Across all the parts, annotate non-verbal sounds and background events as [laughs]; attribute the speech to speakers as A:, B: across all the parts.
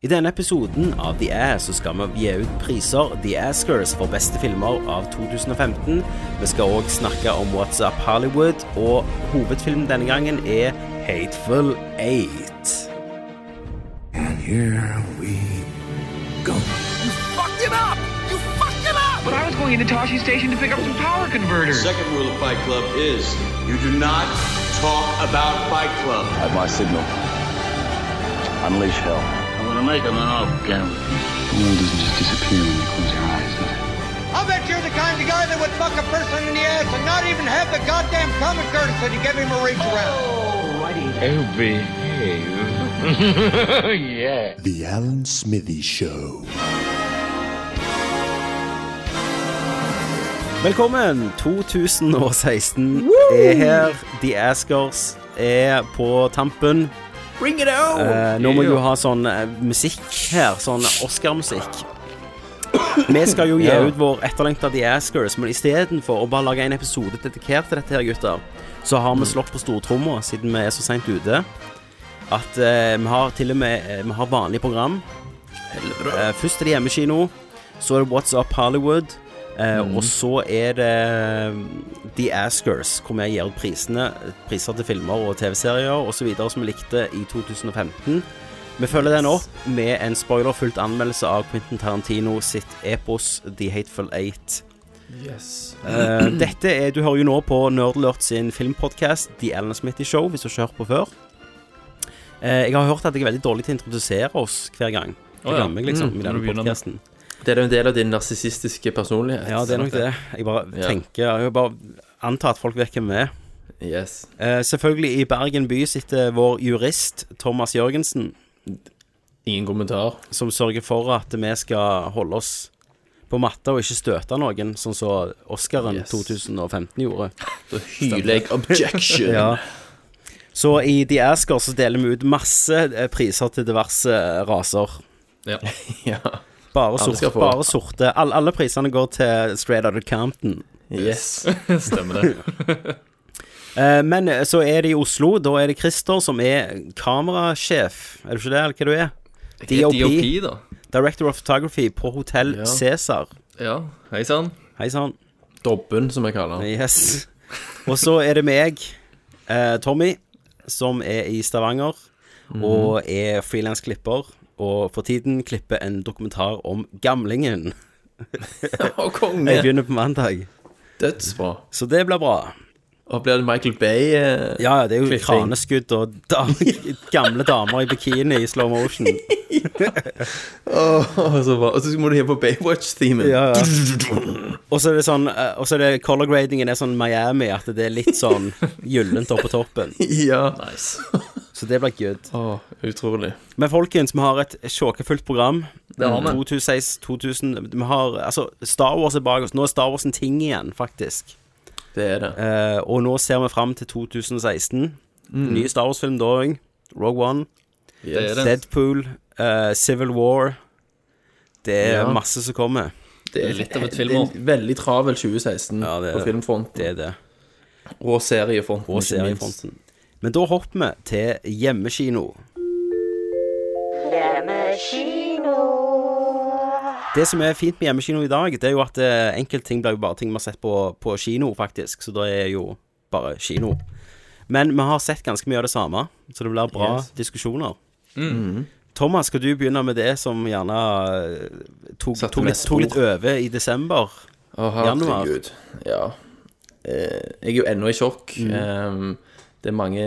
A: I denne episoden av The Ass så skal vi gi ut priser The Askers for beste filmer av 2015. Vi skal òg snakke om What's Up Hollywood, og hovedfilmen denne gangen er Hateful Eight.
B: And here we go.
C: fucked it up! You fucked it up!
D: But I was going into Toshi Station to pick up some power converters.
E: Second rule of Fight Club is you do not talk about Fight Club.
F: At my signal, unleash hell.
G: I'm gonna make him an off camera.
F: The world doesn't just disappear when you close your eyes, does it?
H: I bet you're the kind of guy that would fuck a person in the ass and not even have the goddamn common courtesy to give him a reach around.
G: Oh, behave. yeah.
B: The Alan Smithy Show.
A: Velkommen! 2016 er her. The Askers er på tampen.
C: Bring it on!
A: Eh, nå må vi jo ha sånn eh, musikk her, sånn Oscar-musikk. Vi skal jo gi ut vår etterlengta The Askers, men istedenfor å bare lage en episode dedikert til dette, her, gutter, så har vi slått på stortromma, siden vi er så seint ute, at eh, vi har til og med eh, Vi har vanlig program. Eh, først er det hjemmekino, så er det What's Up Hollywood, eh,
I: Mhm.
A: og så er det eh, The Askers, hvor vi gir ut prisene, priser til filmer og TV-serier osv. som vi likte i 2015. Vi følger den opp med en spoilerfullt anmeldelse av Quentin Tarantino sitt epos The Hateful Eight. Eh,
I: [clears throat]
A: dette er, Du hører jo nå på Nerdlert sin filmpodkast The Alan Smithy Show, hvis du ikke har hørt på før. Eh, jeg har hørt at jeg er veldig dårlig til å introdusere oss hver gang. Jeg
I: Å ja.
A: glemmer meg liksom i
I: Mm, når du
A: denne
I: begynner med-
A: podcasten.
I: Det er jo en del av din narsissistiske personlighet.
A: Ja, det er nok det. Jeg bare
I: Ja.
A: tenker Jeg vil bare antar at folk vet hvem vi er.
I: Yes.
A: Eh, selvfølgelig, i Bergen by sitter vår jurist Thomas Jørgensen,
I: Ingen kommentar.
A: som sørger for at vi skal holde oss på matta og ikke støte noen, sånn som Oscaren
I: Yes.
A: 2015 gjorde.
I: [laughs] Da hyler
A: [laughs]
I: jeg objection.
A: Ja. Så i The Asker så deler vi ut masse eh, priser til diverse raser.
I: ja.
J: [laughs]
I: ja.
A: Bare,
I: Alle
A: sort,
I: skal få.
A: bare sorte. Alle, alle prisene går til Straight Outta Compton.
I: Yes. [laughs]
A: Eh, men eh, så er det i Oslo. Da er det Christer som er kamerasjef. Er du ikke det, eller hva du er?
J: Det er DOP, da.
A: Director of Photography på Hotell
I: Ja.
A: Cæsar.
J: Ja, hei sann.
A: Hei sann.
I: Dobben, som jeg kaller den.
A: Yes. Og så er det meg, eh, Tommy, som er i Stavanger
I: Mhm.
A: og er frilansklipper. Og for tiden klipper en dokumentar om gamlingen.
I: [laughs] Å, konge.
A: Jeg begynner på mandag,
I: Dødsbra.
A: så det blir bra.
I: Og blir det Michael Bay? eh,
A: Ja, ja, det er jo
I: Klipping.
A: kraneskudd og da, [laughs] gamle damer i bikini i slow
I: [laughs]
A: motion.
I: Å, så bra. Og så må du hjem på Baywatch-themen.
A: Ja, ja. Og så er det sånn eh, Og så er det color gradingen er sånn Miami, at det er litt
J: [laughs]
A: sånn gyllent oppå toppen.
I: [laughs] ja.
A: Så det blir good.
I: Å, utrolig.
A: Men folkens, vi har et sjåkefullt program.
J: Det har vi.
A: 2006, 2000 Vi har Altså, Star Wars er bak oss. Nå er Star Wars en ting igjen, faktisk.
I: Det er det.
A: Eh, og nå ser vi fram til 2016. Ny Star Wars-film da òg. Rogue One,
J: Mm. Det er det.
A: Deadpool, eh, Civil War. Det er
I: Ja.
A: masse som kommer.
I: Det er
J: litt av
I: det
J: et
I: er
J: filmår.
I: en Veldig travel 2016
A: Ja, det er
I: på
A: det.
I: filmfronten.
A: Det er det.
I: Og seriefronten.
A: Og
I: ikke minst.
A: seriefronten. Men da hopper vi til hjemmekino. Det som er fint med hjemmekino i dag, det er jo at eh, enkelte ting blir jo bare ting vi har sett på, på kino, faktisk. Så det er jo bare kino. Men vi har sett ganske mye av det samme, så det blir bra
I: Yes.
A: diskusjoner. Thomas, skal du begynne med det som gjerne eh, tok,
I: Satte
A: tok,
I: meg
A: litt, tok litt
I: spor.
A: over i desember?
I: Å,
A: Januar.
I: herregud. Ja. Eh, jeg er jo ennå i sjokk. Ehm, det er mange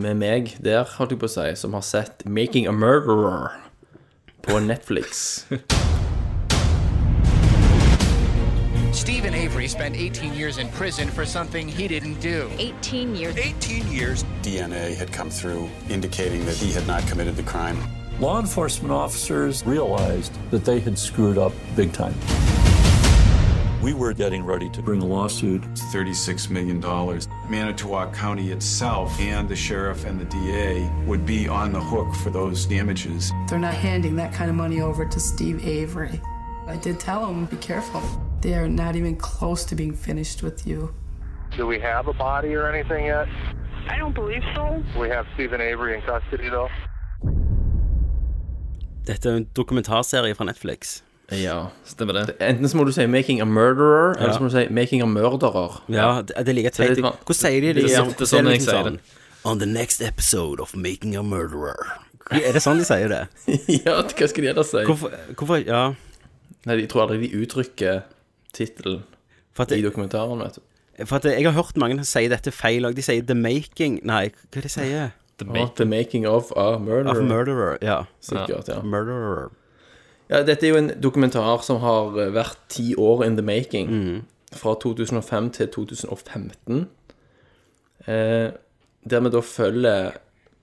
I: med meg der, holdt jeg på å si, som har sett 'Making a Murderer' på [laughs] Netflix.
C: Stephen Avery spent 18 years in prison for something he didn't do.
K: 18 years.
C: 18 years?
F: DNA had come through, indicating that he had not committed the crime.
G: Law enforcement officers realized that they had screwed up big time. We were getting ready to bring a lawsuit.
E: $36 million. Manitowoc County itself and the sheriff and the DA would be on the hook for those damages.
K: They're not handing that kind of money over to Steve Avery. I did tell him, be careful. They are not even close to being finished with you.
G: Do we have a body or anything yet?
D: I don't believe so.
G: We have Stephen Avery in custody, though.
A: Dette er en dokumentarserie fra Netflix.
I: Ja, stemmer det. Enten så må du si 'Making a Murderer', eller
A: Ja.
I: så må du si 'Making a Murderer'.
A: Ja, det, det er like
I: Så det
A: teit.
I: er litt van-
A: Hvordan sier de det? liksom
I: Det er sånn- det er sånn jeg sier det.
A: On the next episode of Making a Murderer. Er det sånn de sier det?
I: [laughs] ja, hva skal de ellers si?
A: [laughs] Hvorfor, hvorfor Ja.
I: Nei, Jeg tror aldri de uttrykker tittelen i dokumentaren, vet du.
A: For at jeg har hørt mange si dette feil òg. De sier 'The Making' Nei, hva er det de sier?
I: The making, the making of a murderer.
A: Of murderer, ja.
I: Sikkert, ja.
A: Murderer.
I: ja. Dette er jo en dokumentar som har eh, vært ti år in the making.
J: Mm.
I: Fra 2005 til 2015. Eh, der vi da følger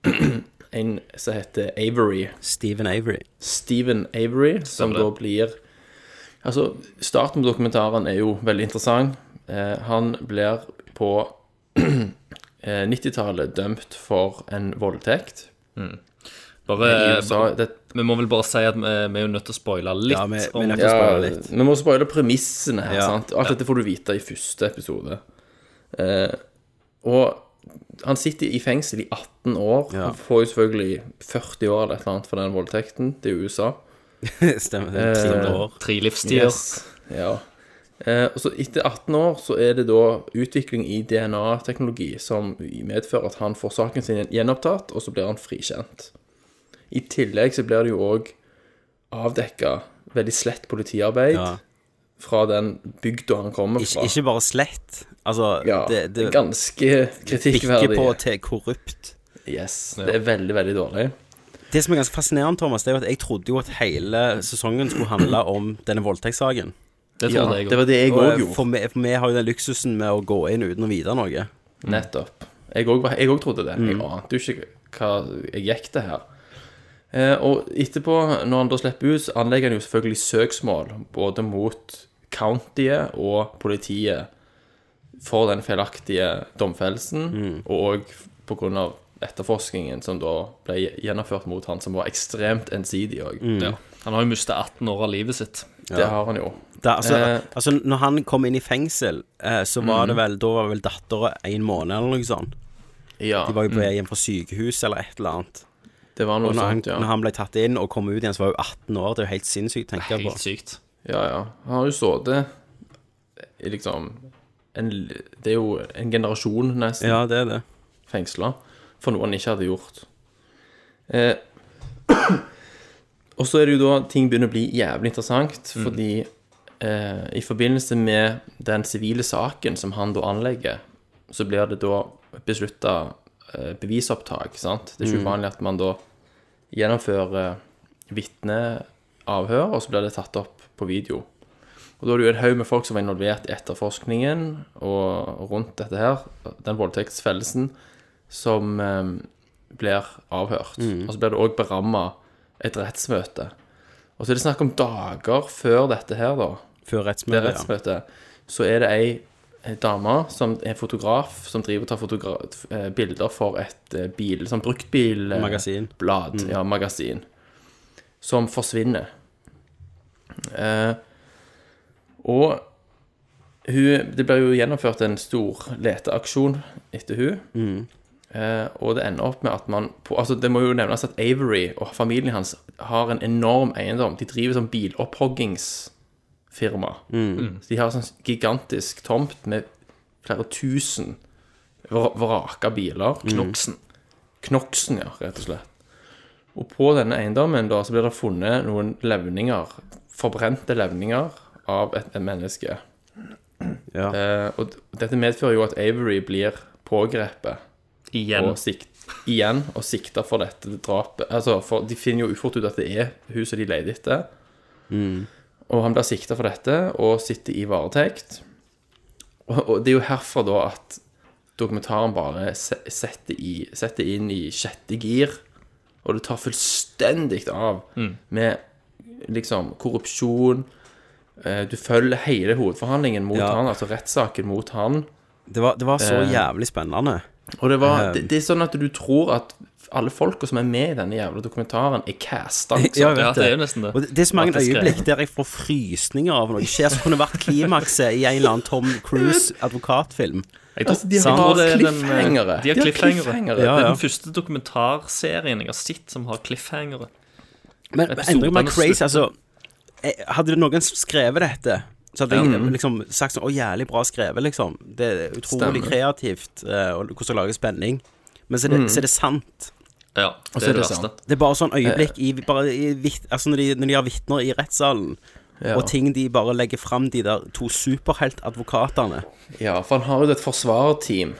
I: [clears throat] en som heter Avery.
A: Stephen Avery.
I: Stephen Avery, som
J: Stemmer det.
I: da blir Altså, starten på dokumentaren er jo veldig interessant. Eh, han blir på [clears throat] eh, 90-tallet dømt for en voldtekt.
J: Mm.
I: I
J: Bare,
I: USA,
J: Vi må vel bare si at vi, vi er jo nødt til å spoile litt.
I: sånn- Ja, vi,
J: om-
I: vi, vi må spoile premissene her.
J: Ja.
I: sant? Alt dette får du vite i første episode. Eh, og han sitter i fengsel i 18 år.
A: Ja.
I: Han får jo selvfølgelig 40 år eller et eller annet for den voldtekten. Det er USA.
A: Stemmer. [laughs] det er
I: Eh,
A: 300 år.
J: Tre livstider.
I: Yes. Ja. Eh, og så etter 18 år så er det da utvikling i DNA-teknologi som medfører at han får saken sin gjenopptatt, og så blir han frikjent. I tillegg så blir det jo òg avdekka veldig slett politiarbeid
A: Ja.
I: fra den bygda han kommer
A: Ikke,
I: fra.
A: ikke bare slett. Altså,
I: ja,
A: det, det
I: ganske kritikkverdig.
A: bikker på til korrupt.
I: Yes. Det er veldig, veldig dårlig.
A: Det som er ganske fascinerende, Thomas, det er jo at jeg trodde jo at hele sesongen skulle handle om denne voldtektssaken.
I: Det trodde Ja, jeg også. det var det jeg
A: Og,
I: også
A: eh,
I: gjorde.
A: For vi, for vi har jo den luksusen med å gå inn uten å vite noe.
I: Nettopp. Jeg òg jeg også trodde det. Jeg
A: Mm.
I: ante jo ikke hva jeg gikk til her. Eh, og etterpå, når han da slipper ut, så anlegger han jo selvfølgelig søksmål både mot countyet og politiet for den feilaktige domfellelsen,
A: Mm.
I: og òg pga. etterforskningen som da ble gjennomført mot han, som var ekstremt ensidig òg.
J: Mm. Ja. Han har jo mista 18 år av livet sitt.
I: Det har han jo.
A: Da, altså,
I: Eh.
A: altså, når han kom inn i fengsel, eh, så var
I: Mhm.
A: det vel Da var vel dattera en måned eller noe sånt.
I: Ja.
A: De var jo på
I: Mm.
A: vei hjem fra sykehus eller et eller annet.
I: Det var noe
A: og når,
I: sånt,
A: han,
I: ja.
A: når han ble tatt inn og kom ut igjen, så var hun 18 år. Det er jo helt sinnssykt, tenker jeg på.
J: Helt sykt.
I: Ja, ja. Han har jo sittet i liksom en, Det er jo en generasjon, nesten.
A: Ja, det er det.
I: Fengsla. For noe han ikke hadde gjort. Eh, og så er det jo da ting begynner å bli jævlig interessant,
J: Mm.
I: fordi eh, i forbindelse med den sivile saken som han da anlegger, så blir det da beslutta eh, bevisopptak, sant. Det er ikke
J: Mm.
I: uvanlig at man da gjennomfører vitneavhør, og så blir det tatt opp på video. Og da er det jo en haug med folk som var involvert i etterforskningen og rundt dette her, den voldtektsfellelsen, som eh, blir avhørt.
J: Mhm.
I: Og så blir det òg beramma et rettsmøte. Og så er det snakk om dager før dette her, da.
A: Før
I: Det
A: rettsmøtet, ja.
I: rettsmøtet. Så er det ei, ei dame som er fotograf, som driver og tar fotogra eh, bilder for et eh, bil, sånn bruktbilblad.
A: Magasin.
I: Blad,
A: Mm.
I: ja, magasin. Som forsvinner. Eh, og hun, det blir jo gjennomført en stor leteaksjon etter hun.
A: Mm.
I: Eh, og det ender opp med at man på, altså Det må jo nevnes at Avery og familien hans har en enorm eiendom. De driver sånn bilopphoggingsfirma.
A: Mm.
I: Så de har sånn gigantisk tomt med flere tusen vra- vraka biler.
J: Knoksen.
I: Knoksen, ja, rett og slett. Og på denne eiendommen da, så blir det funnet noen levninger, forbrente levninger, av et, et menneske. Eh, og d- dette medfører jo at Avery blir pågrepet.
J: Igjen.
I: Og sikt, igjen, og sikta for dette drapet. Altså, for de finner jo ufort ut at det er hun som de leter etter.
J: Mm.
I: Og han blir sikta for dette, og sitter i varetekt. Og, og det er jo herfra da at dokumentaren bare se- setter, i, setter inn i sjette gir, og det tar fullstendig av
J: Mm.
I: med liksom korrupsjon. Eh, Du følger hele hovedforhandlingen mot
A: Ja.
I: han, altså rettssaken mot han.
A: Det var, det var så
I: Eh,
A: jævlig spennende.
I: Og det, var,
A: Eh,
I: det, det er sånn at du tror at alle folka som er med i denne jævla dokumentaren, er casta. liksom.
A: Ja, jeg vet Og det, det er så mange
I: Faktisk,
A: øyeblikk der jeg får frysninger av noe skjer som kunne vært klimakset i en eller annen Tom Cruise-advokatfilm.
J: Jeg tror-
A: Sant?
J: tror det er den, eh, De har cliffhangere.
A: Ja,
J: Det er
A: ja.
J: den første dokumentarserien jeg har sett som har cliffhangere.
A: Men men endre meg
J: Episodenes
A: crazy,
J: slutt.
A: altså jeg- Hadde noen skrevet dette, så hadde jeg
J: Ja.
A: liksom sagt sånn Å, jævlig bra skrevet, liksom. Det er utrolig
J: Stemmer.
A: kreativt eh, og hvordan det lager spenning. Men så er det,
J: Mm.
A: så er det sant.
J: Ja,
A: Og
J: det
A: så
J: er det verste.
A: Det er bare sånn øyeblikk i, bare i vit, Altså når de, når de har vitner i rettssalen,
I: Ja.
A: og ting de bare legger fram, de der to superheltadvokatene
I: Ja, for han har jo et forsvarerteam.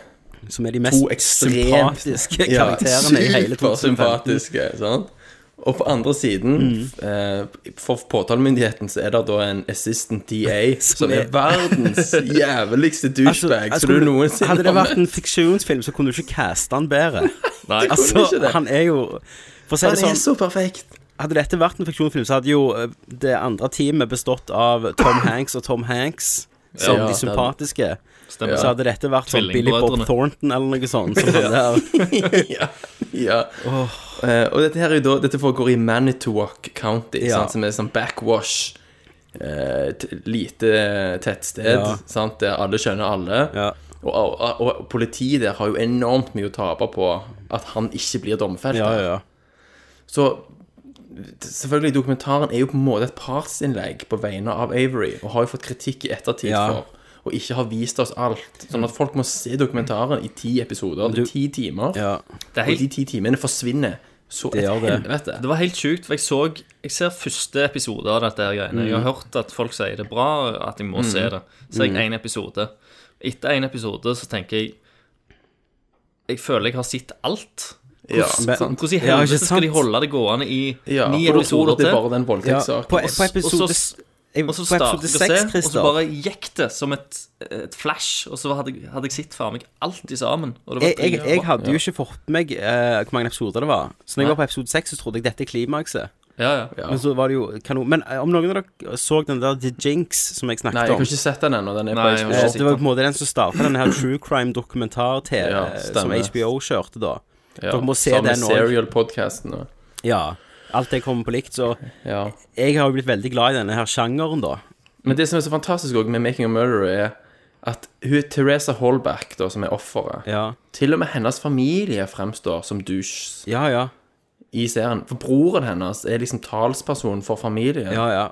A: Som er de mest sympatiske karakterene i hele 2015.
I: Supersympatiske, sant? Og på andre siden,
A: Mm.
I: eh, for påtalemyndigheten, så er det da en assistant
A: [laughs]
I: DA som, er verdens jævligste douchebag.
A: Altså,
I: så du
A: kunne-
I: noensinne
A: Hadde det
I: har
A: vært en fiksjonsfilm, så kunne du ikke caste han bedre.
I: Nei, kunne ikke
A: altså,
I: det.
A: han er jo For å si
I: Han
A: det sånn
I: er så perfekt.
A: Hadde dette vært en fiksjonsfilm, så hadde jo eh, det andre teamet bestått av
I: [coughs]
A: Tom Hanks og Tom Hanks. Som
I: Ja,
A: de
I: det hadde-
A: sympatiske.
I: Stemmer.
A: Så hadde dette vært sånn Billy Bob
I: Tvillingbrødrene.
A: Thornton eller noe sånt.
I: [laughs]
A: Som hadde
I: ja. ja. Eh, og dette her er jo da Dette foregår i Manitowoc County,
A: Ja.
I: sant, som er sånn backwash. eh, t- lite tettsted
A: Ja.
I: sant, der alle skjønner alle. Og, og, og politiet der har jo enormt mye å tape på at han ikke blir domfelt.
A: Ja, ja.
I: Så selvfølgelig, dokumentaren er jo på en måte et partsinnlegg på vegne av Avery, og har jo fått kritikk i ettertid
A: Ja.
I: for å ikke ha vist oss alt. Sånn at folk må se dokumentaren i ti episoder, det er ti timer,
J: Det er helt-
I: og de ti timene forsvinner. Så et helvete.
J: Det var helt sjukt, for jeg så Jeg ser første episode av dette her greiene. Jeg har hørt at folk sier det er bra, at jeg må
I: Mm.
J: se det. Så jeg
I: Mm.
J: en episode. Etter en episode så tenker jeg Jeg føler jeg har sett alt. Hvordan,
I: Ja, men-
J: hvordan i
I: Ja, ikke
J: helvete skal de
I: sant?
J: holde det gående i
I: Ja,
J: ni
I: for da tror du
J: episoder
I: at det er
J: til?
I: bare den voldtektssaken.
A: På,
J: Og
A: på
J: så- og
A: episode
J: så-
A: jeg-
J: og så
A: på episode
J: startet jeg å
A: seks,
J: se,
A: Christer.
J: Og så bare gikk det som et, et flash, og så hadde, jeg- hadde jeg sett for meg alt i sammen. Og det var
A: jeg, jeg, jeg
J: dritbra.
A: hadde jo ikke fått med meg eh, hvor mange episoder det var. Så når jeg
J: Nei.
A: var på episode 6, så trodde jeg dette er klimakset.
J: Ja, ja. Ja.
A: Men så var det jo kanon. Men eh, om noen av dere så den der The Jinx som jeg snakket
I: Nei, jeg
A: om
I: har ikke sett den ennå. Den er
A: Nei,
I: på HBO.
A: Det var på en måte den som startet denne her true crime dokumentar-TV
I: Ja,
A: som
I: stemmer.
A: HBO kjørte da.
I: Ja,
A: Dere må se
I: samme
A: den òg.
I: Serial-podkasten og
A: Ja. Alt det kommer på likt, så
I: Ja.
A: Jeg har jo blitt veldig glad i denne her sjangeren, da.
I: Men det som er så fantastisk også med Making a Murderer, er at hun, Teresa Holback, da, som er offeret Til og med hennes familie fremstår som douches i serien. For broren hennes er liksom talsperson for familien.
A: Ja, ja.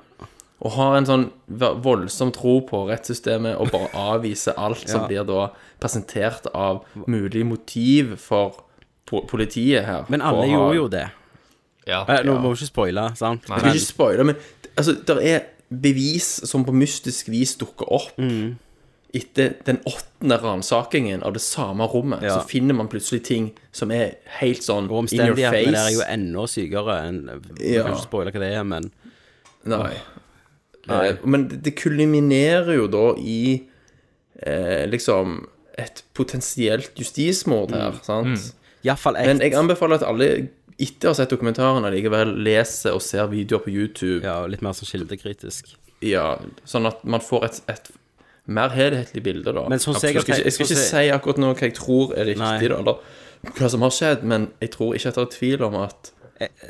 I: Og har en sånn v- voldsom tro på rettssystemet og bare avviser alt som
A: [laughs] Ja.
I: blir da presentert av mulig motiv for po politiet her.
A: Men alle gjorde jo det. Eh, nå må vi ikke spoile, sant?
I: Jeg skal ikke spoile, men altså, det er bevis som på mystisk vis dukker opp
A: Mm.
I: etter den åttende ransakingen av det samme rommet.
A: Ja.
I: Så finner man plutselig ting som er helt sånn in your face.
A: Omstendighetene der er jo ennå sykere enn Vi
I: Ja.
A: kan ikke spoile hva det er, men
I: Nei.
A: Nei.
I: Eh, Men det- det kulminerer jo da i eh, liksom et potensielt justismord her,
A: Mm.
I: sant?
A: Iallfall
I: Men jeg anbefaler at alle etter å ha sett dokumentaren allikevel leser og ser videoer på YouTube.
A: Ja, litt mer sånn kildekritisk.
I: Ja, sånn at man får et, et mer helhetlig bilde, da.
A: Men sånn
I: Absolutt.
A: ser jeg-
I: jeg, skal ikke, jeg skal ikke
A: sånn ser-
I: si akkurat nå hva jeg tror er riktig, da, eller hva som har skjedd, men jeg tror ikke at det er tvil om at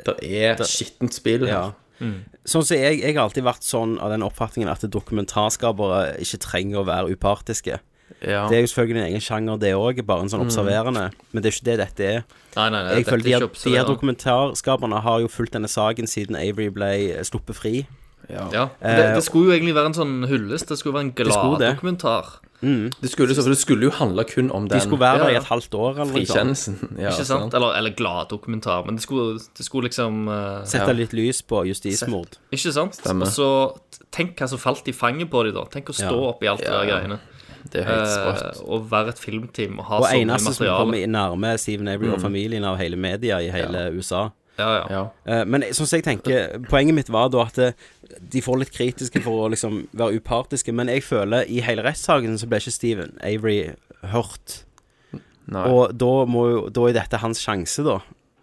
I: det er skittent spill her.
A: Eh, Ja. Sånn som jeg, jeg har alltid vært sånn av den oppfatningen at dokumentarskapere ikke trenger å være upartiske.
I: Ja.
A: Det er jo selvfølgelig en egen sjanger, det òg, bare en sånn
I: Mm.
A: observerende. Men det er ikke det dette er.
J: Nei, nei, nei,
A: jeg
J: dette
A: føler
J: er
A: de,
J: ikke
A: her- de her
J: observerende.
A: dokumentarskaperne har jo fulgt denne saken siden Avery ble eh, sluppet fri.
J: Ja.
A: Eh,
J: Det, det skulle jo egentlig være en sånn hyllest. Det skulle være en
A: Det skulle det.
J: gladdokumentar.
A: Mm.
I: Det skulle, så- for det skulle jo handle kun om den
A: De skulle være der i
I: Ja.
A: et halvt år, eller noe sånt.
I: Frikjennelsen. [laughs] Ja,
J: ikke sant? Eller, eller gladdokumentar, men det skulle, det skulle liksom eh,
A: Sette litt lys på justismord.
J: Ikke sant?
A: Stemmer.
J: Og så t- tenk hva som falt i fanget på dem, da. Tenk å stå
A: Ja.
J: oppi alt det
A: Ja,
J: der
A: ja.
J: greiene.
I: Det er helt
J: Eh,
I: sprøtt.
J: og være et filmteam og ha
A: Og
J: så mye
A: eneste som
J: materiale.
A: kommer i nærme Steven Avery og
J: Mm.
A: familien av hele media i hele USA.
J: Ja, ja.
A: Eh, Men jeg- sånn som jeg tenker, poenget mitt var da at det- de får litt kritiske for å liksom være upartiske, men jeg føler i hele rettssaken så ble ikke Steven Avery hørt.
I: Nei.
A: Og da, må, jo- da er dette hans sjanse, da,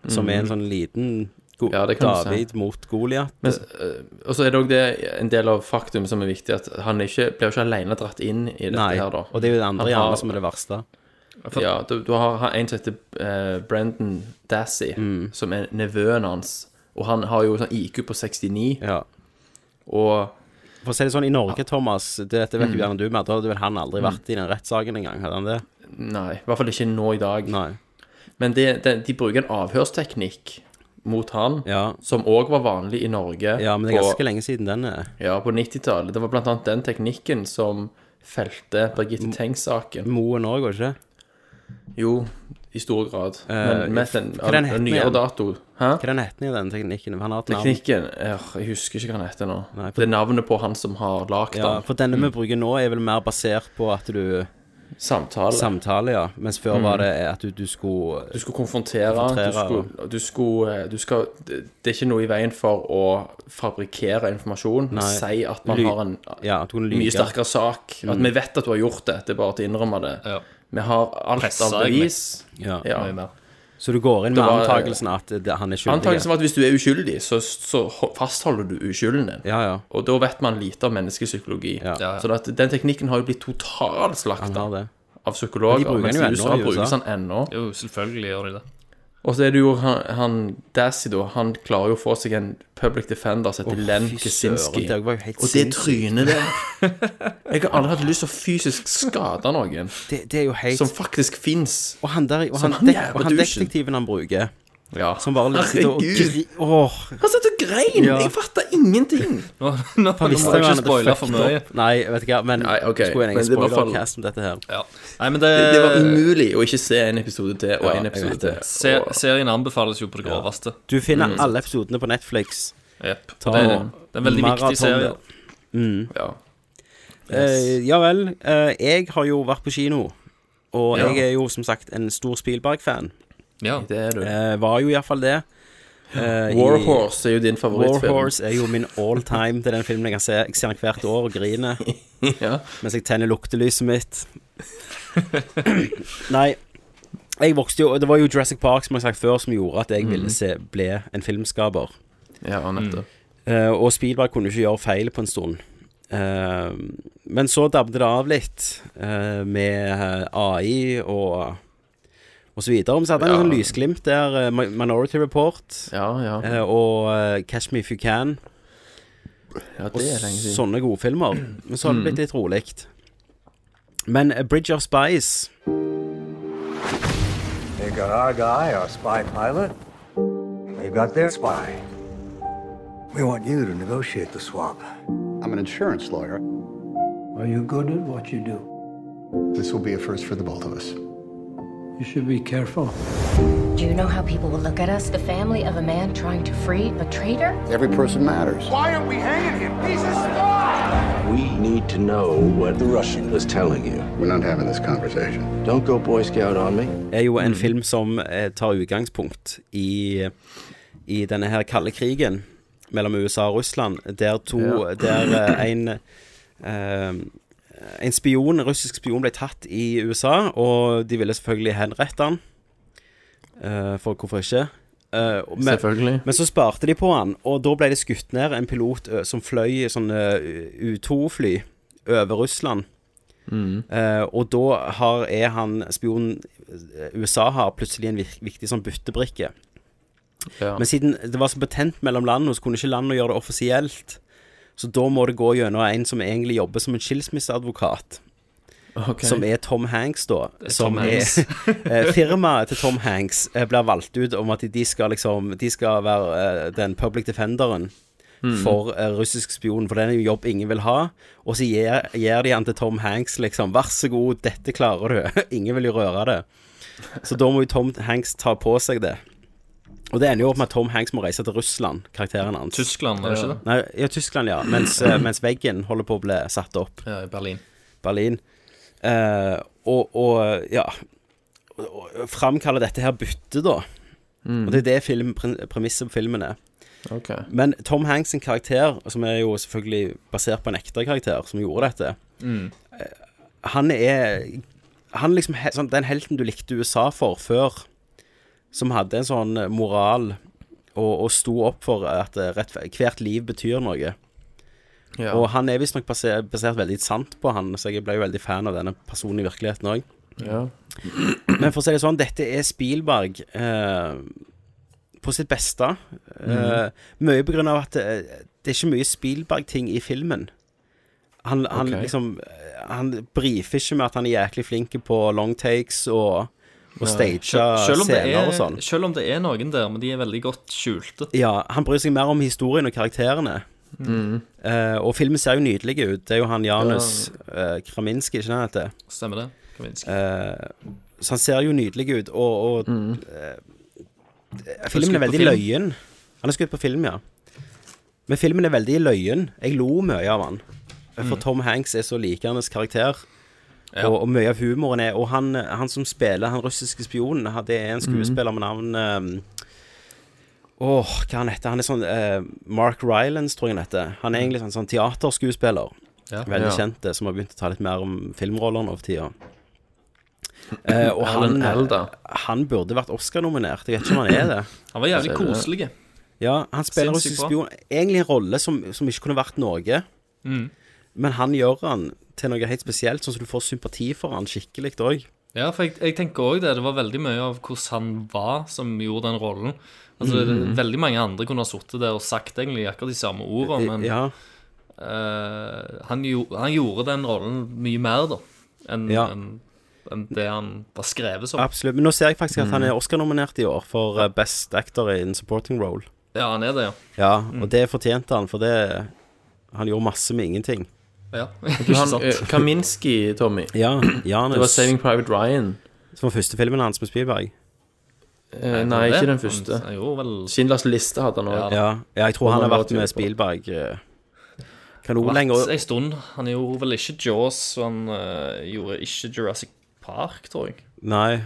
A: som
I: Mm.
A: er en sånn liten go
I: Ja, det kan du si.
A: David mot Goliat.
I: Men, eh, og så er det òg det en del av faktum som er viktig, at han er ikke, blir jo ikke alene dratt inn i dette
A: Nei,
I: her, da.
A: og det er jo det andre
I: Han
A: gjerne
I: har-
A: som er det verste.
I: Ja, du, du har har en som heter eh, Brendan Dassey,
A: Mm.
I: som er nevøen hans. Og han har jo sånn IQ på 69. Og
A: For å si det sånn, i Norge, Thomas, det, dette vet jo
I: Mm.
A: gjerne du mer, da hadde vel han aldri
I: Mm.
A: vært i den rettssaken engang, hadde han det?
I: Nei, i hvert fall ikke nå i dag. Men det, det, de bruker en avhørsteknikk mot han, som òg var vanlig i Norge.
A: Ja, men det er ganske lenge siden den eh, er.
I: Ja, på 90-tallet. Det var blant annet den teknikken som felte Birgitte Tengs-saken.
A: Moen òg, var det ikke?
I: Jo, i stor grad.
A: Eh,
I: Men mest en,
A: hva
I: av
A: den het
I: en nyere
A: igjen?
I: dato. Hæ?
A: Hva er den heten i den teknikken? Han har et navn.
I: Teknikken ja, Jeg husker ikke hva den heter nå. Det er navnet på han som har lagd
A: Ja,
I: den.
A: for denne vi bruker nå, er vel mer basert på at du
I: Samtale.
A: Samtale, ja. Mens før
I: Mm.
A: var det at du, du skulle
I: Du skulle konfrontere, du skulle, du skulle, eh, du skal, Det det er ikke noe i veien for å fabrikkere informasjon.
A: Nei.
I: Si at man
A: Ly-
I: har en
A: ja, at du kan lyge.
I: mye sterkere sak. At
A: Mm.
I: vi vet at du har gjort det, det er bare til å innrømme det. Vi har alt
A: Presse,
I: av bevis.
A: Ja.
I: Ja.
A: Mye mer. Så du går inn med
I: Det var-
A: antakelsen at det, han er skyldig?
I: Antakelsen var at hvis du er uskyldig, så, så ho- fastholder du uskylden din.
A: Ja, ja.
I: Og da vet man lite om menneskepsykologi.
A: Ja, ja.
I: Så at den teknikken har jo blitt totalslakta av psykologer.
J: Men de bruker
I: mens
J: den jo
I: i USA
J: ennå i USA.
I: brukes den sånn ennå.
J: Jo, selvfølgelig gjør de det.
I: Og så er det jo han, han Dassy, da. Han klarer jo å få seg en public defender som heter
A: Å,
I: Len
A: fy søren,
I: Kaczynski.
A: det var jo helt
I: Og det
A: sinnssykt.
I: trynet der Jeg har aldri hatt lyst til å fysisk skade noen
A: Det, det er jo helt
I: som faktisk fins.
A: Og han der og
I: Som
A: han,
I: han
A: dek,
I: jævla
A: og han
I: douchen.
A: detektiven han bruker,
I: ja.
A: som bare liksom sitter og
I: Herregud.
A: gri... Åh.
I: Han satt og grein!
A: Ja.
I: Jeg fatta ingenting!
J: Nå, nå, nå
A: Han visste
J: må
A: jo han
J: jeg ikke
A: hadde
J: spoile for
A: fucked
J: mye.
A: opp. Nei, vet du hva, men
I: Nei, ok,
A: skulle en
I: men
A: egen
I: det var fall-
A: spoilercast om dette her.
J: Ja. Nei, men det,
I: Det, det var umulig å ikke se en episode til og
A: Ja,
I: en
A: jeg
I: episode
A: vet
I: til.
A: det.
J: Se, serien anbefales jo på det groveste.
A: Du finner
J: Mm.
A: alle episodene på Netflix.
J: Jepp.
A: Ta
J: Det er- det er en veldig viktig
A: maraton
J: serie.
A: der. Mm.
I: Ja.
A: Eh, ja vel. eh, jeg har jo vært på kino, og
J: Ja.
A: jeg er jo som sagt en stor Spielberg-fan.
J: Ja.
I: Det er du.
A: Eh, var jo iallfall det. Eh,
I: War
A: i-
I: Horse er jo din favorittfilm.
A: War Horse er jo min all time. Det er den filmen jeg kan se Jeg ser den hvert år og griner
I: [laughs] Ja.
A: mens jeg tenner luktelyset
J: [coughs]
A: mitt. Nei. Jeg vokste jo Det var jo Jurassic Park som jeg har sagt før, som gjorde at jeg
J: Mm.
A: ville se ble en filmskaper.
I: Ja, nettopp.
A: Eh, og Spielberg kunne jo ikke gjøre feil på en stund. Eh, men så dabbet det av litt eh, med AI og og så videre. Men så hadde han en
I: Ja.
A: sånn lysglimt der. eh, Mi- Minority Report
I: Ja, ja.
A: eh, og eh, Catch Me If You Can.
I: ja,
A: Og
I: det er lenge siden. Mm.
A: sånne gode filmer. Men så har det blitt litt rolig. Men eh, Bridge of Spice
L: They've got our guy, our spy pilot. They've got their spy. We want you to negotiate the swap. I'm an insurance lawyer. Are you good at what you do? This will be a first for the both of us. You should be careful.
M: Do you know how people will look at us? The family of a man trying to free a traitor?
N: Every person matters.
D: Why are we hanging him? He's a spy!
N: We need to know what the Russian was telling you. We're not having this conversation. Don't go Boy Scout on me.
A: er jo en film som eh, tar utgangspunkt i, i denne her kalde krigen mellom USA og Russland, der to
I: Ja.
A: [clears throat] Der eh, en eh, En spion, en russisk spion ble tatt i USA, og de ville selvfølgelig henrette han. Eh, for hvorfor ikke? Eh, og- men,
I: Selvfølgelig.
A: Men så sparte de på han, og da ble det skutt ned en pilot eh, som fløy eh, i sånne U2-fly over Russland.
I: Mm.
A: Eh, og da har, er han spionen eh, USA har plutselig en vir- viktig sånn byttebrikke.
I: Ja.
A: Men siden det var så betent mellom landene, så kunne ikke landene gjøre det offisielt. Så da må det gå gjennom en som egentlig jobber som en skilsmisseadvokat.
I: Ok.
A: Som er Tom Hanks, da.
I: Det er
A: Som
I: Tom
A: er
I: Hanks.
A: [laughs] eh, Firmaet til Tom Hanks eh, blir valgt ut om at de skal liksom De skal være eh, den public defenderen
I: Mm.
A: for eh, russisk spion, for den er jo jobb ingen vil ha. Og så gir, gir de han til Tom Hanks, liksom. Vær så god, dette klarer du. [laughs] ingen vil jo røre det. Så da må jo Tom Hanks ta på seg det. Og det ender jo opp med at Tom Hanks må reise til Russland, karakteren hans.
J: Tyskland, er det ikke det?
A: Nei, ja, Tyskland, ja. Mens, eh, mens veggen holder på å bli satt opp.
J: Ja, i Berlin.
A: Berlin. Eh, og, og ja og- og Framkaller dette her byttet, da.
I: Mm.
A: Og det er det film, pre- premisset på filmen er.
I: Ok.
A: Men Tom Hanks sin karakter, som er jo selvfølgelig basert på en ekte karakter som gjorde dette, eh,
J: Mm.
A: han er Han er liksom he- sånn, den helten du likte USA for før, som hadde en sånn moral og, og sto opp for at eh, rettfer- hvert liv betyr noe.
I: Ja.
A: Og han er visstnok basert, basert veldig sant på han, så jeg ble jo veldig fan av denne personen i virkeligheten òg.
I: Ja.
A: [clears throat] Men for å si det sånn, dette er Spielberg eh, på sitt beste. Eh,
I: Mhm.
A: Mye på grunn av at det, det er ikke mye Spielberg-ting i filmen. Han, han
I: Ok.
A: liksom eh, Han brifer ikke med at han er jæklig flink på long takes og og stage
J: Selv om det
A: scener
J: er-
A: og sånn.
J: Selv om det er noen der, men de er veldig godt skjulte.
A: Ja, han bryr seg mer om historien og karakterene.
J: Mm.
A: Eh, og filmen ser jo nydelig ut. Det er jo han Janus eh, Kraminski, ikke sant? det heter?
J: Stemmer det? Kaminski.
A: Eh, så han ser jo nydelig ut, og, og eh,
J: Mm. skutt
A: Filmen er
J: på
A: veldig
J: film.
A: løyen. Han er skutt på film, ja. Men filmen er veldig løyen. Jeg lo mye av han. For
J: Mm.
A: Tom Hanks er så like hans karakter.
J: Ja.
A: Og, og mye av humoren er Og han, han som spiller han russiske spionen, han- det
J: Mm.
A: er en skuespiller med navn ehm, Åh, hva han heter han? er sånn eh, Mark Rylance, tror jeg han heter. Han er egentlig sånn, sånn teaterskuespiller.
J: Ja.
A: Veldig
J: Ja.
A: kjent, eh, som har begynt å ta litt mer om filmroller nå for tida. Eh, og han,
I: Alan Alda.
A: han burde vært Oscar-nominert. Jeg vet ikke om han er det.
J: Han var jævlig
A: altså,
J: koselig.
A: Ja, han spiller
J: Sinnssykt
A: russisk
J: bra.
A: spion. Egentlig en rolle som, som ikke kunne vært noe,
J: Mm.
A: men han gjør han til noe helt spesielt, sånn at du får sympati for han skikkelig òg.
J: Ja, for jeg, jeg tenker òg det. Det var veldig mye av hvordan han var, som gjorde den rollen. Altså,
A: Mhm.
J: Veldig mange andre kunne ha sittet der og sagt egentlig akkurat de samme ordene, men
A: Ja.
J: eh, han, gjo- han gjorde den rollen mye mer, da, enn
A: Ja.
J: enn- enn det han var skrevet som.
A: Absolutt. Men nå ser jeg faktisk at han
J: Mm.
A: er Oscar-nominert i år for eh, Best Actor in Supporting Role.
J: Ja, han er det, ja.
A: Ja,
J: Mm.
A: og det fortjente han, for det Han gjorde masse med ingenting.
J: Ja,
I: Du,
J: [laughs]
I: han, eh, Kaminski, Tommy.
A: Ja, Janus.
I: Det var Saving Private Ryan.
A: Som var første filmen hans med Spielberg.
I: Eh, nei, ikke den første. Schindlers liste hadde han
A: Ja.
I: òg.
A: ja, jeg tror han har vært med Spielberg eh, kanon lenger.
J: Vært en stund. Han gjorde vel ikke Jaws, og han eh, gjorde ikke Jurassic Park, tror jeg.
A: Nei.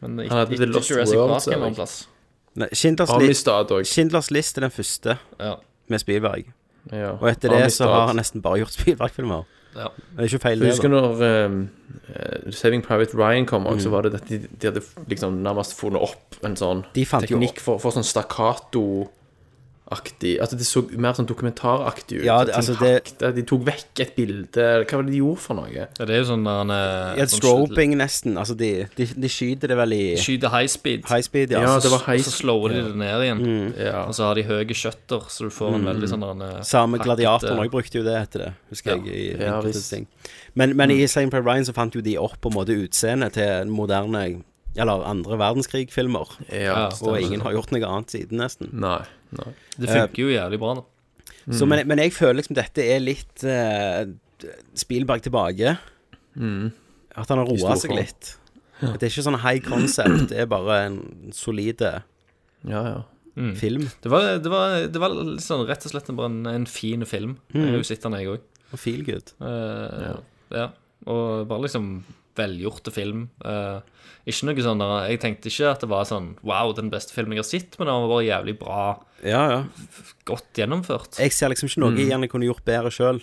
J: Men ikke- hadde The ikke Lost Jurassic World, Park ser jeg. en annen plass.
A: Nei, Schindlers,
I: Har
A: li
I: mistet
A: Schindlers List er den første
J: Ja.
A: med Spielberg.
I: Ja.
A: Og etter
I: Har
A: det
I: mistet
A: så har
I: alt.
A: han nesten bare gjort [laughs] Spielberg-filmer.
J: Ja.
A: Det er ikke feil,
I: For
A: det.
I: husker
A: da.
I: når eh, eh, Saving Private Ryan kom òg,
A: Mm.
I: så var det at de, de hadde liksom nærmest funnet opp en sånn
A: De fant jo-
I: teknikk for, for sånn stakkato-aktig Altså det så mer sånn dokumentaraktig ut.
A: Ja,
I: Så
A: det-
I: ting
A: altså, det-
I: hakte, De tok vekk et bilde Hva var det de gjorde for noe?
J: Ja, det er jo sånn der han
A: Ja, Strobing, nesten. Altså, de, de, de skyter det vel i
J: Skyter high speed.
A: High speed, ja.
J: så- Og så slår de det ned igjen.
A: Mm.
J: Og så har de høye skjøtter, så du får en
A: Mm.
J: veldig sånn der, eh,
A: Samme
J: hakkete-
A: gladiatoren òg brukte jo det, heter det. Husker
J: Ja.
A: jeg. i
J: Ja,
A: enkelte
J: visst.
A: ting. Men, men
I: Mm.
A: i Saving Private Ryan så fant jo de opp på en måte utseendet til moderne Eller andre verdenskrig-filmer.
I: Ja,
A: og
I: stemmer.
A: ingen har gjort noe annet siden, nesten.
I: Nei, nei.
J: Det funker
A: Eh,
J: jo jævlig bra, da.
I: Mm.
A: Så, men, men jeg føler liksom dette er litt eh, Spielberg tilbake.
I: Mm.
A: At han har
I: I
A: roa
I: stor
A: seg
I: form.
A: litt. At det er ikke sånn high concept, det er bare en solid
I: Ja, ja.
J: Mm.
A: film.
J: Det var, det var, det var litt sånn, rett og slett bare en, en fin film.
A: Mm.
J: Jeg har jo sett den, jeg òg.
A: Og feel good.
J: Eh, ja. Og bare liksom velgjorte film. Eh, ikke noe sånn der, Jeg tenkte ikke at det var sånn Wow, den beste filmen jeg har sett, men den var bare jævlig bra.
A: Ja, ja.
J: f- Godt gjennomført.
A: Jeg ser liksom ikke noe
J: Mm.
A: jeg gjerne kunne gjort bedre sjøl.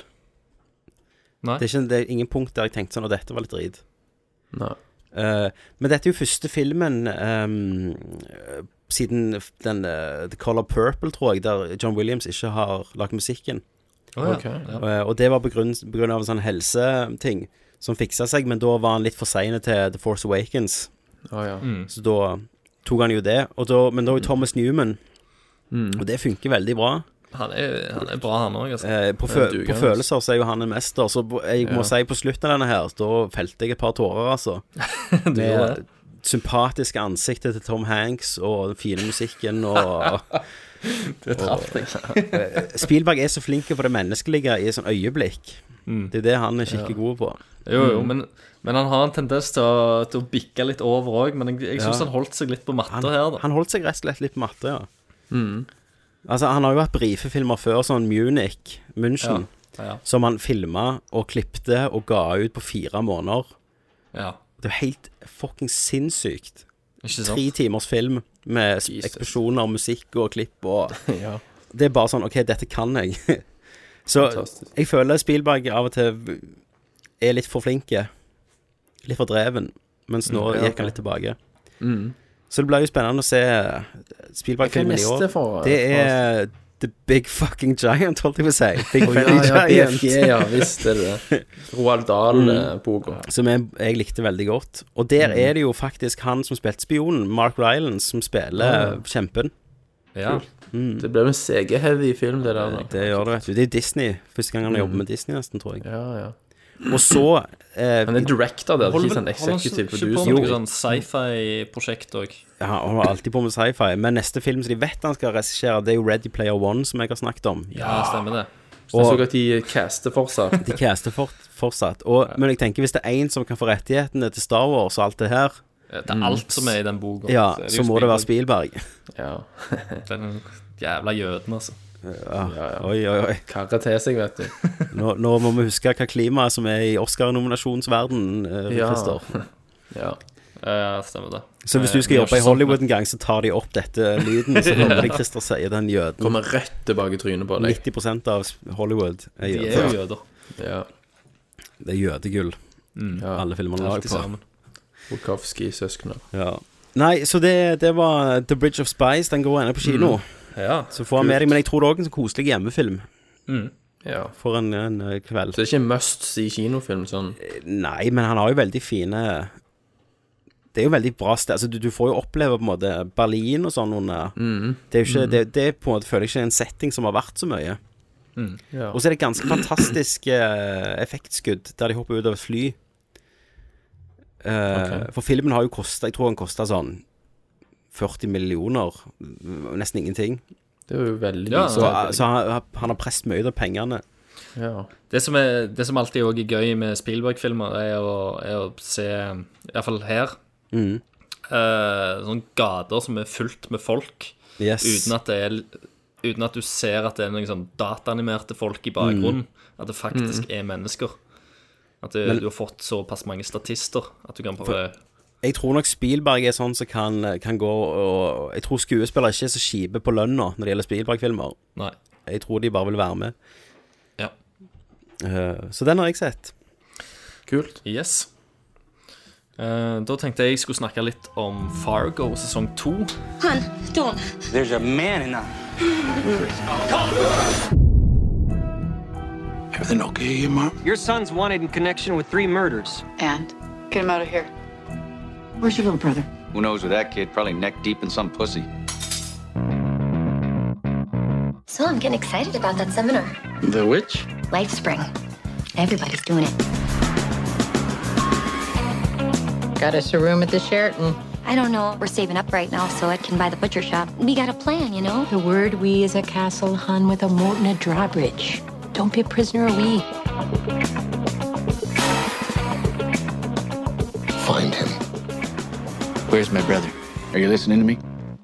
J: Nei.
A: Det, er ikke- det er ingen punkt der jeg tenkte sånn Og dette var litt drit.
I: Nei.
A: Eh, men dette er jo første filmen ehm, eh, siden f- den eh, The Color Purple, tror jeg, der John Williams ikke har lagt musikken.
J: Å, ja. Ok, ja.
A: Eh, og det var på grunn, på grunn av en sånn helseting som fiksa seg, men da var han litt for sein til The Force Awakens.
I: Å, ja. Mm.
A: Så da tok han jo det. Og da, men da er jo Thomas Newman,
I: Mm.
A: og det funker veldig bra.
J: Han er, han er bra, han òg.
A: [laughs]
J: Altså.
A: Eh, på, fø på følelser så er jo han en mester, så på- jeg må
J: Ja.
A: si på slutten av denne her, da felte jeg et par tårer, altså.
J: gjorde
A: Med
J: det.
A: sympatiske ansiktet til Tom Hanks og den fine musikken og
J: [laughs]
I: Det traff deg.
A: [laughs] Eh, Spielberg er så flink på det menneskelige i sånn øyeblikk. Det er det han er skikkelig
J: Mm. Ja.
A: god på.
J: Jo, jo,
A: Mm.
J: men, men han har en tendens til å, til å bikke litt over òg. Men jeg, jeg syns
A: Ja.
J: han holdt seg litt på matta her, da. Mm.
A: Han holdt seg rett og slett litt på matte, ja. Altså, han har jo hatt brifefilmer før, sånn Munich, München,
J: Ja, ja.
A: som han filma og klipte og ga ut på fire måneder.
J: Ja.
A: Det er jo helt fuckings sinnssykt.
J: Ikke sant?
A: Tre timers film med s- eksplosjoner, musikk og klipp og
I: [laughs] Ja.
A: Det er bare sånn OK, dette kan jeg. [laughs] Så
I: Fantastisk.
A: jeg føler Spielberg av og til er litt for flinke. Litt for dreven. Mens nå
I: Mm, ja,
A: gikk han litt tilbake.
I: Mm.
A: Så det blir jo spennende å se
I: Hva
A: Spielberg-filmen i
I: er neste
A: år.
I: for- eh,
A: det er The Big Fucking Giant, holdt jeg på å si. Big [laughs]
I: Å,
A: Friendly
I: ja, ja,
A: Giant.
I: BFG, ja, visst er det
A: [laughs]
I: det. Roald
A: Mm.
I: eh, Dahl-boka.
A: Som jeg, jeg likte veldig godt. Og der
I: Mm.
A: er det jo faktisk han som spilte spionen, Mark Rylance, som spiller
I: Ah, Ja.
A: kjempen. Mm.
J: Ja.
I: Det ble en CG-heavy film, det der. nå.
A: Det gjør det, vet du. Det er Disney. Første gang han har jobbet med Disney, nesten, tror jeg.
I: Ja, ja.
A: Og så eh,
I: Han er director der,
J: Holder
I: ikke sånn
J: vel- holder han
I: executive
J: ikke på
I: producer.
J: med noe sånn sci-fi-prosjekt òg.
A: Ja, han holder alltid på med sci-fi. Men neste film som de vet han skal regissere, det er jo Ready Player One, som jeg har snakket om.
J: Ja, stemmer det.
I: Så jeg så at de caster fortsatt.
A: De caster fort, fortsatt. Og, Men jeg tenker hvis det er én som kan få rettighetene til Star Wars og alt det her
J: Det er Eh, alt som er i den boka.
A: Mm. Ja,
J: Så er det
A: så
J: jo
A: må det være Spielberg.
I: Ja.
J: [laughs] Den jævla jøden, altså.
A: Ja, Ah, Oi, oi, oi.
I: Karre til seg, vet du.
A: Nå, nå må vi huske hva klimaet som er i Oscar-nominasjonsverden, eh,
I: Ja.
A: Christer.
I: Ja.
J: Eh, stemmer det.
A: Så hvis du
I: Eh, vi
A: skal
I: har
A: jobbe i
I: ikke
A: Hollywood en gang, så tar de opp dette lyden, så kommer det Christer sier den jøden.
I: Kommer rett tilbake i trynet på deg.
A: 90 av Hollywood er
J: De
A: jøder.
J: er jo jøder.
I: Ja.
A: Det er jødegull. Alle filmene
I: Alt
A: lager på.
I: sammen. Bukowski-søsknene.
A: Ja. Nei, så det, det var The Bridge of Spies. Den går ennå på kino.
I: Mm. Ja,
A: så får han med
I: kult.
A: deg, men jeg tror det er også en sånn koselig hjemmefilm.
I: Mm. Ja.
A: For en, en eh, kveld.
I: Så det er ikke en must see kinofilm sånn.
A: Nei, men han har jo veldig fine Det er jo veldig bra sted. Altså, du, du får jo oppleve på en måte Berlin og sånn under
I: Mhm.
A: Det er jo ikke
I: Mhm.
A: det, det er på en måte føler jeg ikke er en setting som har vært så mye.
I: Ja.
A: Og så er det ganske fantastiske eh, effektskudd der de hopper ut av et fly. Eh, For filmen har jo kosta Jeg tror den kosta sånn 40 millioner. mm, Nesten ingenting.
I: Det er jo veldig
J: Ja,
A: Så,
J: ja.
A: så han, han har presset mye ut av pengene.
I: Ja.
J: Det som, er, det som alltid også er gøy med Spielberg-filmer, er, å- er å se, iallfall her,
A: Mhm.
J: eh, sånne gater som er fullt med folk,
A: Yes.
J: uten, at det er, uten at du ser at det er noen sånn dataanimerte folk i bakgrunnen. At det faktisk er mennesker. At det,
A: Mm. Men-
J: du har fått såpass mange statister at du kan prøve
A: Jeg tror nok Spielberg er sånn som kan, kan gå og Jeg tror skuespillere ikke er så kjipe på lønna når det gjelder Spielberg-filmer.
J: Nei.
A: Jeg tror de bare vil være med.
J: Ja.
A: Eh, så den har jeg sett.
I: Kult.
J: Yes. Eh, da tenkte jeg jeg skulle snakke litt om Fargo sesong to.
O: Hun, don't.
C: There's a man in that.
B: Everything okay here, Mom?
P: Your son's wanted in connection with three murders.
Q: And get him out of here. Where's your little brother?
R: Who knows with that kid? Probably neck deep in some pussy.
M: So I'm getting excited about that seminar.
R: The witch?
M: Life Spring. Everybody's doing it.
Q: Got us a room at the Sheraton.
M: I don't know. We're saving up right now so it can buy the butcher shop. We got a plan, you know? The word we is a castle, hun, with a moat and a drawbridge. Don't be a prisoner of we.
R: Find him. Where's my brother? Are you listening to me?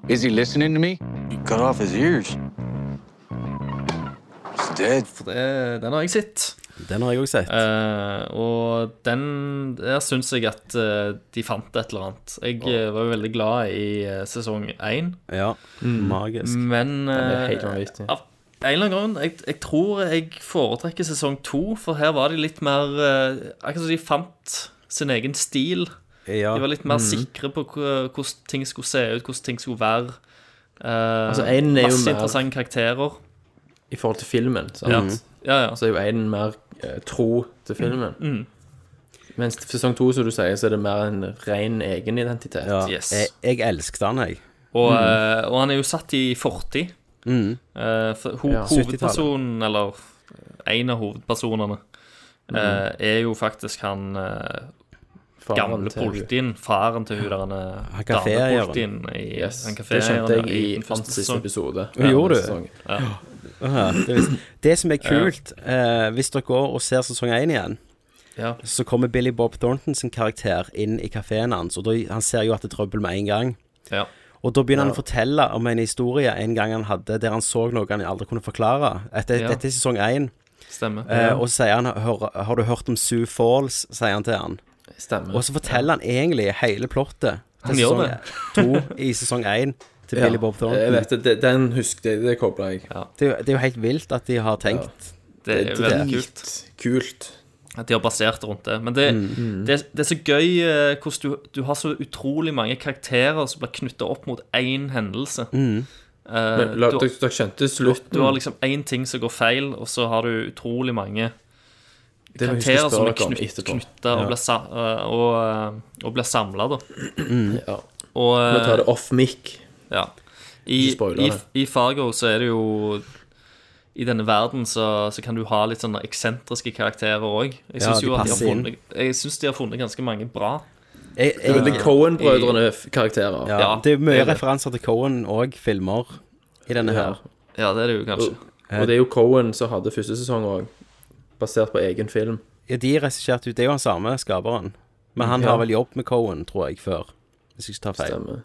R: Is he listening to me? You cut off his ears.
J: It's For det, den har jeg sett.
A: Den har jeg òg sett.
J: Eh, og den Der syns jeg at eh, de fant et eller annet. Jeg eh, var jo veldig glad i eh, sesong én.
A: Ja.
J: mm,
A: Magisk.
J: Men
I: Den er helt
J: eh,
I: vanvittig.
J: av en eller annen grunn jeg, jeg tror jeg foretrekker sesong to, for her var de litt mer eh, Akkurat som de fant sin egen stil.
A: Ja.
J: De var litt mer
I: Mhm.
J: sikre på hva- hvordan ting skulle se ut, hvordan ting skulle være. Eh,
I: Altså, en er jo
J: masse
I: mer- Mm.
J: interessante karakterer.
I: I forhold til filmen, sant?
J: Ja. Ja, altså. ja.
I: Så er jo Aiden mer eh, tro til filmen.
J: Mm. Mm.
I: Mens til sesong to, som du sier, så er det mer en ren egenidentitet.
A: Ja.
J: Yes.
A: Jeg, jeg elsket den, jeg.
J: Og,
I: Mm.
J: eh, og han er jo satt i fortid.
A: Mm.
J: Eh, for ho
A: Ja.
J: Hovedpersonen, eller en av hovedpersonene,
I: Mm.
J: eh, er jo faktisk han eh,
I: Faren
J: gamle
I: til hun.
J: politien, faren til hun der han er
I: Han
J: damepolitien
I: kaféeieren.
J: i
I: Yes,
J: han
I: det skjønte jeg
J: kaféeieren
I: i
J: den første
I: hans siste
J: sesongen.
I: episode.
A: Ja, gjorde du?
J: Ja.
A: Aha, det, visste- det som er kult, eh, hvis dere går og ser sesong 1 igjen,
J: Ja.
A: så kommer Billy Bob Thornton sin karakter inn i kafeen hans, og da, han ser jo at det er trøbbel med en gang.
J: Ja.
A: Og da begynner han å
J: Ja.
A: fortelle om en historie en gang han hadde, der han så noe han aldri kunne forklare. Etter,
J: Ja.
A: Dette er sesong 1.
J: Stemmer.
A: Eh,
J: Ja.
A: og så sier han, Hør, har du hørt om Sioux Falls, sier han til han.
I: Stemmer.
A: Og så forteller han egentlig hele plottet
I: Han
A: til sesong
I: gjør
A: to i sesong 1 til
I: Ja.
A: Billy Bob Thornton.
I: Jeg vet det, det, den husker jeg, det kobler jeg.
A: Det, er jo- det er jo helt vilt at de har tenkt.
J: Det er veldig kult. Eh,
I: Kult.
J: At de har basert rundt det. Men det,
I: Mm.
J: det, det er så gøy eh, hvordan du, du har så utrolig mange karakterer som blir knytta opp mot én hendelse.
I: Mm.
J: Eh,
I: Men la,
J: du-
I: dere, dere skjønte slutten.
J: Du har liksom én ting som går feil, og så har du utrolig mange
I: Det må jeg huske å spørre
J: karakterer som er
I: dere om
J: knytta
I: etterpå.
J: og
I: Ja.
J: blir sa- eh, og, og blir samla, da.
I: Mm. Ja.
J: Og,
I: Nå tar det off mic.
J: Ja. I,
I: Ikke spoiler
J: i,
I: det.
J: I Fargo så er det jo i denne verden så, så kan du ha litt sånne eksentriske karakterer òg. Jeg
I: Ja,
J: syns
I: de
J: jo at de har
I: passer inn.
J: funnet, jeg synes de har funnet ganske mange bra.
I: Det er veldig Cohen-brødrene-karakterer.
A: Ja, det er mye
I: det.
A: referanser til Cohen og filmer i denne
I: Ja.
A: her.
J: Ja, det er det jo kanskje.
I: Og, og det er jo Cohen som hadde første sesong òg, basert på egen film.
A: Ja, de regisserte jo Det er jo han samme skaperen. Men han
I: Ja.
A: har vel jobb med Cohen, tror jeg, før. Hvis jeg ikke tar feil.
I: Stemmer.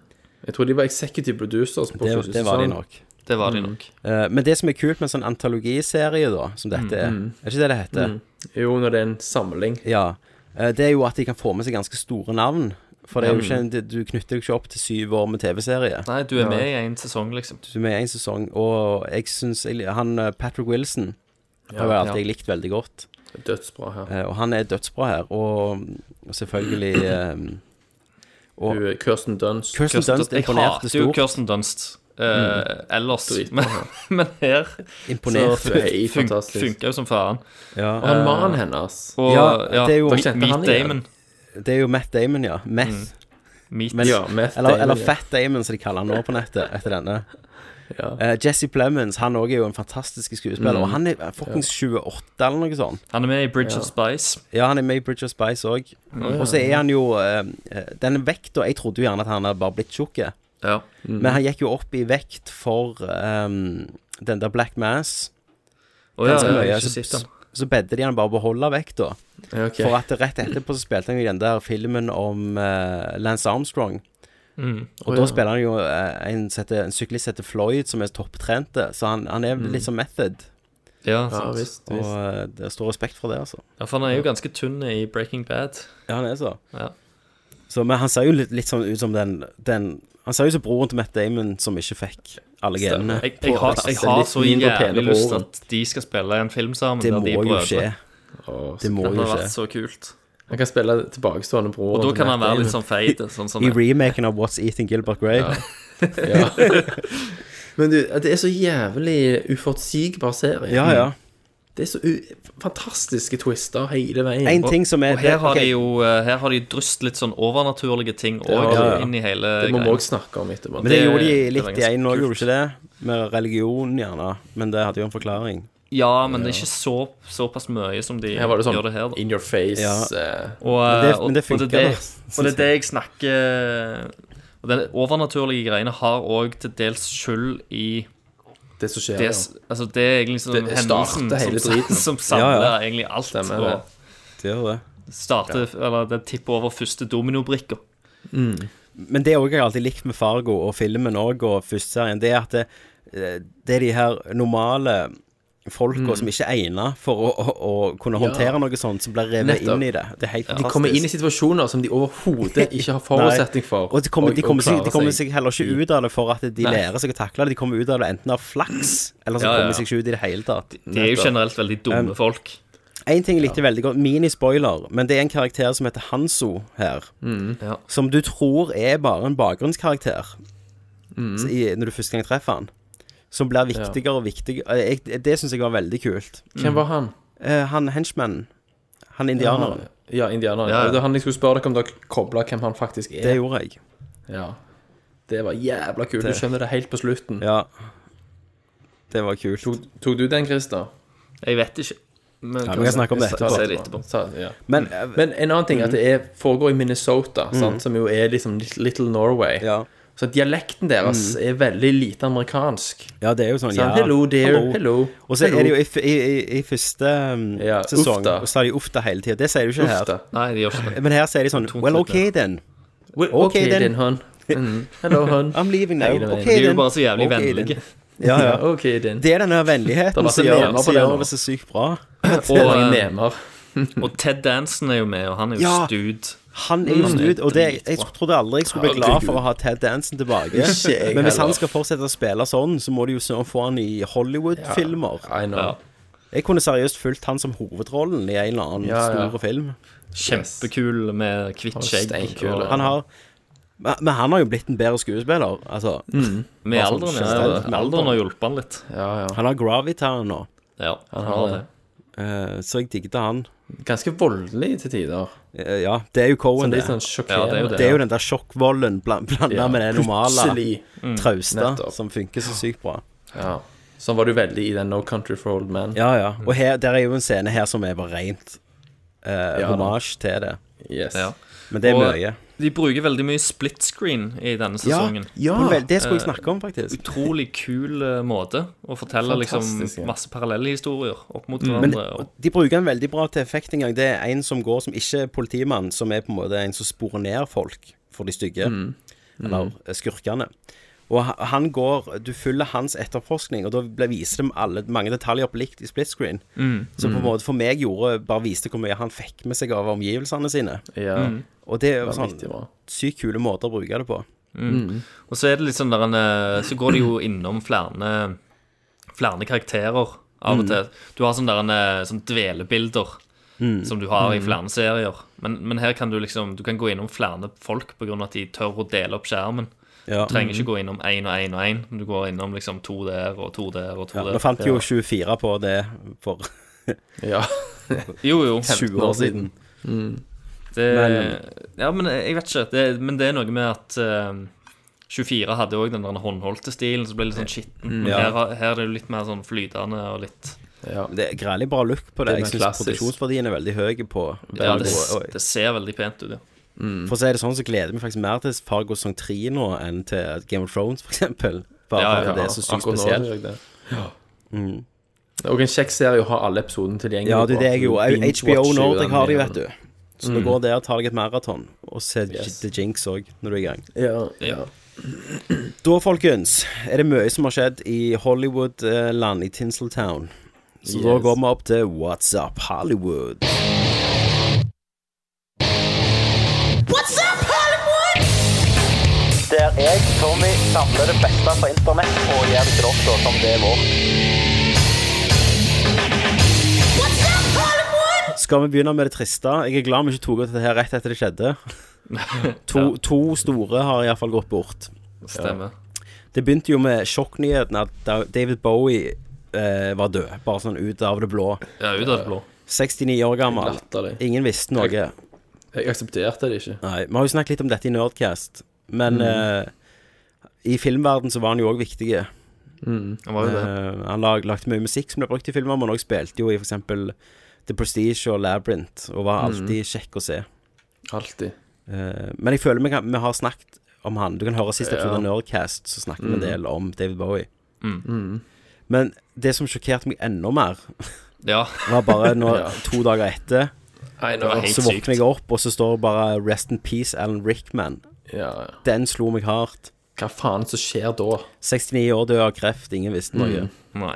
I: Jeg tror de var executive producers på
A: Det,
I: første
A: det var de
I: sesong.
J: sånn-
A: nok.
J: Det var de
I: Mm.
J: nok.
A: Eh, men det som er kult med en sånn antologiserie, da, som dette er
I: Mm.
A: Er ikke det det heter?
I: Mm. Jo, når det er en samling.
A: Ja. Eh, det er jo at de kan få med seg ganske store navn. For det er jo
J: Mm.
A: ikke, en- det- du knytter deg ikke opp til syv år med TV-serie.
J: Nei, du er med i en sesong, liksom.
A: Du er med i en sesong, og jeg syns han eh, Patrick Wilson
J: Ja,
A: har jo alltid
J: ja.
A: jeg likt veldig godt.
I: Dødsbra her.
A: Eh, og han er dødsbra her, og, og selvfølgelig
J: [clears throat]
A: eh, og,
I: Hun er Kirsten Dunst.
A: Kirsten Dunst
J: jeg
A: imponerte
J: hater jo
A: stort.
J: Kirsten Dunst eh, ellers,
I: Dritbra.
J: men, [laughs] men her
A: Imponerte.
J: [laughs] så
I: Hun er
J: fun-
I: fantastisk.
J: funker jo som faen.
A: Ja.
I: Og han
J: Eh,
I: mannen hennes.
J: Og, ja, Meet Damon.
A: Det er jo Matt Damon, ja. Meth.
J: Mm. Meat.
A: Men-
I: Ja, Matt
A: eller,
I: Damon,
A: eller
I: ja.
A: Fat Damon, som de kaller han nå på nettet etter denne. Eh, Jesse Plemons han også er jo en fantastisk skuespiller.
J: Mm.
A: Og han er fuckings 28 eller noe sånt.
J: Han er med i Bridge
A: Ja.
J: of Spice.
A: Ja, han er med i Bridge of Spice òg.
J: Ja.
A: Og så er han jo eh, Den vekta Jeg trodde jo gjerne at han hadde bare blitt tjukk.
J: Ja.
A: Men han gikk jo opp i vekt for eh, den der Black Mass.
J: Å ja,
A: Ganske
J: ja, jeg har
A: mye.
J: ikke
A: Så,
J: sett den.
A: så, så bedde de han bare beholde vekta.
I: Ja, ok.
A: For at rett etterpå så spilte han jo i den der filmen om eh, Lance Armstrong.
I: Mm.
A: Og
I: Å,
A: da
I: ja.
A: spiller han jo eh, en, som heter- en syklist som heter Floyd, som er topptrente. Så han, han er litt som Method.
J: Ja, sant. Ja, visst,
A: Og
J: visst.
A: eh, det står respekt for det, altså.
J: Ja, for han er jo ganske tynn i Breaking Bad.
A: Ja, han er så.
J: Ja.
A: så men han ser jo litt, litt sånn ut som den, den Han ser jo ut som broren til Matt Damon som ikke fikk alle genene.
J: Jeg, jeg, har, jeg har så jævlig lyst til at de skal spille en film sammen.
A: Det
J: der
A: må
J: de er
A: jo
J: brødre.
A: skje.
I: Å,
A: Det må
J: Det
A: jo
J: hadde
A: skje.
J: vært så kult.
I: Han kan spille tilbakestående bror.
J: Og da kan han være litt sånn feit. Sånn som
A: I remaken av What's Eating Gilbert Grey.
J: sånn- [laughs]
I: ja. Men du, det er så jævlig uforutsigbar serie.
A: Ja, ja.
I: Det er så u fantastiske twister hele veien.
A: En ting som er-
J: Og her har
A: ok.
J: de jo eh, Her har de dryst litt sånn overnaturlige ting òg
I: har de.
J: inn i hele
I: Det må vi
J: greia.
I: også snakke om
A: Men
I: etterpå.
A: det,
J: Det-
A: gjorde de
J: det var
A: litt i
J: ganske
A: én òg, gjorde de ikke det? Med religion, gjerne. Men det hadde jo en forklaring.
J: Ja, men det er ikke så, såpass mye som de
I: Her var det sånn
J: gjør det her. Da.
I: in your face.
A: Ja.
I: eh,
J: Og,
A: Men det- men det
J: og- og
A: funker,
J: det, er
A: da,
J: det, og det er det jeg snakker Og den overnaturlige greiene har òg til dels skyld i
I: Det som skjer,
J: det,
I: ja.
J: s- altså det er egentlig sånn
I: Det starter
J: hendelsen
I: hele
J: [laughs] som,
I: driten.
J: som samler
I: Ja, ja.
J: egentlig alt.
I: Stemmer
J: og
I: det.
A: Det gjør det.
J: starter, eller det tipper over første dominobrikka.
A: Men det er også jeg har alltid likt med Fargo og filmen òg, og førsteserien, det er at det, eh, det er de her normale folka
I: Mm.
A: som ikke er egnet for å, å, å kunne
I: Ja.
A: håndtere noe sånt, som blir revet
I: Nettopp.
A: inn i det. Det er helt
I: De
A: fantastisk.
I: kommer inn i situasjoner som de
A: [laughs]
I: overhodet ikke har forutsetning for.
A: Nei. Og de kommer, de
I: å- å
A: kommer, seg,
I: klare Mm.
A: de kommer seg heller ikke ut av det for at de
I: Nei.
A: lærer seg å takle det. De kommer ut av det enten av flaks, eller så
J: Ja, ja,
A: kommer
J: ja.
A: de seg ikke ut i det hele tatt.
J: De er jo generelt veldig dumme
A: Um,
J: folk.
A: En ting jeg likte veldig godt, minispoiler, men det er en karakter som heter Hanso her.
J: Ja.
A: Som du tror er bare en bakgrunnskarakter
I: Mm.
A: så i, når du første gang treffer han. Som blir viktigere og viktigere. Eh, Jeg, det syns jeg var veldig kult.
I: Hvem var han?
A: Eh, han henchmanen. Han indianeren.
I: Ja, indianeren.
A: Ja, ja.
I: Det var han jeg skulle spørre dere om dere kobla hvem han faktisk er.
A: Det gjorde jeg.
I: Ja. Det var jævla
A: Det-
I: kult. Du skjønner det helt på slutten.
A: Ja. Det var kult.
I: Tok, tok du den, Christer?
J: Jeg vet ikke. Men
A: Ja, vi kan snakke om det
J: jeg-
A: etterpå.
J: jeg sier det etterpå.
I: Så, ja.
A: Men, eh,
I: Men en annen ting er at det er, foregår i Minnesota,
A: Mhm.
I: sant, som jo er liksom Lit- Little Norway. Så dialekten deres
A: Mhm.
I: er veldig lite amerikansk.
A: Ja, det er jo sånn,
I: Sånn,
A: ja.
I: hello, dear, hello,
A: Og så
I: hello.
A: er det jo i, f- i, i, i første um,
I: Ja,
A: sesong,
I: ufta.
A: og så er de ufta hele tida. Det sier du ikke
I: Ufta.
A: her.
J: Nei, de gjør
A: [laughs]
J: ikke det.
A: Men her sier de sånn Well, OK, then.
I: Well, okay then, hun. Mhm. Hello, hun.
A: I'm leaving now.
I: Nei, det er-
A: OK,
I: de er jo
A: then.
I: bare så jævlig
A: Okay, then.
I: vennlige.
A: [laughs] Ja,
I: [laughs]
A: ja.
I: Ja, OK, then.
A: Det er den her
I: Det har
A: vennligheten
I: vært
A: som
I: en
A: gjør
I: memer på
A: som
I: den
A: gjør
I: nå.
A: det så sykt bra.
J: Og, eh,
I: memer.
J: og Ted Danson er jo med, og han er jo
A: Ja,
J: stud.
A: Han er jo
I: Mm.
A: stud, og det, jeg trodde aldri jeg skulle bli glad for å ha Ted Danson tilbake.
I: Ikke jeg
A: Men hvis han
I: heller.
A: skal fortsette å spille sånn, så må de jo søren få han i Hollywood-filmer.
I: I know. Ja.
A: Jeg kunne seriøst fulgt han som hovedrollen i en eller annen
I: Ja, ja.
A: stor film.
J: Kjempekul med hvitt
A: Han er
J: skjegg.
A: steinkul,
J: og-
A: ja. Han har men men han har jo blitt en bedre skuespiller. Altså,
J: Mm. Med
A: Bare sånn
J: alderen, ja,
A: generelt,
J: ja.
A: med
J: Alderen har hjulpet han litt.
A: Han har gravitar nå.
J: Ja, han har det.
A: Eh, så jeg digget han. Eh,
I: Ganske voldelig til tider.
A: Ja, det er jo Cohen,
I: Sånn litt
A: det.
I: sånn sjokkerende.
A: det, er jo det, den der sjokkvolden blanda
I: Ja,
A: med det normale,
I: plutselig. Mm.
A: trauste,
I: Nettopp.
A: som funker så sykt bra.
I: Ja. Sånn var du veldig i den No Country for Old Men.
A: Ja, ja. Og her, der er jo en scene her som er bare rent uh,
I: Ja, da.
A: hommage til det.
I: Yes.
J: Ja.
A: Men det er
J: Og
A: mye.
J: De bruker veldig mye split screen i denne sesongen.
A: ja, På en vel- det skulle jeg
J: Eh,
A: snakke om, faktisk.
J: Utrolig kul eh, måte å fortelle liksom,
A: Fantastisk, ja. Mm.
J: masse parallelle historier opp mot
A: Men
J: hverandre.
A: de,
J: og,
A: de bruker en veldig bra til effekt en gang. Det er en som går som ikke er politimann, som er på en måte en som sporer ned folk for de stygge,
I: Mm. Mm.
A: eller eh, skurkene. Og ha- han går, Du følger hans etterforskning, og da ble- viser de alle, mange detaljer på likt i split screen.
I: Mm.
A: Som på en
I: Mm.
A: måte for meg gjorde, bare viste hvor mye han fikk med seg av omgivelsene sine.
I: Ja. Mm.
A: Og det er jo
I: Det var
A: sånn
I: viktig bra.
A: sykt kule måter å bruke det på.
J: mm. og så er det litt sånn der en, eh, Så går de jo innom flere, flere karakterer av
A: Mm.
J: og til. Du har sånne, der en, eh, sånn dvelebilder.
A: Mm.
J: Som du har i
A: Mm.
J: flere serier. Men, men her kan du liksom Du kan gå innom flere folk pga. at de tør å dele opp skjermen.
A: Ja.
J: Du trenger
A: Mm.
J: ikke gå innom én og én og én. Du går innom liksom to der og to der og to
A: Ja,
J: der.
A: nå fant jo
J: Ja.
A: 24 på det for
I: Ja.
J: Jo, jo.
A: 20 år siden.
I: Mm.
J: Det,
A: Men-
J: eh, ja, men jeg vet ikke. Det, men det er noe med at eh, 24 hadde òg den der håndholdte stilen som ble litt sånn skitten.
A: Mm,
J: Men
A: ja.
J: her, har- her er det jo litt mer sånn flytende og litt
A: Det er grælig bra look på det.
J: Det er
A: Jeg syns
J: klassisk.
A: produksjonsverdien er veldig høy på
J: ja, det,
A: Fargo. Og-
J: det ser veldig pent ut, ja.
A: For å si det sånn, så gleder jeg meg faktisk mer til Fargo sesong 3 nå enn til Game of Thrones, for eksempel. Bare
I: Ja,
A: fordi
I: ja,
A: det er så sykt
I: akkurat nå gjør jeg
A: spesielt.
I: det.
A: Ja. Mm.
I: Og en kjekk serie å ha alle episodene tilgjengelig
A: ja, du, det er jeg jo. Jeg er jo HBO
I: Binge-watcher
A: Nordic har de,
I: den
A: vet du. Så nå
I: Mm.
A: går der og tar deg et maraton, og ser The Jinx òg, når du er i gang.
I: Ja, ja.
A: Da, folkens, er det mye som har skjedd i Hollywood-land, i Tinseltown. Så da
I: Yes.
A: går vi opp til What's Up Hollywood.
D: What's up, Hollywood?
O: Der jeg, Tommy, samler det beste fra internett og gjør det til dere som det er vårt.
A: Skal vi begynne med det triste? Jeg er glad vi ikke tok ut dette her rett etter det skjedde. To, to store har iallfall gått bort.
J: Stemmer.
A: Det begynte jo med sjokknyheten at Da- David Bowie eh, var død. Bare sånn ut av det blå.
J: Ja, ut av det blå.
A: 69 år gammel. Ingen visste noe.
I: Jeg aksepterte det ikke.
A: Nei, Vi har jo snakket litt om dette i Nerdcast, men
I: Mm.
A: eh, i filmverden så var han jo òg viktig.
I: Mm.
J: Han var jo det.
A: Eh, han lag, lagde mye musikk som ble brukt i filmer, men også spilte jo i f.eks. The Prestige og Labyrinth, og var
I: Mm.
A: alltid kjekk å se.
I: Alltid.
A: Eh, men jeg føler vi, kan, vi har snakket om han. Du kan høre siste episode
I: Ja.
A: av Nerdcast, så snakker vi
I: Mm.
A: en del om David Bowie.
J: Mm.
A: Men det som sjokkerte meg enda mer,
J: Ja.
A: var bare nå
J: Ja.
A: to dager etter.
J: Nei, det var helt
A: så
J: sykt.
A: våkner jeg opp, og så står det bare 'Rest in peace, Alan Rickman'.
I: Ja, ja.
A: Den slo meg hardt.
I: Hva faen som skjer da?
A: 69 år, død av kreft, ingen visste noe.
I: Mm.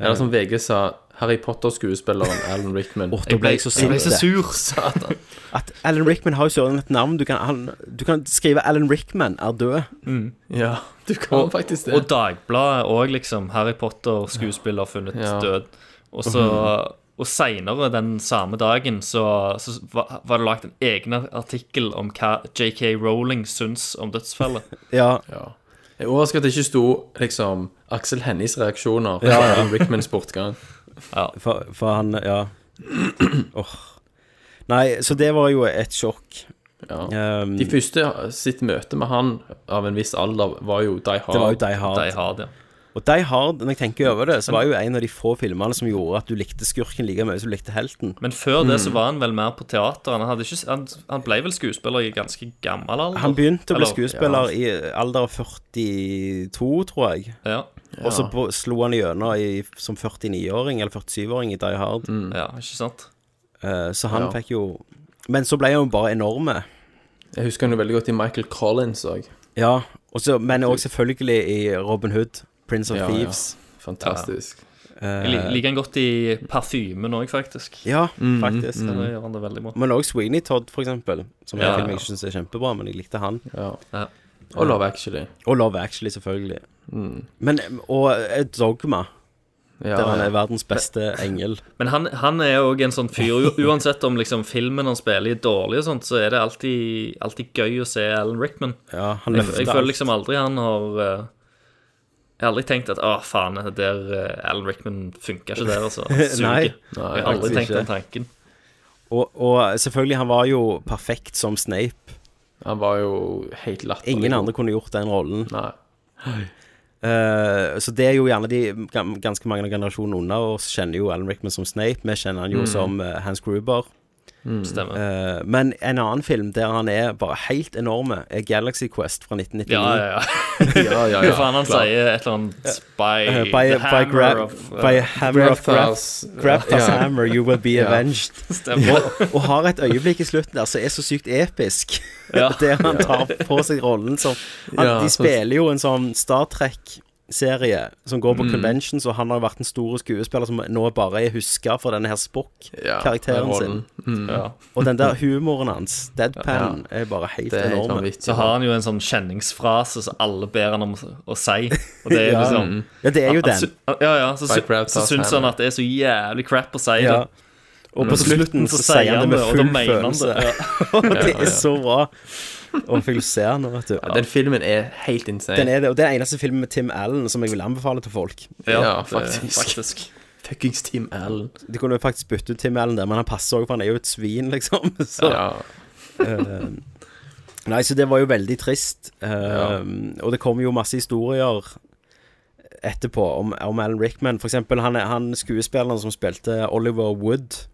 I: Eller som VG sa,
A: [laughs]
I: Harry Potter-skuespilleren Alan Rickman.
A: Åh, da ble jeg så sint.
I: Satan.
A: At Alan Rickman har jo søren et navn. Du kan, han, du kan skrive 'Alan Rickman er død'.
I: Ja, du kan
J: og,
I: faktisk det.
J: Og Dagbladet òg, liksom. Harry Potter, skuespiller funnet
I: Ja.
J: død. Og så
I: Mhm.
J: Og seinere den samme dagen så, så var, var det lagt en egen artikkel om hva JK Rowling syns om dødsfallet.
A: Ja.
I: Jeg er overrasket at det ikke sto liksom Aksel Hennies reaksjoner
A: Ja,
I: ja,
A: ja.
I: Alan Rickmans bortgang.
A: For, for han Ja. Åh. Nei, så det var jo et sjokk.
I: Ja.
A: Um,
I: De første sitt møte med han av en viss alder var jo Die Hard.
A: Det var jo Die [laughs] Hard. Og Die Hard, når jeg tenker over det, så var jo en av de få filmene som gjorde at du likte skurken like mye som du likte helten.
J: Men før det
I: Mhm.
J: så
A: Mm.
J: var han vel mer på teater. Han, hadde ikke, han, han ble vel skuespiller i ganske gammel alder?
A: Han begynte å bli
J: Eller-
A: skuespiller i alder av 42, tror jeg.
J: Ja.
A: Og så
J: Ja.
A: på- slo han gjennom i- som 49-åring eller 47-åring i Die Hard.
I: Mm.
J: Ja, ikke sant?
A: Eh, så han
I: Ja.
A: fikk jo Men så ble han jo bare enorme.
I: Jeg husker han jo veldig godt i Michael Collins òg.
A: Ja, og så- men òg selvfølgelig i Robin Hood, Prince of
I: Ja, ja.
A: Thieves.
I: Fantastisk.
A: Eh,
J: Jeg lik- liker han godt i parfymen òg, faktisk.
A: Ja,
J: Mhm.
A: faktisk.
J: Der gjør han det veldig bra.
A: Men òg Sweeney Todd, for eksempel. Som
J: Ja,
A: er en film
J: ja.
A: jeg syns er kjempebra, men jeg likte han.
J: Ja.
I: Og Love Actually.
A: Og Love Actually, selvfølgelig.
I: Mm.
A: Men, og eh, Dogma,
I: Ja,
A: der han
J: ja.
A: er verdens beste engel.
J: Men han, han er jo en sånn fyr u-
A: [laughs]
J: Uansett om liksom filmen han spiller i er dårlig, og sånt, så er det alltid, alltid gøy å se Alan Rickman.
A: Ja, han
J: jeg,
A: løfter
J: jeg
A: alt.
J: føler liksom aldri han har eh, Jeg har aldri tenkt at Å, faen, det der eh, Alan Rickman funka ikke
A: [laughs]
J: der, altså. Han Suger.
A: Nei,
J: jeg har aldri
A: faktisk
J: tenkt
A: ikke.
J: den tanken.
A: Og, og selvfølgelig, han var jo perfekt som Snape.
I: Han var jo helt latterlig.
A: Ingen andre kunne gjort den rollen.
I: Nei.
A: Eh, så det er jo gjerne de gam- ganske mange generasjoner unna oss kjenner jo Alan Rickman som Snape. Vi kjenner han jo
J: Mm.
A: som eh, Hans Gruber.
J: Mm. Stemmer.
A: Eh, men en annen film der han er bare helt enorme, er Galaxy Quest fra 1999.
J: Ja, ja, [laughs] ja. Hva faen han sier? Et eller annet by,
A: Eh, by,
J: the
A: by,
J: hammer
A: grab,
J: of, uh,
A: by hammer of
I: Grabthar's-
A: Grab- Grabthar's
I: Ja.
A: hammer, you will be
I: Ja.
A: avenged.
I: Stemmer.
A: Og, og har et øyeblikk i slutten der som er så sykt episk, [laughs]
I: Ja.
A: der han tar på seg rollen som han,
I: Ja,
A: De
I: så-
A: spiller jo en sånn Star Trek-serie som går på
I: Mm.
A: conventions, og han har jo vært en stor skuespiller som nå bare er huska for denne her Spock-karakteren
I: Ja,
A: sin.
I: rollen. Mm. Ja.
A: Og den der humoren hans, deadpan, er bare helt enorm.
J: Så har han jo en sånn kjenningsfrase som alle ber han om å si. Og det er
A: [laughs] [laughs] Ja.
J: liksom
A: Ja, det er jo
J: han-
A: den.
J: han- Ja, ja, så,
A: By
J: sy-
A: Grab
J: så
A: Toss
J: syns han
A: Hammer.
J: at det er så jævlig crap å si
A: Ja.
J: det.
A: Og
J: Men
A: på Mm. slutten så sier han det med
J: og da
A: full
J: mener han
A: følelse.
J: det,
A: [laughs] Og
J: Ja.
A: det er så bra. Og jeg fikk se han nå, vet du.
I: Ja, den filmen er helt insane.
A: Den er det, og det er den eneste filmen med Tim Allen som jeg vil anbefale til folk.
I: Ja, Ja, det- faktisk. faktisk. Fuckings Tim Allen.
A: De kunne jo faktisk bytte ut Tim Allen der, men han passer òg, for han er jo et svin, liksom. [laughs] Så.
I: Ja.
A: Eh, Nei, så det var jo veldig trist. Eh, Og det kom jo masse historier etterpå om, om Alan Rickman. For eksempel han, er- han skuespilleren som spilte Oliver Wood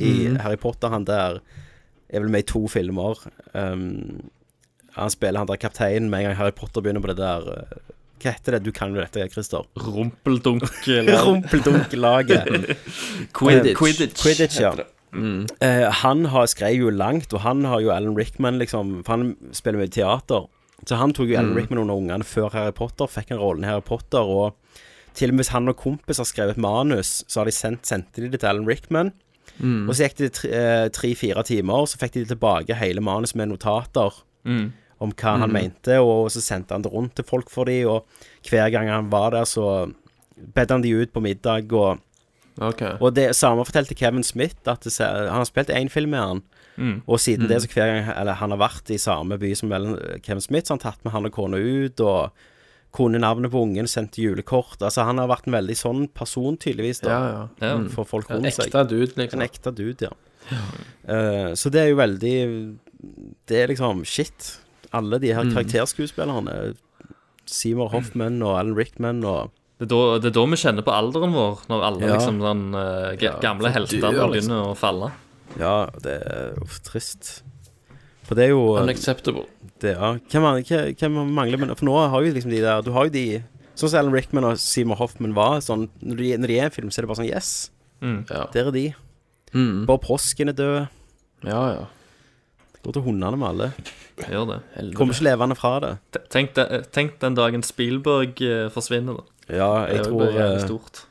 A: i
I: Mhm.
A: Harry Potter, han der er vel med i to filmer. Um, han spiller han der kapteinen med en gang Harry Potter begynner på det der eh, Hva heter det? Du kan jo dette, Christer. [laughs]
J: Rumpeldunkel-
A: Rumpeldunklaget.
J: Quidditch.
A: Eh, Quidditch, Quidditch ja.
J: heter det.
A: Eh, han har, skrev jo langt, og han har jo Alan Rickman, liksom, for han spiller mye teater. Så han tok jo Alan
I: Mm.
A: Rickman under ungene før Harry Potter, fikk han rollen i Harry Potter, og til og med hvis han og kompis har skrevet manus, så har de sendt, sendte de det til Alan Rickman.
I: Mm.
A: Og så gikk det tre- eh, tre-fire timer, så fikk de tilbake hele manuset med notater
I: Mm.
A: om hva han
I: Mhm.
A: mente, og så sendte han det rundt til folk for de, og hver gang han var der, så bedde han de ut på middag, og
I: Ok.
A: og det samme fortalte Kevin Smith, at det, han har spilt én film med han.
I: Mm.
A: Og siden
I: Mm.
A: det, så hver gang eller, han har vært i samme by som Ellen- eh, Kevin Smith, så har han tatt med han og kona ut, og kunne navnet på ungen, sendte julekort. Altså, han har vært en veldig sånn person, tydeligvis, da.
I: Ja, ja. Ja.
A: For folk
I: En
A: rundt seg.
I: ekte dude, liksom.
A: En ekte dude, ja. Eh, så det er jo veldig Det er liksom shit. Alle de her
J: Mm.
A: karakterskuespillerne.
I: Mm.
A: Seymour Hoffman og Alan Rickman og
J: Det er, da, det er da vi kjenner på alderen vår, når alle
A: Ja.
J: liksom, sånn, eh, ga-
A: Ja,
J: gamle
A: for dyr,
J: helter begynner
A: liksom.
J: å falle.
A: Ja, det er uff, trist. For det er jo eh,
I: Unacceptable.
A: Det, ja. hvem, man- hva- hvem man mangler men For nå har jo liksom de der Du har jo de Sånn som Alan Rickman og Seymour Hoffman var. Sånn, når, de, når de er i en film, så er det bare sånn Yes,
I: Mm. Ja.
A: der er de.
I: Mm.
A: Bård Prosken er død.
I: Ja, ja.
A: Går til hundene med alle.
J: Gjør det. Helvete.
A: Kommer ikke levende fra det.
J: T- Tenk, de, tenk den dagen Spielberg eh, forsvinner, da.
A: Ja, jeg
J: det er jo
A: tror,
J: bare jævlig
A: eh,
J: stort.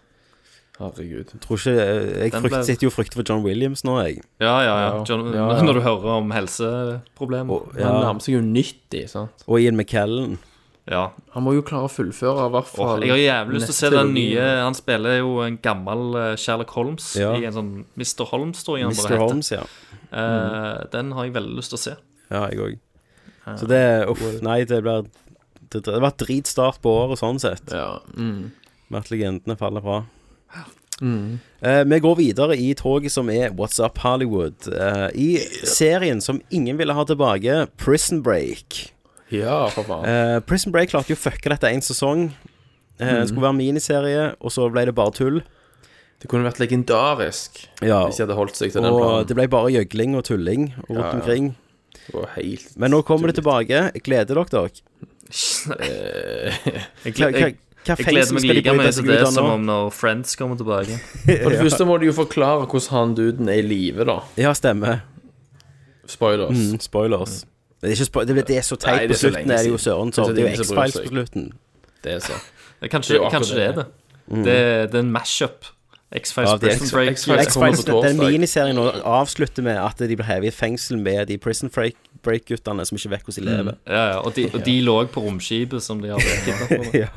I: Herregud.
A: Jeg tror ikke Jeg
J: Den
A: frykt,
J: ble-
A: sitter jo og frykter for John Williams nå, jeg.
J: Ja, ja, ja.
I: Ja.
J: John,
I: Ja, ja.
J: [laughs] Når du hører om helseproblemer.
A: ja.
I: Han nærmer seg jo 90, sant?
A: Og Ian McKellen.
J: Ja.
I: Han må jo klare å fullføre, i hvert
J: Åh,
I: fall.
J: jeg har jævlig lyst til å se den
I: nettrilogien.
J: nye Han spiller jo en gammel eh, Sherlock Holmes
I: Ja.
J: i en sånn Mr. Holmes, tror jeg han
A: Mr.
J: bare heter.
A: Holmes, ja.
J: Eh, Den har jeg veldig lyst til å se.
A: Ja, jeg òg. Så det Uff, nei, det blir Det, det har vært dritstart på året sånn sett.
I: Ja. Mm.
A: Med at legendene faller fra.
I: Mm.
A: Eh, vi går videre i toget som er What's Up Hollywood. Eh, I serien som ingen ville ha tilbake, Prison Break.
I: Ja, for faen.
A: Eh, Prison Break klarte jo å fucke dette én sesong. Eh, Det
I: Mhm.
A: skulle være en miniserie, og så ble det bare tull.
I: Det kunne vært legendarisk
A: Ja.
I: hvis de hadde holdt seg til den
A: Og
I: planen.
A: det ble bare gjøgling og tulling rundt
I: Ja, ja.
A: omkring.
I: Det var helt
A: Men nå kommer det tilbake. Jeg gleder dere.
I: Jeg
A: gled- Hva- hva-
J: Jeg,
A: hva
J: jeg
A: fengsel
J: gleder
A: skal
J: meg
A: de
J: like
A: bryte
J: mye
A: seg
J: til det
A: ut av
J: som
A: nå?
J: om når Friends kommer tilbake.
A: [laughs]
I: For det første [laughs] må du jo forklare hvordan han duden er i live, da.
A: Ja, stemmer.
I: Spoilers.
A: Mm, spoilers. Det er, ikke spo det, blir- det er så
I: Nei,
A: teit
I: det
A: på
I: er så
A: slutten,
I: lenge
A: er det jo
I: siden.
A: søren. så
I: Det
A: Det
I: er
A: er jo
I: ingen som bryr
A: X-Files
I: seg.
A: på slutten.
I: Det er så.
J: Det- Eh, Kanskje
I: Det
J: det
I: er jo
J: er,
I: akkurat
J: kanskje det, er det.
A: Mm.
J: det. Det er en mash-up. X-Files
A: Ja, det er
J: Prison Break.
A: X-Files X-Files- Den miniserien nå avslutter med at de blir hevet i fengsel med de Prison Break- Break-guttene som ikke vet hvordan de lever. [laughs]
J: Mm. Ja, ja, og de, og de lå på romskipet som de har vært
A: Ja.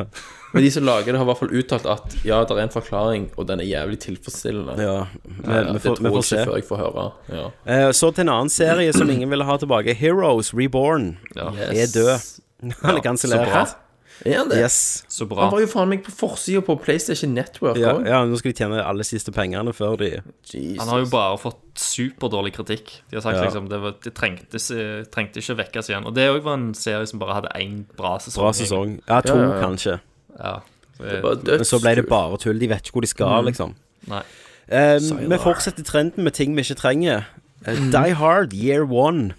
I: Men de som lager det, har i hvert fall uttalt at ja, det er en forklaring, og den er jævlig tilfredsstillende.
A: Ja, vi- vi
I: det
A: får-
I: tror
A: vi får
I: jeg ikke
A: se.
I: før jeg får høre. Ja.
A: Eh, så til en annen serie som ingen ville ha tilbake. Heroes Reborn
I: Yes.
A: er død. Han er
I: Ja,
A: kansellert.
I: Så bra. Er han det?
A: Yes.
J: Så
I: Han var jo faen meg på forsida på PlayStation Network
A: ja,
I: også.
A: ja, nå skal de tjene alle siste pengene før de
J: Han har jo bare fått superdårlig kritikk. De har sagt
A: Ja.
J: liksom det, var, det eh, trengte, se- trengte ikke vekkes igjen. Og det òg var en serie som bare hadde én bra sesong.
A: Bra sesong. Ja, to,
J: egentlig.
A: kanskje.
J: Ja.
I: Det
J: var
A: Men så ble det bare tull. De vet ikke hvor de skal,
J: Mm.
A: liksom.
J: Nei.
A: Eh,
J: Sayonara.
A: vi fortsetter trenden med ting vi ikke trenger. Eh,
J: Mm.
A: Die Hard Year One.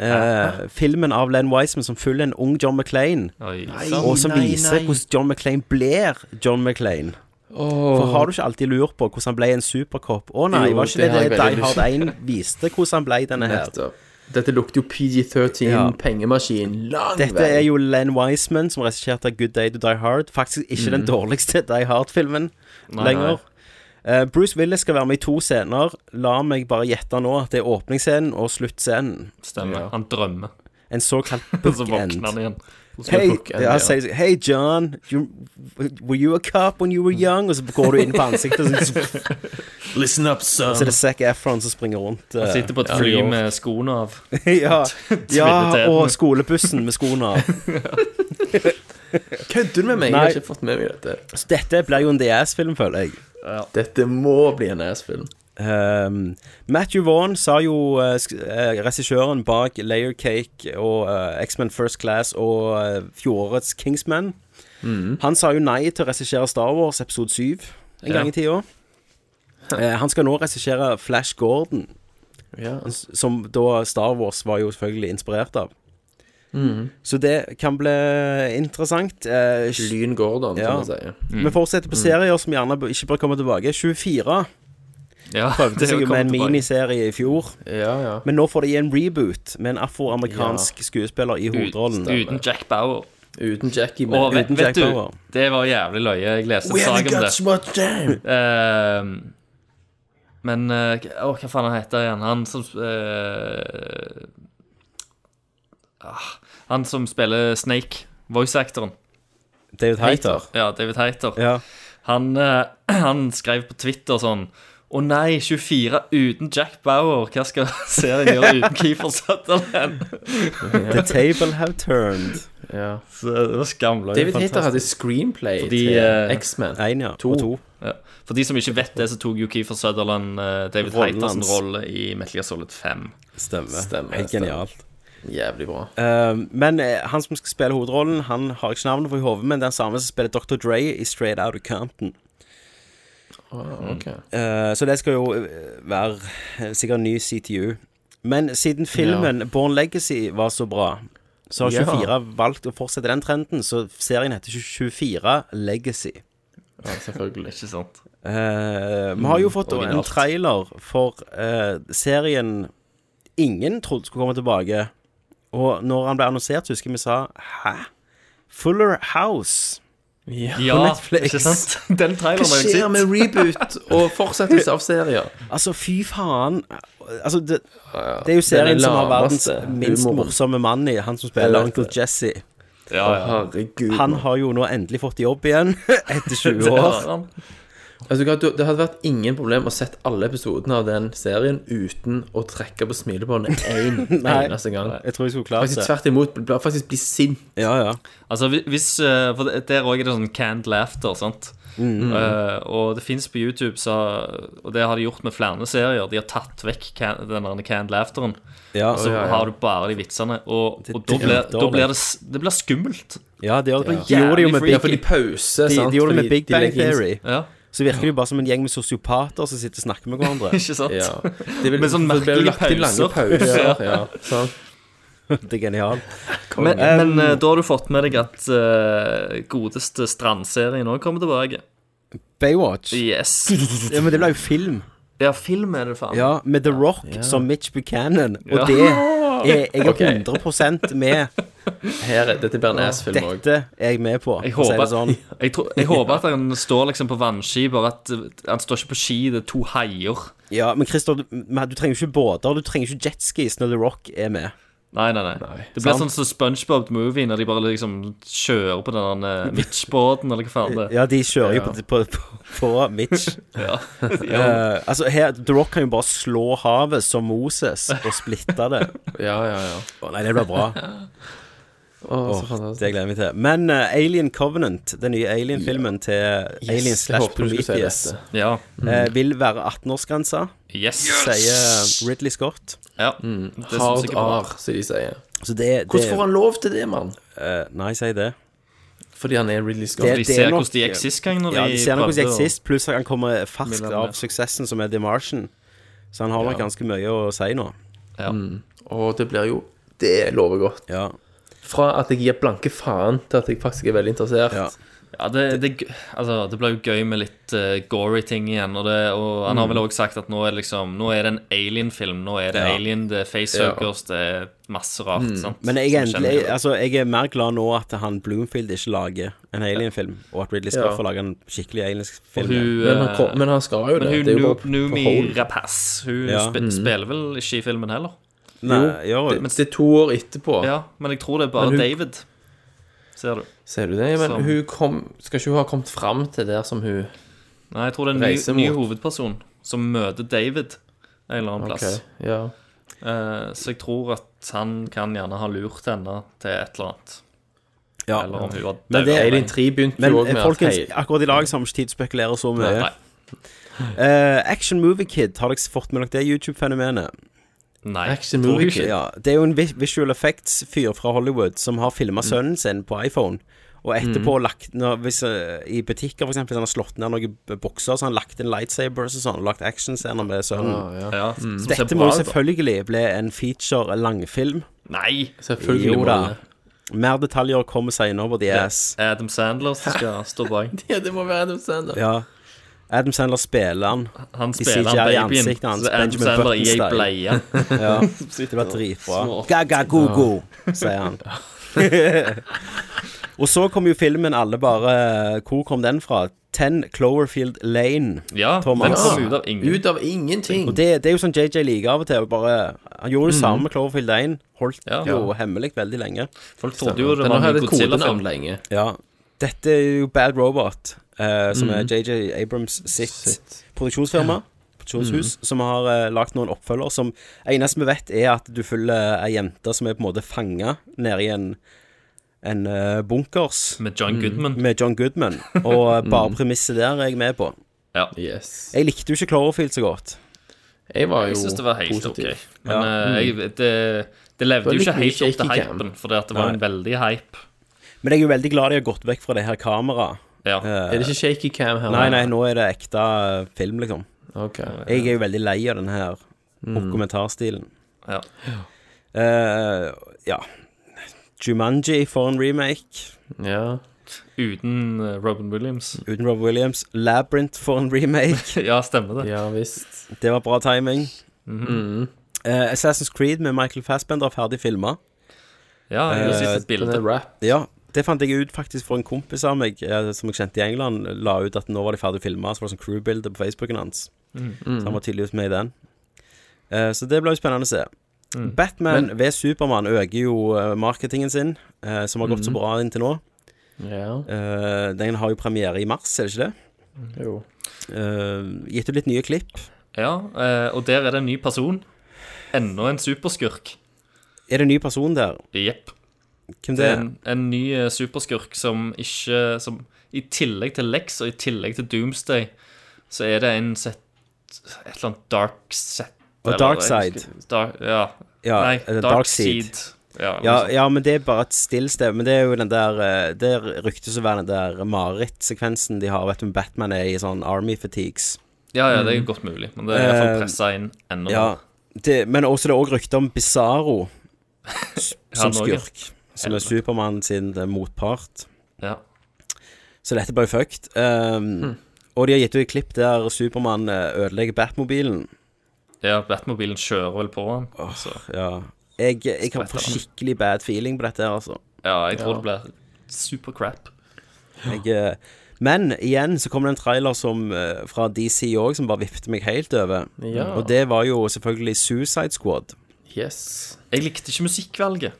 A: Eh, Filmen av Len Wiseman som følger en ung John McClain.
J: Oi, Nei,
A: og som
J: nei,
A: viser
J: nei.
A: hvordan John McClain blir John McClain.
I: Åh.
A: For har du ikke alltid lurt på hvordan han ble en superkopp? Å nei,
I: Jo,
A: var ikke
I: det
A: det
I: har
A: det,
I: jeg veldig
A: Die Hard
I: lyst
A: 1 viste, hvordan han ble denne her?
I: Nettopp. Dette lukter jo PG-13,
A: Ja.
I: pengemaskin, lang
A: Dette er jo Len Wiseman, som regisserte Good Day to Die Hard. Faktisk ikke
I: Mm.
J: Mhm.
A: den dårligste Die Hard-filmen
I: Nei,
A: lenger. Eh, Bruce Willis skal være med i to scener. La meg bare gjette nå at det er åpningsscenen og sluttscenen.
J: Stemmer. Han drømmer.
A: En såkalt
J: [laughs] Så
A: book
J: våkner han
A: end.
J: igjen. [laughs]
A: Hey, ja, sier- hey John, you, were you a cop when you were
J: Mm.
A: young? Og så går du inn på ansiktet, og så,
J: [laughs]
I: Listen up,
A: og
I: son.
A: så er det Zac Efron som springer rundt.
J: Han
A: eh,
J: sitter på et
A: ja.
J: fly med skoene av.
A: [laughs]
J: [laughs]
A: ja, ja,
J: Tvinnetetene.
A: og skolebussen med skoene
J: [laughs]
A: av.
I: Kødder du med meg? Jeg har ikke fått med meg dette.
A: Så dette blir jo en DS-film, føler jeg.
I: Dette må bli en E DS-film.
A: Um, Matthew Vaughn sa jo eh, sk- eh, regissøren bak Layer Cake og eh, X-Men First Class og eh, fjorårets Kingsman.
I: Mhm.
A: Han sa jo nei til å regissere Star Wars episode 7 en
I: Ja.
A: gang i tida. Eh, han skal nå regissere Flash Gordon,
I: Ja.
A: s- som da Star Wars var jo selvfølgelig inspirert av.
I: Mhm.
A: Så det kan bli interessant. Eh, sj-
I: Lyn Gordon, som man sier. Mm.
A: Vi fortsetter på
I: Mm.
A: serier som gjerne b- ikke bør komme tilbake. 24
J: Ja,
A: prøvde
J: [laughs] det
A: seg jo
J: kommer
A: med en
J: tilbake.
A: miniserie i fjor. Men nå får de en reboot med en afroamerikansk skuespiller i hovedrollen.
J: Uten Jack Bauer.
I: Uten Jackie,
A: men-
J: Og vet,
A: Uten Jack
J: vet du,
A: Bauer.
J: det var jævlig løye. Jeg leste
I: We
J: en sak
I: haven't got
J: om det.
I: so much time.
J: Eh, men eh, å, hva faen han heter igjen? Han som eh, ah, Han som spiller Snake, voice-actoren.
A: David Hayter.
J: Ja, David Heiter.
A: Ja.
J: Han, eh, [clears throat] han skrev på Twitter sånn å nei, 24 uten Jack Bauer. Hva skal [laughs] serien gjøre uten Keeper Sutherland?
A: The table have turned.
I: Ja.
J: Så eh, det var skamløye.
I: David Hayter
J: fantastisk.
I: hadde screenplay
J: Fordi,
I: til
J: eh,
I: X-Men.
A: En, ja.
I: To.
A: Og to.
J: Ja. For de som ikke vet det, så tok jo Keefer Sutherland eh, David
A: Rollen
J: Heiters
A: hans.
J: rolle i Metal Gear Solid 5.
A: Stemmer.
I: Stemmer,
A: Helt
I: stemmer.
A: genialt.
I: Jævlig bra.
A: Um, men eh, han som skal spille hovedrollen, han har ikke navnet på i hodet, men det er den samme som spiller Dr. Dre i Straight Out of Compton.
I: Ah, ok.
A: Eh, så det skal jo eh, være eh, sikkert en ny CTU. Men siden filmen Born Legacy var så bra, så har
I: Ja.
A: 24 valgt å fortsette den trenden, så serien heter ikke 24 Legacy.
I: Ja, selvfølgelig.
J: Ikke sant?
A: Eh, vi har jo
I: Mm,
A: fått en
I: originalt.
A: trailer for eh, serien ingen trodde skulle komme tilbake. Og når han ble annonsert, så husker jeg vi sa Hæ? Fuller House
I: Ja,
A: på Netflix.
J: ikke sant? [laughs] Den
I: Hva
J: traileren har jeg
I: skjer
J: sett.
I: med reboot og fortsettelse av serier?
A: Altså, fy faen. Altså, det,
I: ja.
A: det er jo serien
I: Den
A: som har verdens
I: lameste
A: minst
I: humoren.
A: morsomme mann i, han som
I: Jeg
A: spiller
I: vet
A: Uncle
I: det.
A: Jesse.
J: Ja,
I: Å,
J: ja.
I: Herregud.
A: Han
I: mann.
A: har jo nå endelig fått jobb igjen, [laughs] etter
I: [laughs]
A: 20
I: Det
A: år.
I: har han. Altså, du- det hadde vært ingen problem å sett alle episodene av den serien uten å trekke på
A: [laughs]
I: smilebåndet én
A: Nei,
I: eneste gang.
A: Jeg tror jeg skulle klart
I: Faktisk
A: det.
I: tvert imot. bl- bl- Faktisk bli sint.
A: Ja, ja.
J: Altså, hvi- hvis, eh, for det- Der òg er det sånn canned laughter, sant?
A: Mm.
J: Eh, og det fins på YouTube, så, og det har de gjort med flere serier. De har tatt vekk can, den der canned laughteren.
A: Ja.
J: og så
A: Ja, ja, ja.
J: har du bare de vitsene. Og, og da
A: det er
J: blir da
A: dårlig.
J: blir det, s- det blir skummelt.
A: Ja, de, gjorde-
J: Det
A: de
J: er
A: gjorde det jo
J: jævlig
A: med
J: freaky.
A: Big,
J: Ja, for de
I: pauser,
A: de,
I: sant?
A: de gjorde det med
I: Fordi
A: Big
I: de
A: Bang
I: legger inn-
A: Theory.
J: Ja.
A: Så virker det jo bare som en gjeng med sosiopater som sitter og snakker med hverandre.
J: [laughs] [laughs] Ikke
A: [laughs]
J: sant?
I: Ja. Det vil,
J: Med sånn
I: det blir jo
J: merkelige
I: lagt inn lange
J: pauser.
I: pauser.
J: Ja.
I: ja, sant?
A: Det er genialt.
J: Men,
A: Um,
J: men eh, da har du fått med deg at eh, godeste Strandserien òg kommer tilbake.
A: Baywatch.
J: Yes.
A: Ja, men det ble jo film.
J: Ja, film er det, faen.
A: Ja, med The Rock som Mitch Buchanan. Og
J: Ja. [laughs]
A: det er jeg
I: Ok.
A: er 100 med.
I: Her, er- dette blir en ass-film òg.
A: Dette er jeg med på,
J: Jeg
A: for å si
J: håper,
A: det sånn.
J: [laughs] jeg, tror, jeg håper at han står liksom på vannski, bare at uh, han står ikke på ski, det er to haier.
A: Ja, men Christer, du, men du trenger jo ikke båter, du trenger jo ikke jetskis når The Rock er med.
J: Nei, nei, nei. Det blir
A: Sant.
J: sånn som SpongeBob Movie, når de bare liksom kjører på den
A: [laughs]
J: der, uh, Mitch-båten, eller hva faen det er.
A: Ja, de kjører jo
J: Ja.
A: på, på, på, på Mitch.
J: [laughs] Ja.
A: Eh, altså, her, The Rock kan jo bare slå havet som Moses og splitte det.
I: Ja, ja, ja.
A: Å nei, det blir bra.
I: Å, så
A: Åh,
I: fantastisk.
A: det gleder jeg meg til. Men eh, Alien Covenant, den nye Alien-filmen til
I: Yes, jeg
A: Alien slash
I: håper du skulle si
A: Prometheus,
I: dette. Mm.
J: Ja.
A: eh, vil være 18-årsgrensa,
J: Yes.
A: sier Ridley Scott.
J: Ja. Det syns jeg
I: Hard
J: er bra.
I: R, som de sier.
A: Så det, det
I: Hvordan får han lov til det, mann?
A: eh, Nei, si det.
I: fordi han er Ridley Scott.
J: Det- De det ser er nok- hvordan de gikk sist gang, når
A: ja,
J: de
A: de ser nok hvordan de
J: prøvde
A: gikk
J: å-
A: sist, pluss at han kommer ferskt
J: Millionaire.
A: av suksessen som er The Martian. Så han har nok
I: Ja.
A: ganske mye å si nå.
I: Mm. Og det blir jo Det lover godt. Fra at jeg gir blanke faen, til at jeg faktisk er veldig interessert.
J: Ja, det, det, altså, det blir jo gøy med litt eh, gory ting igjen. Og, det, og han har vel
I: Mm.
J: også sagt at nå er, det liksom, nå er det en alien-film. Nå er det
A: Ja.
J: alien, det er facehuggers, det er masse rart.
A: Mm.
J: sant?
A: Men jeg,
J: Som
A: endelig,
J: kjenner-
A: jeg, altså, jeg er mer glad nå at han Bloomfield ikke lager en alien-film, og at Ridley Scott
I: Ja.
A: får lage en skikkelig
J: Og
A: alien-film.
J: hun,
I: Men han kom-
J: eh,
I: men han skal jo det.
J: Men hun
I: Det er jo
J: Nu-
I: bare på- på
J: Numi
I: hold.
J: Rapaz Hun
I: Ja.
J: sp
I: Mm.
J: spiller vel ikke i filmen heller?
I: jo, det, det er to år etterpå.
J: Ja, men jeg tror det er bare
I: Men hun-
J: David. Ser du.
I: Ser du det? Men
J: Som-
I: hun kom, skal ikke hun ha kommet fram til der som hun
J: Nei, jeg tror det er
I: Reiser
J: en ny, ny
I: mot.
J: hovedperson som møter David en eller
I: Ok,
J: annen plass.
I: ja.
J: Eh, så jeg tror at han kan gjerne ha lurt henne til et eller annet. Eller om hun var
A: Men det-
J: daua lenge.
A: Men eh,
I: eh,
A: folkens, akkurat i dag så har vi ikke tid til å spekulere så mye.
J: Nei.
A: Eh, Action Movie Kid, har dere fått med dere det YouTube-fenomenet?
J: Nei.
I: Action Movie Kid?
A: Ja, det er jo en vi- visual effects-fyr fra Hollywood som har filma sønnen sin på iPhone. Og etterpå lagt når, hvis, eh, I butikker, for eksempel, så han har slått ned noen b- bokser, så han har lagt inn lightsabers og sånn. Lagt actionscener med sønnen.
I: Ah, ja.
J: Ja, Mm. som ser
A: Dette
J: bra
A: må
J: ut, da.
A: selvfølgelig bli en feature langfilm.
J: Nei!
I: Selvfølgelig må
A: jo da.
I: det.
A: [laughs] Mer detaljer kommer seinere på The Ass.
J: Adam Sandler som skal stå bak.
I: Ja, det må være Adam Sandler.
A: Ja. Adam Sandler spiller han.
J: Han
A: De
J: spiller
A: CGI i
J: han babyen,
A: ansiktet hans,
J: så Adam
A: Benjamin
J: Sandler i ei
A: Button-style. [laughs]
J: bleie.
A: ja, det var dritbra.
J: Smart.
A: Gaga go-go, sier han. [laughs] Og så kom jo filmen alle bare eh, Hvor kom den fra? Ten Cloverfield Lane.
J: Ja, den kom ut av ingen.
I: Ut av ingenting.
A: Og det, det er jo sånn JJ liker av og til. Bare, han gjorde det samme med Cloverfield 1. Holdt
J: Ja.
A: jo hemmelig veldig lenge.
J: Folk trodde jo det Stemmer. var en Den har hatt et Godzilla-film. kodenavn lenge.
A: Ja. Dette er jo Bad Robot, eh, som
I: Mhm.
A: er JJ Abrams sitt, produksjonsfirma. Produksjonshus, Som har eh, lagd noen oppfølger som eneste vi vet, er at du følger ei jente som er på en måte fanga nede i en en eh, bunkers.
J: Med John Goodman.
A: Med John Goodman. Og eh, bare premisset der er jeg med på.
J: Ja.
A: Jeg likte jo ikke Cloverfield så godt.
I: Jeg var jo
J: Jeg synes det var helt
I: positiv.
J: ok. Men
I: Ja.
J: eh, jeg, det, det
A: Mm. Det
J: levde
A: var
J: jo
A: litt mye
J: ikke helt opp til
A: shaky cam.
J: hypen, for det var
A: Nei.
J: en veldig hype.
A: Men jeg er jo veldig glad de har gått vekk fra det her kameraet.
J: Ja.
A: Eh,
I: Er det ikke shaky cam her?
A: Nei, nei, nå er det ekte eh, film, liksom.
I: Ok.
A: Jeg er jo veldig lei av den her
I: Mm.
A: dokumentarstilen.
J: Ja.
A: Eh, ja. Jumanji for en remake.
I: Ja.
J: Uten eh, Robin Williams. [laughs]
A: Uten Rob Williams. Labyrinth for en
I: [laughs]
A: remake.
J: ja, stemmer det.
I: Ja, visst.
A: Det var bra timing.
J: Mhm.
I: Mhm.
A: Eh, Assassin's Creed med Michael Fassbender ferdig filma.
J: Ja, jeg
A: Eh,
J: har sett et bilde. Den er wrapped.
A: Ja, det fant jeg ut faktisk for en kompis av meg eh, som jeg kjente i England. La ut at nå var de ferdig filma, så var det sånn crew-bilde på Facebooken hans.
I: Mm.
A: Så han var tydeligvis med i den. Eh, så det ble jo spennende å se.
I: Mm.
A: Batman
I: Men-
A: ved Supermann øker jo eh, marketingen sin, eh, som har gått så
I: Mhm.
A: bra inntil nå.
I: Ja.
A: Eh, den har jo premiere i mars, er det ikke det?
I: Jo.
A: Eh, gitt ut litt nye klipp.
J: Ja, eh, og der er det en ny person. Enda en superskurk.
A: Er det en ny person der?
J: Jepp.
A: Hvem
J: Det
A: det
J: er
A: er?
J: en, en ny eh, superskurk som ikke som, I tillegg til Lex og i tillegg til Doomsday, så er det en set, et eller annet dark set
A: Og
J: eller-
A: Darkseid.
J: jeg husker- Dark, ja.
A: Ja,
J: Nei,
A: eh,
J: dark,
A: Darkseid.
J: Seed. Ja, eller
A: Ja,
J: noe sånt.
A: ja, men det er bare et stillsted. Men det er jo den der eh, Det ryktes å være den der marerittsekvensen de har. Vet du, Batman er i sånn Army fatigues.
J: ja, mm. ja, det er godt mulig, men det er i hvert fall
A: Eh,
J: pressa inn enda
A: Ja,
J: mer.
A: det, men også det er også rykter om Bizarro s-
J: [laughs]
A: som
J: Han også.
A: skurk. Som er Supermann sin eh, motpart.
J: Ja.
A: Så dette ble fucked. Um,
J: Hm.
A: Og de har gitt ut et klipp der Supermann eh, ødelegger Batmobilen.
J: Ja, Batmobilen kjører vel på han. så.
A: Ja. Jeg, jeg kan få skikkelig bad feeling på dette her, altså.
J: Ja, jeg
A: Ja.
J: tror det blir supercrap.
A: Jeg, eh, men igjen så kom det en trailer som, eh, fra DC òg som bare vippet meg helt over.
J: Ja.
A: Og det var jo selvfølgelig Suicide Squad.
I: Yes.
J: Jeg likte ikke musikkvalget.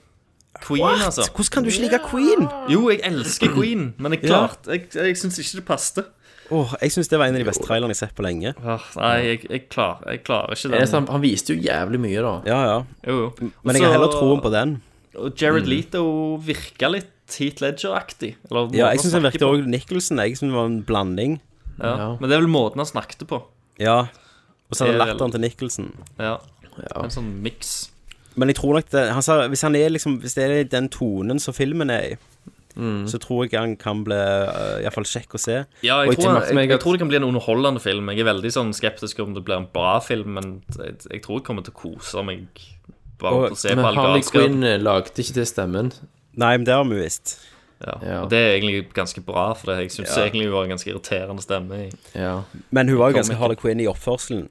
J: Queen,
A: What?
J: altså.
A: Hvordan kan du ikke like Queen?
J: Jo, jeg elsker Queen, men jeg
A: Ja.
J: klart, jeg, jeg syns ikke det passet.
A: Åh, jeg syns det var en av de beste trailerne jeg har sett på lenge.
J: Ah, Nei, jeg, jeg, klar, jeg klarer ikke
I: Jeg, sa-
J: den.
I: han viste jo jævlig mye, da.
A: Ja, ja.
J: Jo, jo.
A: sånn- Men jeg har
J: Så-
A: heller troen på den.
J: Og Jared
A: Mm.
J: Leto virka litt Heat Ledger-aktig. eller måten
A: Ja, jeg
J: han
A: syns den
J: snakker
A: virket
J: på.
A: òg Nicholson. Jeg syns det var en blanding.
J: Ja. Men det er vel måten han snakket på.
A: Ja. Og så hadde
J: Det er
A: latteren til Nicholson.
J: Ja. En sånn miks.
A: Men jeg tror nok det han sa, hvis, han er liksom, hvis det er den tonen som filmen er i,
I: Mm.
A: så tror jeg han kan bli eh, i hvert fall kjekk å se.
J: Ja,
A: Og
J: jeg,
A: til
J: tror,
A: Martin,
J: jeg, jeg,
A: jeg-
J: tror det kan bli en underholdende film. Jeg er veldig sånn skeptisk om det blir en bra film, men jeg, jeg tror jeg kommer til å kose meg bare av å se på
I: men
J: all
I: Harley
J: galskapen.
I: Quinn eh, lagde ikke til stemmen.
A: Nei, men det har vi visst.
J: Ja. Og det er egentlig ganske bra, for det, jeg syns
A: Ja.
J: egentlig hun har en ganske irriterende stemme. I.
A: Men hun var jo
J: Kom
A: ganske
J: ikke.
A: Harley Quinn i oppførselen.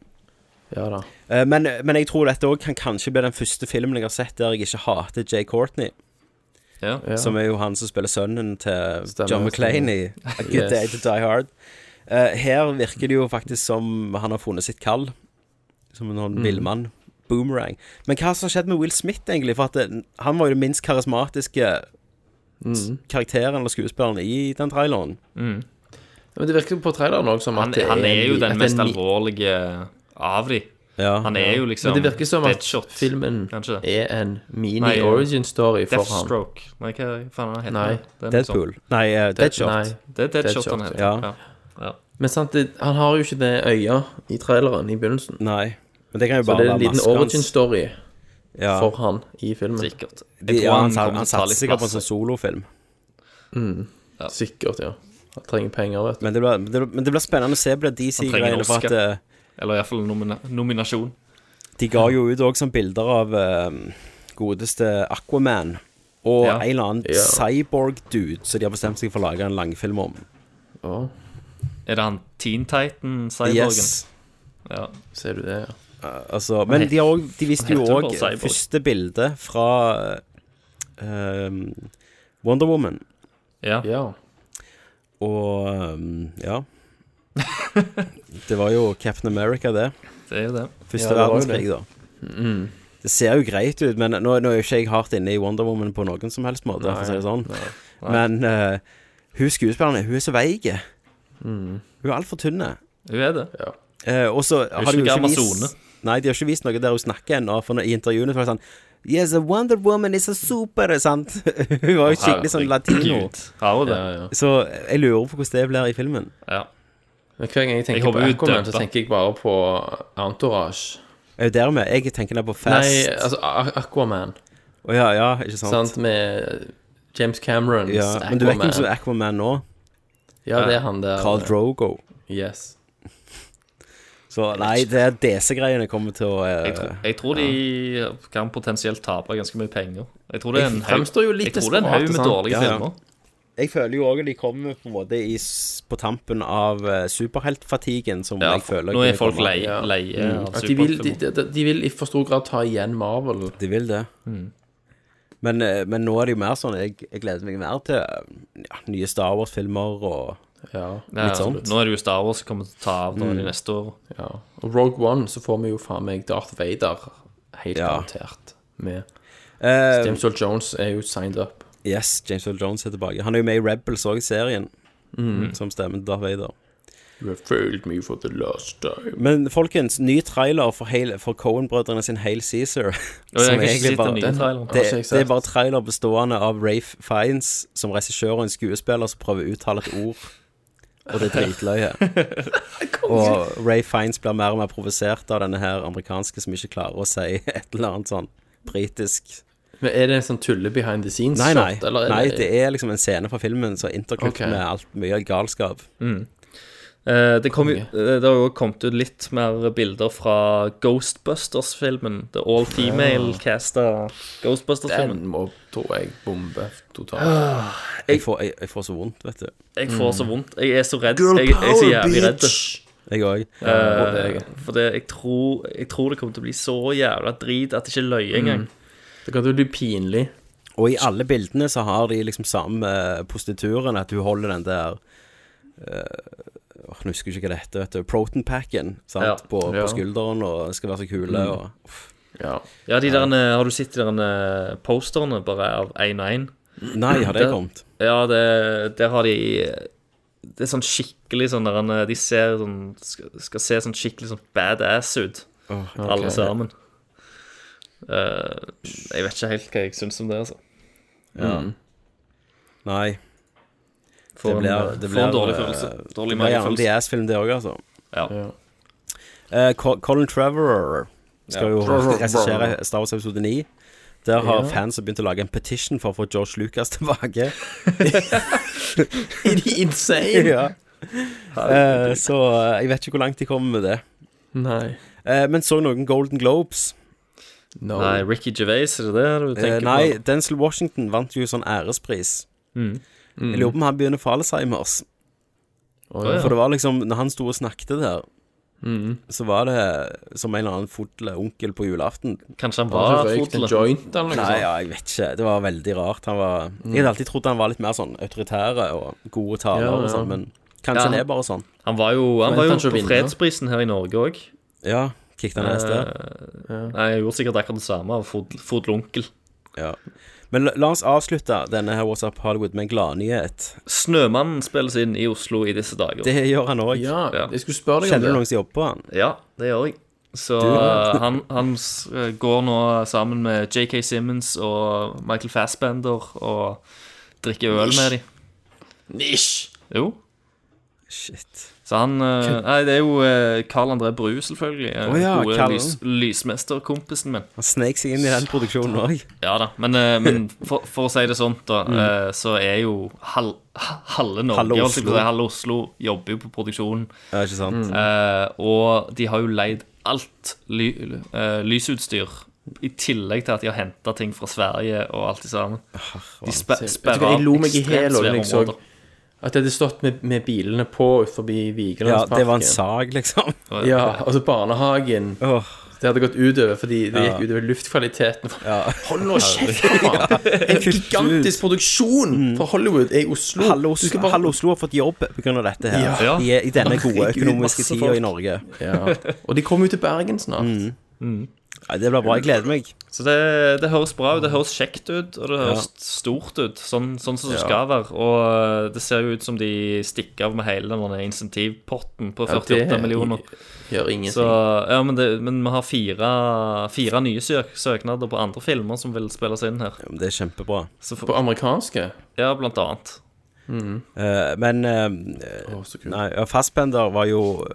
I: Ja da.
A: Eh, Men, men jeg tror dette òg kan kanskje bli den første filmen jeg har sett der jeg ikke hater Jay Courtney.
J: Ja.
A: Som er jo han som spiller sønnen til
I: Stemmer,
A: John McClane i
I: stemmer.
A: A Good Day to
I: Yes.
A: Die Hard. Eh, her virker det jo faktisk som han har funnet sitt kall. Som en sånn
J: Mm.
I: Mhm.
A: villmann. Boomerang. Men hva som har skjedd med Will Smith, egentlig? For at det, han var jo den minst karismatiske
J: Mm.
A: s-
I: Mhm.
A: karakteren eller skuespilleren i den traileren.
I: Men det virker på traileren òg som
J: Han,
I: at det
J: han er jo
I: en- at
J: den
I: det
J: mest
I: er en-
J: alvorlige av de. han er jo liksom
I: Men det virker som at
J: Deadshot.
I: filmen er en
J: Nei, ja.
I: mini-origin story for han.
J: Deathstroke. Nei, hva faen er det
I: Nei.
J: heter det? er noe sånt.
A: Nei, eh,
I: Dead-
A: Deadshot.
I: nei.
J: Det er Deadshot han heter,
I: ja.
J: ja. Ja.
I: Men sant, det, han har jo ikke det øyet i traileren i begynnelsen.
A: Nei, men det kan jo
I: Så
A: bare
I: det er en
A: være
I: liten
A: maskeren.
I: origin story
A: Ja.
I: for han i filmen.
J: Sikkert.
A: De, ja, han sa- han satser sikkert på en sånn solofilm.
I: Mm. Sikkert, ja. Han trenger penger, vet du.
A: Men det blir, det, blir- men det blir spennende å se på
J: Han trenger en
A: DC-greiene. For
J: Oscar.
A: at eh,
J: Eller iallfall nomina nominasjon.
A: De ga jo ut òg sånn bilder av eh, godeste Aquaman og
J: Ja.
A: en eller annen
J: Ja.
A: cyborg-dude som de har bestemt seg for å lage en langfilm om.
J: Er det han Teen Titan-cyborgen?
A: Yes.
J: Ja.
I: Ser du det, ja.
A: Altså, men de, har også, de viste jo
J: Han heter jo
A: òg
J: bare cyborg.
A: første bilde fra eh, Wonder Woman.
J: Ja.
A: Og eh,
J: [laughs]
A: ja. det var jo Captain America, det.
J: Det er jo det.
A: Første
J: Ja, det var jo
A: verdenskrig,
J: det.
A: da.
I: Mm.
A: Det ser jo greit ut, men nå, nå er jo ikke jeg hardt inne i Wonder Woman på noen som helst måte, for å si det sånn.
I: Nei,
A: Men eh, hun skuespilleren, hun er så veik.
I: Mm.
A: Hun er altfor tynn.
J: Hun er det.
A: Eh, og så
J: Hun er
A: har de jo
J: ikke
A: ikke
J: Amazone.
A: vist Nei, de har ikke vist noe der hun snakker ennå, for nå- i intervjuene så var det sånn Yes, a Wonder Woman is a super, sant? [laughs] hun var jo skikkelig sånn latino.
J: Herregud. Har hun det?
A: Så jeg lurer på hvordan det blir i filmen.
J: Ja.
I: Men hver gang jeg
A: Jeg
I: tenker
A: håper
I: på
A: hun
I: Aquaman, så
A: dømper.
I: tenker jeg bare på Entourage.
A: Er jo der vi er. Jeg tenker der på Fast.
I: Nei, altså A- Aquaman.
A: Å ja, ja, ikke sant.
I: Sant, med James Camerons
A: ja,
I: Aquaman.
A: men du vet hvem som er Aquaman nå?
I: Ja, det er han der.
A: Carl Drogo.
I: Yes.
A: Så nei, det er DC-greiene kommer til å eh,
J: Jeg, tror- jeg tror de kan potensielt tape ganske mye penger. Jeg tror det er en haug
I: fremstår jo litt
J: jeg tror det er
I: desperat,
J: en haug med
I: sant?
J: dårlige
I: Ja, ja.
J: filmer.
A: Jeg føler jo òg at de kommer på en måte i, s- på tampen av eh, superheltfatigen, som
J: Ja,
A: jeg føler
J: nå
A: kommer.
J: er folk lei- Ja. lei av
I: Mm. At altså, de vil, de, de, de vil i for stor grad ta igjen Marvel.
A: De vil det.
I: Mm.
A: Men, eh, men nå er det jo mer sånn Jeg, jeg gleder meg mer til eh, ja, nye Star Wars-filmer og
J: Ja,
A: litt sånt.
J: Nå er det jo Star Wars som kommer til å ta av da
A: Mm.
J: de neste år.
I: Ja. Og Rogue One, så får vi jo faen meg Darth Vader helt garantert med.
A: Eh,
I: James Earl Jones er jo signed up.
A: Yes, James Earl Jones er tilbake. Han er jo med i Rebels òg, serien,
I: Mhm.
A: som stemmer til Darth Vader.
I: You have failed me for the last time.
A: Men folkens, ny trailer for, Hail- for Cohen-brødrene sin Hail Cæsar. [laughs]
I: jeg har ikke sett den nye traileren. Har ikke jeg
A: det, det er
I: sett.
A: bare trailer bestående av Rafe Fiends som regissør og en skuespiller som prøver å uttale et ord. Og det er
I: [laughs]
A: dritløye. og Rafe Fiends blir mer og mer provosert av denne her amerikanske som ikke klarer å si [laughs] et eller annet sånn britisk
I: Men er det en sånn tulle behind the scenes?
A: Nei, nei.
I: shot, eller er
A: nei, det er liksom en scene fra filmen som er interklippet
I: Ok.
A: med alt mye galskap.
J: Mm. Eh, det, kom, jo- eh, det har jo kommet ut litt mer bilder fra Ghostbusters-filmen. The all female-casta Ghostbusters-filmen.
I: Den må, tror jeg, bombe totalt.
J: Ah,
A: Jeg får, jeg, jeg får så vondt, vet du.
J: Jeg får så vondt. Jeg er så redd. Jeg, jeg er så jævlig redd.
A: Jeg òg.
J: Eh, for det, jeg, tror, jeg tror det kommer til å bli så jævla drit at det ikke løy engang.
I: Det kan jo bli pinlig.
A: Og i alle bildene så har de liksom samme eh, postituren, at hun holder den der eh, åh, Nå husker jeg ikke hva det heter, vet du. Proton-packen sant?
J: Ja.
A: På,
J: Ja.
A: på skulderen og skal være så kule
J: Mm.
A: og uff.
I: Ja.
J: Ja, de der, eh, Har du sett de der posterne bare av 1-1?
A: Nei, har det kommet?
J: Ja, det, der har de Det er sånn skikkelig sånn der en- De ser sånn, skal, skal se sånn skikkelig sånn badass ut,
A: Åh, ok.
J: alle sammen. Eh, jeg vet ikke helt hva jeg syns om det, altså.
A: Ja. Nei.
J: Får en- eh, får en dårlig følelse. Dårlig magefølelse.
A: eh, Det blir ass film det òg, altså.
J: Ja.
A: Eh, Co- Colin Trevorrow skal
J: Ja.
A: jo
J: Trevorrow.
A: regissere Star Wars episode 9. Der har
I: Ja.
A: fans begynt å lage en petition for å få George Lucas [laughs] tilbake.
I: Er de insane?
A: [laughs] ja.
I: Herregud.
A: Eh, så eh, jeg vet ikke hvor langt de kommer med det.
I: Nei.
A: Eh, men så noen Golden Globes.
J: Nei, Ricky Gervais, er det det du
A: Eh,
J: tenker
A: nei,
J: på?
A: Denzil Washington vant jo sånn ærespris.
J: Mm.
A: Jeg lurer på om han begynner for Alzheimers.
J: ja.
A: For det var liksom Når han sto og snakket der,
I: Mm.
A: så var det som en eller annen fotle onkel på julaften.
J: Kanskje han var Kanskje røykte fotle? en joint eller noe
A: Nei,
J: sånt?
A: ja, jeg vet ikke. Det var veldig rart. Han var
J: Mm.
A: Jeg hadde alltid trodd han var litt mer sånn autoritær og gode taler
J: Ja,
A: og
J: ja.
A: sånn, men
J: Ja,
A: kanskje
J: han-
A: han er bare sånn.
J: Han var jo, han
A: Forventer
J: var jo
A: han ikke å
J: på
A: vinne?
J: fredsprisen her i Norge òg.
A: Ja, kikket han neste.
J: Eh. Nei, jeg gjorde sikkert akkurat det samme av fod- fodlonkel.
A: Ja. Men la, la oss avslutte denne her What's Up Hollywood med en gladnyhet.
J: Snømannen spilles inn i Oslo i disse dager.
A: Det gjør han òg.
J: Ja,
I: jeg skulle spørre
A: Kjenner du noen som jobber på han?
J: Ja, det gjør jeg. Så
A: Du-
J: eh, han, han s- eh, går nå sammen med JK Simmons og Michael Fassbender og drikker øl med dem.
I: Nish!
J: Jo.
A: Shit.
J: Så han eh,
A: Kødd.
J: Nei, det er jo eh, Carl André Bru, selvfølgelig. eh,
A: Å ja,
J: gode
A: Carl.
J: lys, lysmesterkompisen min.
A: Han snek seg inn i den produksjonen òg.
J: Ja da, men, eh, men for, for å si det sånt, da,
A: Mm.
J: eh, så er jo hal, ha- halve Norge,
A: Halve
J: halve Oslo.
A: Oslo.
J: halve Oslo jobber jo på produksjonen.
A: Ja, ikke sant? Mm.
J: Eh, og de har jo leid alt ly, eh, lysutstyr, i tillegg til at de har henta ting fra Sverige og alt det sammen.
A: Ah,
J: De spe,
I: Vet du
J: sperrer
I: hva, Jeg lo
J: av
I: meg i liksom. hæl
J: ekstremt
I: da
J: svære
I: jeg så
J: områder.
I: at det hadde stått med, med bilene på ut forbi Vigelandsparken.
A: Ja, det var en sag, liksom.
I: Ja, altså barnehagen. Det hadde gått utover fordi det
A: Ja.
I: gikk utover luftkvaliteten. Hold nå kjeft,
A: Ja. [laughs]
I: faen! En
A: Kutt
I: gigantisk produksjon
A: Mm.
I: for Hollywood er i Oslo.
A: Halve
I: Du
A: Oslo,
I: skal bare-
A: halve Oslo har fått jobb pga. dette her.
I: Ja.
A: I, I denne gode
I: Herregud,
A: økonomiske
I: masse
A: tida
I: folk.
A: i Norge.
I: Ja. Og de kommer jo til Bergen snart.
A: Mm. Nei, det blir bra. Jeg gleder meg.
J: Så det, det høres bra ut, det høres kjekt ut, og det høres stort ut, sånn, sånn som det
I: Ja.
J: skal være. Og eh, det ser jo ut som de stikker av med hele den der insentivpotten på
I: Ja,
J: 48
I: det
J: millioner.
I: gjør ingenting.
J: Så, ja, men, det, men vi har fire, fire nye søk, søknader på andre filmer som vil spilles inn her.
A: Det er kjempebra.
J: Så for-
I: På amerikanske?
J: Ja, blant annet.
A: Eh, men eh, nei, ja, Fassbender var jo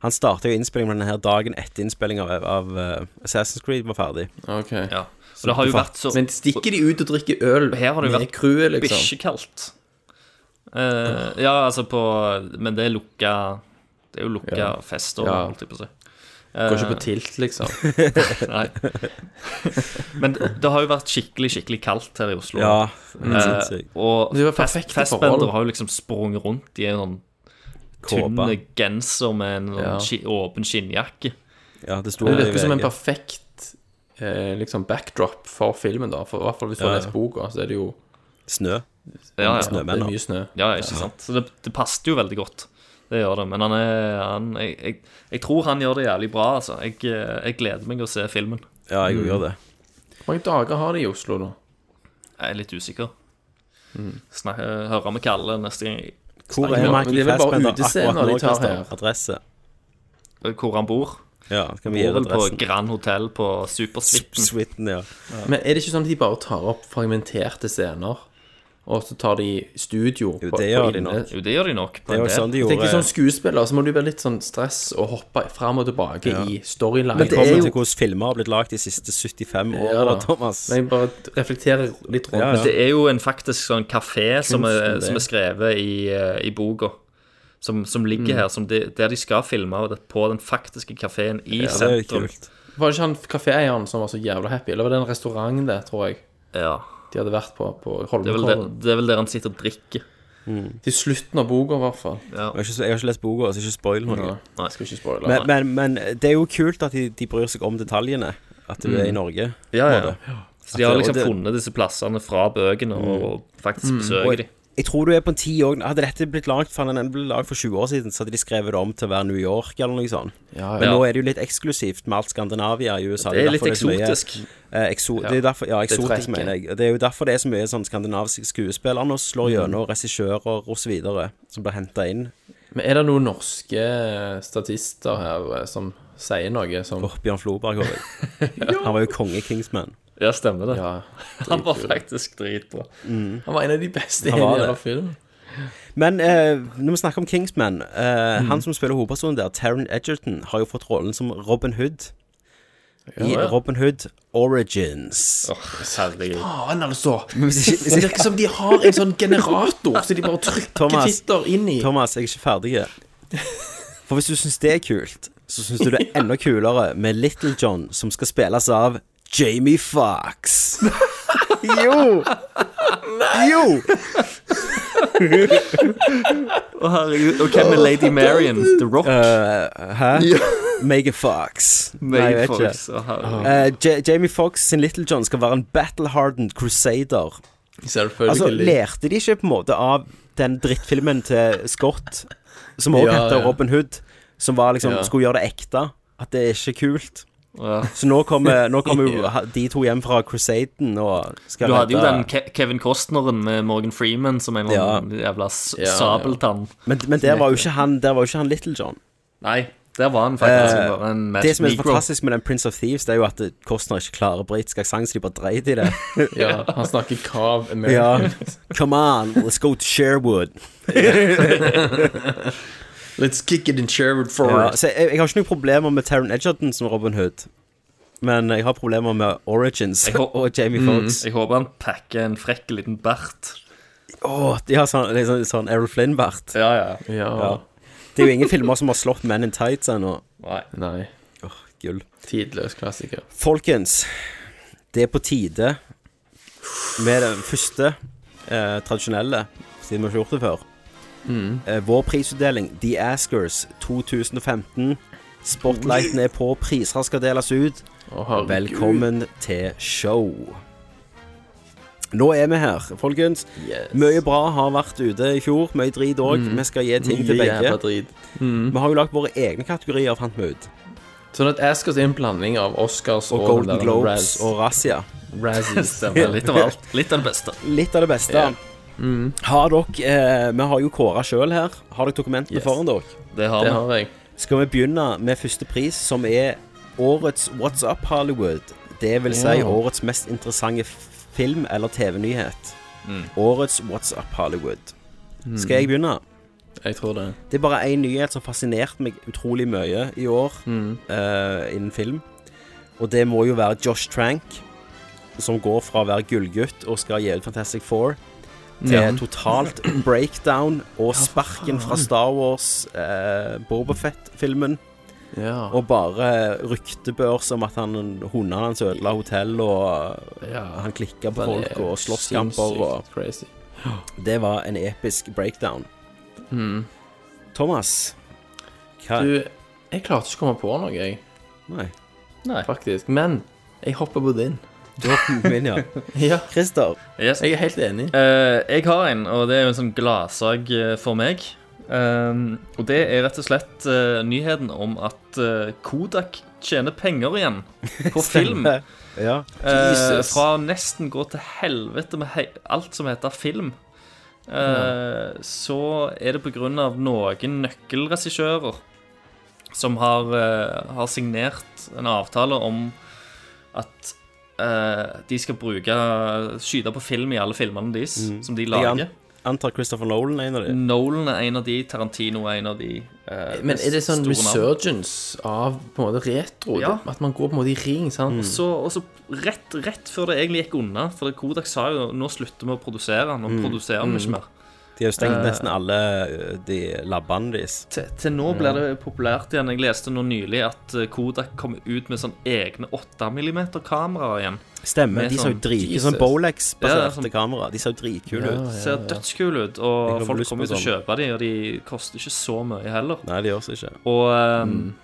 A: Han starta jo innspillingen med denne her dagen etter innspillinga av, av eh, Assassin's Creed var ferdig.
I: Ok
J: Ja. Og det har jo vært så
I: Men stikker de ut og drikker øl
J: Her har det jo
I: med
J: vært
I: crewet, liksom?
J: bikkjekaldt. Eh, ja, altså på Men det er lukka Det er jo lukka
I: Ja.
J: fest og
I: Ja.
J: holdt jeg på å si.
I: Går ikke
J: Eh,
I: på tilt, liksom.
J: Nei. [laughs] Men det har jo vært skikkelig, skikkelig kaldt her i Oslo.
A: Ja, Mm.
J: Eh,
A: sinnssykt.
J: og
I: Det var
J: Fest-
I: perfekte
J: Festbender
I: forhold.
J: har jo liksom sprunget rundt i en sånn
I: Kåpe.
J: tynne genser med en sånn
I: Ja.
J: ski- åpen skinnjakke.
A: Ja, det
I: Men det virker som en perfekt eh, liksom backdrop for filmen, da. For, I hvert fall hvis du
J: Ja,
I: har
J: ja.
I: lest boka, så er det jo
A: Snø.
J: Ja, ja.
I: det er mye snø.
J: Ja, ikke sant. Så det, det passet jo veldig godt. Det gjør det. Men han er han, jeg, jeg, jeg tror han gjør det jævlig bra, altså. Jeg, eh, jeg gleder meg å se filmen.
A: Ja, jeg gjør det.
I: Hvor mange dager har de i Oslo, da?
J: Jeg er litt usikker. Snak, eh, høre med Kalle neste gang. eh, jeg
A: Hvor
J: snakker
A: er
J: med han.
A: Michael Fassbender akkurat nå?
J: Christer?
A: Christer? Adresse.
J: Hvor han bor.
A: Ja, skal vi gi
J: bor vel på
A: adressen?
J: Grand Hotel på Supersuiten.
A: Suiten, ja.
I: Men er det ikke sånn at de bare tar opp fragmenterte scener, og så tar de studio
A: Jo,
I: på-
A: det
I: på
A: gjør de
I: inne-
A: nok.
J: Jo, det gjør de nok. på
A: Det er
J: en
A: jo
J: del.
A: sånn de
I: Jeg tenker
A: gjorde-
I: Som skuespiller så må du være litt sånn stress og hoppe fram og tilbake
A: Ja.
I: i storyline.
A: Men det er jo til hvordan filmer har blitt lagd de siste 75
I: Ja
A: årene,
I: da.
A: Thomas.
I: Men jeg bare reflekterer litt rundt
A: Ja,
J: Men det er jo en faktisk sånn kafé som er,
I: Kunsten, det.
J: som er skrevet i, eh, i boka. Som, som ligger
I: Mm.
J: her, som de, der de skal filme og det, på den faktiske kafeen i
I: Ja, det er
J: sentrum.
I: kult. Var det ikke han kaféeieren som var så jævla happy? Eller var det en restaurant det, tror jeg?
J: Ja.
I: De hadde vært på, på
J: Det er, vel der,
I: Holmenkollen.
J: det er vel der han sitter og drikker.
I: Til slutten av boka, i hvert fall.
A: Jeg,
J: Ja.
A: har ikke, jeg har ikke lest boka, så ikke spoil noe.
J: Nei.
I: Skal ikke spoile.
A: Men, men, men det er jo kult at de, de bryr seg om detaljene. At du
J: Mm.
A: er i Norge. på
J: Ja,
A: en
J: ja.
A: måte.
J: Så de har
A: At-
J: liksom
A: og det-
J: funnet disse plassene fra bøkene og, og faktisk
A: Mm.
J: besøker
A: Og
J: de.
A: jeg, jeg tror du er på en tid òg. Hadde dette blitt lagd for, den ble lagd for 20 år siden, så hadde de skrevet det om til å være New York eller noe sånt.
I: Ja, ja.
A: Men
I: Ja.
A: nå er det jo litt eksklusivt med alt Skandinavia i USA.
J: Det er litt
A: derfor så mye-
J: eksotisk.
A: eh, ekso,
J: Ja.
A: Det er derfor, ja,
I: Det er
A: eksotisk,
I: trekket.
A: mener jeg. Og Det er jo derfor det er så mye sånn skandinaviske skuespillere nå
J: Mm.
A: slår gjennom, regissører osv. som blir henta inn.
I: Men er det noen norske eh, statister her eh, som sier noe som
A: Bjørn Floberg òg.
J: [laughs]
A: Han var jo konge i Kingsman.
J: Ja, stemmer det.
I: Ja,
J: Han var faktisk dritbra.
A: Mm.
I: Han var en av de beste i
A: Han var
I: hele
A: det.
I: filmen.
A: Men eh, når vi snakker om Kingsman eh, Han som spiller hovedpersonen der, Taron Edgerton, har jo fått rollen som Robin Hood. i
I: Ja.
A: Robin Hood [laughs] Origins.
I: Herregud. Faen, altså.
A: Det
I: Det [laughs] virker som de har en sånn generator, så de bare trykker
A: Thomas,
I: titler inn i.
A: Thomas, jeg er ikke ferdig. For hvis du syns det er kult, så syns du det er enda kulere med Little John, som skal spilles av Jamie Fox. Jo! Jo!
J: Å, herregud. Og hvem er Lady Marion? The Rock?
A: Eh, hæ?
J: Ja.
A: Megan Fox.
J: Megan
A: Nei, jeg vet ikke.
J: Fox, å, herregud.
A: Eh, Ja- Jamie Fox sin Little John skal være en battle-hardened crusader.
I: Selvfølgelig.
A: Altså, lærte de ikke på en måte av den drittfilmen til Scott, som også
I: Ja,
A: heter
I: ja.
A: Robin Hood, som var liksom,
I: Ja.
A: skulle gjøre det ekte, at det er ikke kult.
J: Ja.
A: Så nå
J: [laughs]
A: kommer, nå kommer jo ha- de to hjem fra Crusaden og skal
J: Du hadde jo
A: redde-
J: den Ke Kevin Costneren med Morgan Freeman som en eller annen jævla s-
A: Ja, ja.
J: sabeltann.
A: Men, men der var jo ikke han, der var jo ikke han Little John.
J: Nei, der var han faktisk
A: Eh,
J: bare en
A: det som er så
J: negro.
A: fantastisk med den Prince of Thieves, Det er jo at eh, Costner ikke klarer britisk aksent, så de bare dreit i
J: [laughs]
A: det.
I: Ja, han snakker kav
A: Ja.
I: American.
A: Come on, let's go to Sherwood.
I: Let's kick it in Sherwood
A: Ja,
I: forward.
A: så jeg, jeg har ikke noen problemer med Taron Edgerton som Robin Hood, men jeg har problemer med Origins
J: Jeg hå-
A: [laughs] og Jamie
J: Mm.
A: Foxx.
J: Jeg håper han pakker en frekk liten bart.
A: Åh, de har sånn, liksom, sånn Errol Flynn-bart.
J: Ja, ja.
A: Det er jo ingen filmer som har slått Men in Tights ennå.
J: Nei.
A: Åh, gull.
I: Tidløs klassiker.
A: Folkens, det er på tide med den første eh, tradisjonelle, siden vi har ikke gjort det før.
I: Mm.
A: Eh, vår prisutdeling, The Askers 2015. Spotlighten er på, priser skal deles ut.
I: herregud.
A: Velkommen til show. Nå er vi her, folkens. Mye bra har vært ute i fjor. Mye drit òg.
I: Mm.
A: Vi skal gi ting til
I: Mye
A: begge.
I: jævla drit.
A: Vi har jo lagd våre egne kategorier, fant vi ut.
I: Sånn at Askers er en blanding av Oscars
A: Og
I: og,
A: Golden Globes og Razia.
I: Razzies.
A: Stemmer, litt av
I: [laughs]
A: alt.
J: Litt av det beste.
A: Litt av det beste.
I: Ja. Mm.
A: Har dere eh, Vi har jo kåra sjøl her. Har dere dokumentene
I: Yes.
A: foran dere?
J: Det har Det vi. har
I: jeg.
A: Skal vi begynne med første pris, som er årets What's Up Hollywood? Det vil si
I: Ja.
A: årets mest interessante f- film- eller TV-nyhet. Årets What's Up Hollywood.
I: Mm.
A: Skal jeg begynne?
I: Jeg tror det.
A: Det er bare én nyhet som fascinerte meg utrolig mye i år
I: Mm.
A: eh, innen film. Og det må jo være Josh Trank, som går fra å være gullgutt og skal gi ut Fantastic Four, til
I: Ja.
A: totalt breakdown og sparken fra
I: faen.
A: Star Wars, uh, Bobafett-filmen.
I: Ja.
A: Og bare ryktebørs om at han, hundene hans ødela hotell, og
I: Ja.
A: han klikka på
I: Den er
A: folk, og slåsskamper og
I: sinnssykt Crazy.
A: Det var en episk breakdown.
J: Hmm.
A: Thomas, hva
I: Du, jeg klarte ikke å komme på noe, jeg.
A: Nei.
I: Faktisk. Men jeg hopper på din.
A: Du hopper på min, [laughs] ja.
J: [laughs]
I: ja.
A: Christer.
J: Yes.
I: Jeg er helt enig.
J: Eh, jeg har en, og det er jo en sånn gladsak eh, for meg. Um, og det er rett og slett eh, nyheten om at eh, Kodak tjener penger igjen på
A: [laughs]
J: film.
A: Stemmer. Ja.
J: Eh,
A: Jesus.
J: fra å nesten gå til helvete med hei- alt som heter film, eh, så er det pga. noen nøkkelregissører som har, eh, har signert en avtale om at eh, de skal bruke skyte på film i alle filmene deres
A: Mm.
J: som de
A: Jeg
J: lager.
A: an- antar Christopher Nolan er en av de.
J: Nolan er en av de, Tarantino er en av de. eh,
I: Men er det sånn
J: store navn.
I: resurgence av på en måte retro?
J: Ja.
I: At man går på en måte i ring, sant?
J: Og
A: Mm.
J: så, og så rett, rett før det egentlig gikk unna, for Kodak sa jo nå slutter vi å produsere, nå
A: Mm.
J: produserer vi ikke
A: Mm.
J: mer.
A: De har jo stengt
J: Eh,
A: nesten alle eh, de labbene deres.
J: Til, til nå blir det populært igjen. Jeg leste nå nylig at eh, Kodak kom ut med sånn egne 8 mm-kameraer igjen.
A: Stemmer.
J: Med
A: De ser jo
J: sånn-
A: drit
J: Jesus.
A: sånn
J: Ja,
A: Bolex-baserte
J: sånn-
A: kamera. De ser jo dritkule ut.
J: Ser dødskule ut,
A: Jeg
J: og
A: får
J: folk
A: lyst på
J: kommer
A: sånn.
J: jo til å kjøpe de, og de koster ikke så mye heller.
A: Nei, de gjør så ikke.
J: Og eh,
A: Mm.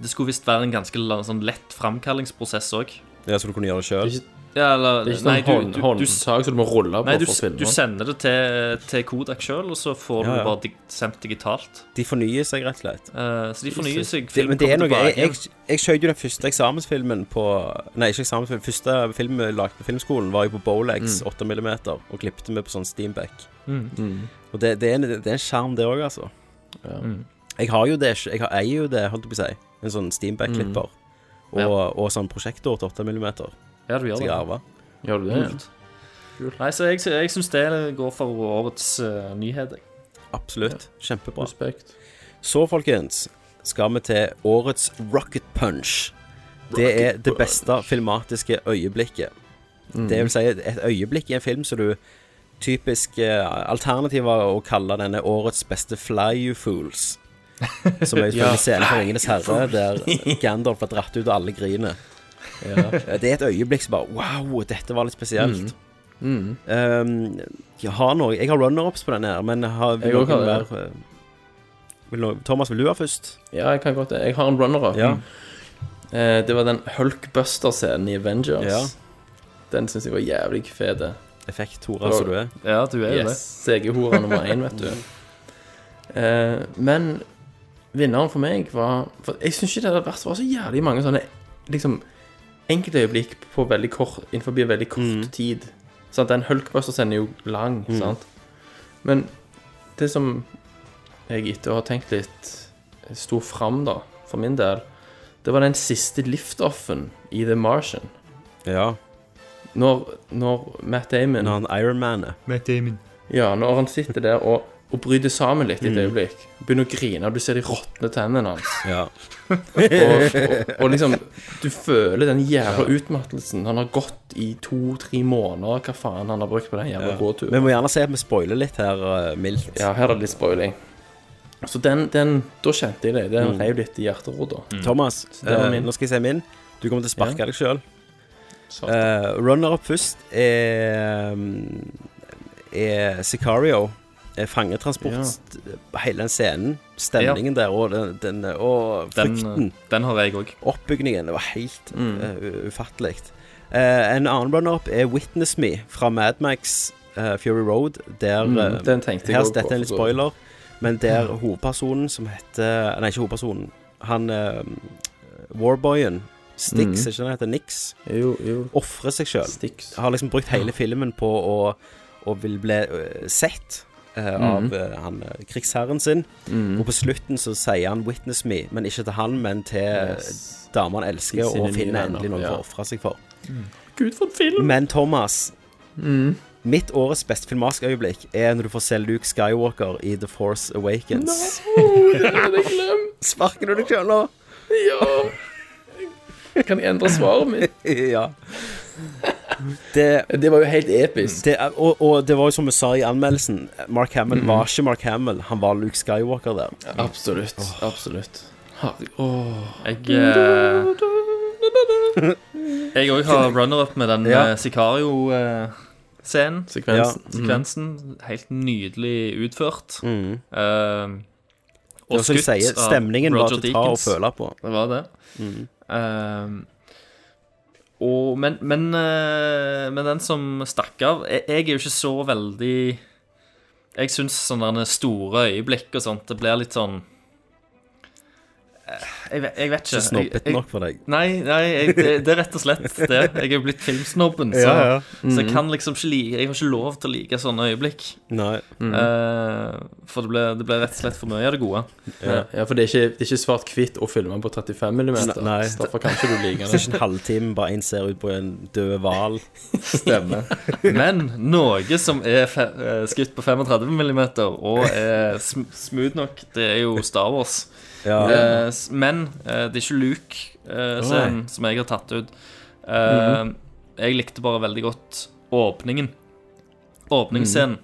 J: det skulle visst være en ganske la- sånn lett framkallingsprosess òg.
A: Ja, Så du kunne gjøre det sjøl?
J: Ja, eller
I: Det er ikke sånn hånd- håndsak som du må rulle på
J: nei, du,
I: for å filme.
J: Du sender det til, til Kodak sjøl, og så får
A: Ja,
J: du
A: ja.
J: bare dig, sendt digitalt.
A: De fornyer seg rett og slett.
J: Eh, så de fornyer seg.
A: Det, men det er noe
J: filmen kommer
A: Jeg,
J: tilbake.
A: jeg, jeg skjøt jo den første eksamensfilmen på Nei, ikke eksamensfilm. Første film vi lagde på filmskolen, var jo på Bolex
I: Mm.
A: 8 mm, og klippte vi på sånn Steamback.
J: Mm. Mm.
A: Og det, det, er en, det er en skjerm, det òg, altså.
J: Mm.
A: Jeg har jo det, jeg har, eier jo det, holdt jeg på å si. En sånn Steamback-klipper. Og, og sånn prosjektor til 8 mm.
J: Ja, du gjør
A: Som jeg
J: det.
A: arva.
I: Gjør du det? ja?
J: Kult. Nei, så jeg, jeg syns det går for årets eh, nyhet. jeg.
A: Absolutt. Kjempebra. Så, folkens, skal vi til årets Rocket Punch. Det er det beste filmatiske øyeblikket.
I: Mm.
A: Det vil si et øyeblikk i en film som du Typisk eh, alternativ var å kalle denne årets beste Fly You
I: [laughs]
A: Fools. Som er
I: Ja.
A: en scene fra Ringenes herre
I: Fools.
A: der Gandalf har dratt ut, og alle griner.
I: Ja.
A: Det er et øyeblikk som bare Wow, dette var litt spesielt.
I: Mm.
A: Um, jeg har noe Jeg har runner-ups på den her, men har,
I: Jeg
A: vil noen
I: også har det.
A: være vil noen, Thomas, vil du ha først?
I: Ja, jeg kan godt det. Jeg har en runner-up.
A: Ja.
I: Eh, Det var den Hulkbuster-scenen i Avengers.
A: Ja.
I: Den syns jeg var jævlig fete.
A: Effekthora som du er.
J: Ja, du er jo det.
I: yes, det. hora nummer én, vet
J: [laughs]
I: du. Eh, men vinneren for meg var for Jeg syns ikke det hadde vært var så jævlig mange sånne liksom, enkeltøyeblikk på veldig kort, innenfor veldig kort
J: Mm.
I: tid. Sant? Den Hulkbuster-scenen er jo lang,
A: Mm.
I: sant? Men det som jeg etter å ha tenkt litt eh, sto fram, da, for min del, det var den siste liftoffen i The Martian.
A: Ja.
I: Når, når Matt Damon
A: Når han Ironmaner.
I: Matt Damon. Ja, når han sitter der og, og bryter sammen litt i et
A: Mm.
I: øyeblikk. Begynner å grine, og du ser de råtne tennene hans.
A: Ja.
I: og, og, og liksom Du føler den jævla utmattelsen. Han har gått i to-tre måneder, hva faen han har brukt på den jævla
A: Ja.
I: gåturen.
A: Vi må gjerne si at vi spoiler litt her, eh, mildt.
I: Ja, her er det litt spoiling. Så den, den Da kjente jeg det. Den
A: Mm.
I: reiv litt i hjerterota.
A: Thomas,
I: Så det var
A: eh,
I: min.
A: nå skal jeg si min. Du kommer til å sparke
I: Ja.
A: deg sjøl. Runner-up først er, eh, er Sicario. Er fangetransport. Hele den scenen. Stemningen der og, den, den, eh, og
J: Den,
A: frykten.
J: den har jeg òg.
A: Oppbygningen. Det var helt
J: Mm.
A: eh, u- ufattelig. Eh, en annen runner-up er Witness Me fra Madmax uh, Fury Road. Der,
I: Mm,
A: eh,
I: den tenkte jeg
A: her,
I: også på,
A: Dette er en litt
I: for så vidt.
A: spoiler, men der hovedpersonen som heter Nei, ikke hovedpersonen. Han eh, Warboyen. Stix,
I: Mm.
A: ikke den heter Nix?
I: Jo, jo.
A: Ofrer seg sjøl.
I: Stix.
A: Har liksom brukt hele filmen på å, å vil bli eh, sett eh, av
I: Mhm.
A: eh, han, eh, krigsherren sin.
I: Mhm.
A: Og på slutten så sier han 'witness me', men ikke til han, men til eh,
I: Yes.
A: yes. dama han elsker,
I: Til sine
A: og finner
I: nye venner,
A: endelig noen
I: ja.
A: å ofre seg for.
I: Eh, Gud, for en film!
A: Men Thomas, Mm. mitt årets beste filmatiske øyeblikk er når du får se Luke Skywalker i The Force Awakens.
I: det hadde jeg glemt.
A: Sparker du deg sjøl nå? [laughs]
I: Ja. Kan jeg endre svaret mitt?
A: ja. Det,
I: var jo helt episk.
A: Det, er- og, og det var jo som vi sa i anmeldelsen, Mark Hamill var ikke Mark Hamill, han var Luke Skywalker der.
I: Mm, Absolutt. Absolutt. Herregud.
J: Jeg eh, Jeg òg har runner-up med den eh,
I: Ja.
J: Sicario-scenen.
I: Sekvensen. Mm.
J: Ja. Sekvensen. Helt nydelig utført.
A: Mm.
J: Eh,
A: Det er som du sier, stemningen var til å ta og føle på.
J: Det var det.
A: Mm.
J: Eh, og, men, men, eh, men den som stakk av Jeg, jeg er jo ikke så veldig Jeg syns sånne der store øyeblikk og sånt, det blir litt sånn eh, jeg, vet- jeg vet ikke.
A: Ikke snobbete
J: Jeg- jeg-
A: nok for deg.
J: Nei, nei jeg, det, det er rett og slett det. Jeg er jo blitt filmsnobben, så,
A: Ja, ja.
J: så jeg
A: Mhm.
J: kan liksom ikke like Jeg har ikke lov til å like sånne øyeblikk.
A: Nei.
J: Eh, for det ble, det ble rett og slett for mye av det gode.
I: Ja. ja, for det er ikke, det er ikke svart-hvitt å filme på 35 mm.
A: Nei.
I: Så Derfor kan ikke du like
A: Så ikke en
I: det.
A: halvtime, bare en ser ut på en død hval.
I: Stemmer.
J: Men noe som er fe eh, skutt på 35 mm og er sm smooth nok, det er jo Star Wars.
A: Ja.
J: Eh, s- men eh, det er ikke Luke eh, som,
I: Nei.
J: som jeg har tatt ut. Eh,
I: Mhm.
J: Jeg likte bare veldig godt åpningen. Åpningsscenen. Eh,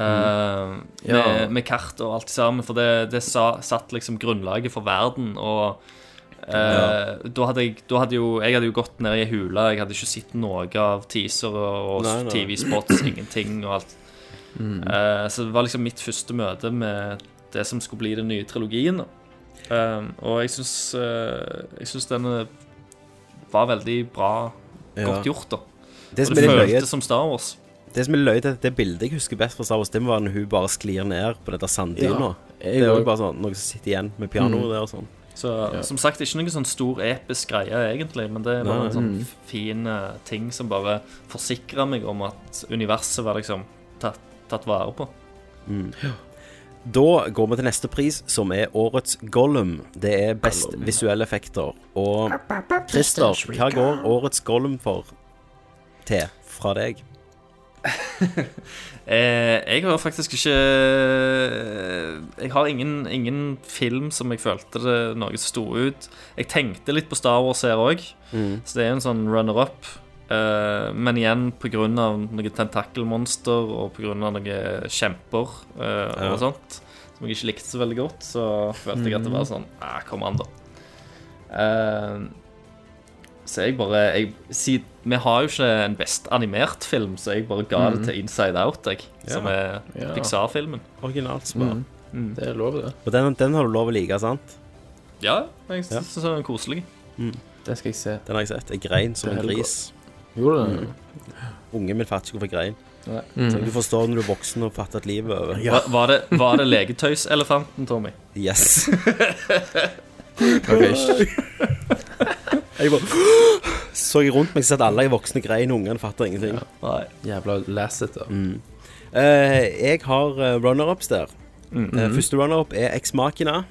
I: Mhm. Ja.
J: med, med kart og alt sammen, for det, det sa, satt liksom grunnlaget for verden. Og eh,
I: Ja.
J: da, hadde jeg, da hadde jo Jeg hadde jo gått ned i ei hule. Jeg hadde ikke sett noe av teaser og
I: Nei, nei.
J: TV-spots, ingenting og alt.
I: Mm.
J: Eh, så det var liksom mitt første møte med det som skulle bli den nye trilogien. da. Eh, og jeg syns Jeg syns den eh, var veldig bra,
A: Ja.
J: godt gjort, da.
A: Det
J: og
A: som
J: det
A: er litt
J: føltes
A: løye-
J: som Star Wars.
A: Det som er løyt, det bildet jeg husker best fra Star Wars, det må være når hun bare sklir ned på dette sanddyna.
J: Ja,
A: [laughs] det
J: jeg
A: er
J: også.
A: jo bare sånn noe som sitter igjen med pianoet
J: Mm.
A: der og sånn.
J: Så som sagt, ikke noen sånn stor episk greie egentlig, men det er
A: Nei.
J: bare en sånn
A: Mm.
J: f- fin eh, ting som bare forsikrer meg om at universet var liksom tatt, tatt vare på.
A: Mm. Da går vi til neste pris, som er årets Gollum. Det er best visuelle effekter. Og Christer, hva går årets Gollum for til fra deg?
J: Eh, jeg har faktisk ikke eh, Jeg har ingen, ingen film som jeg følte det noe som sto ut. Jeg tenkte litt på Star Wars her òg,
I: Mm.
J: så det er en sånn runner-up. Eh, men igjen pga. noe tentakelmonster og pga. noen kjemper eh,
I: Ja.
J: og sånt, som jeg ikke likte så veldig godt, så følte jeg at det var sånn ah, Kom an, da. Eh, så jeg bare jeg, si, Vi har jo ikke en best animert film, så jeg bare ga
I: Mhm.
J: det til Inside Out, jeg. Som er
I: Ja.
J: Pixar-filmen.
A: Originalt spør.
I: Mm. Det er lov, det.
A: Og den, den har du lov å like, sant?
J: Ja, jeg
A: Ja.
J: syns den er koselig.
I: Det skal jeg se.
A: Den har jeg sett. Jeg grein som
I: Det er
A: en
I: helt
A: gris.
I: Gjorde du det?
A: Ungen min fatter ikke hvorfor jeg grein.
I: Nei.
A: Så
I: Mm.
A: du forstår når du er voksen og fatter at livet er over.
J: Var, var det, var det legetøyselefanten, Tommy?
A: Yes.
I: Mm.
J: Ok, sh-
A: Jeg bare [gasps] så jeg rundt meg, så at alle er voksne grein, ungene fatter ingenting.
I: Jævla lassete.
A: Mm. Eh, jeg har eh, runner-ups der.
I: Mm.
A: Eh, første runner-up er Ex-Makina.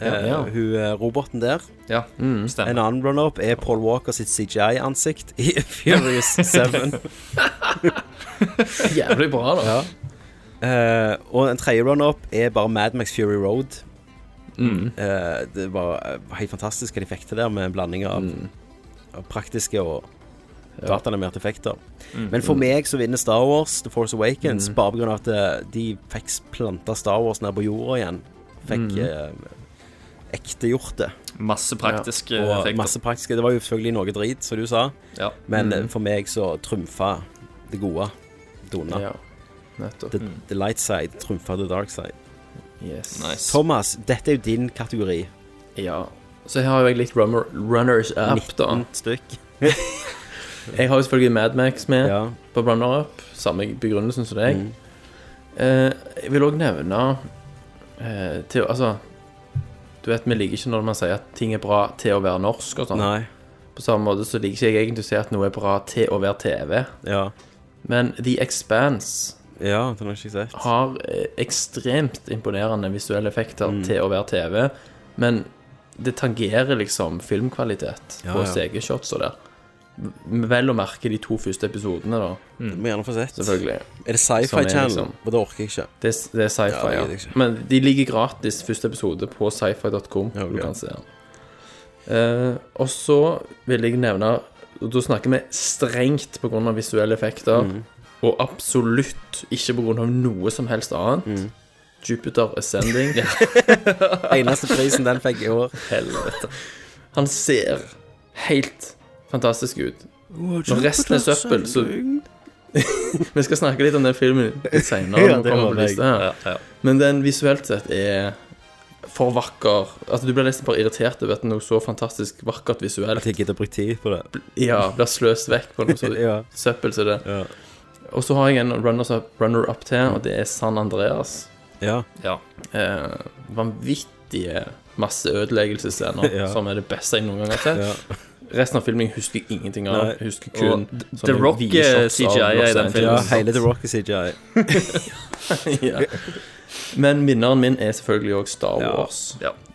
I: Ja, ja.
A: Hun eh, roboten der.
J: Ja, Mm. stemmer.
A: En annen runner-up er Paul Walker sitt CGI-ansikt i [laughs] Furious
I: [laughs]
A: 7.
I: Jævlig bra, da.
A: Eh, og en tredje runner-up er bare Mad Max Fury Road.
I: Mm.
A: Eh, det var eh, helt fantastisk hva de fikk til der, med en blanding av,
I: Mm.
A: av praktiske og dataanimerte effekter.
I: Mm.
A: Men for
I: Mm.
A: meg så vinner Star Wars The Force Awakens
I: Mm.
A: bare på grunn av at eh, de fikk planta Star Wars ned på jorda igjen. Fikk
J: Mm.
A: eh, ektegjort det.
J: Masse praktiske
A: Ja. Og
J: effekter.
A: Masse praktiske. Det var jo selvfølgelig noe drit, som du sa,
J: Ja.
A: men
I: Mm.
A: eh, for meg så trumfa det gode. Dona.
I: Ja, nettopp.
A: The,
I: Mm.
A: the light side trumfa the dark side.
I: Yes.
A: Thomas, dette er jo din kategori.
I: Ja. Så her har jo jeg litt rummer, runners up, da.
A: 19 stykk.
I: jeg har jo selvfølgelig Mad Max med på runner up. Samme begrunnelsen som deg.
A: Mm.
I: Eh, jeg vil òg nevne eh, til, Altså, du vet vi liker ikke når man sier at ting er bra til å være norsk og sånn.
A: Nei.
I: På samme måte så liker ikke jeg egentlig å si at noe er bra til å være TV.
A: Ja.
I: Men The Expanse
A: Ja, den har jeg ikke sett.
I: har eh, ekstremt imponerende visuelle effekter
A: Mm.
I: til å være TV, men det tangerer liksom filmkvalitet
A: Ja, ja.
I: på CG-shots og der. M- Vel å merke de to første episodene, da.
A: Det må jeg gjerne få sett.
I: Selvfølgelig.
A: Er det
I: Som
A: Sci-Fi Channel?
I: liksom-
A: Og det orker jeg ikke.
I: Det, er- det er
A: Ja, det
I: sci-fi,
A: liksom.
I: ja.
A: gidder jeg ikke.
I: Men de ligger gratis, første episode, på sci-fi.com. Du kan se den. Eh, og så vil jeg nevne og Da snakker vi strengt pga. visuelle effekter,
A: Mhm.
I: og absolutt ikke pga. noe som helst annet.
A: Mm.
I: Jupiter
A: [laughs]
I: Ascending.
A: Eneste prisen den fikk i år.
I: [laughs] Helvete. Han ser helt fantastisk ut. Når resten er søppel, så [laughs] Vi skal snakke litt om den filmen litt
A: [laughs]
I: senere.
A: Ja,
I: når vi
A: det
I: kommer
A: håper
I: på
A: jeg.
I: lista her. Men den visuelt sett er for vakker. Altså, du blir nesten bare irritert over at noe så fantastisk vakkert visuelt At
A: jeg gidder å bruke tid på det.
I: Ja, blir sløst vekk på noe så
A: [laughs] Ja.
I: søppel som det. Og så har jeg en runner-up runner up til, og det er San Andreas.
A: Ja.
I: Eh, vanvittige masseødeleggelsesscener,
A: [laughs] Ja.
I: som er det beste jeg noen gang har sett. Resten av filmen husker jeg ingenting av.
A: Nei.
I: Husker kun
A: Og
I: sånne
J: The Rock er
I: videoshots av
J: CGI i
I: Los
J: den
I: Angeles.
J: filmen.
A: Ja, hele The Rock er CGI.
I: [laughs] ja. Men vinneren min er selvfølgelig òg Star
A: Ja.
I: Wars.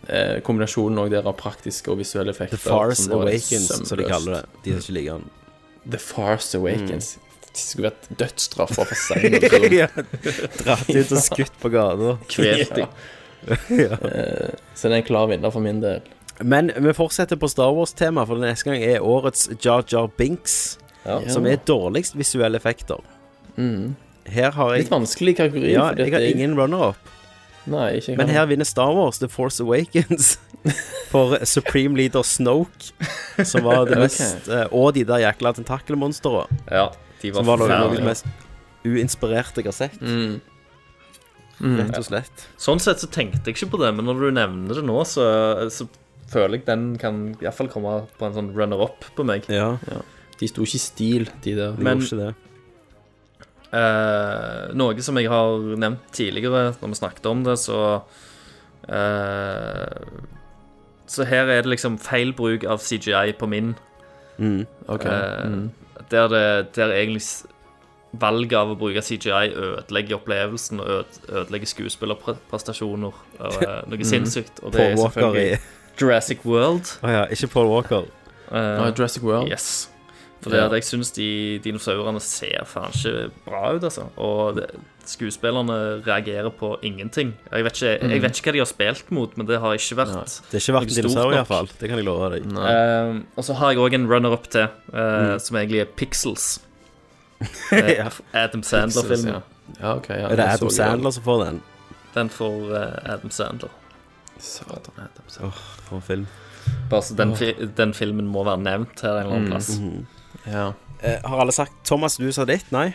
I: Eh, kombinasjonen også der av praktiske og visuelle effekter.
A: The Farce
I: som bare er
A: Awakens, som de
I: sømløst.
A: kaller det. De som ikke liker
I: [laughs]
A: den.
I: The Farce Awakens. Det skulle vært dødsstraff for
A: Mm. [laughs] Ja,
I: Seino.
A: dratt ut og skutt på gata.
I: Kvelt dem.
A: Ja.
I: Eh, Så det er en klar vinner for min del.
A: Men vi fortsetter på Star Wars-tema, for neste gang er årets Jar Jar Binks,
I: Ja.
A: som er dårligst visuelle effekter.
I: Mm.
A: Her har jeg
I: Litt vanskelig kategori.
A: Ja,
I: fordi at
A: jeg har
I: det-
A: ingen runner-up.
I: Nei, ikke jeg
A: Men
I: heller.
A: her vinner Star Wars The Force
I: [laughs]
A: Awakens for Supreme Leader Snoke, som var det
I: Ok.
A: mest eh, Og de der jækla tentakelmonstrene.
J: Ja, de var
A: som var noe
J: forferdelige.
A: av det mest uinspirerte jeg har sett.
I: Mm.
A: Rett og slett.
J: Sånn sett så tenkte jeg ikke på det, men når du nevner det nå, så, så føler jeg den kan i hvert fall komme på en sånn runner-up på meg.
I: Ja. De sto ikke i stil, de der.
J: De Men- gjorde ikke Eh, noe som jeg har nevnt tidligere når vi snakket om det, så eh, Så her er det liksom feil bruk av CGI på min.
A: Mm,
I: ok.
J: Eh,
I: Mm.
J: Der det der egentlig s- valget av å bruke CGI ødelegger opplevelsen og øde, ødelegger skuespillerprestasjoner. og,
A: [laughs]
J: eh, Noe
A: Mm.
J: sinnssykt. Og det
A: Paul
J: er
A: Walker
J: selvfølgelig
A: i-
J: Jurassic World.
A: Å ja, ikke Paul Walker.
J: Eh,
I: Nei, Jurassic World.
J: Yes. For det at jeg syns de dinosaurene ser faen ikke bra ut, altså. Og det, skuespillerne reagerer på ingenting. Jeg vet, ikke,
A: Mm.
J: jeg vet ikke hva de har spilt mot, men det har ikke vært
A: Det er ikke vært
J: noe
A: en
J: stort
A: dinosaur,
J: nok.
A: iallfall. Det kan jeg love deg.
J: Eh, og så har jeg òg en runner-up til, eh,
A: Mm.
J: som egentlig er Pixels.
A: [laughs] [laughs] Ja.
J: Eh, Adam Sandler-filmen.
A: Pixels, ja. Ja, ok, ja, Er det den Adam så jeg Sandler også. som får den?
J: Den får eh, Adam Sandler.
I: Satan, Adam
A: Sandler. for en film.
J: Bare så den,
A: Åh.
J: fi den filmen må være nevnt her en eller annen
A: Mm.
J: plass.
A: Mhm. Eh, har alle sagt Thomas, du sa ditt? Nei?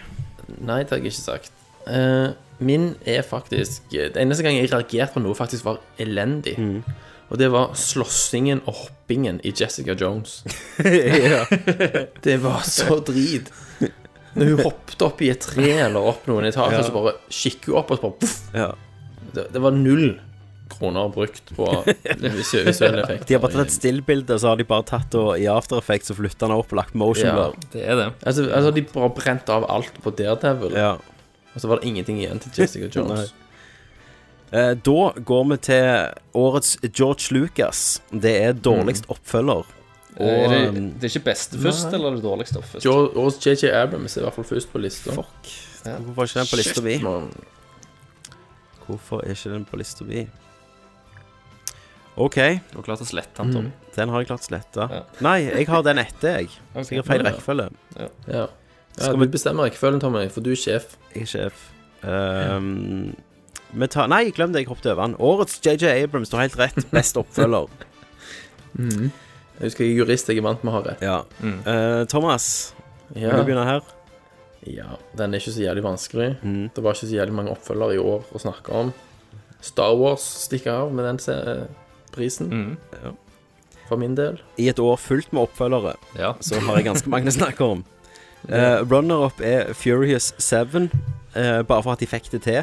I: Nei, det har jeg ikke sagt. Eh, min er faktisk eh, Det eneste gang jeg reagerte på noe, faktisk var elendig. Og det var slåssingen og hoppingen i Jessica Jones.
A: Ja.
I: Det var så drit. Når hun hoppet opp i et tre eller opp noen etasjer,
A: Ja.
I: så bare kikker hun opp, og så bare poff. Det, det var null kroner brukt på visu- visuelle effekter.
A: De har bare tatt et stillbilde, og så har de bare tatt og i after effects og flytta den opp og lagt motion
I: Ja,
A: blur.
J: det er det.
I: Altså, altså de bare brent av alt på Daredevil, og så var det ingenting igjen til
A: [laughs]
I: Jessica Jones.
A: Eh, da går vi til årets George Lucas. Det er dårligst oppfølger. Og,
I: Er det-
A: um,
J: Det Eh, er ikke beste først,
I: Nei.
J: eller det dårligste først?
I: Jo- Årets JJ Abrams er i hvert fall først på lista. Fuck.
A: Hvorfor er ikke den på lista mi? Hvorfor er ikke den på lista mi? OK. Du
J: har klart å slette den, Tommy.
A: Den har jeg klart å slette. Nei, jeg har den etter, jeg.
I: [laughs] Ok.
A: Så jeg har feil
I: Ja.
A: rekkefølge.
I: Ja. ja.
A: Skal
I: du bestemmer rekkefølgen, Tommy, for du er sjef.
A: Jeg er sjef. Ehm, vi tar Nei, glem det, jeg hoppet over den. Årets JJ Abrams, du har helt rett. Best
I: [laughs]
A: oppfølger.
I: Mhm. Jeg husker jeg er jurist, jeg er vant med å ha rett.
A: Ja. Eh, Thomas, vil du begynne her?
I: Ja. Den er ikke så jævlig vanskelig. Det var ikke så jævlig mange oppfølgere i år å snakke om. Star Wars stikker av med den se- prisen.
A: Mm.
J: Mm.
A: Ja.
I: For min del.
A: I et år fullt med oppfølgere, så har jeg ganske mange å snakke
I: [laughs]
A: om. Eh, Runner-up er Furious 7, eh, bare for at de fikk det til,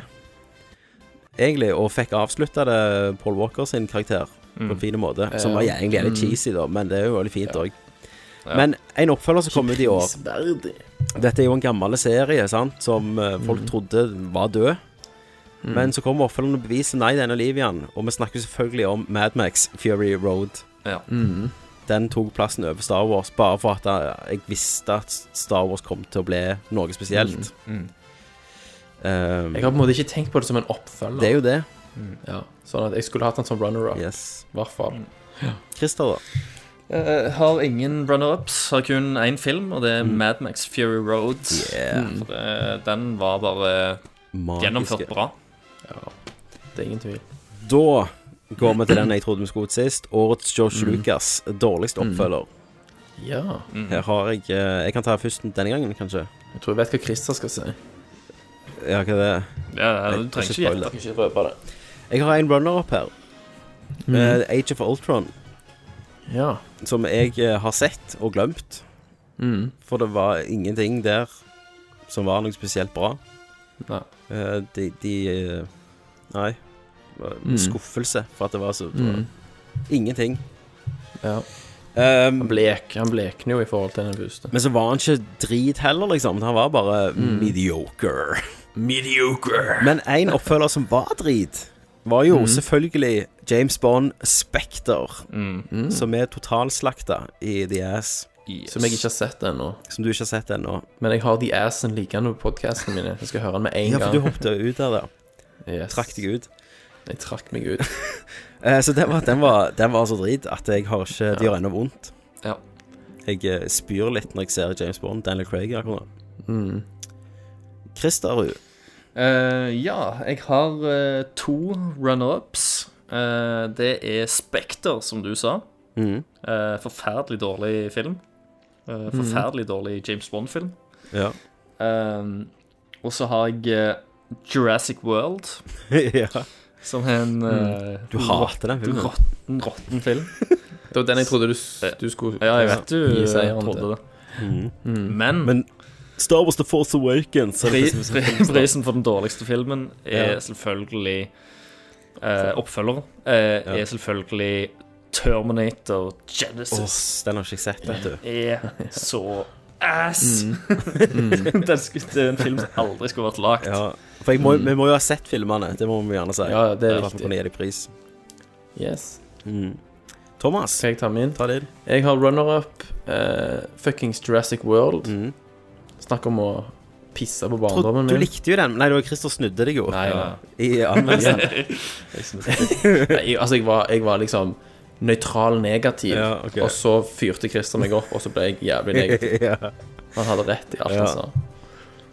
A: egentlig, og fikk avslutta det Paul Walker sin karakter på
I: Mm.
A: en fin måte, som
I: Ja.
A: var egentlig litt
I: Mm.
A: cheesy, da, men det er jo veldig fint òg.
I: Ja.
A: Men en oppfølger som kom ut i år
I: Prisverdig.
A: Dette er jo en gammel serie, sant, som eh, folk
I: Mm.
A: trodde var død.
I: Mm.
A: Men så kommer oppfølgeren og beviser nei, den er liv igjen. Og vi snakker selvfølgelig om Madmax Fury Road.
I: Mhm.
A: Den tok plassen over Star Wars, bare for at eh, jeg visste at Star Wars kom til å bli noe spesielt.
I: Mm.
A: Um,
I: Jeg har på en måte ikke tenkt på det som en oppfølger.
A: Det er jo det.
I: Ja, sånn at jeg skulle hatt den som runner-up.
A: Yes.
I: I hvert fall.
A: Christer, da?
J: Eh, har ingen runner-ups, har kun én film, og det er Mad Max Fury Road. For det, den var bare
A: Magiske.
J: gjennomført bra.
I: Det er ingen tvil.
A: Da går vi til den jeg trodde vi skulle ut sist. Årets George
I: Mm.
A: Lucas. Dårligst oppfølger.
I: Ja.
J: Mm.
A: Her har jeg eh, Jeg kan ta først denne gangen, kanskje.
I: Jeg tror jeg vet hva Christer skal si.
A: Ja, hva er det?
J: Ja, ja, du
A: Jeg-
J: trenger
A: jeg
J: ikke
A: spoiler.
J: gjette. Ikke røpe det.
A: Jeg har en runner-up her.
I: Mhm.
A: Eh, Age of Ultron.
I: Ja.
A: Som jeg eh, har sett og glemt.
I: Mhm.
A: For det var ingenting der som var noe spesielt bra.
I: Nei.
A: Eh, de de eh, Nei. Det var en
I: Mhm.
A: Skuffelse for at det var så det
I: Mhm.
A: var Ingenting.
I: Ja.
A: Um,
I: han, blek, han blekner jo i forhold til den første.
A: Men så var han ikke drit heller, liksom. Han var bare
I: Mm.
A: mediocre.
I: Mediocre.
A: Men en oppfølger som var drit, var jo
I: Mm.
A: selvfølgelig James Bond Spectre,
I: Mm.
A: som er totalslakta i The Ass.
I: Som jeg ikke har sett ennå.
A: Som du ikke har sett ennå.
I: Men jeg har The Assen liggende på podcastene mine. Jeg skal høre den med en
A: Ja,
I: gang.
A: for du hoppet jo ut der, da.
I: Yes.
A: Trakk deg ut.
I: Jeg trakk meg ut.
A: Eh, Så den var, den, var, den var så drit at jeg har ikke Det gjør ennå vondt.
J: Ja.
A: Jeg eh, spyr litt når jeg ser James Bond, Daniel Craig akkurat nå.
I: Mm.
A: Christerud.
J: Eh, ja, jeg har eh, to runner-ups. Eh, det er Spekter, som du sa.
A: Mhm.
J: Eh, forferdelig dårlig film. Eh, forferdelig dårlig James Bond-film.
A: Ja.
J: Eh, og så har jeg eh, Jurassic World.
A: ja.
J: Som er en
I: Mm.
J: eh,
I: Du hater den filmen.
J: Råtten, råtten film.
I: Det var den jeg trodde du, s- du skulle
J: Ja, jeg vet du
I: gi seieren til.
J: trodde det.
A: Mhm.
J: Men,
A: Star Wars The Force Awakens. er liksom- det
J: Pri-
A: som er så
J: pri-
A: fint, da.
J: Prisen for den dårligste filmen er
A: Ja.
J: selvfølgelig eh, Oppfølger eh, er selvfølgelig Terminator Genesis.
A: Åh, den har ikke jeg sett, vet du.
J: Den er så
A: [laughs]
J: ass! [laughs]
A: Mm. Mm.
J: den skulle, det er en film som aldri skulle vært lagd.
A: Ja, for jeg må, vi må jo ha sett filmene, det må vi gjerne si.
I: Ja, det er
A: For at vi
I: riktig.
A: kunne gi dem pris.
I: Yes.
A: Mm. Thomas.
I: Kan jeg ta min? Jeg har runner-up eh, fuckings Jurassic World. Snakk om å pisse på barndommen
A: Mm. Du
I: min.
A: likte jo den. Nei, det var Christer snudde deg jo.
I: Nei,
A: ja.
I: ja.
A: I anmeldelsen.
I: Jeg synes det. Nei, jeg- altså, jeg var, jeg var liksom nøytral negativ,
A: Ja, ok.
I: og så fyrte Christer meg opp, og så ble jeg jævlig
A: [laughs]
I: negativ.
A: Ja.
I: Han hadde rett i alt
A: Ja.
I: han sa.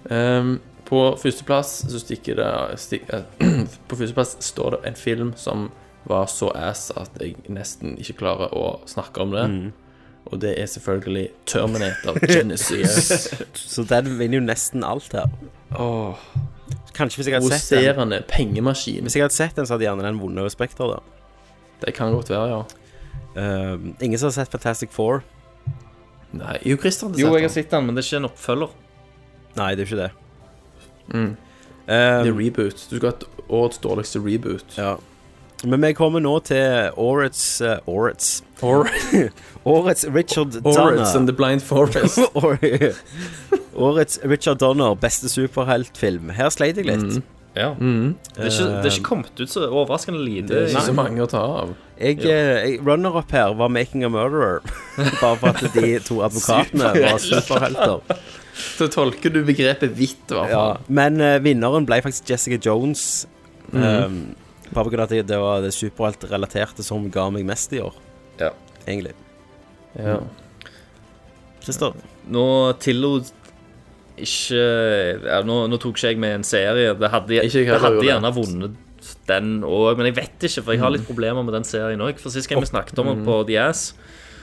I: Ehm, på førsteplass så stikker det sti, eh, [clears throat] På førsteplass står det en film som var så ass at jeg nesten ikke klarer å snakke om det.
A: Mm.
I: Og det er selvfølgelig Terminator
A: [laughs]
I: Genesis.
A: Så den vinner jo nesten alt her.
I: Åh.
A: Kanskje hvis jeg hadde sett den.
I: Provoserende pengemaskin.
A: Hvis jeg hadde sett den, så hadde gjerne den vunnet over Spekter, da. Ehm,
I: Det kan godt være, ja.
A: ingen som har sett Fantastic Four?
I: Nei, jo, Christer hadde
J: Jo,
I: sett
J: jeg har sett den, men det er ikke en oppfølger.
A: Nei, det er jo ikke det. Ehm,
I: Mm.
A: det
I: er reboot. Du skal ha et årets dårligste reboot.
A: Ja. Men vi kommer nå til årets eh, Årets [laughs] Årets Richard Donner. [laughs]
I: Orrits and the Blind Forest.
A: Or- årets Richard Donner, beste superheltfilm. Her sleit jeg
I: Mm.
A: litt.
J: Ja. Det, er ikke, det er ikke kommet ut så overraskende lite.
A: Det er ikke så mange
I: å ta av.
A: Jeg, eh, jeg, runner-up her var 'Making a Murderer', [laughs] bare for at de
I: [laughs]
A: to advokatene var superhelter.
I: Så tolker du begrepet hvitt, i hvert
A: Ja,
I: fall.
A: men eh, vinneren ble faktisk Jessica Jones.
I: Mhm.
A: Um, bare på grunn av at det var det superheltrelaterte som ga meg mest i år,
I: Ja.
A: egentlig.
I: Ja.
A: Christer?
J: Nå tillot ikke ja, nå, nå tok ikke jeg med en serie. Det hadde,
I: Ikke jeg
J: det Mm.
I: heller
J: hadde
I: gjorde
J: gjerne vunnet den òg, men jeg vet ikke, for jeg har litt problemer med den serien òg. For sist gang vi snakket om den på The Ass,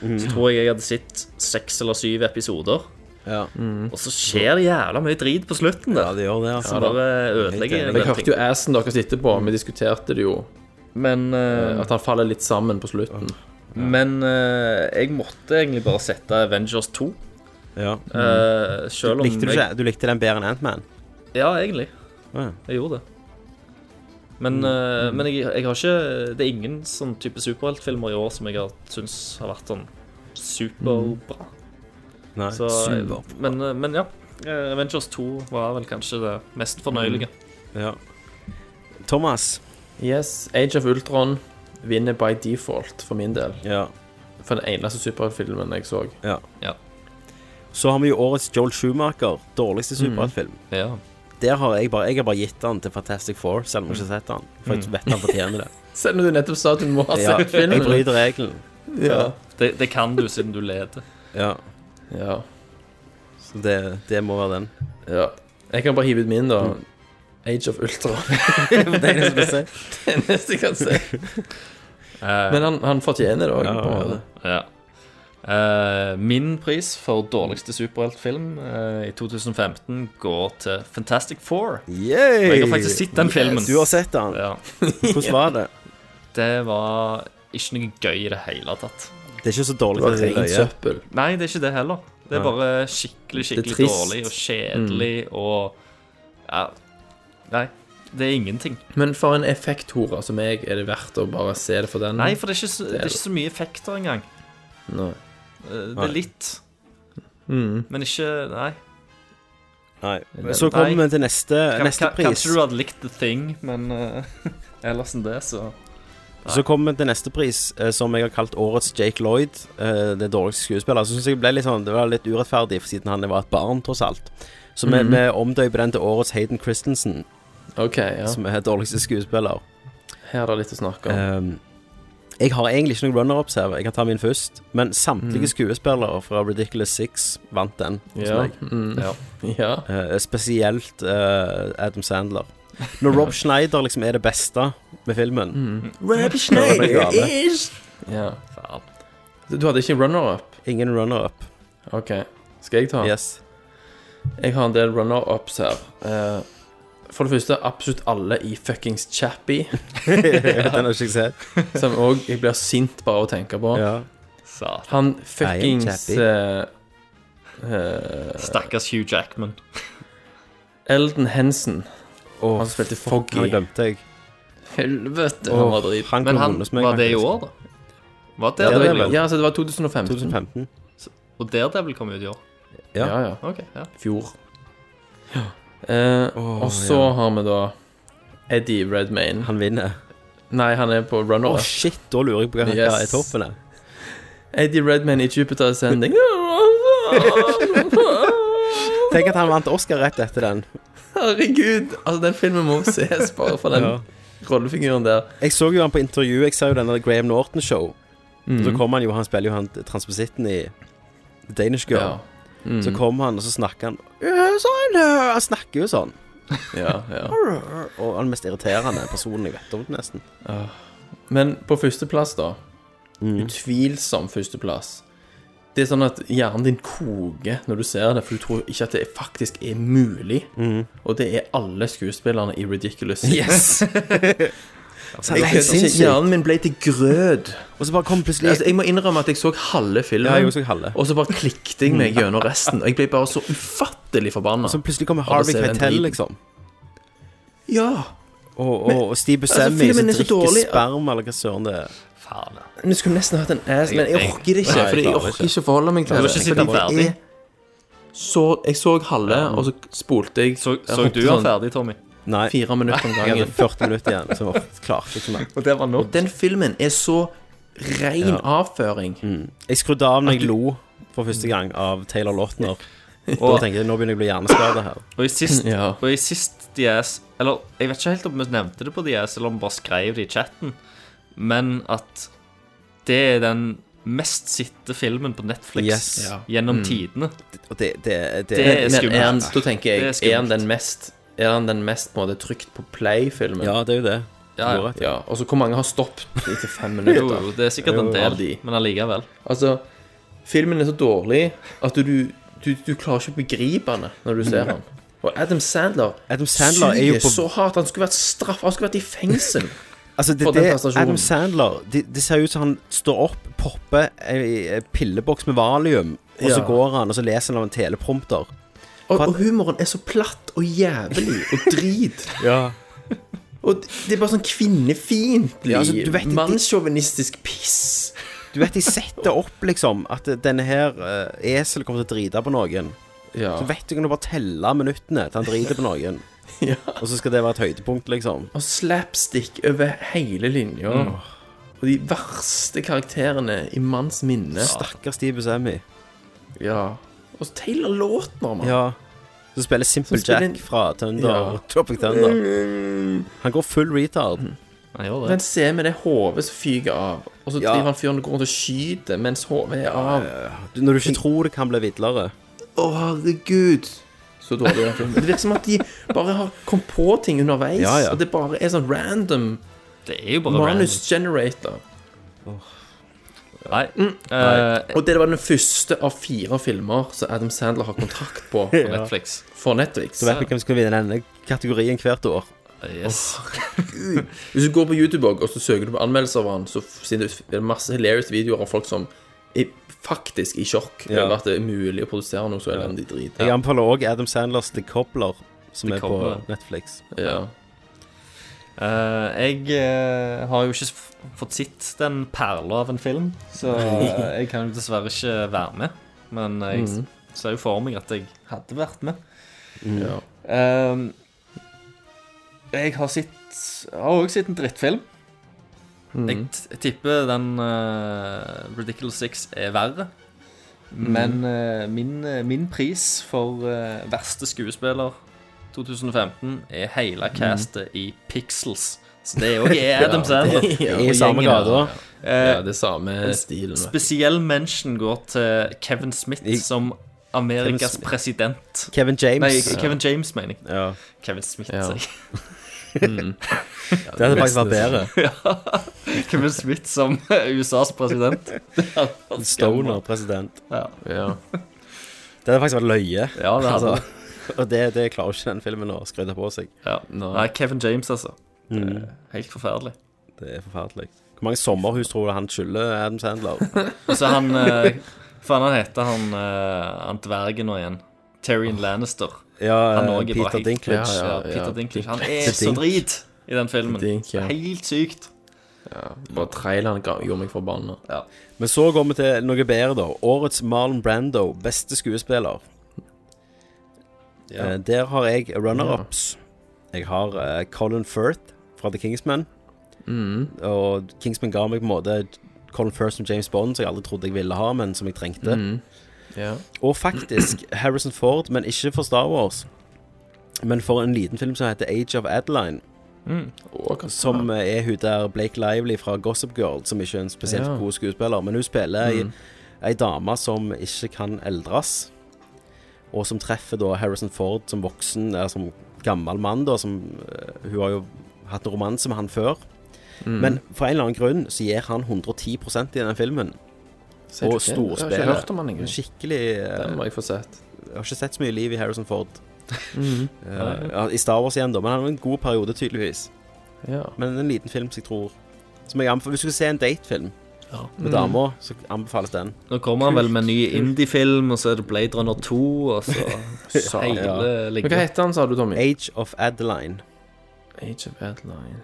J: så tror jeg jeg hadde sett seks eller syv episoder. Og så skjer det jævla mye drit på slutten der.
A: Mm. Ja, det gjør det, altså.
J: Som bare ødelegger
I: Jeg
J: den
I: hørte jo
J: ting.
I: assen deres etterpå, vi diskuterte det jo.
J: Men
A: Mm.
J: eh,
I: At han faller litt sammen på slutten.
J: Men eh, jeg måtte egentlig bare sette Avengers 2.
A: Ja.
J: Eh, selv om
A: likte du,
J: jeg-
A: ikke, du likte den bedre enn Ant-Man?
J: Ja, egentlig.
A: Ja. Mm.
J: Jeg gjorde det. Men, eh, men jeg, jeg har ikke Det er ingen sånn type superheltfilmer i år som jeg har syns har vært sånn
A: Mm.
J: superbra.
A: Nei,
J: Så,
A: superbra.
J: Men, eh, men ja. eh, Avengers 2 var vel kanskje det mest fornøyelige.
A: Mm. Ja. Thomas?
I: Yes, Age of Ultron vinner by default for min del.
A: Ja.
I: For den eneste superheltfilmen jeg så.
A: Ja.
J: Ja.
A: Så har vi jo årets Joel Schumacher, dårligste superheltfilm.
J: Ja.
A: Der har jeg bare, jeg har bare gitt den til Fantastic Four, selv om jeg ikke har sett den. For jeg
I: Mm.
A: vet han fortjener det.
I: Selv om du nettopp sa at du må ha
A: Ja,
I: sett filmen.
A: jeg bryter regelen.
I: Ja.
J: Det, det kan du siden du leder.
A: Ja.
I: ja.
A: Så det, det må være den.
I: Ja. Jeg kan bare hive ut min, da. Age of Ultron.
A: Mm. [laughs] det er det som jeg sier.
I: Det eneste jeg kan si. Men han, han fortjener det òg.
J: Eh, Ja. Eh, min pris for dårligste superheltfilm eh, i 2015 går til Fantastic Four.
A: Yay!
J: Og jeg har faktisk sett den
A: Yes.
J: filmen.
A: Du har sett den.
J: Ja.
A: Hvordan var det?
J: Det var ikke noe gøy i det hele tatt.
A: Det er ikke så dårlig. at det løyer.
J: Nei, det er ikke det heller. Det er
A: Nei.
J: bare
A: Det
J: skikkelig,
A: er
J: skikkelig
A: trist.
J: dårlig og kjedelig og ja. Nei, det er ingenting.
I: Men for en effekthore som meg, er det verdt å bare se Mm. det for den?
J: Nei, for det er ikke så, det er ikke så mye effekter engang.
I: Nei.
J: Eh, Det
I: Nei.
J: er litt,
I: Mm.
J: men ikke Nei.
A: Nei. Så kommer vi til neste,
J: Kan-
A: Eh, neste
J: kan-
A: pris.
J: Kanskje du hadde likt The Thing, men eh, [laughs] ellers enn det, så
A: Så kommer vi til neste pris, eh, som jeg har kalt årets Jake Lloyd. eh, Det dårligste skuespillet. Så synes jeg ble litt sånn, det var litt urettferdig, for siden han var et barn, tross alt. Så vi,
I: Mhm.
A: vi omdøper den til årets Hayden Christensen,
I: OK, ja.
A: som er dårligste skuespiller.
I: Her er det litt å snakke om.
A: Ehm, jeg har egentlig ikke noen runner-ups her, jeg kan ta min først. Men samtlige
I: Mhm.
A: skuespillere fra Ridiculous Six vant den hos
I: Ja.
A: meg.
I: Mm. [laughs] Ja.
A: Eh, spesielt eh, Adam Sandler. Når Rob Schneider liksom er det beste med filmen
I: Mm.
A: Rob Schneider is-
I: ja. Du du hadde ikke runner-up?
A: Ingen runner-up.
I: OK. Skal jeg ta?
A: Yes.
I: [laughs] Jeg har en del runner-ups her. Eh, for det første, absolutt alle i fuckings Chappie.
A: Den har ikke jeg sett.
I: Som òg Jeg blir sint bare av å tenke på.
A: Ja.
J: Satan.
I: Han
J: Nei,
I: fuckings
J: Chappie.
I: eh, eh,
J: Stakkars Hugh Jackman.
I: Elden Hensen. han spilte Foggy.
A: Han glemte jeg.
I: Helvete,
A: Åh,
I: han var drit.
A: han kunne vunnet meg,
J: var det i
A: faktisk.
J: år, da? Var det
I: Ja, det
J: det
I: er
J: ble
I: vel-
J: gjort?
I: ja, så det var 2015.
A: 2015.
J: Og Daredevil kom ut i år?
I: Ja, ja.
J: Ok, ja.
I: Fjor. Eh, og så
A: ja.
I: har vi da Eddie Redmayne.
A: Mm. Han vinner.
I: Nei, han er på runner.
A: Å, shit, da lurer jeg på hva
I: Yes.
A: hva er toppen er.
I: Eddie Redman i Jupiter Ascending.
A: [laughs] Tenk at han vant Oscar rett etter den.
I: Herregud. Altså, den filmen må ses bare for den
A: [laughs] Ja.
I: rollefiguren der.
A: Jeg så jo han på intervju, jeg ser jo denne Graham Norton-show.
I: Mhm.
A: Så kom han jo, han spiller jo han transvisitten i The Danish Girl.
I: Ja. Mhm.
A: Så kom han, og så snakker han «Yes, I know!» Han snakker jo sånn.
I: Ja, ja.
A: Og han mest irriterende personen jeg vet om, nesten.
I: Ah. Men på førsteplass, da. Utvilsom førsteplass. Det er sånn at hjernen din koker når du ser det, for du tror ikke at det faktisk er mulig. Og det er alle skuespillerne i Ridiculous.
A: Mm. Yes.
I: Jeg
A: Så det er helt
I: kødder ikke.
A: sinnssykt.
I: Hjernen min ble til grøt.
A: Og så bare kom plutselig
I: altså, Jeg må innrømme at jeg så halve filmen,
A: Ja, jeg også så halve.
I: og så bare klikket jeg meg gjennom resten. Og jeg ble bare så ufattelig forbanna.
A: Og så plutselig kommer
I: av å
A: Harvey
I: se den
A: Keitel,
I: driten.
A: liksom.
I: Ja.
A: Og, og,
I: Men-
A: og Steve
I: altså,
A: Buscemi
I: filmen
A: som
I: er så
A: drikker
I: dårlig at-
A: sperma, eller hva søren det er.
J: Faen.
I: Men Du skulle nesten hatt en ass, men jeg orker det ikke.
A: Nei, jeg
I: fordi jeg
A: klarer
I: orker
A: ikke.
I: ikke å forholde meg
A: Jeg
I: til
A: vil
I: det.
A: ikke si den
I: fordi det
A: ferdig.
I: er Så, jeg så halve, og så spolte jeg. Så,
J: så du den ferdig, Tommy?
A: Nei.
I: Fire minutter om
A: Jeg hadde
I: gangen.
A: 40 minutter igjen, så jeg klarte ikke mer.
J: Og det var nok.
I: Den filmen er så ren
A: Ja.
I: avføring.
A: Jeg skrudde av når jeg lo for første gang av Taylor Lautner. Og da
J: Og-
A: tenkte jeg nå begynner jeg å bli hjerneskada her.
J: Og
I: [laughs]
J: i sist,
A: Ja.
J: og i sist DS Eller jeg vet ikke helt om vi nevnte det på DS, eller om vi bare skrev det i chatten, men at det er den mest sitte filmen på Netflix
I: Yes. Ja.
J: gjennom
I: Mm.
J: tidene.
A: Og det, det, det,
J: Det er skummelt.
I: Men er han, da tenker
J: Det er
I: jeg, er han
J: skummelt.
I: den mest Er han den mest på en måte trygt på play-filmen?
A: Ja, det er jo det.
J: Ja, ja.
I: ja. Og så hvor mange har [laughs] stoppet etter fem minutter?
J: Jo, jo, det er sikkert en del,
I: Av de.
J: men allikevel.
I: Altså, filmen er så dårlig at du, du, du, du klarer ikke å begripe den når du ser den. Og Adam Sandler,
A: Adam Sandler er jo
I: suger
A: på-
I: så hardt. Han skulle vært straff, han skulle vært i fengsel.
A: Altså, det,
I: For den
A: det,
I: prestasjonen.
A: Adam Sandler det, det ser ut som han står opp, popper ei ei pilleboks med valium, og så
I: Ja.
A: går han og så leser han av en teleprompter.
I: Og, og humoren er så platt og jævlig og drit.
A: Ja.
I: Og det er bare sånn kvinnefiendtlig,
A: Ja, altså, du vet-
I: mannssjåvinistisk piss.
A: Du vet, de setter opp liksom at denne her eh, esel kommer til å drite på noen.
I: Ja.
A: Så vet du kan du bare telle minuttene til han driter på noen.
I: [laughs] Ja.
A: Og så skal det være et høydepunkt, liksom.
I: Og slapstick over hele linja.
A: Mm.
I: Og de verste karakterene i manns minne.
A: Stakkars Steve Buscemi.
I: Ja. Og Taylor Lautner, mann.
A: Ja. Som spiller Simple
I: Som spiller en-
A: Jack fra Thunder.
I: Ja. Mm.
A: Tropic Thunder. Han går full retard.
J: Han gjør
I: Men se med det hodet som fyker av, og så
A: Ja.
I: driver han fyren og går rundt og skyter mens hodet er av.
A: Du- Når du ikke tror det kan bli vidlere.
I: Å, herregud. Så dårlig den filmen. Det virker som at de bare har kommet på ting underveis,
A: Ja, ja.
I: og det bare er sånn random
J: Det er jo bare
I: manus generator.
J: random. Nei. eh,
I: Og det var den første av fire filmer som Adam Sandler har kontrakt
A: [laughs]
I: på
J: på Netflix.
I: for Netflix.
A: Så vet vi hvem som skal vinne denne kategorien hvert år.
J: Eh, Yes.
I: Hvis du går på YouTube og og så søker du på anmeldelser av han, så f- finner du masse hilarious videoer av folk som er faktisk i sjokk
A: Ja.
I: over at det er mulig å produsere noe så elendig drit.
A: Jeg anbefaler òg Adam Sanders The Cobbler, som
J: The
A: er
J: Cobbler.
A: på Netflix.
I: Ja.
J: Eh, jeg eh, har jo ikke f- fått sett den perla av en film, [laughs] så eh, jeg kan jo dessverre ikke være med. Men jeg
I: Mhm.
J: ser jo for meg at jeg hadde vært med.
I: Ja.
J: Ehm, jeg har sett Jeg har også sett en drittfilm. Jeg, t jeg tipper den eh, Ridiculous Six er verre. Men eh, min, eh, min pris for eh, verste skuespiller 2015 er hele castet i Pixels. Så det er jo
I: Ja,
J: Adam Sandler.
I: det er jo
A: I samme
I: gjengen,
A: grad, da.
I: Ja,
J: Eh,
I: det er samme
J: en
I: stilen. vet du.
J: Spesiell mention går til Kevin Smith som Amerikas
A: Kevin Smith.
J: president.
A: Kevin James.
J: Nei,
A: Ja.
J: Kevin James, mener jeg.
A: Ja.
J: Kevin Smith,
A: Ja.
J: sier jeg.
A: Det hadde faktisk vært bedre.
J: [laughs] Ja. [laughs] Kevin Smith som USAs
A: [laughs]
J: president.
A: Stoner president.
J: Ja.
I: Ja.
A: Det hadde faktisk vært løye. Altså,
J: Ja, det hadde
A: [laughs] og det, det klarer ikke den filmen å skryte på seg.
J: Ja. Nei, Kevin James, altså.
A: Mm.
J: Eh, Helt forferdelig.
A: Det er forferdelig. Hvor mange sommerhus tror du han skylder Adam Sandler?
J: Og så han eh, Faen, han heter han, eh, han dvergen nå igjen. Terrion Lannister.
A: Ja,
J: han
A: eh,
J: også er bare
A: Peter
J: helt-
A: Dinklage.
J: Ja,
A: Ja, ja,
J: Peter
A: ja.
J: Dinklage. Han er
A: Dinklage.
J: så drit i den filmen.
I: Dink, ja.
J: Helt sykt.
I: Bare traileren ga- gjorde meg forbanna.
J: Ja.
A: Men så går vi til noe bedre, da. Årets Marlon Brando, beste skuespiller. Eh, der har jeg runner-ups. Jeg har eh, Colin Firth fra The Kingsman. Og Kingsman ga meg på en måte Colin First som James Bond, som jeg aldri trodde jeg ville ha, men som jeg trengte.
I: Mhm. Ja.
A: Og faktisk Harrison Ford, men ikke for Star Wars, men for en liten film som heter Age of Adeline.
I: Mm.
A: Som eh, er hun der Blake Lively fra Gossip Girl, som ikke er en spesielt
I: Ja.
A: god skuespiller. Men hun spiller ei,
I: Mm.
A: ei dame som ikke kan eldres, og som treffer da Harrison Ford som voksen, eller som gammel mann, da. Som, eh, hun har jo hatt en romanse med han før.
I: Mm.
A: Men for en eller annen grunn så gir han 110 i den filmen.
I: Ser du
A: Og
I: ikke? Jeg har ikke
A: storspiller.
I: hørt om han engang.
A: Skikkelig eh,
I: Mm. Den må jeg få sett.
A: Jeg har ikke sett så mye liv i Harrison Ford.
I: Mhm.
A: Eh, ja, I Star Wars igjen, da, men han har en god periode, tydeligvis.
I: Ja.
A: Men en liten film som jeg tror som jeg anbefaler, Hvis du skal se en datefilm med
J: Mm.
A: dama, så anbefales den.
J: Nå kommer han vel med en ny
A: Kult.
J: indie-film, og så er det Blade Runner 2, og så hele
A: Men
J: ligger
I: heter han, sa du, Tommy?
A: Age of Adeline.
I: Age of Adeline.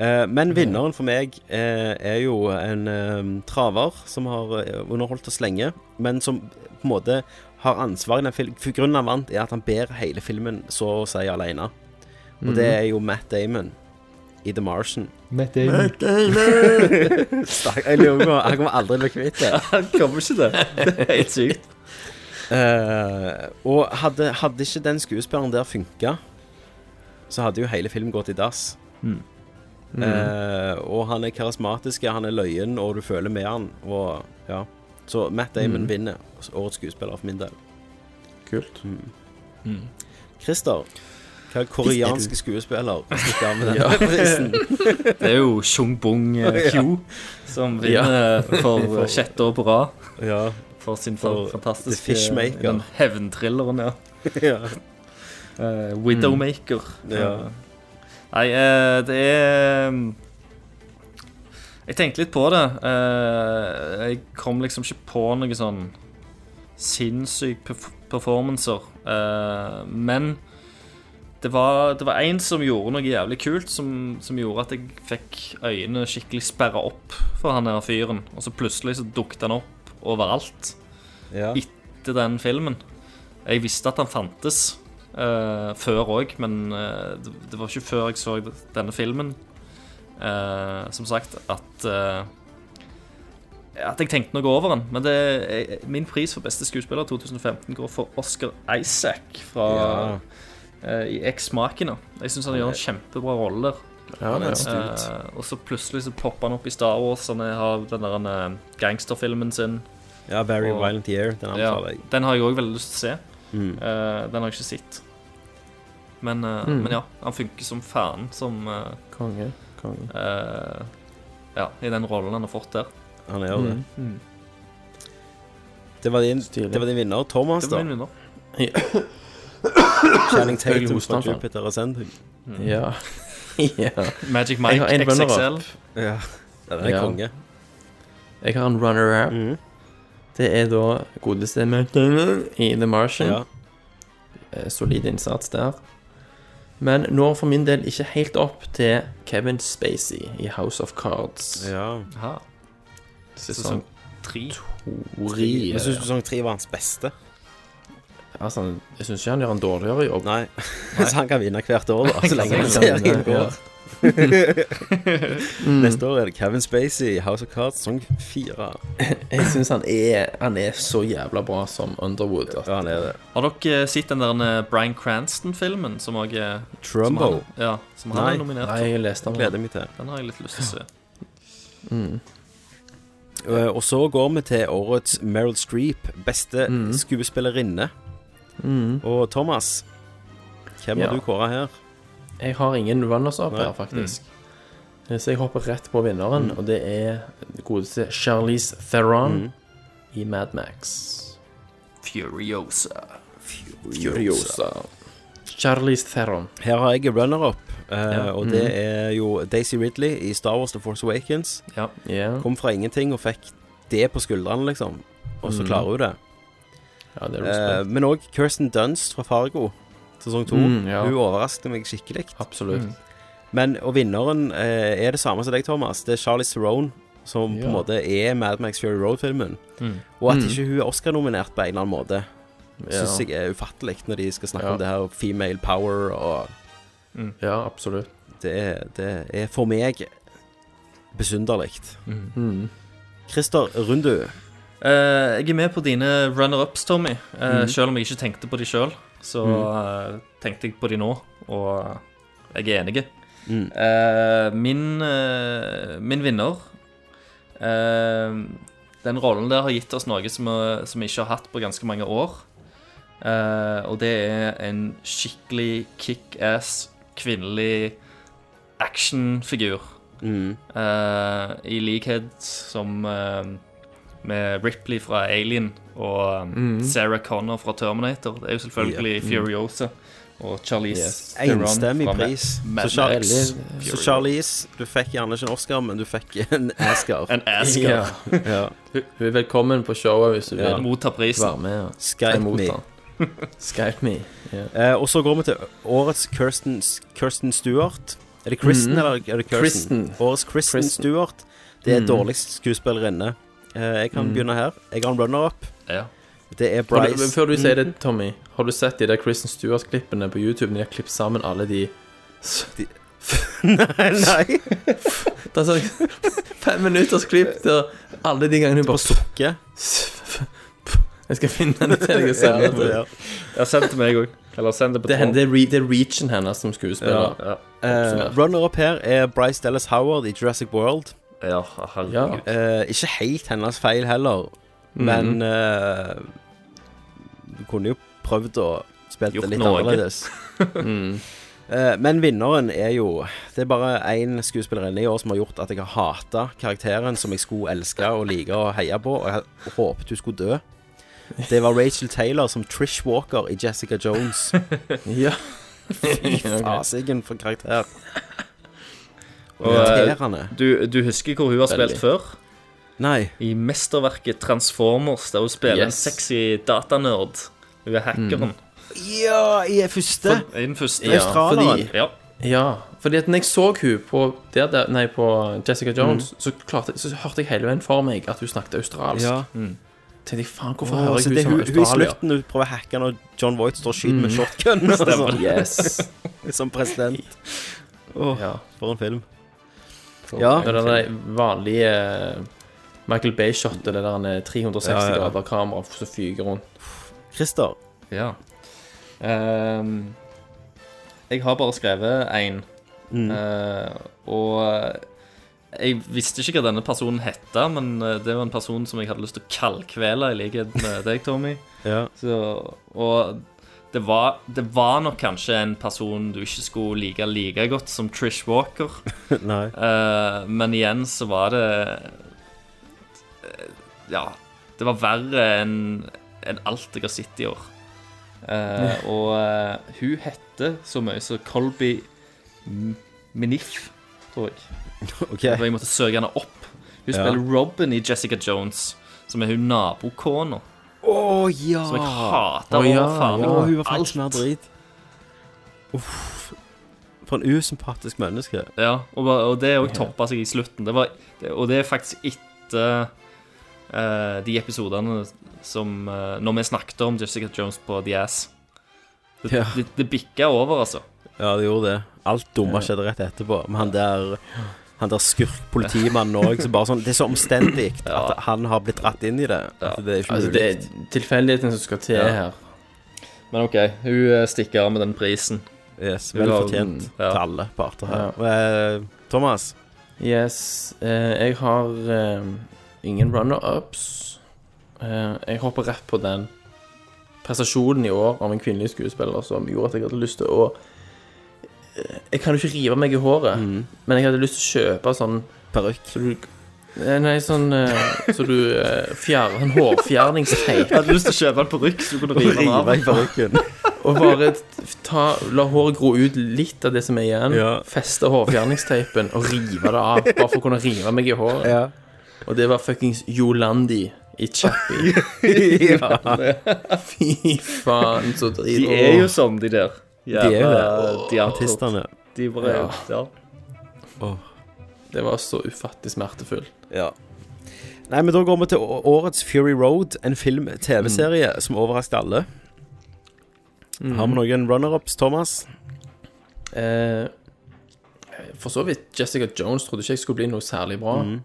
A: Eh, men vinneren for meg eh, er jo en eh, traver som har eh, underholdt oss lenge, men som på en måte har ansvar i den filmen. Grunnen han vant, er at han ber hele filmen så å si alene. Og det
I: Mhm.
A: er jo Matt Damon i The Martian.
I: Matt Damon. Matt
J: [laughs] Damon!
A: Stakk- jeg lurer på, han kommer aldri til å bli kvitt det.
J: [laughs] Han kommer ikke det. Det er helt sykt.
A: [laughs] Eh, og hadde, hadde ikke den skuespilleren der funka, så hadde jo hele filmen gått i dass.
J: Mm.
A: Eh, og han er karismatisk, han er løyen, og du føler med han. Og, ja. Så Matt Damon
J: Hmm.
I: Mm.
A: vinner årets skuespiller for min del. Hmm.
I: Kult.
J: Hmm.
I: Mm.
A: Christer, hva koreanske skuespiller stikker
J: [laughs]
A: av med denne
J: Ja.
A: prisen?
J: Det er jo Chung-Bung eh, Kyo som vinner
A: Ja. [laughs]
J: for sjette år på rad.
A: Ja.
J: For sin
A: For
J: fantastiske
A: The Fishmaker.
J: Den hevntrilleren, ja. Eh, Widowmaker.
A: Mm. Ja.
J: Nei, eh, det er um, Jeg tenkte litt på det. Eh, jeg kom liksom ikke på noe sånn sinnssyke perf- performancer. Eh, men det var, det var en som gjorde noe jævlig kult, som, som gjorde at jeg fikk øynene skikkelig sperra opp for han der fyren. Og så plutselig så dukket han opp overalt
A: Ja.
J: etter den filmen. Jeg visste at han fantes eh, før òg, men eh, det, det var ikke før jeg så denne filmen, eh, som sagt, at eh, at jeg tenkte noe over den. Men det, jeg, min pris for beste skuespiller 2015 går for Oscar Isaac fra
A: Ja.
J: eh, i X-Makene. Jeg syns han gjør en kjempebra rolle der.
I: Ja, han er en
J: Eh, og så plutselig så popper han opp i Star Wars. Han er- har den der eh, gangsterfilmen sin.
A: Ja, Very
J: Og-
A: Violent Year. Den
J: ja,
A: anbefaler jeg.
J: den har jeg òg veldig lyst til å se.
A: Mm.
J: Eh, den har jeg ikke sett. Men, eh,
I: Mm.
J: men ja, han funker som faen som eh,
I: Konge. Konge.
J: eh, Ja, i den rollen han har fått der.
A: Han gjør det.
I: Mm.
A: Det var din, det var din vinner, Thomas,
J: Det var
A: da.
J: min vinner.
A: Channing
I: Selvfølgelig
A: Tatum
I: hoste
A: fra
I: han, faen.
A: Jupiter Ascending.
I: Mm. Ja. [laughs] ja.
J: Mm. Magic Mike
I: Jeg har en runner-up.
J: XXL.
A: Ja. Ja, Mm. den er konge.
I: Jeg har en runner-up. Det er da godeste Matt Damon i The Martian.
A: Ja.
I: Eh, Solid innsats der. Men når for min del ikke helt opp til Kevin Spacey i House of Cards.
A: Ja.
J: Aha.
I: Sesong
J: Sesong tre.
I: Ori,
A: Jeg syns
I: ja.
A: sesong tre var hans beste.
I: Altså, han- jeg syns ikke han gjør en dårligere jobb. Altså,
A: Nei. [laughs] Så han kan vinne hvert år, [laughs] da, så lenge den
I: Han kan
A: serien
I: vinne,
A: går.
I: Mm.
A: Neste år er det Kevin Spacey i House of Cards sesong fire.
I: Jeg syns han, er- han er så jævla bra som Underwood. altså. At,
A: ja, han er det.
J: Har dere sett den der eh, Bryan Cranston-filmen som òg er
A: Trumbo.
J: Som han, ja, som han
A: Nei.
J: er nominert
I: Nei, jeg leste den.
A: Gleder meg til.
J: Den har jeg litt lyst til å se.
I: Mm.
A: Eh, Og så går vi til årets Meryl Streep, beste skuespillerinne.
I: Mm.
A: Og Thomas, hvem
I: Ja.
A: har du kåra her?
I: Jeg har ingen runners-up
A: Nei. Mm.
I: her, faktisk. Eh, Så jeg hopper rett på vinneren, og det er godeste Charlize Theron i Mad Max.
J: Furiosa.
I: Furiosa. Charlize Theron.
A: Her har jeg runner-up, eh,
I: Ja. Mm.
A: og det er jo Daisy Ridley i Star Wars The Force Awakens.
J: Ja.
I: Ja.
A: Kom fra ingenting og fikk det på skuldrene, liksom. Og så
I: Mhm.
A: klarer hun det.
I: Ja, det er
A: Eh,
I: respekt.
A: men òg Kirsten Dunst fra Fargo, sesong to.
I: Mm, ja.
A: Hun overrasket meg skikkelig.
I: Absolutt.
A: Mm. Men, og vinneren eh, er det samme som deg, Thomas. Det er Charlie Theron, som på
I: Ja.
A: en måte er Mad Max Fury Road-filmen.
I: Mm.
A: Og at
I: Mm.
A: ikke hun er Oscar-nominert på en eller annen måte,
I: Ja.
A: syns jeg er ufattelig når de skal snakke
I: Ja.
A: om det her og female power og
J: Mm.
I: Ja, absolutt.
A: det, er- det er for meg besynderlig.
I: Mm.
A: Christer Rundu.
J: Eh, jeg er med på dine runner-ups, Tommy. Eh,
A: Mhm.
J: Selv om jeg ikke tenkte på de sjøl, så eh, tenkte jeg på de nå, og jeg er enig. Eh, min, eh, min vinner eh, Den rollen der har gitt oss noe som, eh, som vi ikke har hatt på ganske mange år. Eh, og det er en skikkelig kickass kvinnelig actionfigur.
A: Mm.
J: Eh, I likhet som eh, med Ripley fra Alien og um,
A: Mm.
J: Sarah Connor fra Terminator. Det er jo selvfølgelig
A: Ja. Mm.
J: Furiosa og Charlize
A: Yes.
J: Theron
A: Enstemmig
J: fra Ma-
A: pris.
J: Mad
A: Så, Char
J: Max
A: så
J: Fury.
A: Charlize, du fikk gjerne ikke en Oscar, men du fikk en Ascar.
J: En Ascar.
A: ja.
I: Hun hun er velkommen på showet hvis du
A: Ja.
I: vil
J: Motta prisen.
I: være med. og ta
A: Skype
I: imot
A: me. [laughs]
I: den. Skype me. Ja.
A: Eh, og så går vi til årets Kirsten, Kirsten Stewart. Er det Kristen
I: Mhm.
A: eller er det Kirsten?
I: Kristen.
A: Årets Kristen,
I: Kristen.
A: Stewart. Det er
I: Mhm.
A: dårligst skuespillerinne. Eh, jeg kan
I: Mhm.
A: begynne her. Jeg har en runner-up.
J: Ja.
A: Det er
I: Har du,
A: Bryce.
I: før du sier det, Tommy, har du sett de der Kristen Stewart-klippene på YouTube? når De har klippet sammen alle de
A: [laughs] Nei, nei.
I: Det er sånn [laughs] fem minutters klipp der alle de gangene hun bare
A: sukker.
I: [laughs] Jeg skal finne det til
A: [laughs]
I: deg og sende det. til
J: Ja,
I: deg.
J: Ja, send det til meg òg. Eller send det på
I: Det er, henne-
J: tråd.
I: det, er re, det er reachen hennes som skuespiller.
J: Ja,
A: Eh, Runner-up her er Bryce Dallas Howard i Jurassic World.
J: Ja, herregud.
A: Eh, ikke helt hennes feil heller,
J: Mhm.
A: men eh, Du kunne jo prøvd å spille det
I: Gjort
A: litt
I: noe.
A: annerledes.
I: Mm.
A: Eh, men vinneren er jo Det er bare én skuespillerinne i år som har gjort at jeg har hata karakteren som jeg skulle elske og like og heie på, og jeg håpet hun skulle dø. Det var Rachel Taylor som Trish Walker i Jessica Jones.
I: ja.
A: Fy fasiken for karakter.
J: Og, eh,
A: Irriterende.
J: du, du husker hvor hun har
A: Veldig.
J: spilt før?
A: Nei.
J: I mesterverket Transformers, der hun spiller en
A: Yes. Mm.
J: sexy datanerd. Hun er hackeren.
A: Ja, i første.
J: For- I den første.
I: Ja, fordi,
J: ja.
I: ja, fordi at når jeg så hun på, der, der, nei, på Jessica
A: Mm.
I: Jones, så, klarte, så hørte jeg hele veien for meg at hun snakket australsk.
A: Ja.
I: Mm. Tenkte jeg, faen, hvorfor
A: Åh,
I: hører
A: så
I: jeg
A: det er
I: hun som
A: hun, hun i
I: australier?
A: slutten hun prøver å hacke når John Voight står og skyter med
I: Mm.
A: shotgun. og
I: Stemmer.
A: sånn.
I: Yes.
A: Som president. [laughs] Åh,
I: Ja.
A: For en film.
I: Ja.
A: Sånn. Ja.
I: Det er det vanlige eh, Michael Bay-shotet, det der eh, 360
A: Ja, ja, ja.
I: grader kamera som fyker rundt.
A: Christer.
J: Ja. Ehm, jeg har bare skrevet én.
A: Mm.
J: Eh, og eh, jeg visste ikke hva denne personen het, men eh, det var en person som jeg hadde lyst til å kaldkvele, i likhet med deg, Tommy.
A: Ja.
J: Så, og det var, det var nok kanskje en person du ikke skulle like like godt som Trish Walker.
A: Nei.
J: Eh, men igjen så var det eh, Ja, det var verre enn enn alt jeg har sett i år. Eh, og eh, hun heter så mye som Colby M- Minif, tror jeg.
A: [laughs] Ok.
J: For jeg måtte søke henne opp. Hun
A: Ja.
J: spiller Robin i Jessica Jones, som er hun nabokona.
A: Å ja.
J: Som jeg
A: Ah.
J: hater
A: Å,
J: over
A: ja,
J: faen.
A: ja. Å, hun var faktisk mer drit. Uff. For en usympatisk menneske.
J: Ja, og, ba- og det òg toppa seg i slutten. Det var, det, og det er faktisk etter eh, de episodene som eh, Når vi snakket om Jessica Jones på The Ass. Det,
A: Ja.
J: det, det bikka over, altså.
A: Ja, det gjorde det. Alt dumme skjedde rett etterpå. Men han der han der skurk-politimannen òg, som bare sånn Det er så omstendig [clears throat] at han har blitt dratt inn i det. At det er ikke
I: Altså,
A: mulig.
I: det er tilfeldigheten som skal til
J: Ja.
I: her.
J: Men OK, hun eh, stikker av med den prisen.
A: Yes,
J: Hun
A: Vel
J: har-
A: fortjent
J: Ja.
A: til alle parter her.
I: Ja.
A: Eh, Thomas?
I: Yes. eh, jeg har eh, ingen runner-ups. Eh, jeg hopper rett på den prestasjonen i år av en kvinnelig skuespiller som gjorde at jeg hadde lyst til å eh, Jeg kan jo ikke rive meg i håret, men jeg hadde lyst til å kjøpe sånn
A: Parykk?
I: Så du Eh, Nei, sånn eh, så du eh, fjer, En hårfjerningsteip.
J: Jeg hadde lyst til å kjøpe en parykk så du kunne rive den av.
A: i parykken.
I: Og bare ta, la håret gro ut litt av det som er igjen, feste hårfjerningsteipen og rive det av. Bare for å kunne rive meg i håret. Og det var fuckings Jolandi i
J: [laughs]
I: Chappie.
A: Ja.
I: Fy faen, så drit.
J: De er jo sånn, de der.
I: De er jo det.
J: Jævla- de er-
A: Artistene.
J: De bare
I: Ja.
J: ja.
A: Åh.
I: Det var så ufattelig smertefullt.
A: Ja. Nei, men da går vi til å- årets Fury Road, en film-TV-serie som overrasker alle. Har vi noen runner-ups, Thomas?
I: Eh, for så vidt Jessica Jones trodde ikke jeg skulle bli noe særlig bra.
A: Mhm.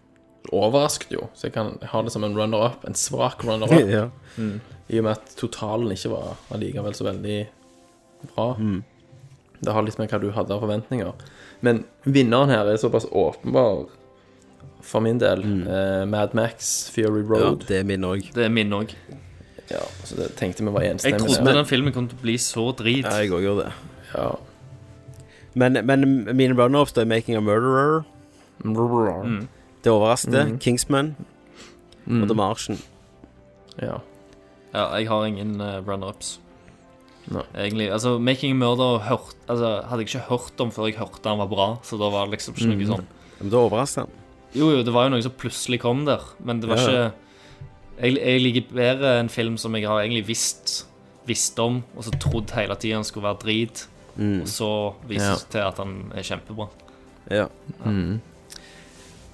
I: overrasket jo, så jeg kan ha det som en runner-up, en svak
J: [laughs]
I: runner-up.
A: Ja.
I: Mm. I og med at totalen ikke var allikevel så veldig bra. Det har litt med hva du hadde av forventninger. Men vinneren her er såpass åpenbar for min del. Eh, Mad Max, Fury Road.
A: det er min òg.
J: Det er min òg.
I: Ja, så det tenkte vi var enstemmig.
J: Jeg trodde den filmen kom til å bli så drit.
A: Ja, jeg òg gjorde det.
I: Ja.
A: Men, men mine runoffs det er Making a Murderer.
I: Mm.
A: Det overraskende.
J: Mm.
A: Kingsman.
J: Mm.
A: Og The Martian.
I: Ja.
J: Ja, jeg har ingen eh, runner-ups.
I: Nei.
J: Egentlig. Altså, Making a Murder hørt, altså, hadde jeg ikke hørt om før jeg hørte han var bra, så da var det liksom ikke noe
A: Mm.
J: sånn
A: Men det overrasker han.
J: Jo, jo, det var jo noe som plutselig kom der, men det var
A: Ja, ja.
J: ikke jeg, jeg liker bedre en film som jeg har egentlig visst Visst om, og så trodd hele tida han skulle være drit,
A: Mm.
J: og så viser
A: Ja.
J: det seg til at han er kjempebra.
A: Ja.
I: Mm.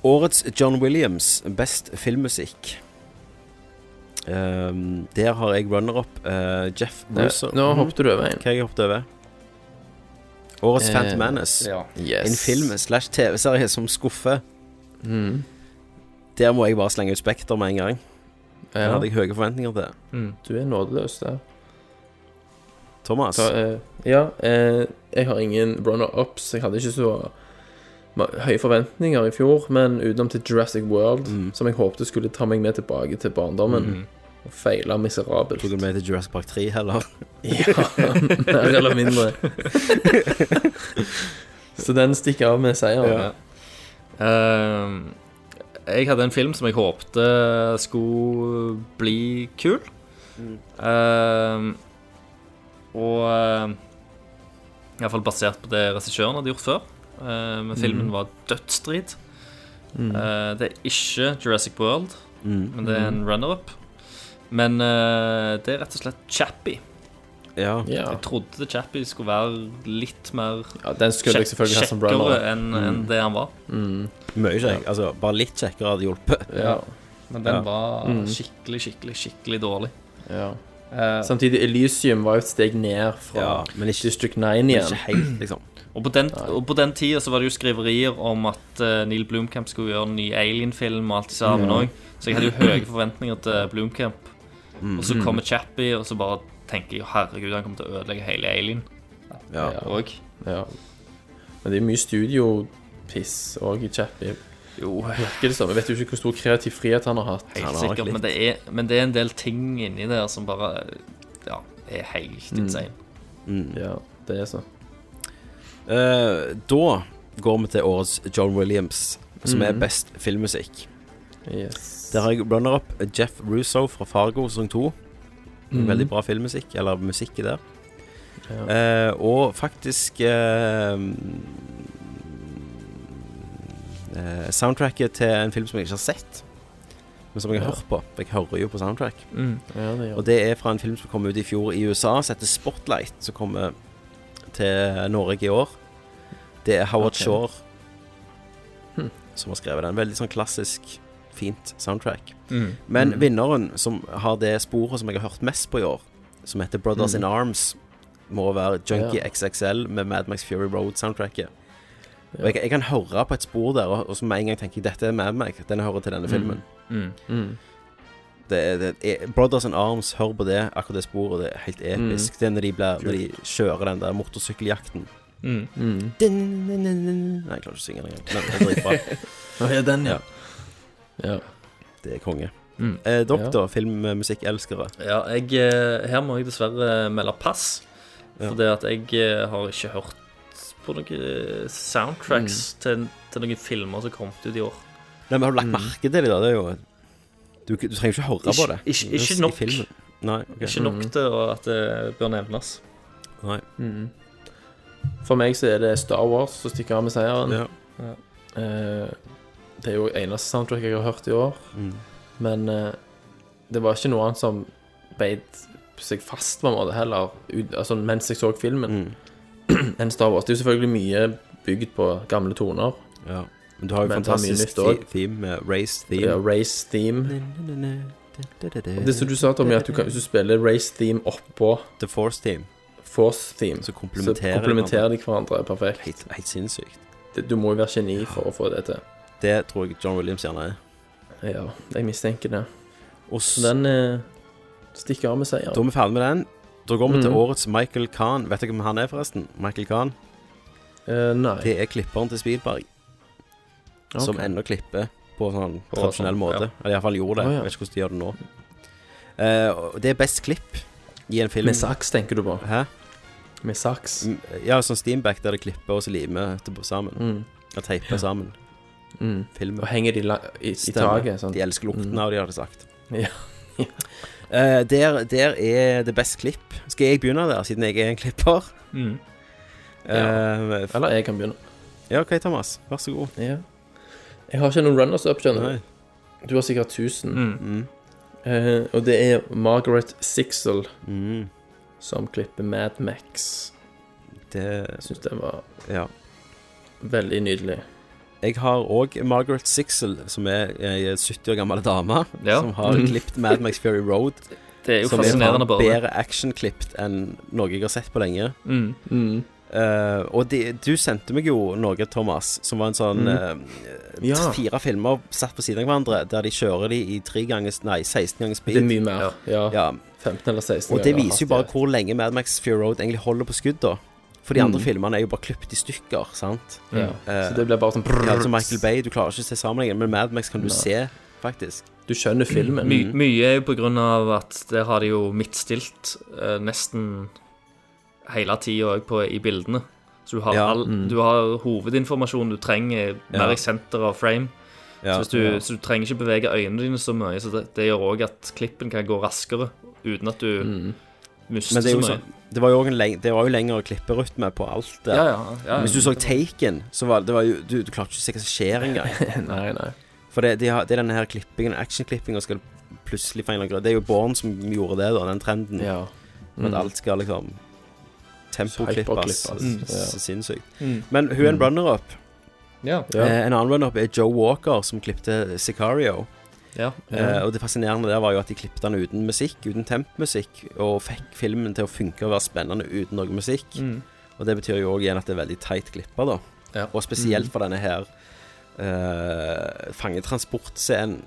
A: Årets John Williams, best filmmusikk. Ehm, der har jeg runner-up eh, Jeff
I: Nei,
A: Russo.
I: nå hoppet du over en.
A: Hva jeg hoppet over? Årets
I: Eh,
A: Phantom Menace.
I: ja. Yes.
A: En film slash TV-serie som skuffer.
I: Mm.
A: Der må jeg bare slenge ut Spekter med en gang. Det
I: Ja.
A: hadde jeg høye forventninger til.
I: Du er nådeløs der.
A: Thomas?
I: Ta, eh, ja, eh, jeg har ingen runner-ups. Jeg hadde ikke så ma- høye forventninger i fjor, men utenom til Jurassic World, som jeg håpte skulle ta meg med tilbake til barndommen,
A: Mm.
I: og feila miserabelt.
A: Tok du med til Jurassic Park 3, heller?
I: [laughs] Ja, mer eller mindre. så den stikker av med seier.
J: Ja. Ehm, jeg hadde en film som jeg håpte skulle bli kul.
I: Mm.
J: Ehm, og ehm, i hvert fall basert på det regissøren hadde gjort før. Eh, men filmen
I: Mhm.
J: var dødsdrit.
I: Mhm.
J: Eh, det er ikke Jurassic World,
I: Mm.
A: Mhm.
J: men det er en runner-up. Men eh, det er rett og slett Chappie.
A: Ja.
I: Ja.
J: Jeg trodde Chappie skulle være litt mer
I: Ja, den skulle jeg selvfølgelig ha som
J: kjekkere
I: runner-up.
J: enn
I: Mm.
J: enn det han var.
I: Mm.
A: Mye kjekk. Altså, bare litt kjekkere hadde hjulpet.
I: Ja.
J: Men den
A: Ja.
J: var
I: Mm.
J: skikkelig, skikkelig, skikkelig dårlig.
I: Ja.
J: Eh,
I: Samtidig, Elysium var jo et steg ned fra
A: Ja, men ikke-
I: District 9 igjen.
A: men ikke helt, liksom.
J: Og på, den, og på den tida så var det jo skriverier om at eh, Neil Blomkamp skulle gjøre en ny Alien-film og alt det sammen
I: Ja.
J: òg, så jeg hadde jo høye forventninger til Blomkamp.
I: Mm.
J: Og så kommer Chappie, og så bare tenker jeg herregud, han kommer til å ødelegge hele Alien.
I: Ja.
J: Og
I: Ja. Men det er mye studiopiss òg i Chappie.
J: Jo,
I: virker det som. Jeg vet jo ikke hvor stor kreativ frihet han har hatt.
J: helt sikkert, men det, er, men det er en del ting inni der som bare ja, er helt
I: Mm.
J: insane.
I: Ja, det er så.
A: Eh, da går vi til årets John Williams, som er
I: Mhm.
A: best filmmusikk.
I: Yes.
A: Der har jeg runner-up Jeff Russo fra Fargo sesong 2.
I: Mhm.
A: Veldig bra filmmusikk, eller musikk i der.
I: Ja.
A: Eh, og faktisk eh, eh, Soundtracket til en film som jeg ikke har sett, men som jeg har
I: Ja.
A: hørt på. Jeg hører jo på soundtrack.
J: Mm.
I: Ja, det gjør
A: Og det er fra en film som kom ut i fjor i USA, som heter Spotlight, som kommer til Norge i år. Det er Howard
I: Ok.
A: Shore
I: Hmm.
A: som har skrevet den. Veldig sånn klassisk, fint soundtrack.
I: Mm.
A: Men
I: Mm.
A: vinneren, som har det sporet som jeg har hørt mest på i år, som heter Brothers
I: Mm.
A: in Arms, må være Junkie
I: Ja.
A: XXL med Mad Max Fury Road-soundtracket. Og
I: Ja.
A: jeg, jeg kan høre på et spor der, og, og så med en gang tenker jeg dette er Mad Max, den hører til denne
I: Mm.
A: filmen.
J: Mm.
I: Mm.
A: Det er, det er, Brothers in Arms, hør på det, akkurat det sporet. Det er helt episk. Det er når de, blir, når de kjører den der motorsykkeljakten.
J: Mm.
I: Mm.
A: Din, din, din, din. Nei, jeg klarer ikke å synge den engang. Men det er dritbra.
I: Å, ja, den, ja. Ja.
A: Det er konge.
J: Mm.
A: Eh, dere, da? Filmmusikkelskere?
J: Ja, jeg, eh, her må jeg dessverre melde pass.
A: Ja.
J: Fordi at jeg eh, har ikke hørt på noen eh, soundtracks
A: Mm.
J: til, til noen filmer som kom ut i år.
A: Nei, men Har du lagt merke til det? da? Det er jo Du, du trenger ikke høre på
J: Ikke-
A: det.
J: ikke-
A: Det er
J: ikke
A: i
J: nok.
A: filmen. Nei, ok.
J: Ikke nok til å- at det bør nevnes.
A: Nei.
I: Mm. For meg så er det Star Wars som stikker av med seieren.
A: Ja.
J: Ja.
I: Eh, det er jo eneste soundtrack jeg har hørt i år.
A: Mm.
I: Men eh, det var ikke noe annet som beit seg fast på en måte heller, ut, altså, mens jeg så
A: Mm.
I: filmen, enn Star Wars. Det er jo selvfølgelig mye bygd på gamle toner.
A: Ja. Men du har jo
I: Men det er mye
A: fantastisk
I: nytt også.
A: thi- theme med race theme.
I: Ja, race theme. Mm. Og det som du sa, Tommy, at du kan, hvis du spiller race theme oppå
A: The Force Theme,
I: force theme,
A: så komplementerer
I: så komplementerer de hverandre perfekt.
A: Helt, helt sinnssykt.
I: Det- Du må jo være geni for å få det til.
A: Det tror jeg John Williams gjerne er.
I: Ja, jeg mistenker det. så den eh, stikker av med seier.
A: Da er vi ferdig med den. Da går vi til
I: Mhm.
A: årets Michael Kahn. Vet dere hvem han er, forresten? Michael Kahn?
I: Eh, nei.
A: Det er klipperen til Spielberg. Som
I: Ok.
A: ennå klipper på sånn
I: På
A: tradisjonell
I: sånn,
A: måte.
I: ja.
A: Eller iallfall gjorde det.
I: Å, ja.
A: Jeg vet ikke hvordan de gjør det nå. Eh, og det er best klipp i en film.
I: Med saks, tenker du på?
A: Hæ?
I: Med saks?
A: Ja, sånn steamback der det klipper og så limer etterpå sammen.
I: Mm.
A: Og teiper sammen.
I: Mm.
A: Filmen.
I: Og henger de la i, i
A: Stemmer.
I: taket? Sånn.
A: De elsker lukten av det, har de sagt.
I: Ja.
A: [laughs] Eh, der, der er det best klipp. Skal jeg begynne der, siden jeg er en klipper?
I: Mm.
A: Eh,
I: Eller jeg kan begynne.
A: Ja, OK, Thomas. Vær så god.
I: Ja. Jeg har ikke noen runners up, skjønner
A: Nei.
I: du. Du har sikkert 1000.
A: Mm. Mm.
I: Eh, og det er Margaret Sixel
A: Mm.
I: som klipper Mad Max.
A: Det
I: syns jeg var
A: Ja.
I: veldig nydelig.
A: Jeg har òg Margaret Sixel, som er ei 70 år gammel dame,
J: Ja.
A: som har
J: Mhm.
A: klippet Mad Max Fury Road.
J: Det er jo
A: som
J: fascinerende
A: faen
J: bare.
A: bedre actionklippet enn noe jeg har sett på lenge.
J: Mm.
I: Mm.
A: Eh, og de, du sendte meg jo noe, Thomas, som var en sånn
I: Mhm.
A: eh,
I: Ja.
A: Fire filmer satt på siden av hverandre, der de kjører de i tre ganger, nei, 16 ganger speed.
I: Det er mye mer. Ja. 15 eller 16.
A: Og det
I: ganger
A: viser jo bare hvor lenge Mad Max Fury Road egentlig holder på skudd, da. For de andre
I: Mm.
A: filmene er jo bare klippet i stykker, sant?
I: Ja.
A: Eh,
I: Så det blir bare sånn brrr.
A: ja, altså Michael Bay, du klarer ikke å se sammenhengen, men Mad Max kan du
I: Nei.
A: se, faktisk.
I: [laughs] Du skjønner filmen.
A: Mm.
J: My, mye er jo på grunn av at der har de jo midtstilt eh, nesten hele tida òg på- i bildene. Så du har,
A: Ja,
J: all,
A: mm.
J: du har hovedinformasjonen du trenger
A: Ja.
J: mer i senter av frame.
A: Ja,
J: så, hvis du,
A: ja.
J: så du trenger ikke bevege øynene dine så mye. Så det, det gjør òg at klippen kan gå raskere uten at du mister
A: Men det, er jo
J: så mye.
A: sånn, det var jo òg en leng- det var jo lengre klipperytme på alt det.
J: Ja, ja, ja, ja.
A: Hvis du så Taken, så var det var jo Du, du klarte ikke å se hva som skjer engang.
I: [laughs] nei, nei.
A: For det, de har, det er denne her klippingen, actionklippinga, skal plutselig feile grad. Det er jo Born som gjorde det, da, den trenden.
I: Ja.
A: Med
I: Mm.
A: at alt skal liksom tempoklippes.
I: Hyperklippes,
A: Så-
I: altså. ja.
A: Så sinnssykt.
I: Mm.
A: Men hun er en
I: Mm.
A: runner-up.
J: Ja.
I: Ja.
A: Eh, en annen runner-up er Joe Walker, som klippte Sicario.
J: Ja.
A: Eh, og det fascinerende der var jo at de klippet den uten musikk, uten tempmusikk, og fikk filmen til å funke og være spennende uten noe musikk.
J: Mm.
A: Og det betyr jo òg igjen at det er veldig tight klipper, da.
J: Ja. Mm.
A: Og spesielt for denne her eh, fangetransportscenen,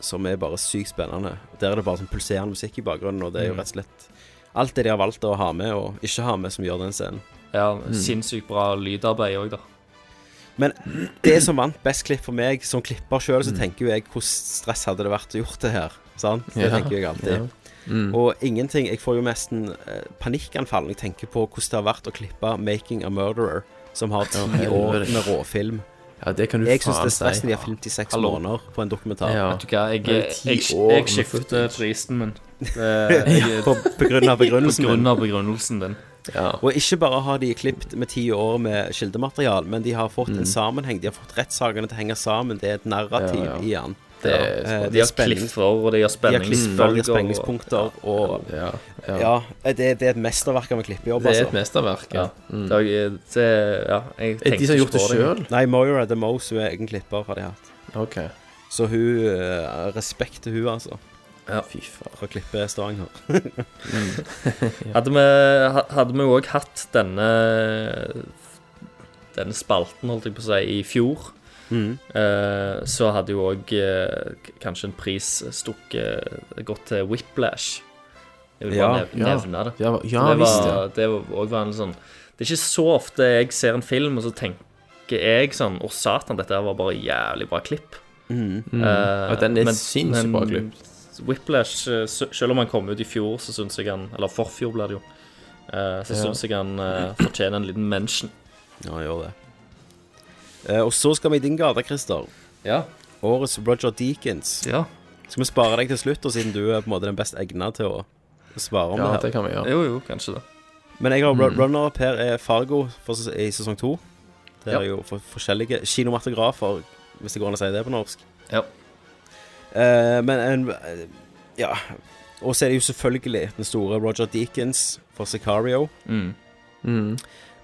A: som er bare sykt spennende. Der er det bare sånn pulserende musikk i bakgrunnen, og det er jo
J: Mm.
A: rett og slett alt det de har valgt å ha med og ikke ha med, som gjør den scenen.
J: Ja,
A: Mm.
J: Sinnssykt bra lydarbeid òg, da.
A: Men det som vant best klipp for meg som klipper sjøl, så
J: Mm.
A: tenker jo jeg hvordan stress hadde det vært å gjort det her. Sant? Det
I: Ja.
A: tenker jeg alltid.
I: Ja. Mm.
A: Og ingenting Jeg får jo nesten eh, panikkanfall når jeg tenker på hvordan det har vært å klippe 'Making a Murderer', som har ti år med råfilm.
I: Ja, det kan du
A: jeg syns
I: faen
A: det er stress
I: si.
A: når de har filmet i seks
I: Hallo.
A: måneder på en dokumentar. [laughs]
I: Ja.
J: Vet du hva, jeg,
I: Det er
J: jeg,
I: ti
J: jeg,
I: år
J: jeg
I: med
J: skifter prisen min.
A: På- på grunn av begrunnelsen
J: På grunn
A: min.
J: av begrunnelsen din.
A: Og ikke bare har de klippet med ti år med kildematerial, men de har fått en sammenheng. De har fått rettssakene til å henge sammen. Det er et narrativ
J: Ja, ja.
A: i den.
J: Det er-
A: Eh,
J: de har
A: det er spenning-
J: klippet for, og de har
A: klipper, de har
J: spenningsfølger, og-
A: spenningspunkter, og
I: Ja,
A: ja, eh,
I: ja.
A: det, det er et mesterverk av en klippejobb, altså.
I: Det er et mesterverk, ja. Mm.
J: Det, er- det, ja jeg
I: Er det de som har gjort det
J: engang.
I: selv?
A: Nei, Moira the Mose, hun er egen klipper, har de hatt.
I: Ok.
A: Så hun eh, Respekt til hun, altså.
J: Ja.
I: Fy faen.
A: For å klippe Stavanger.
J: Hadde vi ha- hadde vi òg hatt denne Denne spalten, holdt jeg på å si, i fjor,
I: Mm.
A: Mhm.
J: eh, så hadde jo òg eh, k- kanskje en pris stukket eh, gått til Whiplash. Jeg vil bare nev
I: ja.
J: nevne det.
I: Ja, ja,
J: Så det
I: visst, ja.
J: var, det var også var en sånn Det er ikke så ofte jeg ser en film, og så tenker jeg sånn Å, satan, dette her var bare jævlig bra klipp.
I: Mm.
J: Eh,
I: Mm. Og den er sinnssykt bra klipp.
J: Whiplash, eh, s- selv om han kom ut i fjor, så syns jeg han Eller forfjor blir det jo. eh, så
A: Ja.
J: synes syns jeg han eh, fortjener en liten mention.
A: Ja, han gjør det. Eh, og så skal vi i din gate, Christer.
J: Ja.
A: Årets Roger Deakins.
J: Ja.
A: Skal vi spare deg til slutt, og siden du er på en måte den best egna til å svare om
I: Ja,
A: det her?
I: det kan vi gjøre.
J: Jo, jo, kanskje det.
A: Men jeg har
J: Mm.
A: runner-up her er Fargo for, ses- i sesong to. Det
J: Ja.
A: er jo for, forskjellige kinomatografer, hvis det går an å si det på norsk.
J: Ja.
A: Eh, men en Ja. Og så er det jo selvfølgelig den store Roger Deakins for Sicario.
J: Mm.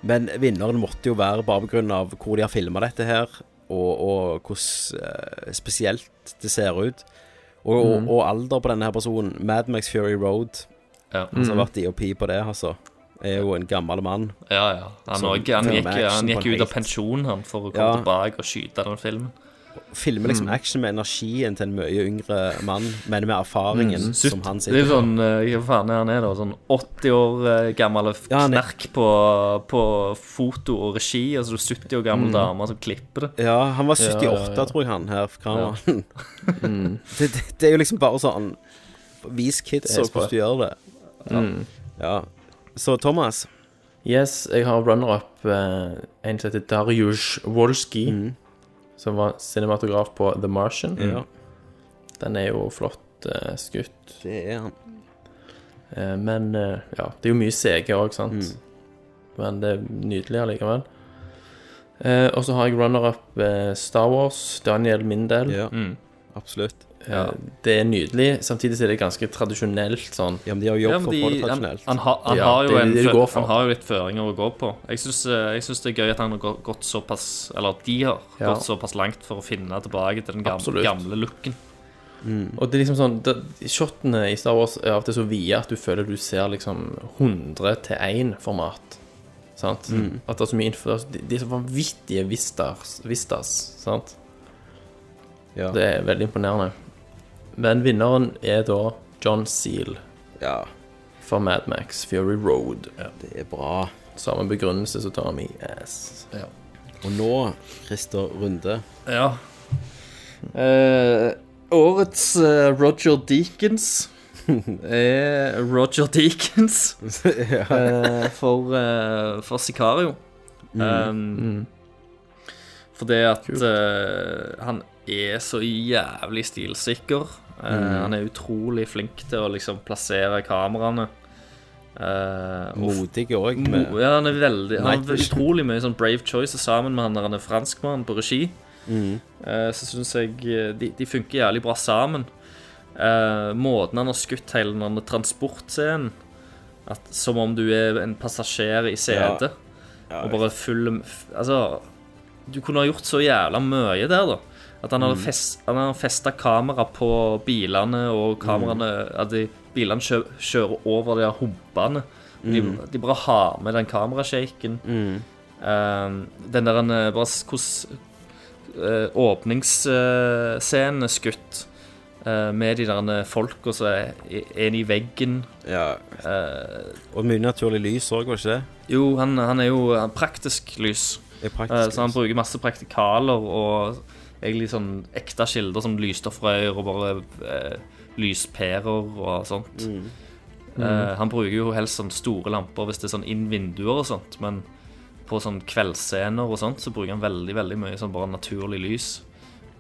A: Men vinneren måtte jo være bare pga. hvor de har filma dette her, og, og hvordan eh, spesielt det ser ut. Og, og,
I: Mm.
A: og alder på denne her personen. Mad Max Fury Road,
J: Ja.
A: han som har
I: Mm.
A: vært DOP på det, altså, er jo en gammel mann.
J: Ja, ja. Han,
A: Som
J: og, han
A: filmer
J: gikk,
A: action
J: han
A: på
J: gikk
A: en
J: ut av
A: helt-
J: pensjon han for å komme
A: Ja.
J: tilbake og skyte den filmen.
A: filmer liksom
J: Mm.
A: action med energien til en mye yngre mann, men med erfaringen
J: Mm.
A: som han
J: Det er
A: sitter
J: sånn, eh, hva faen er han er da, sånn 80 år eh, gammel f- knerk på, på foto og regi, altså du er 70 år gammel
A: Mm.
J: dame som klipper det.
A: Ja, han var 78,
J: ja.
A: tror jeg, han her fra kameraet. [laughs]
J: Ja. Mm.
A: det, det, det er jo liksom bare sånn Vis kids
I: Det er
A: og hvordan
I: sprøtt.
A: du gjør det. Ja.
I: Mm.
A: ja. Så Thomas
I: Yes, jeg har runner-up eh, en som heter Darius Wolski, som var cinematograf på The Martian.
A: Mm. Ja.
I: Den er jo flott eh, skutt.
A: Det er han.
I: Eh, men eh, ja, det er jo mye CG òg,
A: Mm.
I: sant? Men det er nydelig allikevel. Eh, og så har jeg runner-up eh, Star Wars, Daniel
J: Mm.
I: Mindel. Eh,
A: Ja, absolutt.
J: Ja.
I: Det er nydelig, samtidig så er det ganske tradisjonelt sånn.
A: Ja, men de har
J: Ja, men de, han, han, har- han,
I: Ja,
J: har jo
I: det er
J: en,
I: det de
J: fø-
I: går for.
J: han har jo litt føringer å gå på. Jeg syns, jeg synes det er gøy at han har gå- gått såpass Eller at de har
I: Ja.
J: gått såpass langt for å finne tilbake til den gamle,
I: Absolutt.
J: gamle looken.
I: Og det er liksom sånn da, Shotene i Star Wars er av og til så vide at du føler du ser liksom 100 til 1-format. Sant?
J: Mm.
I: At det er så mye info altså, De, de er så vanvittige vistas, vistas sant?
A: Ja.
I: Det er veldig imponerende. Men vinneren er da John Seal.
A: Ja.
I: For Mad Max Fury Road.
A: Det er bra.
I: Samme begrunnelse som tar meg i ass.
A: Og nå, Christer
J: [laughs]
A: Runde.
J: Ja. Eh, årets eh, Roger [laughs] Deakins er Eh, Roger Deakins eh, for, eh, for Sicario.
I: Mm.
J: Um,
I: Mm.
J: Fordi at eh, han er så jævlig stilsikker. Eh,
I: Mm.
J: Han er utrolig flink til å liksom plassere kameraene. Uh,
A: [laughs] Modig òg.
J: Ja, han er veldig Han
A: Night
J: har
A: vision.
J: utrolig mye sånn brave choices sammen med han der han er franskmannen på regi.
I: Mm.
A: Mhm.
J: Eh, så syns jeg eh, de, de funker jævlig bra sammen. Eh, måten han har skutt hele den der transportscenen at, Som om du er en passasjer i setet.
A: Ja,
J: og bare full f- Altså Du kunne ha gjort så jævla mye der, da. At han hadde
I: Mhm.
J: fest, han hadde festa kamera på bilene, og kameraene
I: Mhm.
J: At de, bilene kjø, kjører over de her humpene. Og De,
I: Mhm.
J: de bare har med den kamerashaken. Um, den der han, eh, bare s- hvordan eh, åpningsscenen er skutt eh, med de der eh, folka som er en i veggen. Eh,
A: og mye naturlig lys òg, var ikke det?
J: Jo, han, han er jo han- praktisk lys.
A: praktisk
J: Eh, så han bruker masse praktikaler og egentlig sånn ekte kilder som lysstoffrør og bare eh, lyspærer og sånt.
A: Mm.
J: Eh,
I: Mm.
J: han bruker jo helst sånn store lamper hvis det er sånn inn vinduer og sånt, men på sånn kveldsscener og sånt så bruker han veldig, veldig mye sånn bare naturlig lys.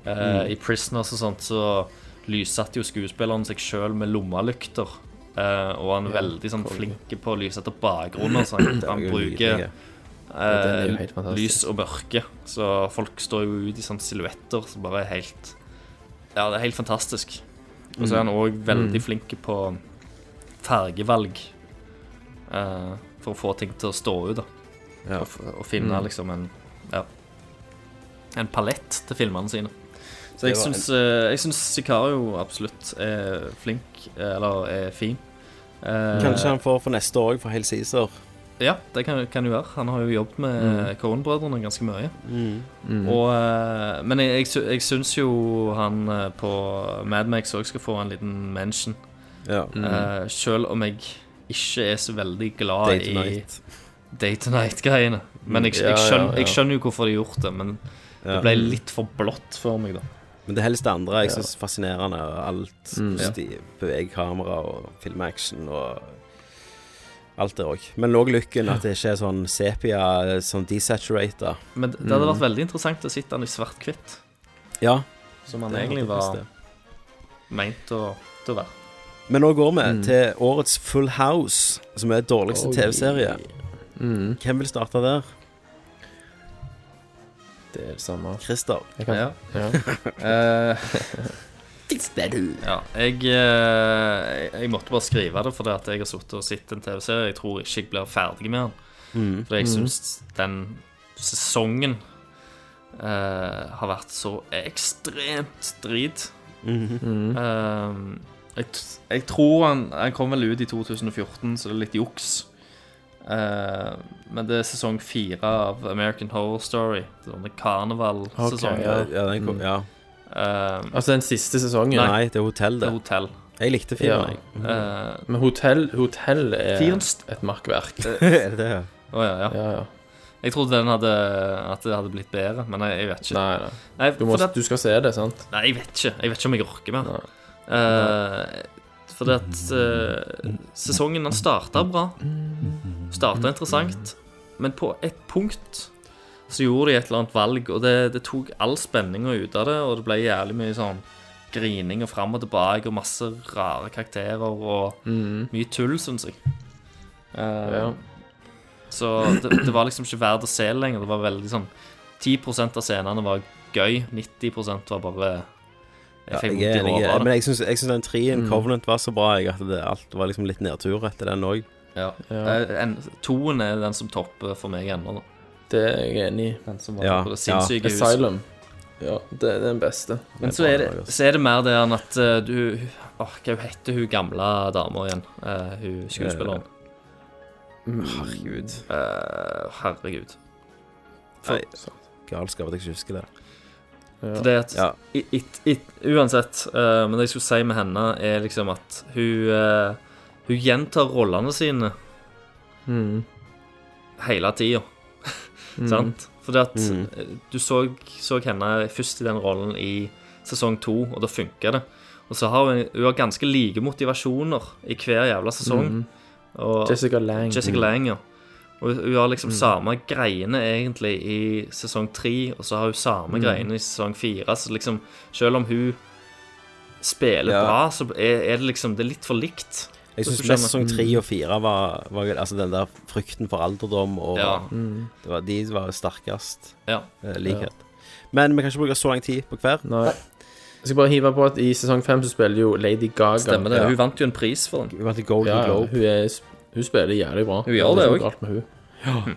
J: Eh,
I: Mm.
J: I Prisoners og sånt så lyssatte jo skuespilleren seg sjøl med lommelykter. eh, og han er
I: Ja,
J: veldig sånn
I: konge.
J: flink på å lyse etter bakgrunner. Så han,
I: Det er
J: han
I: jo
J: bruker
I: nydelig. Ja, den er jo helt
J: eh,
I: fantastisk.
J: lys og mørke. Så folk står jo ut i sånne silhuetter som bare er helt Ja, det er helt fantastisk. Og så er han
I: Mm.
J: òg veldig
I: Mm.
J: flink på fargevalg. eh, for å få ting til å stå ut, da. Og, f- og finne
I: Mm.
J: liksom en Ja. En palett til filmene sine. Så
I: Det
J: jeg
I: var en-
J: syns, eh, jeg syns Sicario absolutt er flink, eh, eller er fin. Eh,
A: Kanskje han får for neste år òg, for Hail Caesar.
J: ja, det kan, kan jo være. Han har jo jobbet med eh,
A: Mm.
J: Coen-brødrene ganske mye.
A: Mm.
I: Mm.
J: Og, eh, men jeg, jeg, sy- jeg syns jo han eh, på Madmax òg skal få en liten mention.
A: Ja.
J: Eh, selv om jeg ikke er så veldig glad
A: Day to night.
J: i Day to Night-greiene. Men jeg,
A: Ja,
J: jeg, skjønner,
A: ja, ja.
J: jeg skjønner jo hvorfor de har gjort det, men det
A: Ja.
J: ble litt for blått for meg, da.
A: Men det helst det andre jeg
J: Ja.
A: syns er fascinerende. og Alt
J: Mm.
A: hvordan de beveger kamera og filmaction og alt det òg. Men låg lykken at det ikke er sånn sepia, sånn desaturata.
J: Men det
A: Mm.
J: hadde vært veldig interessant å sitte han i svart-hvitt,
A: Ja.
J: som han
A: Det er
J: egentlig
A: det
J: var
A: beste.
J: meint å, til å være.
A: Men nå går vi til årets Full House, som er dårligste
I: Oi.
A: TV-serie.
I: Mm.
A: Hvem vil starte der?
I: Det er det samme.
A: Christer.
I: Jeg kan-
J: Ja.
A: Eh,
I: Ja.
J: Ja, jeg, eh, jeg måtte bare skrive det fordi at jeg har sittet og sett en TV-serie. Jeg tror ikke jeg blir ferdig med den.
A: Mhm.
J: Fordi jeg
A: Mhm.
J: syns den sesongen eh, har vært så ekstremt drit.
A: Mhm.
I: Mhm.
J: Eh, jeg, t- jeg tror han, han kom vel ut i 2014, så det er litt juks. Eh, men det er sesong fire av American Horror Story. Sånne karnevalsesongen.
A: ja, ja, den kom- ja.
J: Eh,
I: Altså den siste sesongen?
J: Nei.
A: Nei, det er hotell, det.
J: Det er Eh, hotell.
A: Jeg likte fireren, jeg. Mm.
I: Ja. Men hotell, hotell er
J: Fireren st-
I: et makkverk.
A: [laughs] Er det det? ja?
J: Å ja, ja. Jeg trodde den hadde, at det hadde blitt bedre, men jeg, jeg vet ikke.
I: Nei, nei. Du, må,
J: for det-
I: du skal se det, sant?
J: Nei, jeg vet ikke. Jeg vet ikke om jeg orker mer. Eh, fordi at eh, sesongen den starta bra. Starta interessant. Men på et punkt så gjorde de et eller annet valg, og det, det tok all spenninga ut av det. Og det ble jævlig mye sånn grining og fram og tilbake og masse rare karakterer og
I: Mhm.
J: mye tull, syns jeg. Eh,
I: Ja.
J: Så det, det var liksom ikke verdt å se lenger. Det var veldig sånn 10 av scenene var gøy, 90 var bare
A: Ja,
J: Jeg fikk
A: jeg er
J: vondt i
A: enig.
J: hodet. av
A: Men
J: det.
A: jeg syns, jeg syns den trien,
J: Mm.
A: Covenant, var så bra jeg, at det, alt var liksom litt nedtur etter den òg.
J: Ja. Eh, En, toen er den som topper for meg ennå, da.
I: Det er jeg enig i.
J: Den som var på det sinnssyke huset.
I: Asylum. Ja, det er den beste.
J: Men så er, det, så er det mer det enn at eh, du Åh, hva heter hun gamle dama igjen? Eh, hun skuespilleren. Mm.
A: Herregud.
J: Eh, herregud.
A: Nei, galskap at jeg ikke husker det.
J: For det at i, it, it, Uansett, eh, men det jeg skulle si med henne, er liksom at hun eh, Hun gjentar rollene sine
I: Mm.
J: hele [laughs] tida.
I: Mm.
J: Sant? Fordi at
I: Mm.
J: eh, du så, så henne først i den rollen i sesong to, og da funka det. Og så har hun, hun har ganske like motivasjoner i hver jævla sesong.
I: Mm.
J: Og,
I: Jessica Lange.
J: Jessica
I: Mm.
J: Lange, ja. Og hun har liksom
I: Mm.
J: samme greiene egentlig i sesong tre, og så har hun samme
I: Mm.
J: greiene i sesong fire. Så liksom, selv om hun spiller
A: Ja.
J: bra, så er, er det liksom det er litt for likt.
A: Jeg
J: Hvis
A: syns
J: du
A: mest
J: skjønner. Mm.
A: sesong tre og fire var, var Altså den der frykten for alderdom og
J: Ja.
I: Mm.
A: det var, De var jo sterkest
J: Ja.
A: eh, likhet. Men vi kan ikke bruke så lang tid på hver.
I: Nei. Jeg skal bare hive på at i sesong fem så spiller jo Lady Gaga.
J: Stemmer det.
I: Ja.
J: Hun vant jo en pris for den.
A: Hun vant i Golden
I: Ja, ja,
A: Globe.
I: Hun, er, hun spiller jævlig bra.
J: Hun gjør det
I: er
J: også.
I: noe galt med hun. Hm.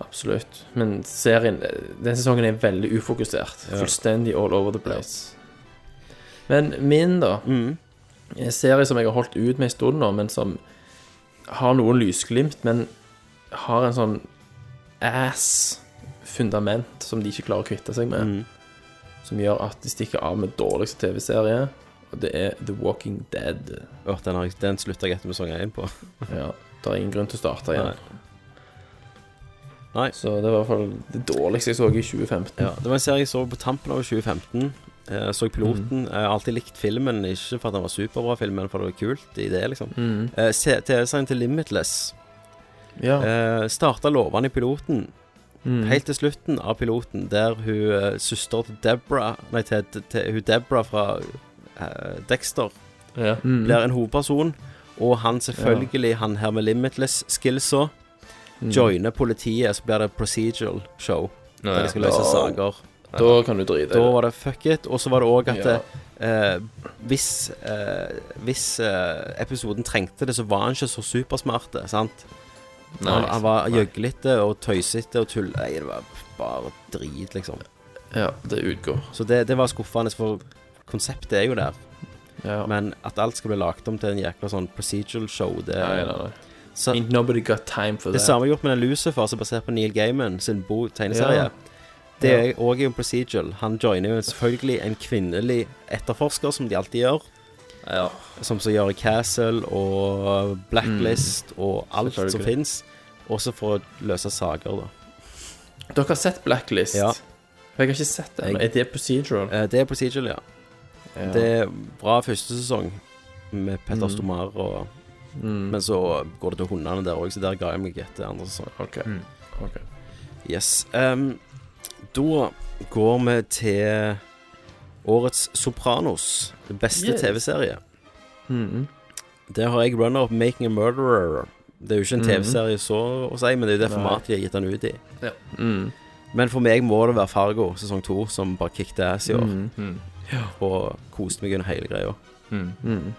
I: Absolutt. Men serien Den sesongen er veldig ufokusert.
A: Ja.
I: Fullstendig all over the place. Mm. Men min, da En serie som jeg har holdt ut med en stund nå, men som har noen lysglimt, men har en sånn ass-fundament som de ikke klarer å kvitte seg med.
A: Mm.
I: Som gjør at de stikker av med dårligste TV-serie, og det er The Walking Dead.
A: Åh, den, har jeg- den slutta jeg etter med sesong én på.
I: Ja, det er ingen grunn til å starte igjen. Nei.
A: Nei.
I: Så det var i hvert fall det dårligste jeg så i 2015.
A: Ja, det var en serie jeg så på tampen av 2015. Jeg så piloten.
I: Mhm.
A: Jeg har alltid likt filmen, ikke for at den var superbra, film, men for det var kult i det, liksom.
I: Mhm.
A: Eh, se- TV-serien til Limitless
I: Ja.
A: eh, starta lovende i piloten.
I: Mhm.
A: Eh, Helt til slutten av piloten, der hun eh, søster til Deborah Nei, til, til, til hun Deborah fra eh, Dexter
J: Ja.
I: Mhm.
A: blir en hovedperson, og han selvfølgelig, han her med Limitless-skillsa,
I: Mhm.
A: joiner politiet, så blir det procedural show.
I: Nå,
A: Der
I: ja.
A: de skal løse
I: Da-
A: saker.
I: da kan du drite i
A: Da
I: det.
A: var det fuck it. Og så var det òg at
I: Ja.
A: eh, hvis, eh, hvis eh, episoden trengte det, så var han ikke så supersmart, sant?
I: Nei,
A: han, han var
I: nei.
A: gjøglete og tøysete og tull... Nei, det var bare drit, liksom.
I: Ja, det utgår.
A: Så det, det var skuffende, for konseptet er jo der.
I: Ja.
A: Men at alt skal bli lagt om til en jækla sånn procedural show, det
I: Nei, nei, nei.
A: eh, Så-
I: Ain't nobody got time for
A: det
I: that.
A: samme er gjort med den Lucifer, som er basert på Neil Gaiman sin bo tegneserie.
I: Ja.
A: Det
I: Ja.
A: er òg en procedural. Han joiner jo selvfølgelig en kvinnelig etterforsker, som de alltid gjør. Som så gjør i Castle og Blacklist og alt som
I: Mm. Selvfølgelig.
A: fins. Også for å løse saker, da.
I: Dere har sett Blacklist?
A: Ja.
I: For jeg har ikke sett det. men
A: Jeg-
I: Er det procedural?
A: Eh, Det er procedural, ja.
I: Ja.
A: Det er bra første sesong med Petter
I: Mm.
A: Stomar og
I: Mm.
A: Men så går det til hundene der òg, så der ga jeg meg etter andre sesong.
I: Ok.
J: Mhm.
I: Ok.
A: Yes. ehm, da går vi til årets Sopranos. Den beste
I: Yes.
A: TV-serie.
I: Mhm.
A: Der har jeg runner up 'Making a Murderer'. Det er jo ikke en
I: Mhm.
A: TV-serie så å si, men det er jo det
I: Nei.
A: formatet de har gitt den ut i.
J: Ja.
I: Mm.
A: Men for meg må det være Fargo sesong to, som bare kicked ass i år.
I: Mhm.
J: Mhm.
A: Og koste meg under hele greia.
J: Mhm.
I: Mhm.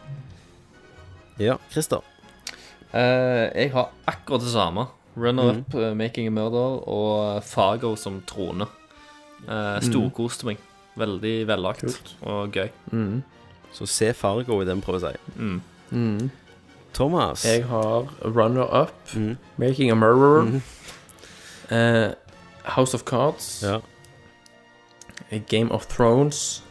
A: Ja, Christer.
J: Eh, jeg har akkurat det samme. Runner-up, eh, Making a Murder og Fago som trone. Uh, Storkoste meg. Veldig vellagt og gøy.
A: Så se Fargo i den, prøver jeg å si.
J: Mm.
I: Mhm.
A: Thomas.
I: Jeg har Runner Up, Making a Murderer, eh, House of Cards, eh, Game of Thrones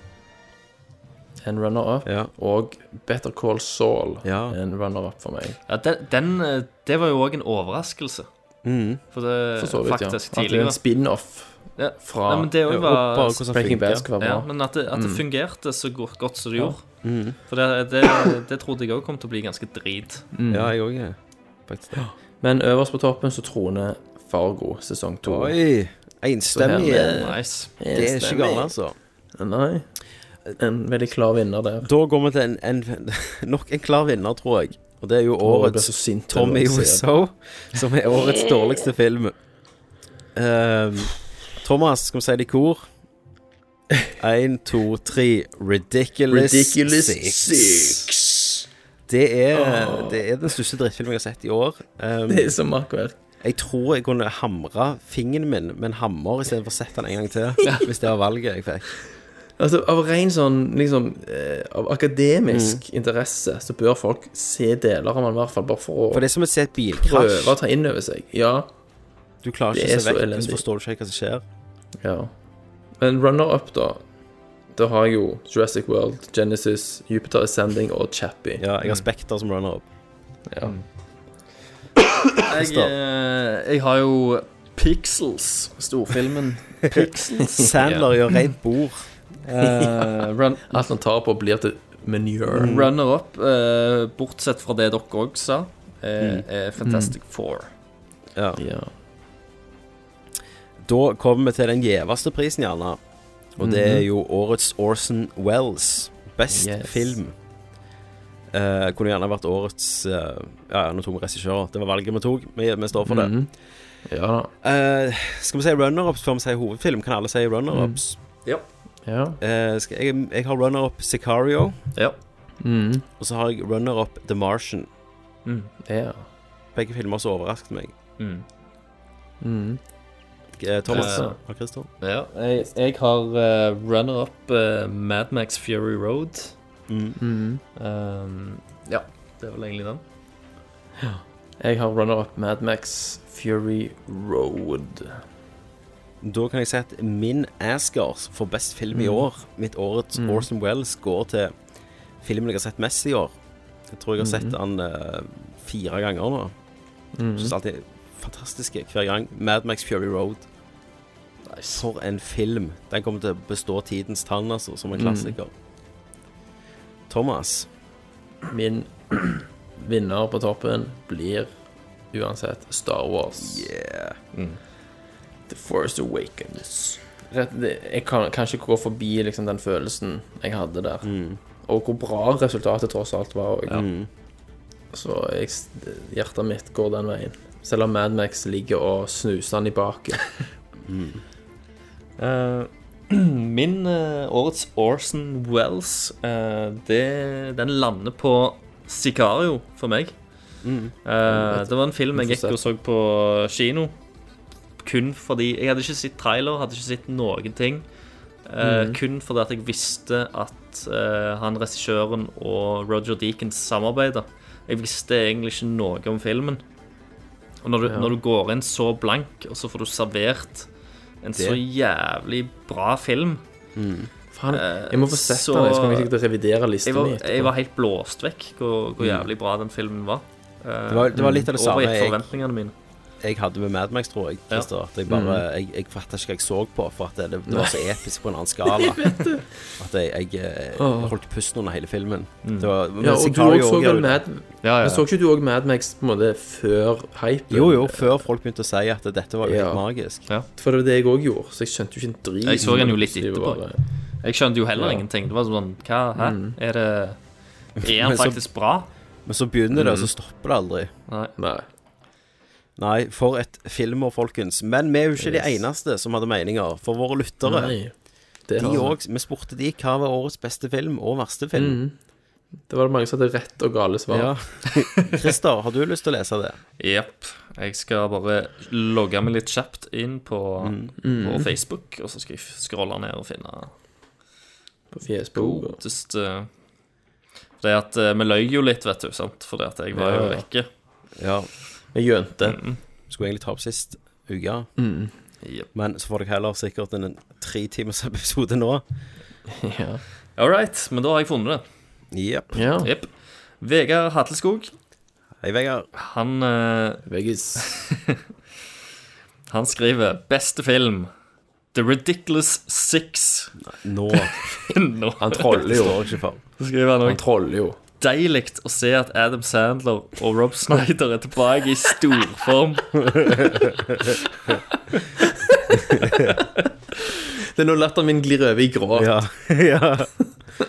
I: en runner-up, og Better Call Saul en runner-up for meg.
J: Ja, den, den, eh, det var jo òg en overraskelse.
I: Mm.
J: For det
I: For så vidt, ja.
J: faktisk
I: At det er en
J: tidligere.
I: spin-off
J: ja.
I: fra-
J: Nei, men det
I: Ja,
J: også var,
I: bare hvordan Breaking Bad skal være bra.
J: Ja, men at det, at det
I: Mm.
J: fungerte så go- godt som det
I: Ja.
J: gjorde.
A: Mm.
J: For det, det, det trodde jeg òg kom til å bli ganske drit.
I: Mm. Ja,
A: jeg òg er faktisk det.
I: Men øverst på toppen så troner Fargo sesong to.
A: Oi, enstemmig.
I: Så her er-
A: Nice. Det er ikke galt, altså.
I: Nei. En veldig klar vinner der.
A: Da går vi til en, en, [laughs] nok en klar vinner, tror jeg. Og det er jo
I: Åh, jeg ble
A: årets
I: så sint av
A: Tommy
I: å se
A: Wiseau, som er årets dårligste film. Ehm, Thomas, skal vi si det i kor? Én, to, tre. Ridiculous,
I: Ridiculous
A: six.
I: Six.
A: Det er,
I: Åh.
A: det er den største drittfilmen jeg har sett i år. Ehm,
I: Det er så makkverk.
A: Jeg tror jeg kunne hamra fingeren min med en hammer istedenfor å sette den en gang til. Hvis det var valget jeg fikk.
I: Altså, av ren sånn liksom eh, Av akademisk interesse så bør folk se deler av den, i hvert fall, bare for å
A: For det er som å se et bilkrasj.
I: prøve å ta inn over seg. Ja.
A: Du klarer
I: Det
A: ikke
I: er
A: å se
I: så
A: vekk,
I: elendig.
A: så forstår du ikke hva som skjer.
I: Ja. Men runner-up, da. Da har jeg jo Jurassic World, Genesis, Jupiter Ascending og Chappie.
A: Ja, jeg har Spekter som runner-up.
I: [laughs] Ja.
J: Jeg, eh, jeg har jo Pixels, storfilmen Pixels.
A: Sandler gjør rent bord.
I: [laughs]
J: Eh, run, Mm.
I: Alt han tar på, blir til manure.
J: Runner up, eh, bortsett fra det dere òg sa, eh,
I: Mm.
J: er Fantastic Four.
A: Ja.
I: ja.
A: Da kommer vi til den gjeveste prisen, gjerne. Og det er jo årets Orson Wells. Best
I: Mhm. Yes.
A: film. Eh, kunne gjerne vært årets eh, Ja, ja, nå tok vi regissører. Det var valget vi tok. Vi, vi står for det.
I: Mhm. Ja da.
A: Eh, skal vi si runner-ups før vi sier hovedfilm? Kan alle si runner-ups?
I: Mhm.
J: Ja.
I: Ja.
A: Eh, skal- jeg, jeg har runner-up Sicario.
J: Ja.
I: Mhm.
A: Og så har jeg runner-up The Martian.
J: Mm.
I: Ja.
A: Begge filmer som overrasket meg.
J: Mm.
I: Mhm.
A: Eh, Thomas
J: Eh,
A: og Christer.
J: Ja, jeg, jeg har eh, runner-up eh, Mad Max Fury Road.
A: Mm.
I: Mhm.
J: Um, ja, det er vel egentlig den.
I: Jeg har runner-up Mad Max Fury Road.
A: Da kan jeg si at min Asgars for best film i
I: Mm.
A: år, mitt årets
I: Mm.
A: Orson Wells, går til filmen jeg har sett mest i år. Jeg tror jeg har sett
I: Mhm.
A: den eh, fire ganger nå.
I: Mhm.
A: Syns alltid fantastiske hver gang. Mad Max Fury Road. For en film. Den kommer til å bestå tidens tann, altså, som en
I: Mm.
A: klassiker. Thomas.
I: Min [clears throat] vinner på toppen blir uansett Star Wars.
A: Yeah.
I: The Force Awakens. Rett, det, jeg kan, kan ikke gå forbi liksom, den følelsen jeg hadde der.
A: Mm.
I: Og hvor bra resultatet tross alt var. Og, Så jeg, hjertet mitt går den veien. Selv om Mad Max ligger og snuser han i baken.
J: Eh, min eh, årets Orson Wells, eh, det, den lander på Sicario for meg.
I: Mm.
J: Eh, det var en film jeg
I: Vi får se.
J: gikk og så på kino. Kun fordi Jeg hadde ikke sett trailer, hadde ikke sett noen ting. Eh,
I: Mm.
J: Kun fordi at jeg visste at eh, han regissøren og Roger Deakins samarbeider. Jeg visste egentlig ikke noe om filmen. Og når du,
I: Ja.
J: når du går inn så blank, og så får du servert en
I: Det.
J: så jævlig bra film
A: Mm.
I: Faen,
J: Eh,
I: jeg må få sett
J: så-
I: den. Jeg skal sikkert revidere listen
J: jeg var,
I: min etterpå.
J: jeg var helt blåst vekk hvor, hvor
A: Mm.
J: jævlig bra den filmen var. Eh,
A: Det var, det var litt av
I: Mm.
A: det samme
J: overgikk
A: jeg,
J: forventningene mine.
A: jeg hadde med Mad Max, tror jeg.
J: Ja.
A: Christer. At jeg bare,
I: Mm.
A: jeg, jeg fattet ikke hva jeg så på, for at det, det var så
I: Nei.
A: episk
I: [laughs]
A: på en annen skala.
I: Jeg vet det.
A: At jeg, jeg, eh,
I: Åh.
A: holdt pusten under hele filmen.
J: Mm.
A: Det var, men
I: Ja, og du
A: Sicario
I: også så
A: gjør
I: vel
A: jo det.
I: Mad Men så ikke du òg Mad Max på en måte før hypen?
A: Jo, jo, før folk begynte å si at dette var jo
I: Ja.
A: helt magisk.
I: For det var det jeg òg gjorde, så jeg skjønte jo ikke en drit.
J: Jeg så den jo litt
I: Det var
J: etterpå.
I: bare-
J: Jeg skjønte jo heller
I: Ja.
J: ingenting. Det var sånn Hva? Hæ?
I: Mm.
J: Er
A: [laughs]
J: det Er han
A: Men så-
J: faktisk bra?
A: Men så begynner det, og
I: Mm.
A: så stopper det aldri.
J: Nei.
I: Nei.
A: Nei, for et filmår, folkens. Men vi er jo ikke de
I: Yes.
A: eneste som hadde meninger. For våre lyttere
I: Nei,
A: de
I: det har jeg.
A: også, Vi spurte de hva var årets beste film og verste film.
I: Mhm. Det var det mange som hadde rett og gale svar.
A: Ja. [laughs] Christer, har du lyst til å lese det?
J: Jepp. Jeg skal bare logge meg litt kjapt inn på, på
I: Mm.
J: Facebook, og så skal jeg scrolle ned og finne
A: Oh.
I: På fjesbok. og-
J: godeste eh, Fordi at eh, vi løy jo litt, vet du, sant? Fordi at jeg var jo
I: Ja, ja.
J: vekke. Mm.
A: Ja.
I: Vi gjønte.
A: Skulle egentlig ta opp sist uke,
I: Mm.
A: men så får dere heller sikkert en en tre timers [laughs] episode nå.
I: Ja.
J: All right, men da har jeg funnet det.
A: Jepp.
I: Ja.
J: Jepp. Vegard Hatleskog.
A: Hei, Vegard.
J: Han eh,
I: Veggis.
J: han skriver 'Beste film'. The Ridiculous Six. [laughs]
A: Nå.
J: Nå.
I: Han troller jo.
A: Står ikke for.
J: Så skriver han også.
I: Han troller jo.
J: Deilig å se at Adam Sandler og Rob Snyder er tilbake i storform. [laughs]
I: Det er nå latteren min glir over i gråt.
A: Ja. ja.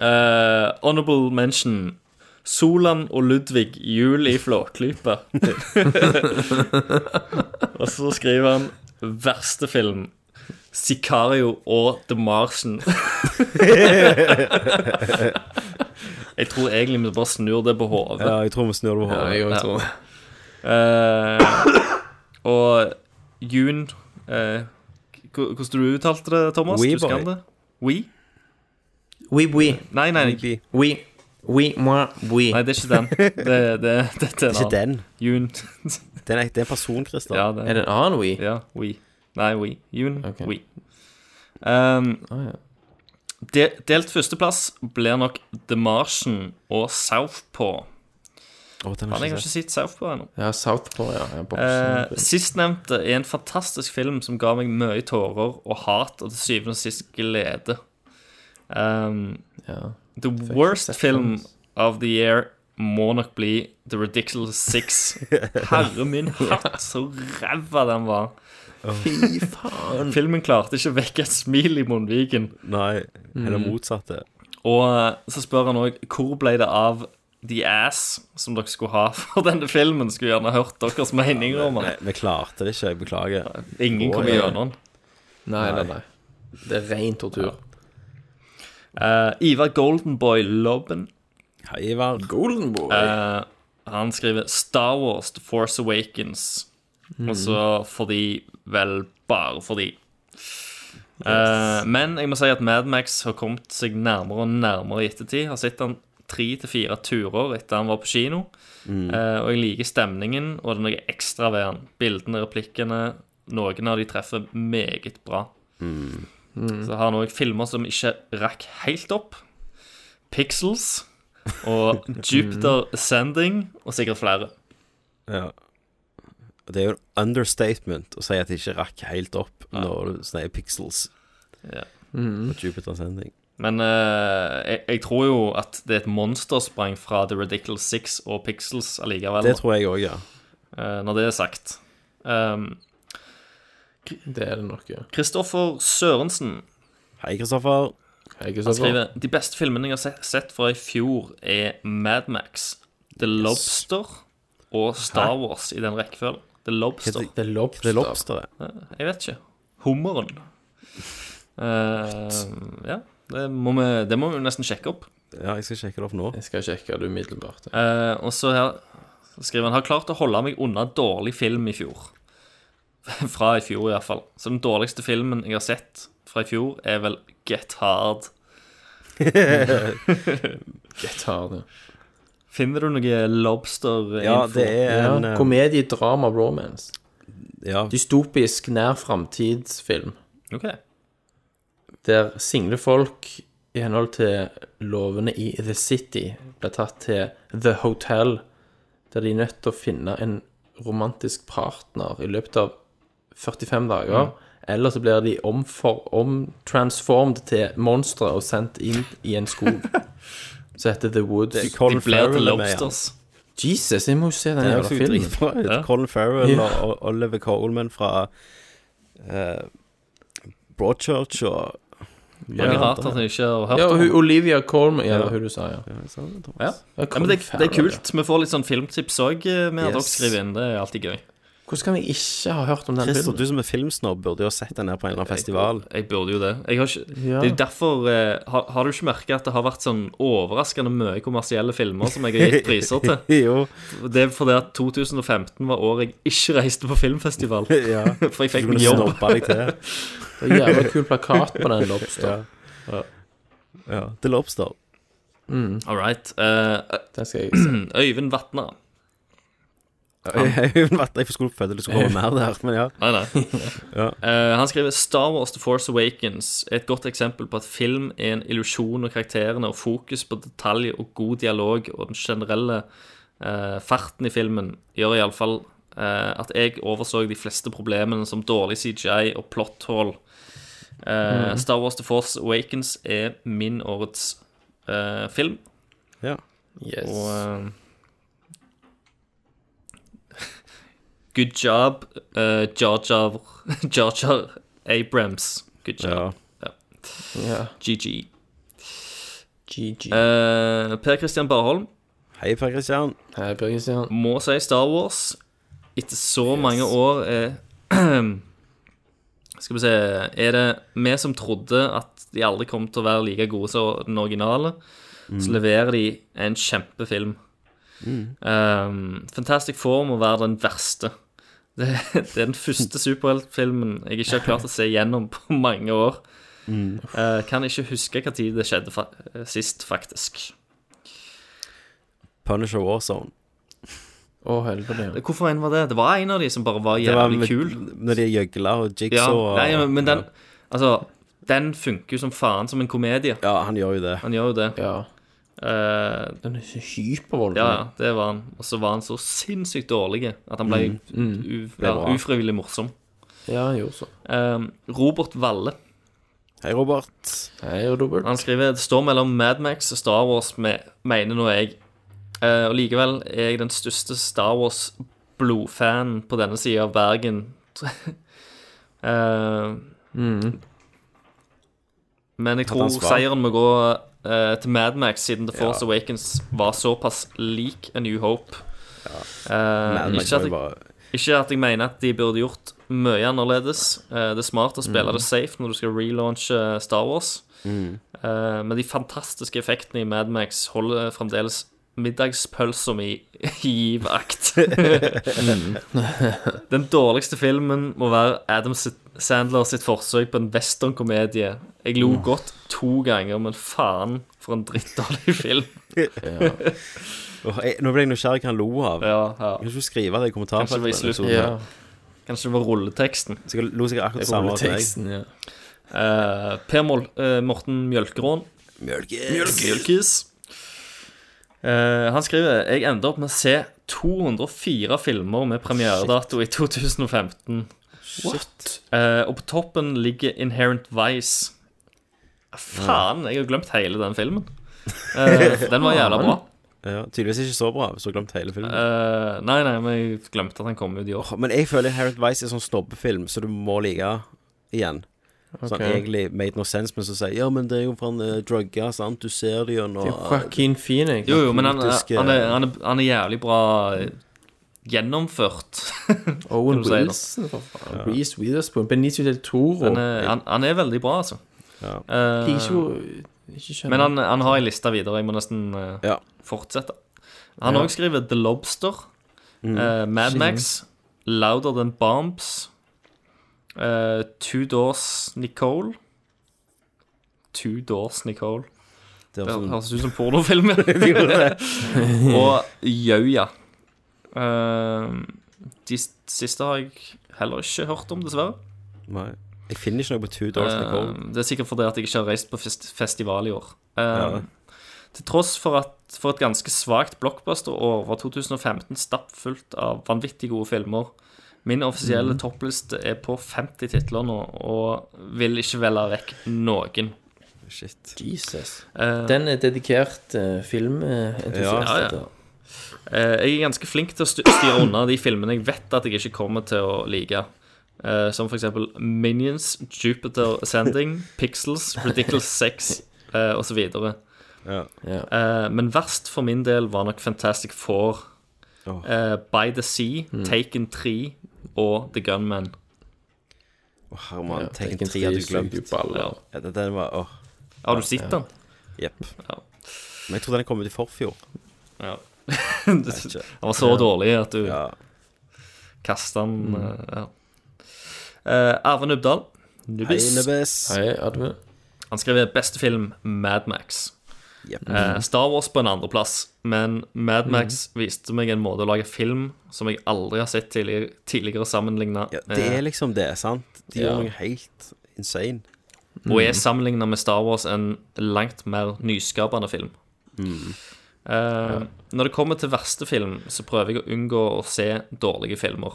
J: Eh, honorable mention. Solan og Ludvig jul i Flåklypa. [laughs] og så skriver han verste film. Sicario og The Martian. jeg tror egentlig vi bare snur det på hodet.
A: Ja, jeg tror vi snur det på hodet.
I: Ja, jeg også tror det.
J: Eh, og June eh, hva- Hvordan du uttalte det, Thomas?
I: Wee
J: Husker han
I: boy.
J: det? We?
I: Oui, oui.
J: Nei, nei.
I: Oui. Oui, moi, oui.
J: Nei, det er ikke den. Det, det, dette er en
A: Ikke
J: annen. June.
A: Det er, det er en person, Christer.
J: Ja, det
I: Er det en annen we?
J: Ja, we. Nei, we. June, we. Um, de, delt førsteplass blir nok The Martian og Southpaw.
A: Å, den har
J: Faen, jeg
A: jeg
J: har
A: ikke
J: ikke
A: sett.
J: sett Southpaw ennå.
I: Ja, Southpaw, ja. ja
J: Eh,
I: boksen.
J: Sistnevnte er en fantastisk film som ga meg mye tårer og hat, og til syvende og sist glede. Um, the worst film of the year må nok bli The Ridiculous Six. Herre min hatt, så ræva den var.
I: Fy faen.
J: Filmen klarte ikke å vekke et smil i munnviken.
A: Nei, eller
J: Mm.
A: motsatte.
J: Og eh, så spør han òg hvor ble det av The Ass som dere skulle ha for denne filmen. Skulle gjerne hørt deres meninger om den.
A: Nei, vi klarte det ikke, jeg beklager.
J: Ingen kom
A: Å, ja.
J: gjennom den.
I: Nei, nei, nei. Det er ren tortur.
J: Eh, Ivar Goldenboy Lobben.
A: Hei, Ivar.
I: Goldenboy.
J: Eh, han skriver Star Wars The Force Awakens.
I: Mm.
J: Og så fordi Vel, bare fordi. Eh, men jeg må si at Madmax har kommet seg nærmere og nærmere i ettertid. Har sett han tre til fire turer etter han var på kino.
A: Mm.
J: Eh, og jeg liker stemningen, og det er noe ekstra ved han. Bildene, replikkene. Noen av de treffer meget bra.
A: Mm.
J: Så har han òg filmer som ikke rakk helt opp. Pixels
A: [laughs]
J: og
A: Mm.
J: Jupiter Ascending og sikkert flere.
A: Ja. Og Det er jo en understatement å si at det ikke rakk helt opp når du sier pixels.
J: Ja.
A: På Jupiter Sending.
J: Men eh, jeg, jeg tror jo at det er et monstersprang fra The Ridiculous Six og Pixels allikevel.
A: Det tror jeg òg, ja.
J: Eh, når det er sagt. Um,
I: Det er det nok, ja.
J: Kristoffer Sørensen
A: Hei, Kristoffer.
I: Hei,
J: Han skriver De beste filmene jeg har se- sett fra i fjor, er Madmax, The Lobster og Star Wars i den rekkefølgen. The Lobster.
A: Hva er Det er lobster, det.
J: Eh, Jeg vet ikke. Hummeren. Eh, ja, det må, vi, det må vi nesten sjekke opp.
A: Ja, jeg skal sjekke det opp nå.
I: Jeg skal sjekke det umiddelbart. jeg.
J: Eh, og så her skriver han Har klart å holde meg unna dårlig film i fjor. [laughs] fra i fjor, iallfall. Så den dårligste filmen jeg har sett fra i fjor, er vel Get Hard.
I: Get hard, ja.
J: Finner du noe lobster
A: Ja, det er en,
I: ja.
A: eh,
I: Komedie, drama, romance.
A: Ja.
I: Dystopisk nær framtidsfilm.
J: Ok.
I: Der single folk i henhold til lovene i The City blir tatt til The Hotel, der de er nødt til å finne en romantisk partner i løpet av 45 dager.
J: Mm.
I: Eller så blir de omfor, omtransformed til monstre og sendt inn i en skog som heter The Woods.
A: Det er Colin De blir til Farrell er med, ja. lobsters.
I: Jesus, jeg må jo se
A: Det
I: den
A: er
I: jævla
A: også
I: filmen.
A: dritbra. Colin Farrell
I: Ja.
A: og- og Oliver Coleman fra eh, Broadchurch og
J: Mange rart at jeg ikke har hørt
I: Ja,
J: om
I: og hun, Olivia Colman Ja, det
A: Ja.
I: var hun du sa, ja.
J: Ja.
I: Ja,
J: ja, men det, det er
I: Colin
J: kult. Vi får litt sånn filmtips òg med at dere
I: Yes.
J: skriver inn. Det er alltid gøy.
I: Hvordan kan jeg ikke ha hørt om den
A: Christer,
I: filmen?
A: du som er filmsnobb, burde jo ha sett den her på en eller annen festival.
J: Jeg burde jo det. Jeg har ikke,
A: Ja.
J: Det er jo derfor eh, har, har du ikke merka at det har vært sånn overraskende mye kommersielle filmer som jeg har gitt priser til?
A: jo.
J: Det er fordi at 2015 var året jeg ikke reiste på filmfestival. [laughs]
A: Ja.
J: For jeg fikk
A: Du
J: meg
A: kunne
J: jobb.
A: snobbe deg til.
J: [laughs]
I: Det er jævla kul plakat på den lobster.
A: Ja. ja. The Lobster.
I: Mm.
J: All right. eh, [clears throat]
I: Den skal jeg
J: Øyvind Vatna.
A: Jeg jeg skulle føle det skulle komme mer der, men ja.
J: Nei, nei. Eh, han skriver Star Wars The Force Awakens er et godt eksempel på at film er en illusjon og karakterene og fokus på detalj og god dialog og den generelle eh, farten i filmen gjør iallfall uh, at jeg overså de fleste problemene som dårlig CGI og plotthull. Eh,
I: Mhm.
J: Star Wars The Force Awakens er min årets eh, film.
A: Ja.
I: Yes.
J: Og eh, Good job, uh, Jar Jar [laughs] Jar Jar Abrams. Good job. Ja.
I: Ja.
J: GG.
I: GG.
J: Eh, per Christian Barholm.
A: Hei, Per Christian.
I: Hei, Per Christian.
J: Må si Star Wars. Etter så mange år er [clears throat] Skal vi se Er det vi som trodde at de aldri kom til å være like gode som den originale? Så
I: Mm.
J: leverer de en kjempefilm.
I: Mm.
J: Um, Fantastic Four må være den verste. [laughs] Det, det er den første superheltfilmen jeg ikke har klart å se gjennom på [laughs] mange år.
A: Mm.
J: Eh, kan ikke huske hva tid det skjedde fa eh, sist, faktisk.
A: Punisher Warzone.
I: Å, helvete. ja.
J: Hvorfor en var det? Det var en av de som bare var
A: Det var
J: jævlig
A: med-
J: kul.
A: Når de gjøgla og
J: Ja,
A: jigsaw og
J: nei, men- men den Altså, den funker jo som faen som en komedie.
A: Ja, han gjør jo det.
J: Han gjør jo det. Eh,
I: Den er så hypervoldelig.
J: Ja, ja, det var han. Og så var han så sinnssykt dårlig at han ble
I: Mm, mm.
J: u-
I: Ble
J: ja,
I: bra.
J: ufrivillig morsom.
I: Ja, han gjorde så.
J: Ehm, Robert Valle.
A: Hei,
J: Eh,
A: Robert.
I: Hei, Robert.
J: Han skriver det står mellom Mad Max og Star Wars, me- mener nå jeg. Eh, og likevel er jeg den største Star Wars-blodfanen på denne sida av Bergen. [laughs] Eh,
I: Mm.
J: Men jeg
I: Hadde han
J: tror
I: svar?
J: seieren må gå eh, til Mad Max, siden The Force
I: Ja.
J: Awakens var såpass lik A New Hope. Eh,
A: Mad Max
J: ikke,
A: var
J: at
A: jo
J: jeg,
A: bare-
J: ikke at jeg mener at de burde gjort mye annerledes. Eh, det er smart å spille
I: Mhm.
J: det safe når du skal relaunche eh, Star Wars.
I: Mhm.
J: Eh, men de fantastiske effektene i Mad Max holder fremdeles middagspølsa mi [laughs] i givakt. Den dårligste filmen må være Adam S- Sandler sitt forsøk på en westernkomedie. Jeg lo
I: Mm.
J: godt to ganger, men faen for en drittdårlig [laughs] film.
A: Åh, jeg, nå ble jeg nysgjerrig hva han lo av. Kan ikke du skrive det i
J: Kanskje det var i slutten.
A: kommentarfeltet?
J: Kanskje det var rulleteksten.
A: Så jeg lo sikkert akkurat det samme som
J: Rulleteksten, ja. Eh, per Mol eh, Morten Mjølkerån.
A: Mjølkes.
J: Mjølkes. Eh, han skriver Jeg endte opp med å se 204 filmer med premieredato i 2015.
I: What?
J: Eh, og på toppen ligger Inherent Vice. Faen, jeg har glemt hele den filmen. Eh, den var jævla bra.
A: Ja, tydeligvis ikke så bra, hvis du har glemt hele filmen.
J: Eh, nei, nei, men jeg glemte at han kom ut i år.
A: Men jeg føler Harriet Vice er sånn stoppefilm, så du må like igjen. Sånn
I: Ok.
A: egentlig made no sense, men så sier Ja, men det er jo fra en uh, drugga, sant? Du ser det gjennom
I: Det er jo Joaquin Phoenix.
J: Jo, jo, men han,
A: Politiske-
J: han, er, han, er, han er jævlig bra eh, gjennomført. [laughs]
I: Owen
J: kan du si det.
I: Wilson, for faen. Reese Witherspoon. Benicio del Toro.
J: Den er, eh, han, han er veldig bra, altså.
I: De
J: Eh,
I: er ikke jo- ikke skjønner.
J: men han, han har ei liste videre. Jeg må nesten eh, fortsette. Han
I: Ja.
J: òg skriver The Lobster,
I: Mm.
J: eh, Mad
I: Shit.
J: Max, Louder Than Bombs, eh, Two Doors Nicole Two Doors Nicole.
A: Det sånn-
J: Det
A: høres ut-
J: høres ut som pornofilm. ja.
A: Det gjorde det.
J: [laughs] Og Jauja. Eh, de s- siste har jeg heller ikke hørt om, dessverre.
A: Nei. Jeg finner ikke noe på Two Doors
J: Eh,
A: Nicole.
J: Det er sikkert fordi at jeg ikke har reist på fest festival i år. Eh,
A: Ja.
J: Til tross for, at, for et ganske svakt blockbuster-år var 2015 stappfullt av vanvittig gode filmer. Min offisielle
I: Mhm.
J: toppliste er på 50 titler nå, og vil ikke velge vekk noen.
A: Shit.
I: Jesus.
J: Eh,
I: Den er dedikert eh, filmentusiast.
J: Ja, ja. Eh, Jeg er ganske flink til å stu- styre unna de filmene jeg vet at jeg ikke kommer til å like. Eh, Som f.eks. Minions, Jupiter Ascending, Pixels, Ridiculous Sex eh, osv. Eh, Men verst for min del var nok Fantastic Four, eh, By the Sea,
A: Mm.
J: Taken 3 og The Gunman.
A: Å, Herman,
J: Ja,
A: Taken
J: Taken
A: 3 hadde
J: tre
A: du glemt.
J: suger jo baller.
A: Ja. Ja, den- den var, åh.
J: Har du sett den?
A: Jepp. Men jeg tror den kom ut i forfjor.
J: [laughs] Ja.
A: Jeg
J: Den
A: vet ikke.
J: var så
A: Ja.
J: dårlig at du kastet den
A: Mm.
J: eh, ja. Eh, Arve Nubdal.
A: Hei, Nubbis.
I: Hei, Arve.
J: Han skrev beste film Mad Max.
A: Yep.
J: Eh, Star Wars på en andreplass, men
A: Mhm.
J: Mad Max viste meg en måte å lage film som jeg aldri har sett tidligere, tidligere eh, sammenligna
A: Det er liksom det, sant? De gjør noe helt insane.
J: Og er sammenligna med Star Wars en langt mer nyskapende film. Eh, Når det kommer til verste film, så prøver jeg å unngå å se dårlige filmer.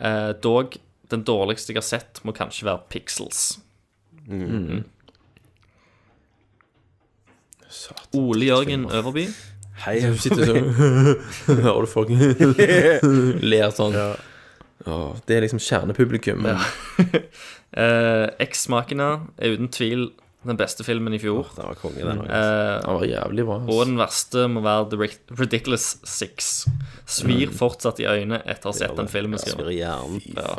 J: Eh, dog, den dårligste jeg har sett, må kanskje være Pixels.
I: Mm.
J: Ole Jørgen Øverby.
I: Hei, du
A: [laughs]
I: sitter [laughs] sånn Hører du folk ler sånn? Åh, det er liksom kjernepublikum. Men
J: Eh, Eks-smakene er uten tvil den beste filmen i fjor.
A: det var konge, Oh, den.
J: Eh,
I: Den var jævlig bra, ass.
J: Og den verste må være The Ric- Ridiculous Six. Svir
A: Mm.
J: fortsatt i øynene etter å ha sett
A: Gjør det.
J: den filmen. skriver
A: Svir i hjernen.
J: Ja.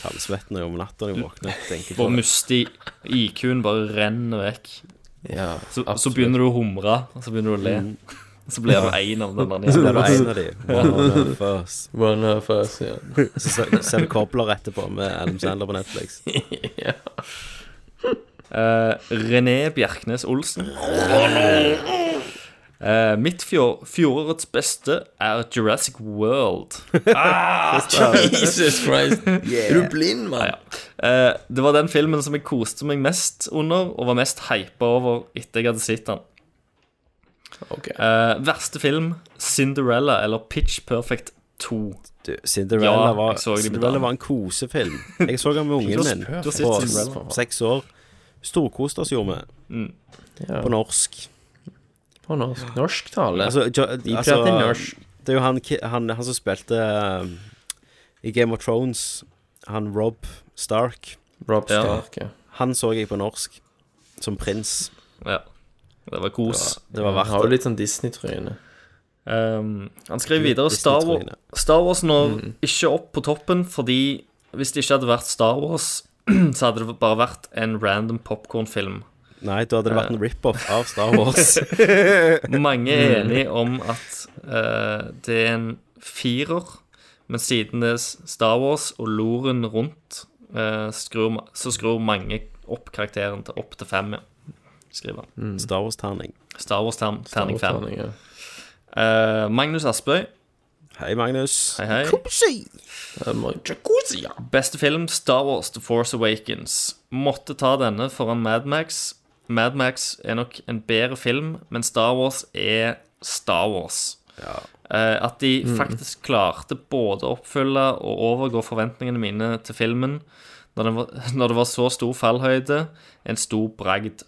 A: Kaldsvetten er jo om natta når jeg våkner. tenker på
J: Hvor
A: det.
J: musti IQ-en bare renner vekk.
A: Ja,
J: så, så begynner du å humre, og så begynner du å le.
A: Mm.
J: [laughs] Så blir du
A: [laughs]
J: en av den der.
A: Så blir du en av de. One of us.
I: One of
A: [laughs]
I: us, ja.
A: Så ser- ser du Cobbler etterpå med Adam Sandler på
J: [laughs]
A: Netflix. [laughs]
J: ja. Eh, René Bjerknes Olsen. Eh, mitt fjor, fjorårets beste er Jurassic World. Ah,
I: Jesus
A: [laughs]
I: Christ. Er du blind, mann?
J: Ja, ja. Eh, det var den filmen som jeg koste meg mest under, og var mest hypa over etter jeg hadde sett den. Eh, verste film Cinderella eller Pitch Perfect 2.
A: Du, Cinderella,
J: Ja,
A: var,
J: jeg så det med
A: Cinderella
J: Dan.
A: var en kosefilm. Jeg så den med ungen
J: Du har-
A: min
J: du har
A: på
J: sett Cinderella.
A: s- seks år. Storkoste oss gjorde vi.
J: Mm.
A: På norsk.
I: På norsk. Norsk tale.
A: Altså, jo,
I: De
A: altså,
I: prater norsk.
A: Det er jo han, ki- han, han som spilte um, i Game of Thrones, han Rob Stark.
I: Rob Ja. Stark, ja.
A: Han så jeg på norsk, som prins.
J: Ja. Det var kos.
A: Ja, det var verdt
I: Han har jo
A: det.
I: litt sånn Disney-tryne.
J: Ehm, han skrev videre Star Wars,
I: Disney-tryne.
J: Star Wars når ikke opp på toppen, fordi hvis det ikke hadde vært Star Wars, [clears throat] så hadde det bare vært en random popkornfilm.
A: Nei, da hadde det vært en rip-off av Star
J: [laughs]
A: Wars.
J: Mange
A: Mm.
J: er enige om at eh, det er en firer, men siden det er Star Wars og loren rundt, eh, skrur, ma- så skrur mange opp karakteren til opp til fem, ja, skriver han.
A: Mm. Star Wars-terning.
J: Star Wars-terning
A: Star Wars
J: fem.
A: terning, ja.
J: Eh, Magnus Aspøy.
A: Hei, Magnus.
J: Hei, hei. Beste film Star Wars The Force Awakens. Måtte ta denne foran Mad Max. Mad Max er nok en bedre film, men Star Wars er Star Wars. Eh, at de
I: Mm.
J: faktisk klarte både å oppfylle og overgå forventningene mine til filmen når, den var, [laughs] når det var så stor fallhøyde, en stor bragd.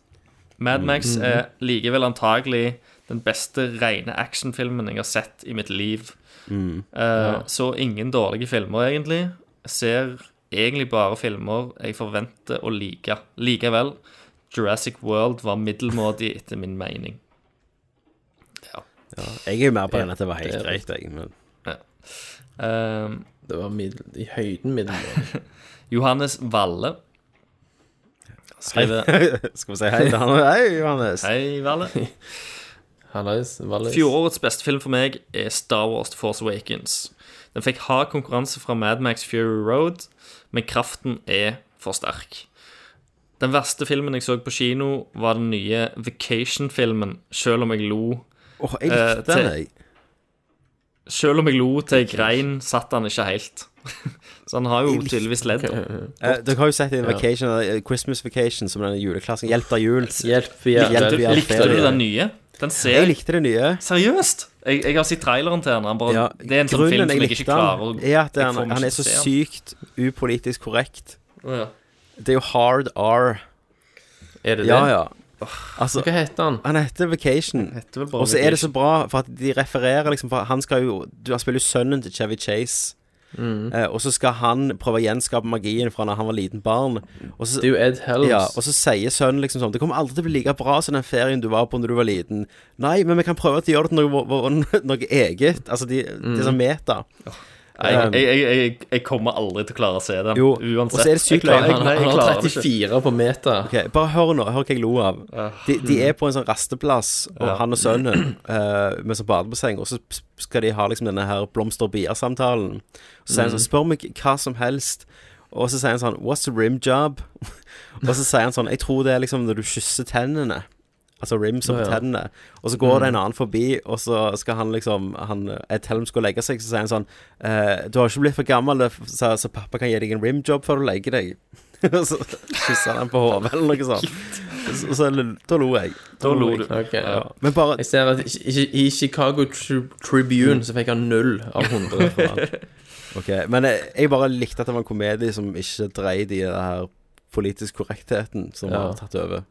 J: Mad Max
I: Mm.
J: er likevel antagelig den beste rene actionfilmen jeg har sett i mitt liv.
A: Mm.
J: Eh, Så ingen dårlige filmer, egentlig. Jeg Ser egentlig bare filmer jeg forventer å like. Likevel, Jurassic World var middelmådig etter min mening.
A: Ja, jeg er jo mer på den
J: Ja,
A: at det var helt
J: det er
A: greit, jeg. Men
J: Ja. Eh, det var i høyden middelmådig. Johannes Valle skriver
A: Hei. Skal vi si hei til han? Hei, Johannes.
J: Hei,
A: [laughs]
J: Valle.
I: Hallais, Vallis. [laughs]
J: Fjorårets beste film for meg er Star Wars The Force Awakens. Den fikk hard konkurranse fra Mad Max Fury Road, men kraften er for sterk. Den verste filmen jeg så på kino, var den nye Vacation-filmen, selv om jeg lo.
A: Åh, jeg likte
J: eh, til-
A: den, jeg.
J: Selv om jeg lo til jeg grein, satt han ikke helt. [laughs] Så han har jo tydeligvis ledd.
A: Eh, dere har jo sett en
J: Ja.
A: vacation, eh, Christmas Vacation som den juleklassen. Hjelp deg jul. Hjelp,
J: Likte du, likte du den nye? Den ser
A: Jeg likte den nye.
J: Seriøst? Jeg, jeg har sett traileren til den. Han bare,
A: Ja,
J: det er en sånn film som jeg ikke
A: likte han,
J: klarer å
A: er at
J: jeg
A: han,
J: får meg
A: han
J: ikke
A: er så
J: til å se den.
A: sykt upolitisk korrekt.
J: Ja.
A: Det er jo hard R.
I: Er det
A: ja,
I: det?
A: Ja, Altså,
I: Hva heter han?
A: Han heter Vacation.
I: heter vel bare
A: Og så er det så
I: Vacation.
A: bra, for at de refererer liksom for Han skal jo du- Han spiller jo sønnen til Chevy Chase.
I: Mm.
A: Eh, og så skal han prøve å gjenskape magien fra når han var liten barn. Og så,
I: Det er jo Ed Helms.
A: Ja, og så sier sønnen liksom sånn Det kommer aldri til å bli like bra som den ferien du var på når du var liten. Nei, men vi kan prøve at de gjør det til noe, [laughs] noe, noe eget. Altså, de,
I: Mm.
A: det er sånn meta.
J: Jeg,
A: Um,
J: jeg, jeg, jeg, jeg kommer aldri til å klare å se den.
A: Jo,
J: uansett.
A: og så er det sykt
J: Jeg klarer-
A: langt.
J: jeg- jeg
A: Han har
J: klarer det ikke.
I: 34 på meta.
A: Ok, Bare hør nå, hør hva jeg lo av. De, de er på en sånn rasteplass, og
I: Ah. Ja.
A: han og sønnen eh, med sånn badebasseng, og så s- skal de ha liksom denne her blomster- og bier-samtalen. Og Så sier han sånn
I: Mhm.
A: Spør meg hva som helst. Og så [laughs] sier han sånn What's a rim job? og så sier han sånn Jeg tror det er liksom når du kysser tennene. Altså rims over
I: Ja, ja.
A: tennene. Og så går det en
I: Mm.
A: annen forbi, og så skal han liksom han, Jeg teller om skal legge seg, så sier han sånn eh, Du har ikke blitt for gammel, så, så pappa kan gi deg en rimjob før du legger deg. [laughs] Og så kysser han på hodet, eller noe sånt. Så, så, da lo jeg.
I: Da lo
A: jeg.
I: du. Ok, ja.
A: Men bare
I: Jeg ser at i, i, i Chicago Tri Tribune så fikk han null av 100. for han.
A: Ok, Men jeg, jeg bare likte at det var en komedie som ikke dreide i det her politisk korrektheten som
I: Ja.
A: har tatt over.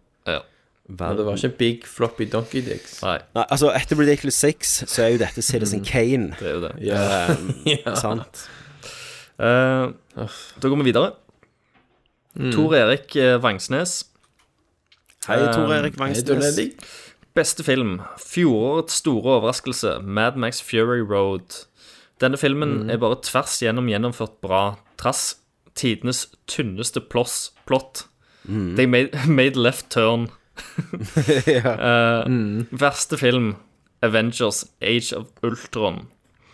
I: Men det var ikke big floppy donkey dicks.
J: Nei.
A: Nei, altså Etter Ridiculous Six så er jo dette Citizen
I: Mm.
A: Kane.
J: Det er jo det.
A: Ja.
I: [laughs] Ja.
A: Sant.
J: Eh, da går vi videre.
I: Mm.
A: Mm.
J: Tor Erik eh, Vangsnes.
A: Hei, Tor
J: Eh,
I: Um,
A: Erik Vangsnes. Hei,
J: Beste film. Fjorårets store overraskelse, Mad Max Fury Road. Denne filmen
I: Mm.
J: er bare tvers gjennom gjennomført bra, trass tidenes tynneste ploss, plott.
I: Mm.
J: They made, [laughs] made
I: [laughs]
J: left turn. Eh,
I: Mm.
J: Verste film, Avengers Age of Ultron.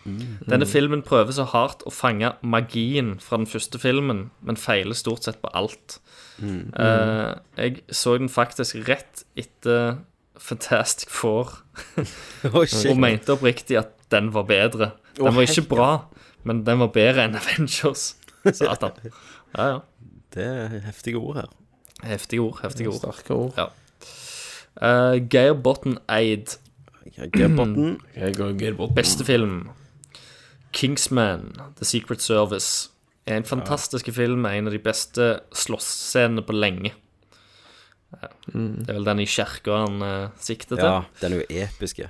I: Mm.
J: Denne filmen prøver så hardt å fange magien fra den første filmen, men feiler stort sett på alt.
I: Mm.
J: Eh, jeg så den faktisk rett etter Fantastic Four,
A: [laughs] Oi, shit.
J: og mente oppriktig at den var bedre. Den
A: Å,
J: var ikke
A: hei.
J: bra, men den var bedre enn Avengers. Satan. Ja, ja.
A: Det er heftige ord her.
J: Heftige ord. Heftige ord.
I: Sterke ord.
J: Ja. Eh, Geir Botten Eid.
A: Geir Botten.
J: Beste film. Kingsman, The Secret Service. Er en fantastisk film med en av de beste slåssscenene på lenge. Ja.
A: Mm.
J: Det er vel den i kirka han eh, sikter til.
A: Ja, den er jo episke.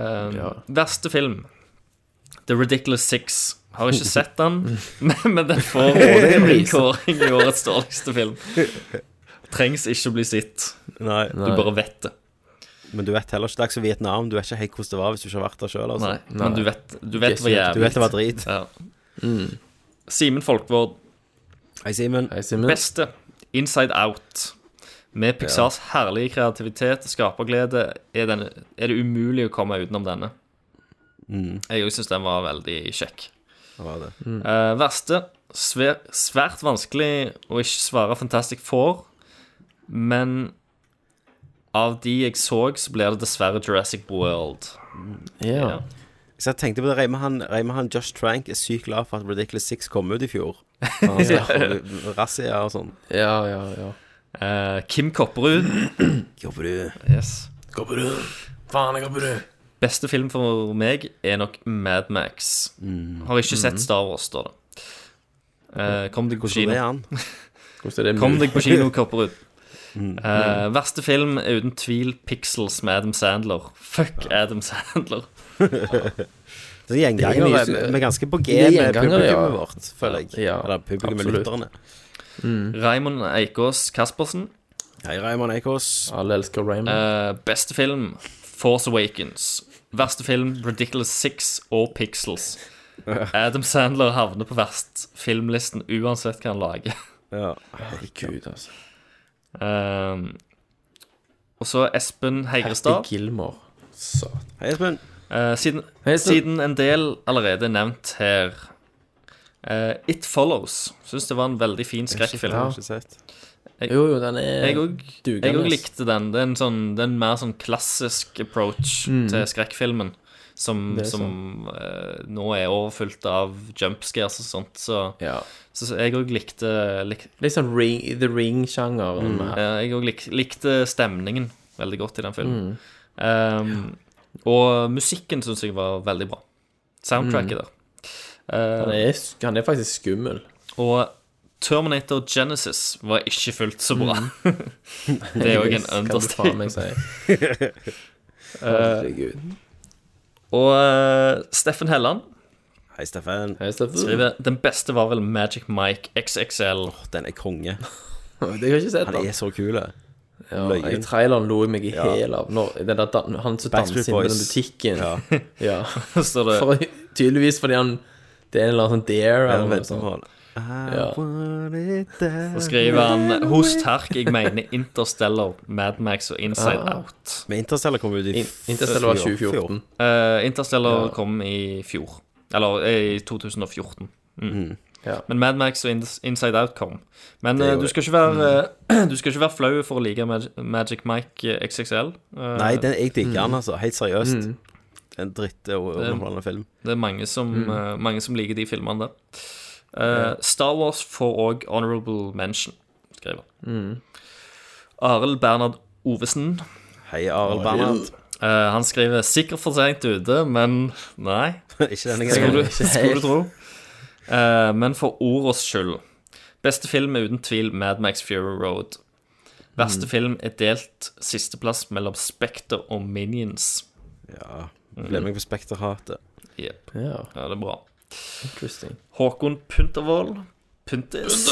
J: Um, Verste film. The Ridiculous Six.
A: [laughs]
J: Har ikke sett den, men, men den får
I: Det er
J: min
I: pris.
J: kåring i årets dårligste film. Trengs ikke å bli sett.
A: Nei.
J: Du bare vet det.
A: Men du vet heller ikke. Det er ikke som Vietnam. Du vet ikke helt hvordan det var hvis du ikke har vært der sjøl. Altså.
J: Nei, men du vet, du vet hva jævlig
A: Du vet Mm. det var drit.
J: Ja. Simen Folkvord.
A: Hei, Simen.
J: Beste Inside Out. Med Pixars herlige kreativitet og skaperglede er, denne, er det umulig å komme utenom denne.
A: Mm.
J: Jeg òg syns den var veldig kjekk.
A: Det var det.
J: Eh, verste svæ- Svært vanskelig å ikke svare Fantastic Four, men av de jeg så, så blir det dessverre Jurassic World. Ja.
A: Så jeg tenkte på det, Reime han, Reime han Josh Trank er sykt glad for at Ridiculous Six kom ut i fjor. Han snakker om Razzia og sånn.
I: Ja, ja, ja.
J: Eh, Kim Kopperud.
A: Kopperud.
J: Yes.
I: Kopperud. Faen, jeg Kopperud.
J: Beste film for meg er nok Mad Max.
I: Mm.
J: Har ikke
I: Mhm.
J: sett Star Wars, står det. Eh, kom deg på
A: Hvordan
J: kino.
A: er han?
I: Hvordan er det
J: Kom
I: mulig?
J: deg på kino, Kopperud.
I: Mm.
J: Eh, verste film er uten tvil Pixels med Adam Sandler. Fuck Adam Sandler.
A: Så gjengangere.
J: Det er mye-
A: Vi er ganske på G
J: Det er
A: med
J: gjengangere,
A: publikummet
J: ja.
A: vårt, føler jeg.
J: Ja,
A: Eller publikummet med
J: absolutt.
A: lytterne.
J: Raymond Eikås Kaspersen.
A: Hei, Raymond Eikås.
I: Alle elsker Raymond.
J: Eh, beste film Force Awakens. Verste film Ridiculous Six og Pixels. Adam Sandler havner på verst filmlisten uansett hva han lager.
A: Ja.
I: Herregud, altså.
J: Eh, og så Espen Heigrestad.
I: Hertig Gilmore. Satan.
A: Hei, Espen.
J: Eh, siden,
I: Espen.
J: siden en del allerede er nevnt her eh, It Follows. Syns det var en veldig fin skrekkfilm.
I: Ja.
J: Jeg-
I: Jo, jo, den er
J: Jeg òg jeg òg likte den. Det er en, sånn, det er en mer sånn klassisk approach
I: Mm.
J: til skrekkfilmen. Som,
I: Det er
J: som eh, nå er overfylt av jumpscares og sånt. Så, så, så jeg òg likte lik,
I: Litt sånn ring, The Ring-sjangeren.
J: Mm.
I: her.
J: Eh, Jeg òg lik, likte stemningen veldig godt i den filmen.
I: Mm.
J: Ehm, og musikken syns jeg var veldig bra. Soundtracket
I: Mm.
J: der. Eh,
I: Han, er, sk- han er faktisk skummel.
J: Og Terminator Genesis var ikke fullt så bra. [laughs] det er òg en
I: Mm. Kan du faen meg
J: understatement.
I: [laughs] si. Herregud.
J: Og eh, Steffen Helland
A: Hei, Steffen.
I: Hei, Eh, Steffen.
J: skriver den beste var vel Magic Mike XXL.
A: Den er konge.
I: Det har jeg ikke sett.
A: Han er så kul.
I: Ja,
A: Løyen.
I: jeg, traileren lo jeg meg i
A: Ja.
I: hæl av. Når, den der, dan- han som danser
A: Backstreet
I: inn på den
A: Boys.
I: butikken.
A: Ja.
I: [laughs] Ja.
J: [laughs] Så det-
I: For, tydeligvis fordi han Det er en eller annen sånn dare
A: [laughs] Ja,
I: eller noe
A: vent på
I: sånt.
A: han. I
I: Ja.
A: want it that
J: Så skriver
A: way.
J: han Host herk, jeg mener Interstellar, Mad Max og Inside
A: Ah.
J: Out.
A: Men Interstellar kom ut i
I: In- Interstellar var 2014.
J: Eh, Interstellar
I: Ja.
J: kom i fjor. Eller eh, i 2014. Mm.
A: Mm.
J: Men Mad Max og Ins- Inside Out kom. Men
A: Det Mm.
J: eh,
A: gjorde
J: du, skal ikke være, eh, [clears throat] du skal ikke være flau for å like Mag Magic Mike eh, XXL. eh,
A: Nei, den, jeg digger den,
J: mm.
A: altså. Helt seriøst. En dritt eh, og og underholdende film.
J: Det er mange som,
A: Mm.
J: eh, mange som liker de filmene der. Eh, Star Wars får òg honorable mention, skriver
I: Mm.
J: Arild Bernhard Ovesen.
A: Hei, Arild Bernhard.
J: Eh, han skriver 'sikkert for seint ute', men nei.
A: [laughs] Ikke denne gangen.
J: Skulle du,
A: Ikke helt.
J: skulle du tro. Eh, men for ordas skyld. Beste film er uten tvil Mad Max Fury Road. Verste
A: Mm.
J: film er delt sisteplass mellom Spekter og Minions. Ja.
A: Gled meg på Spekterhatet.
J: Jepp.
I: Ja.
J: Ja, det er bra.
I: Interesting.
J: Håkon Puntervold Puntis.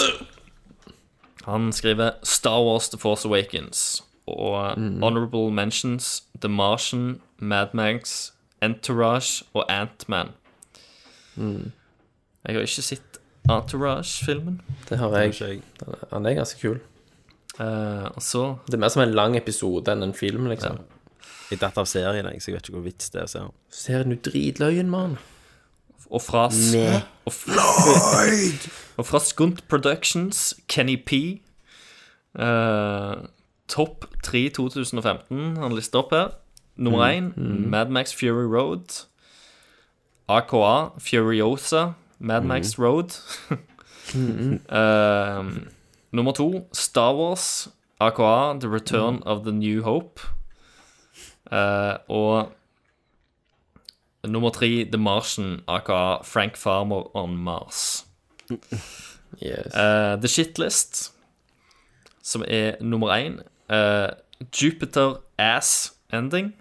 J: Han skriver Star Wars The Force Awakens og Honorable Mentions The Martian, Mad Max, Entourage og Ant-Man. Jeg har ikke sett Entourage-filmen.
I: Det har jeg. Han er ganske kul.
J: Eh, og så
I: Det er mer som en lang episode enn en film, liksom.
A: Jeg datt av serien, jeg, så jeg vet ikke hvor vits det er å se den.
I: Serien er jo dritløyen, mann.
J: Og fra, s-
I: Nei.
J: og fra, [laughs] og fra Skunt Productions, Kenny P. eh, Topp 3 2015, han lister opp her. Nummer
I: Mm,
J: 1, Mad Max Fury Road. AKA, Furiosa, Mad Max Road. [laughs]
I: Mm,
J: Eh, nummer 2, Star Wars, AKA, The Return
I: Mm.
J: of the New Hope. Eh, og Nummer tre, The Martian, aka Frank Farmer on Mars.
I: [laughs] Yes.
J: Eh, The Shitlist, som er nummer én. eh, Jupiter Ass Ending.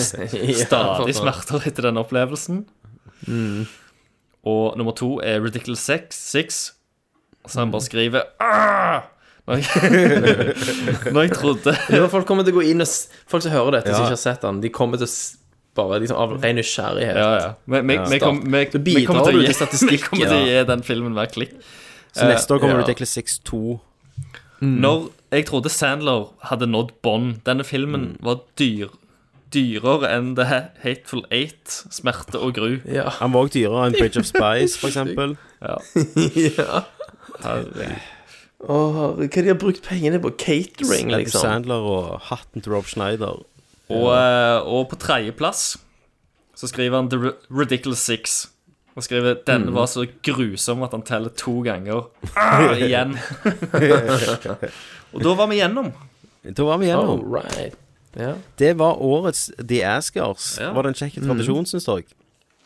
J: Stadig smerter etter den opplevelsen.
I: Mm.
J: Og nummer to er Ridiculous Sex, Six. Så han bare skriver «Ah!» Når jeg, [laughs] når jeg trodde
I: Ja, folk kommer til å gå inn og s- Folk som hører dette, som
J: Ja.
I: ikke har sett den, de kommer til å s- bare liksom av ren nysgjerrighet
J: Ja, ja. Men vi- vi kom- vi-
I: Da
J: vi kommer
I: bidrar
J: til
I: du
J: å gi-
I: til statistikken.
J: vi kommer til å gi den filmen hver klikk.
A: Så neste år kommer
J: Eh,
A: ja. Ridiculous 6-2.
I: Mm.
J: Når jeg trodde Sandler hadde nådd bånd Denne filmen
I: Mm.
J: var dyr dyrere enn The Hateful Eight, Smerte og gru. [laughs]
I: Ja.
A: Han var også dyrere enn Bridge of Spice, for eksempel.
J: Ja.
I: ja.
J: Herregud.
I: Åh, hva de har brukt pengene på? Catering,
A: Adam
I: liksom.
A: Sandler og hatten til Rob Schneider.
J: [laughs] Og, eh, og på tredjeplass så skriver han The Ri- Ridiculous Six. Og skriver denne
I: Mm.
J: var så grusom at han teller to
I: [laughs]
J: ganger. Ah, igjen. og da var vi gjennom.
A: Da var vi
I: Oh.
A: gjennom.
I: Alright. Ja.
A: Det var årets The Askers.
J: Ja.
A: Var det en kjekk tradisjon, syns dere?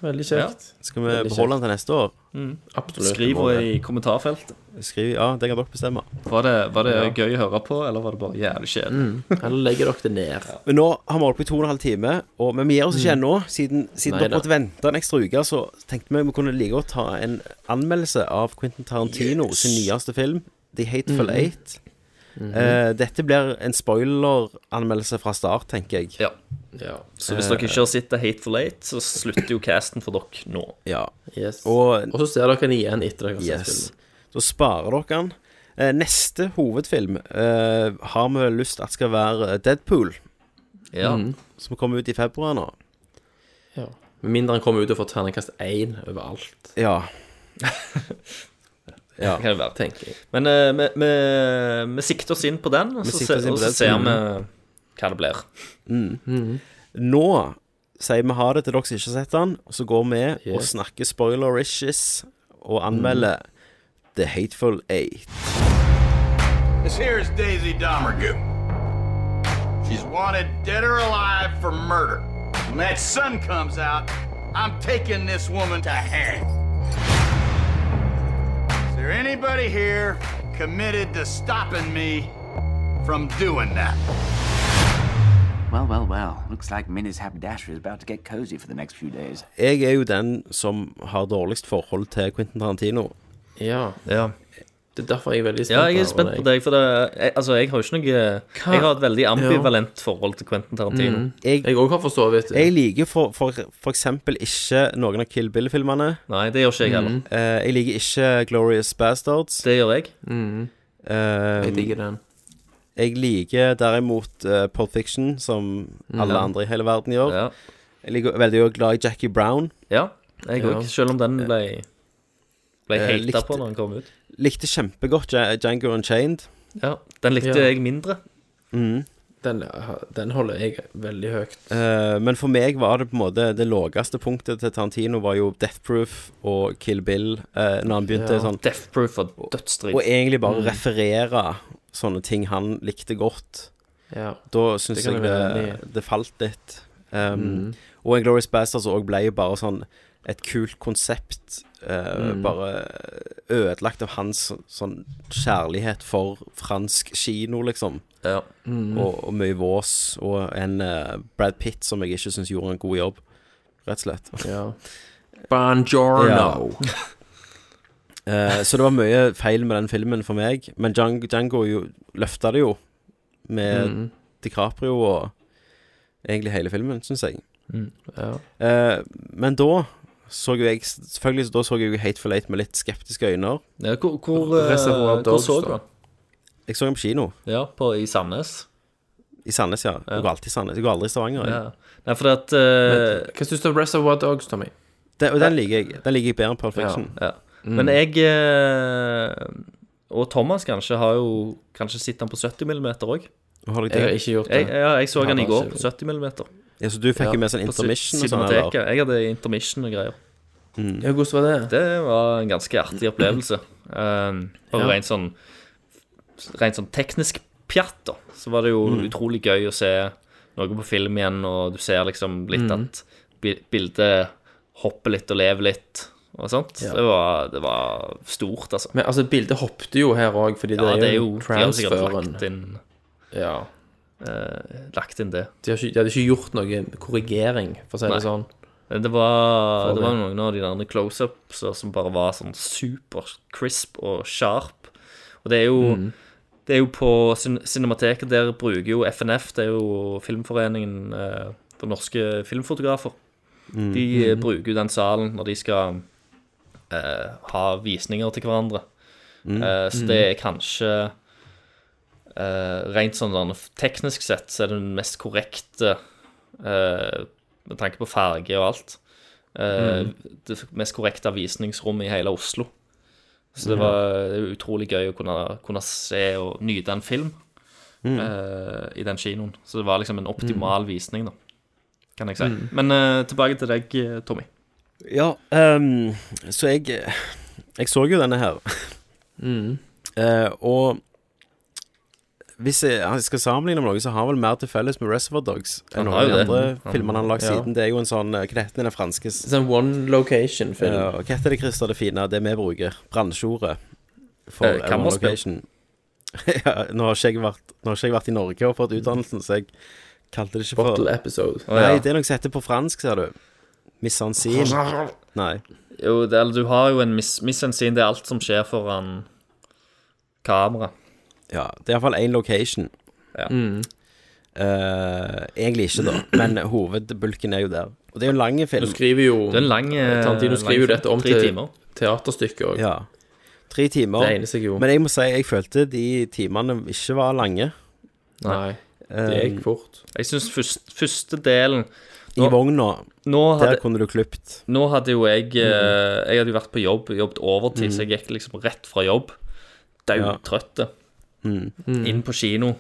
I: Veldig
J: Ja.
I: kjekt.
A: Skal vi
I: Mm. Veldig
A: beholde den til neste år?
J: Mm.
I: Absolutt.
J: Skriv i kommentarfeltet.
A: Skriv, ja, det kan dere bestemme.
J: Var det, var det
A: Ja.
J: gøy å høre på, eller var det bare jævlig
I: Mm.
J: kjedelig?
I: Eller legger dere det ned.
A: Men nå har vi holdt på i to og en halv time, og, men vi gir oss ikke
I: Mm.
A: ennå. Siden, siden
I: Neida.
A: dere måtte vente en ekstra uke, så tenkte vi vi kunne like godt ta en anmeldelse av Quentin Tarantino sin nyeste film, The Hateful
I: Mhm.
A: Eight.
I: Mhm.
A: Eh, dette blir en spoileranmeldelse fra start, tenker jeg.
J: Ja. Så hvis dere ikke har sett The Hateful Eight, så slutter jo casten for dere nå.
A: Ja.
I: Yes.
A: Og,
I: Og så ser dere den igjen etter dere har sett
A: Yes. Da sparer dere den. Eh, neste hovedfilm eh, har vi lyst at skal være eh, Deadpool.
J: Ja.
I: Mm.
A: Som kommer ut i februar nå.
I: filmen. Ja. Med mindre han kommer ut og får terningkast én overalt,
A: Ja. [laughs]
J: Det kan det være.
I: tenker jeg.
J: Men eh, vi- vi- vi sikter oss inn på den, og
A: Vi
J: så,
A: sikter oss
J: se,
A: inn
J: og
A: på
J: så
A: den.
J: ser vi
A: Mm.
J: hva det blir.
A: Mm. Nå sier vi ha det til dere som ikke har sett den, og så går vi og
I: Yes.
A: snakker spoiler-ishes og anmelder The Hateful Eight.
S: This here is Daisy Domergue. She's wanted dead or alive for murder. When that sun comes out, I'm taking this woman to hang. Is there anybody here committed to stopping me from doing that?
T: Well, well, well. Oh, Looks like Minnie's haberdasher is about to get cozy for the next few days.
A: Jeg er jo den som har dårligst forhold til Quentin Tarantino.
I: Ja.
J: Ja.
I: Det er derfor jeg er veldig spent.
J: Ja, jeg er
I: på
J: spent
I: den,
J: på deg, for det, jeg, altså, jeg har jo ikke noe Jeg har et veldig ambivalent forhold til Quentin Tarantino.
I: Mm. Jeg òg har for så vidt
A: Jeg liker for, for, for eksempel ikke noen av Kill Bill-filmene.
J: Nei, det gjør ikke jeg heller.
A: Mm. Eh, jeg liker ikke Glorious Bastards.
J: Det gjør jeg.
A: jeg
I: liker den.
A: Jeg liker derimot uh, Pole Fiction, som
J: Mm.
A: alle
J: Ja.
A: andre i hele verden gjør. Jeg liker veldig godt glad i Jackie Brown.
J: Ja, jeg òg. Selv om den ble Ble
A: Eh,
J: hata
A: likte-
J: på når den kom ut.
A: Likte kjempegodt Ja- Django Unchained.
J: Ja, den likte
A: Ja.
J: jeg mindre.
A: Mhm.
I: Den, den holder jeg veldig høyt.
A: Eh, men for meg var det på en måte det lågeste punktet til Tarantino var jo Death Proof og Kill Bill. eh, når han begynte
J: Ja,
A: sånn
J: Death Proof var dødsdrit.
A: Og egentlig bare
J: Mm.
A: referere sånne ting han likte godt.
I: Ja.
A: Da syns
I: Det kan
A: jeg
I: jeg være enig i.
A: det, det falt litt. Um,
I: Mm.
A: Og Inglourious Bastards òg ble jo bare sånn et kult konsept, eh,
I: Mm.
A: bare ødelagt av hans sånn kjærlighet for fransk kino, liksom.
I: Mm.
A: Og, og mye vås, og en eh, Brad Pitt som jeg ikke syns gjorde en god jobb, rett og slett.
I: Buongiorno.
A: Eh, så det var mye feil med den filmen for meg, men Django, Django jo, løfta det jo med
I: Mm.
A: DiCaprio og egentlig hele filmen, syns jeg.
I: Mm, ja.
A: Eh, men da så jo jeg Selvfølgelig da så jeg jo Hateful Eight med litt skeptiske øyne.
J: Ja, hvor- hvor, eh, Reservoir hvor Dogs, så du da? den?
A: Jeg så den på kino.
J: Ja, på, i Sandnes.
A: I Sandnes, ja. Jeg går alltid i Sandnes. Jeg går aldri i Stavanger. jeg.
J: Ja. Nei, fordi at eh,
I: Men Hva syns du om Reservoir Dogs, Tommy?
A: Den, og den liker jeg. Den liker jeg bedre enn Perfection.
J: Ja. Men
A: Mm.
J: jeg eh, og Thomas kanskje har jo Kanskje sett den på 70 mm òg.
A: Har dere det? Jeg har ikke gjort det.
J: Jeg, ja, jeg så
A: Jeg har
J: den i
A: bare
J: går
A: sett
J: på 70 mm.
A: Ja, så du fikk jo med sånn intermission og sånn, eller?
J: Jeg hadde intermission og greier.
A: Mm.
I: Ja, hvordan var det?
J: Det var en ganske artig opplevelse. Um, og
I: Ja.
J: rent sånn Rent sånn teknisk pjatt, da, så var det jo
I: Mm.
J: utrolig gøy å se noe på film igjen, og du ser liksom litt
I: Mm.
J: at bi- bildet hopper litt og lever litt og sånt.
I: Ja.
J: Det, var, det var stort, altså.
I: Men altså, bildet hoppet jo her òg, fordi
J: ja,
I: det er jo
J: de har sikkert
I: transferen.
J: lagt inn eh,
I: Ja.
J: lagt inn det.
I: De, har ikke, de hadde ikke gjort noen korrigering, for å si
J: Nei.
I: det sånn.
J: Det var,
I: For
J: det
I: det.
J: var noen av de der close-ups som bare var sånn super crisp og sharp. Og det er jo,
I: Mm.
J: det er jo på cin Cinemateket der bruker jo FNF, det er jo Filmforeningen eh, for norske filmfotografer.
I: Mm.
J: De eh,
I: Mm.
J: bruker jo den salen når de skal eh, ha visninger til hverandre.
I: Mm.
J: Eh, så
I: Mm.
J: det er kanskje eh, Rent sånn der, teknisk sett så er det den mest korrekte eh, med tanke på farge og alt. eh,
I: Mm.
J: Det mest korrekte visningsrommet i hele Oslo. Så det
I: Ja.
J: var det er utrolig gøy å kunne, kunne se og nyte en film
I: Mm.
J: eh, i den kinoen. Så det var liksom en optimal visning, da, kan jeg si.
A: Mm.
J: Men eh, tilbake til deg, eh, Tommy.
A: Ja, ehm, så jeg Jeg så jo denne her.
I: Mm.
A: Eh, og hvis jeg, jeg skal sammenligne med noe, så har han vel mer til felles med Reservoir Dogs enn
I: Han
A: noen
I: har
A: av de
I: jo
A: andre
I: det. Han-
A: filmene han har lagd
I: ja.
A: siden. Det er jo en sånn eh, Hva heter den franske s-
I: Sånn one location-film.
A: Ja, og Hva heter det, Christer, det fine, det vi bruker? Bransjeordet for
I: Eh,
A: eh,
I: kammerspill.
A: location. [laughs] ja, nå, har ikke jeg vært, nå har ikke jeg vært i Norge og fått utdannelsen, så jeg kalte det ikke for
I: Bottle episode. Å,
A: Nei,
I: ja.
A: det er noe som heter på fransk, ser du. Misansin.
I: [laughs]
A: Nei.
J: Jo, det, eller, du har jo en mis misensin. Det er alt som skjer foran kamera.
A: Ja, det er iallfall én location.
J: Ja.
I: Mm.
A: Eh, egentlig ikke, da, men hovedbulken er jo der. Og det er jo en lang film.
I: Du skriver jo
A: Eh,
J: eh,
I: Tarantino skriver jo dette om til teaterstykket òg.
A: Ja. Tre timer.
I: Det egner seg jo.
A: Men jeg må si jeg følte de timene ikke var lange. Eh,
I: Nei. Det gikk fort.
J: Jeg syns først, første delen
A: I vogna,
J: nå
A: der
J: hadde-
A: kunne du klippet.
J: Nå hadde jo jeg eh, Jeg hadde jo vært på jobb, jobbet overtid,
A: Mm.
J: så jeg gikk liksom rett fra jobb. Daudtrøtte.
A: Mm.
J: Inn på kino.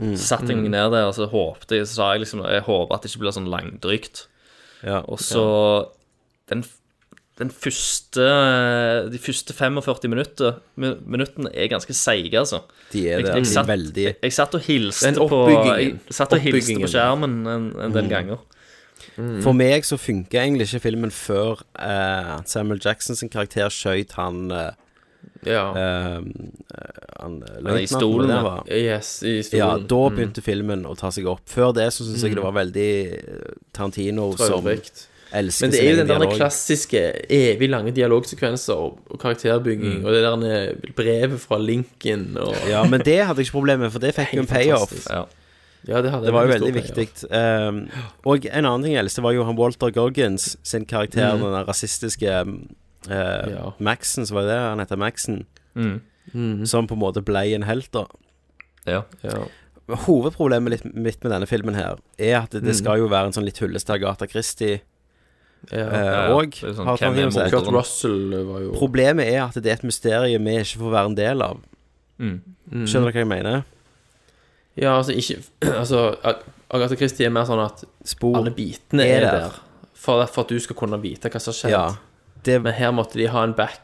A: Mm.
J: Så satte jeg meg
A: Mm.
J: ned der og så håpte jeg, så sa jeg liksom Jeg håper at det ikke blir sånn langdrygt. og så den, f- den første De første 45 minutter, min- minuttene er ganske seige, altså.
A: De er
J: Jeg-
A: det,
J: jeg
A: altså,
J: satt-
A: veldig.
J: Jeg, jeg satt og hilste
A: Den
J: på Jeg
A: oppbyggingen.
J: satt og hilste på
A: Oppbyggingen.
J: skjermen en, en del
A: Mm.
J: ganger.
I: Mm.
A: For meg så funker egentlig ikke filmen før eh, Samuel Jackson sin karakter skjøt han eh, eh, han eh,
I: Han er i
A: løytnanten,
I: stolen,
A: det
I: ja.
A: var.
I: Yes, i stolen.
A: Ja, da
I: Mm.
A: begynte filmen å ta seg opp. Før det så syns jeg
I: Mm.
A: det var veldig eh, Tarantino som
I: Trøyrikt.
A: elsker sin
I: Men det er jo den
A: egen
I: der
A: dialog.
I: klassiske evig lange dialogsekvenser og og karakterbygging,
A: Mm.
I: og det der brevet fra Lincoln og
A: Ja, men det hadde jeg ikke problem med, for det fikk jo en
I: Helt
A: payoff.
I: fantastisk. Ja. Ja, det hadde
A: var jo
I: en
A: veldig
I: stor
A: viktig. Um, og en annen ting jeg elsker, var jo han Walter Goggins sin karakter, den
I: Mm.
A: der rasistiske um, uh, Maxen, så var det det han heter Maxen,
J: Mm.
A: som på en måte ble en helt, da.
J: Ja.
A: Hovedproblemet litt, mitt med denne filmen her er at det,
I: Mm.
A: skal jo være en sånn litt hulleste Agatha Christie. eh,
I: ja,
A: Og
I: det er sånn,
A: har
I: hvem er
A: Tarantino sagt.
I: morderen? Kurt Russell var jo-
A: Problemet er at det er et mysterium vi ikke får være en del av.
I: Mm. Mm.
A: Skjønner dere hva jeg mener?
I: Ja, altså ikke [clears throat] Altså, Ag- Agatha Christie er mer sånn at alle bitene
A: er
I: er,
A: der.
I: der. For, for at du skal kunne vite hva som har skjedd.
A: Ja.
I: Men her måtte de ha en back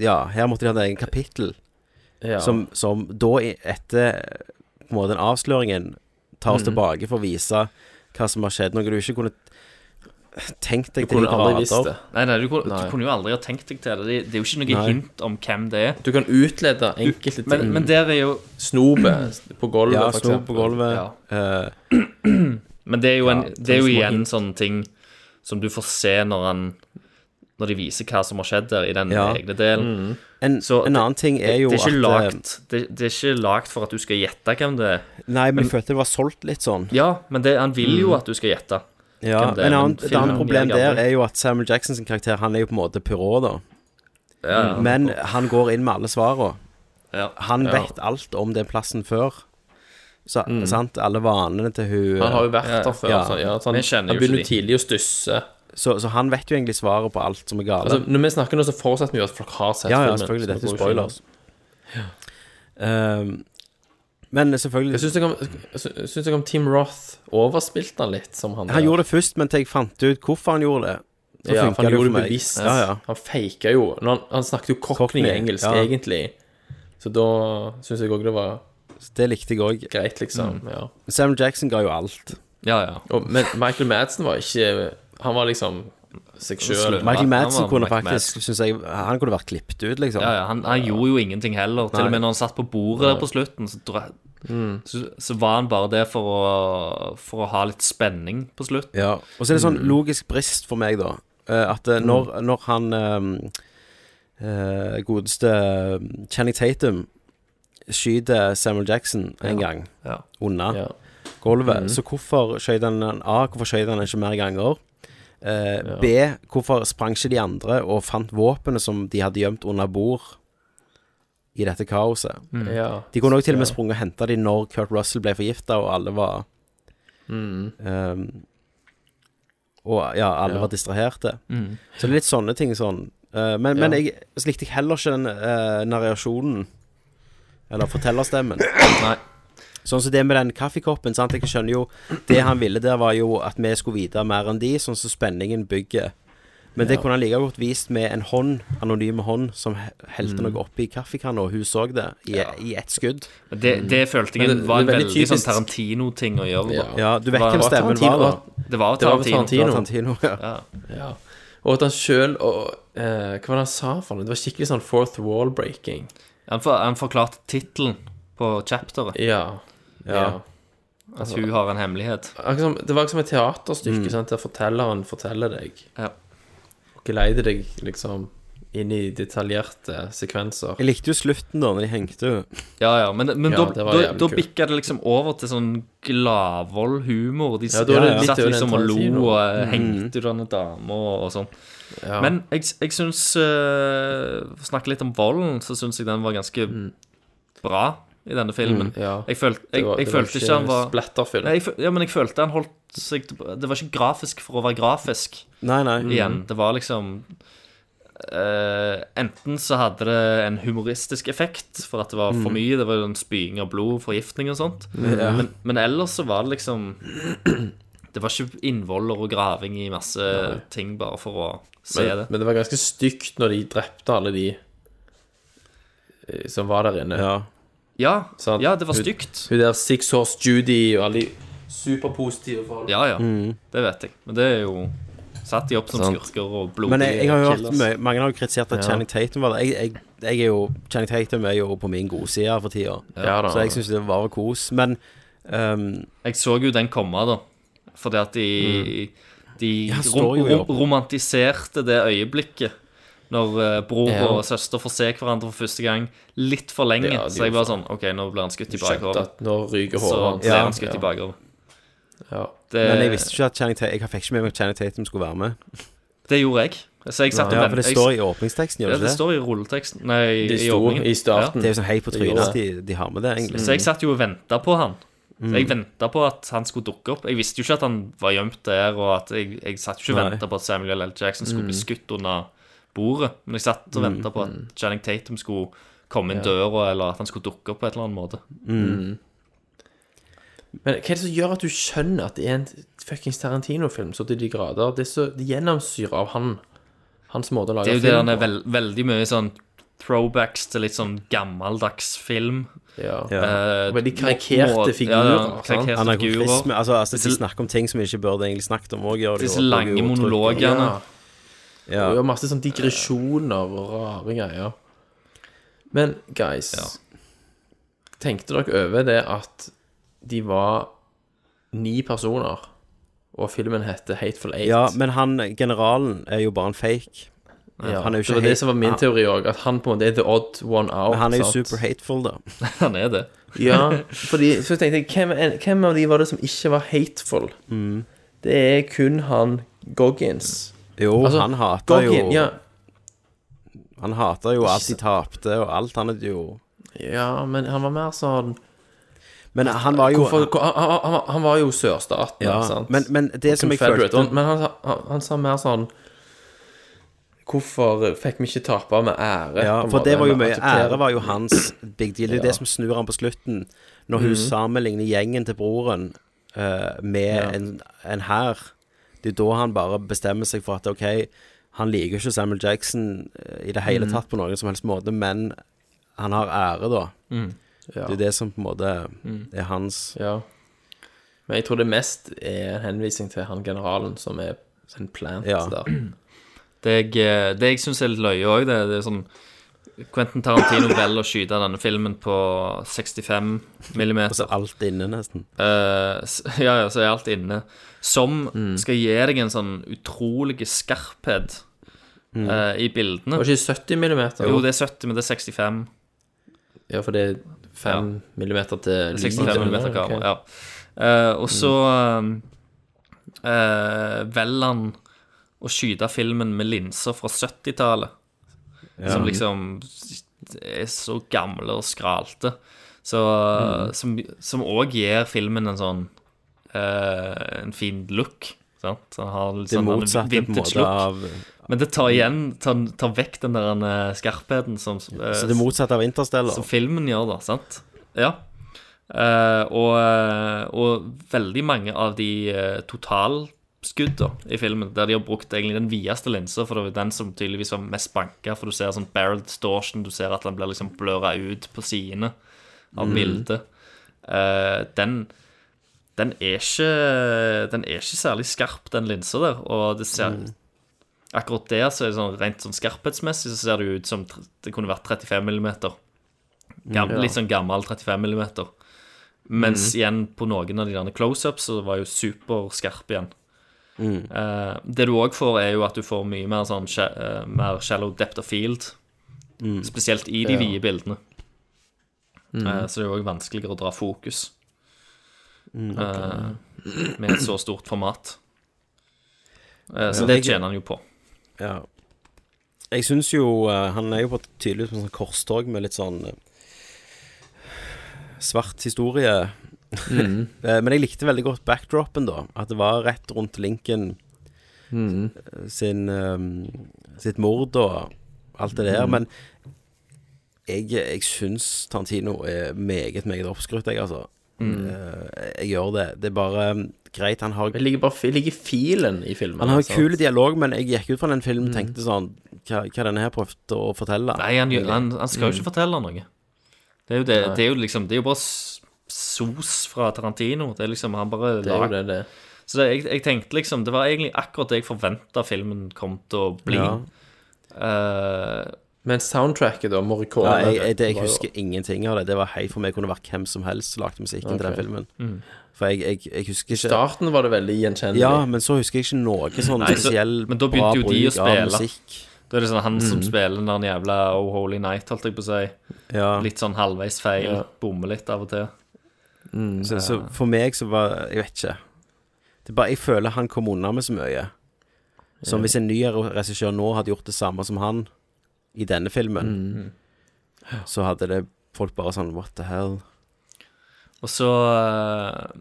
A: Ja, her måtte de ha et eget kapittel.
I: Ja.
A: Som, som da, i- etter på en måte, den avsløringen, tar oss
I: Mhm.
A: tilbake for å vise hva som har skjedd. Noe du ikke kunne tenkt deg
I: Du kunne
A: de
I: aldri
A: grader.
I: visst det.
J: Nei, nei, du, kunne-
I: Nei.
J: du kunne jo aldri ha tenkt deg til det. Det, det er jo ikke noe
I: Nei.
J: hint om hvem det er.
I: Du kan utlede enkelte ting.
A: Mm.
J: Men, men der er jo
I: Snopet på gulvet,
J: Ja,
I: for
J: snopet
I: eksempel.
J: på gulvet.
I: Ja.
A: Eh,
J: Men det er jo, en,
I: Ja,
J: det er
I: sånne
J: jo
I: små
J: igjen
A: liksom
J: sånne ting som du får se når han Når de viser hva som har skjedd der, i den
A: Ja.
J: egne delen.
A: Mhm. En- en annen ting er jo
J: det,
A: at,
J: det er ikke
A: eh,
J: lagt, det, det er ikke lagt for at du skal gjette hvem det er.
A: Nei, men
J: Men-
A: jeg følte det var solgt litt sånn.
J: Ja, men det, han vil jo
A: Mhm.
J: at du skal gjette.
A: Ja,
J: hvem det er,
A: men annet, et
J: filmen
A: annet problem
J: gjør det
A: der
J: aldri.
A: er jo at Samuel Jacksons karakter, han er jo på en måte pyrå, da.
J: Ja, ja.
A: Men han går inn med alle svarene.
J: Ja.
A: Han
J: Ja.
A: vet alt om den plassen før. Så, sant? Alle vanene til hun
I: Mm. Han har jo vært der før.
A: Ja. sånn-
I: Så, ja, så han, han begynner jo tidlig å stusse.
A: Så, så han vet jo egentlig svaret på alt som er galt.
I: Altså, når vi snakker nå, så forutsetter vi jo at folk har sett
A: ja, ja,
I: filmen.
A: selvfølgelig.
I: så
A: Dette er
I: vi går jo ikke
A: spoilers. Um, men selvfølgelig
I: Hva syns dere om- sy- syns dere om Tim Roth? Overspilte han litt som han
A: Han gjorde det først, men til jeg fant ut hvorfor han gjorde det. Så
I: ja,
A: funket
I: for han
A: det jo for
I: gjorde det
A: meg.
I: bevisst.
A: Ja, ja.
I: Han faka jo når han, han snakket jo cockney
A: Cockney,
I: engelsk,
A: ja.
I: egentlig. Så da syns jeg òg det var
A: Det likte jeg òg.
I: Greit, liksom.
A: Mm.
I: Ja.
A: Sam Jackson ga jo alt.
J: Ja, ja.
I: Og, men Michael Madsen var ikke Han var liksom seg sjøl.
A: Michael Madsen kunne faktisk, synes jeg, han kunne vært klippet ut, liksom.
J: Ja, ja, han, han gjorde jo ingenting heller. Til
A: Nei.
J: og med når han satt på bordet der
A: Nei.
J: på slutten, så, dra-
A: Mm.
J: så, så var han bare der for å, for å ha litt spenning på slutten.
A: Ja, og så er det sånn logisk brist for meg, da. eh, At eh, når, når han eh, eh, godeste ehm, Channing Tatum skyter Samuel Jackson en gang unna gulvet,
I: Mhm.
A: så hvorfor skjøt han han A? Hvorfor skjøt han ikke mer ganger? Eh,
I: Ja.
A: B. Hvorfor sprang ikke de andre og fant våpenet som de hadde gjemt under bord i dette kaoset?
I: Mm. Ja.
A: De kunne også til og med
I: Ja.
A: sprunget og henta de når Kurt Russell ble forgifta, og alle var Ehm, og ja, alle
I: Mm. Ja.
A: var distraherte.
I: Mm.
A: Så det er litt sånne ting sånn. Eh, men, men
I: Ja.
A: jeg så likte jeg heller ikke den eh, narrasjonen. Eller
I: [coughs]
A: fortellerstemmen. Sånn som det med den kaffekoppen. Sant? Jeg skjønner jo Det han ville der, var jo at vi skulle vite mer enn de, sånn som spenningen bygger. Men det
I: Ja.
A: kunne han like godt vist med en hånd, anonym hånd, som he- helte
I: Mm.
A: noe oppi kaffekanna, og hun så det i, i ett skudd.
J: Men Det, det følte jeg
A: Mm. Men det-
J: var en
A: det er
J: veldig,
A: veldig
J: sånn
A: typisk-
J: Tarantino-ting å gjøre. da.
A: Ja, du vet
J: Det
A: hvem stemmen var, da.
J: Det var Tarantino.
A: Det var Tarantino, ja.
I: Ja. Og at han sjøl og eh, Hva var det han sa for noe? Det var skikkelig sånn fourth wall breaking.
J: Han, for, han forklarte tittelen på chapteret.
I: Ja. Ja.
J: At hun har en hemmelighet.
I: Akkurat som- Det var akkurat som et teaterstykke
J: Mm.
I: sant? der fortelleren forteller deg. Og geleider deg liksom inn i detaljerte sekvenser.
A: Jeg likte jo slutten, da, når de hengte henne.
J: Ja, ja, men, men
I: Ja, det
J: da,
I: var
J: da,
I: jævlig
J: da
I: kult.
J: bikka det liksom over til sånn gladvold humor. De
I: Ja, da er det litt
J: satt
I: over den
J: liksom og lo
I: Tarantino.
J: og
I: Mhm.
J: eh, hengte ut denne dama og, og sånn.
I: Ja.
J: Men jeg, jeg syns eh, For å snakke litt om volden, så syns jeg den var ganske bra i denne filmen.
I: Mm, ja.
J: Jeg følte,
I: Det
J: jeg,
I: var-
J: jeg
I: det var
J: følte
I: ikke
J: ikke han var
I: splatterfilm.
J: Nei, jeg, føl- ja, men jeg følte han holdt seg Det var ikke grafisk for å være grafisk.
A: Nei, nei.
J: Igjen.
A: Mhm.
J: Det var liksom eh, Enten så hadde det en humoristisk effekt for at det var
A: Mhm.
J: for
I: Mm.
J: mye. Det var jo en spying av blod, forgiftning og sånt.
I: Ja.
J: Men, men ellers så var det liksom [clears throat] Det var ikke innvoller og graving i masse ting bare for å se
I: men,
J: det.
I: Men det var ganske stygt når de drepte alle de eh, som var der inne.
A: Ja,
J: ja,
I: Sant?
J: ja, det var
I: Hun-
J: stygt.
I: Hun der Six Horse Judy og alle de superpositive folk.
J: Ja, ja.
A: Mhm.
J: Det vet jeg. Men det er jo Satt de opp som
A: Sant.
J: skurker og blodige
A: Men jeg, jeg har jo hørt
J: killers.
A: mye, mange har jo kritisert at
J: Ja.
A: Channing Tatum var der. Jeg, jeg, jeg er jo, Channing Tatum er jo på min gode side her for tida,
J: Ja da.
A: så jeg syns det var kos. Men ehm,
J: Jeg så jo den komme, da. Fordi at de De
A: Mm. han står
J: rom,
A: jo i
J: rom,
A: opp.
J: romantiserte det øyeblikket når eh, bror
I: Ja.
J: og søster får se hverandre for første gang litt for lenge.
I: Ja, de
J: så jeg var
I: gjorde
J: sånn OK, nå blir han skutt
I: Du
J: i
I: skjønte
J: bakhodet.
I: at nå ryker
J: Så
I: håret hans.
J: ble
I: Ja.
J: han skutt
I: Ja.
J: i bakhodet. Det-
A: Men jeg visste ikke at Channing Tatum Jeg fikk ikke med meg at Channing Tatum skulle være med.
J: Det gjorde jeg. Så jeg satt og
A: Ja,
J: vent-
A: for det
J: jeg-
A: står i åpningsteksten, gjør
J: ja,
A: det ikke
J: det?
A: det?
J: står i rulleteksten. Nei,
A: Det
J: i
A: sto
J: åpningen.
A: i starten.
J: Ja.
I: Mm.
A: Det er jo sånn hei på trynet at de- de har med det, egentlig.
J: Så jeg satt jo og venta på han. Så jeg venta på at han skulle dukke opp. Jeg visste jo ikke at han var gjemt der, og at jeg, jeg satt jo ikke og
I: Nei.
J: venta på at Samuel L. Jackson skulle bli
I: Mm.
J: skutt under bordet, men jeg satt og
I: Mm.
J: venta på at Channing Tatum skulle komme inn
I: Ja.
J: døra, eller at han skulle dukke opp på et eller annet måte.
I: Mm. Men hva er det som gjør at du skjønner at det er en fuckings Tarantino-film så til de grader? Det er så det gjennomsyrer av han. Hans måte å
J: Det
I: lage
J: er jo det
I: film
J: han er vel- veldig mye sånn throwbacks til litt sånn gammeldags film.
I: Ja.
J: Eh,
I: Veldig karikerte
J: må-
I: figurer,
J: Ja, ja,
I: sant?
J: karikerte
A: Anakronisme.
J: figurer.
A: Altså, altså de snakker om ting som vi ikke burde egentlig snakket om òg.
J: Disse lange monologene.
A: Ja.
I: Og masse sånn digresjoner og rare greier. Men guys, tenkte dere over det at de var ni personer, og filmen heter Hateful Eight?
A: Ja, men han generalen er jo bare en fake.
I: Ja,
A: han er jo ikke
I: det var
A: hate-
I: det som var min
A: han-
I: teori òg, at han på en måte er the odd one out.
A: Men han er jo
I: sant?
A: super hateful, da.
J: [laughs] Han er det.
A: [laughs]
I: Ja, fordi så tenkte jeg, hvem, er- hvem av de var det som ikke var hateful?
A: Mm.
I: Det er kun han Goggins.
A: Jo, han hater jo-
I: Altså, Ja,
A: Han hater jo alt de tapte, og alt han er jo
I: ja, men han var mer sånn
A: Men han var jo-
I: Hvorfor, hvor- han, han, han- han var jo sørstaten,
A: Ja,
I: sant?
A: men- men det
I: Og
A: som jeg
I: Confederate,
A: følte-
I: og- Men han, han, han sa mer sånn Hvorfor fikk vi ikke tape med ære? på
A: Ja,
I: en
A: for det
I: måte,
A: var jo
I: med
A: mye
I: å akseptere-
A: Ære var jo hans big deal. Det er jo
I: Ja.
A: det som snur han på slutten, når hun
I: Mhm.
A: sammenligner gjengen til broren eh, med
I: Ja.
A: en, en hær. Det er da han bare bestemmer seg for at OK, han liker ikke Samuel Jackson eh, i det hele
I: Mhm.
A: tatt på noen som helst måte, men han har ære, da.
I: Mhm. Ja.
A: Det er det som på en måte
I: Mhm.
A: er hans
I: Ja. Men jeg tror det mest er en henvisning til han generalen som er en plant der.
J: Det jeg, eh, det jeg syns er litt løye òg, det, det er sånn Quentin Tarantino velger å skyte denne filmen på 65 millimeter.
A: Altså alt inne, nesten.
J: Eh, s- [laughs] ja, ja, så er alt inne. Som skal gi deg en sånn utrolig skarphet
I: Mm.
J: eh, i bildene.
I: Var det ikke 70 millimeter?
J: Jo, det er 70, men det er 65.
I: Ja, for det er 5 millimeter til
J: 65 mm
I: linjen,
J: kamera,
I: ok.
J: ja. Eh, og så
A: Mm.
J: eh, eh, velger han å skyte filmen med linser fra 70-tallet.
I: Ja.
J: Som liksom er så gamle og skralte. Så,
I: Mm.
J: Som som òg gir filmen en sånn eh, En fin look. Sant? Så Han har litt
A: Det
J: sånn en
A: motsatte på en måte
J: vintage-look.
A: av- eh,
J: Men det tar igjen Tar, tar vekk den der eh, skarpheten som eh,
A: Så det motsatte av Interstellar.
J: som filmen gjør, da. Sant? Ja. Eh, og, og veldig mange av de uh, totalskudda i filmen, der de har brukt egentlig den videste linsa, for det var den som tydeligvis var mest banka, for du ser sånn barrel distortion, du ser at den blir liksom bløra ut på sidene av
I: Mm.
J: bildet. Eh, den den er ikke Den er ikke særlig skarp, den linsa der, og det ser Akkurat der, så er det sånn rent sånn skarphetsmessig, så ser det jo ut som tr- det kunne vært 35 millimeter. Gam,
A: Mm.
I: Ja.
J: Litt sånn gammel 35 millimeter. Mens
I: Mhm.
J: igjen på noen av de derne close-ups så var jo superskarp igjen.
A: Mhm.
J: Eh, det du òg får, er jo at du får mye mer sånn sha- eh, mer shallow depth of field.
A: Mhm.
J: Spesielt i de
A: Ja.
J: vide bildene.
A: Mhm.
J: Eh, så det er jo òg vanskeligere å dra fokus
A: Mhm.
J: eh, med et så stort format. Eh, så
A: Ja.
J: det tjener han jo på.
A: Ja. Jeg syns jo eh, Han er jo på tydeligvis på en sånn korstog med litt sånn eh, svart historie.
I: Mhm.
A: [laughs] Eh, Men jeg likte veldig godt backdropen, da. At det var rett rundt Lincoln
I: Mhm.
A: sin, eh, sitt mord og alt det der.
I: Mhm.
A: Men jeg, jeg syns Tantino er meget, meget oppskrytt, jeg, altså.
I: Mhm.
A: Eh, Jeg gjør det. Det er bare eh, greit. Han har
I: Det ligger bare det ligger filen i filmen. altså.
A: han har
I: sant?
A: kul dialog, men jeg gikk ut fra den filmen og tenkte sånn Hva, hva denne her prøvde å fortelle?
J: Mm. Nei, han, gjør- han, han skal jo
I: Mm.
J: ikke fortelle noe. Det er jo, det,
A: Nei.
J: det er jo liksom Det er jo bare s- sos fra Tarantino. Det er liksom Han bare
I: Det er jo det, det.
J: Så det, jeg, jeg tenkte liksom Det var egentlig akkurat det jeg forventa filmen kom til å bli.
I: Ja.
J: Eh,
I: Men soundtracket, da, Morricone
A: Nei, jeg, jeg, det, jeg
I: var jo-
A: husker ingenting av det. Det var helt for meg kunne vært hvem som helst som lagde musikken til den
I: Ok.
A: filmen.
I: Mm.
A: For jeg, jeg, jeg husker ikke
I: Starten var det veldig gjenkjennelig.
A: Ja, men så husker jeg ikke noe sånn
J: Nei, så,
A: spesiell
J: men da begynte jo de å spille.
A: musikk.
J: Da er det sånn han som
I: Mm.
A: Mhm.
J: spiller den der jævla Oh Holy Night, holdt jeg på å si.
A: Ja.
J: Litt sånn halvveis feil.
A: Ja.
J: Bommer litt av og til.
A: Så, så for meg så var Jeg vet ikke. Det er bare Jeg føler han kom unna med så mye. Som
I: Ja.
A: hvis en ny regissør nå hadde gjort det samme som han i denne filmen, så hadde det folk bare sånn What the hell?
J: Og Og så eh,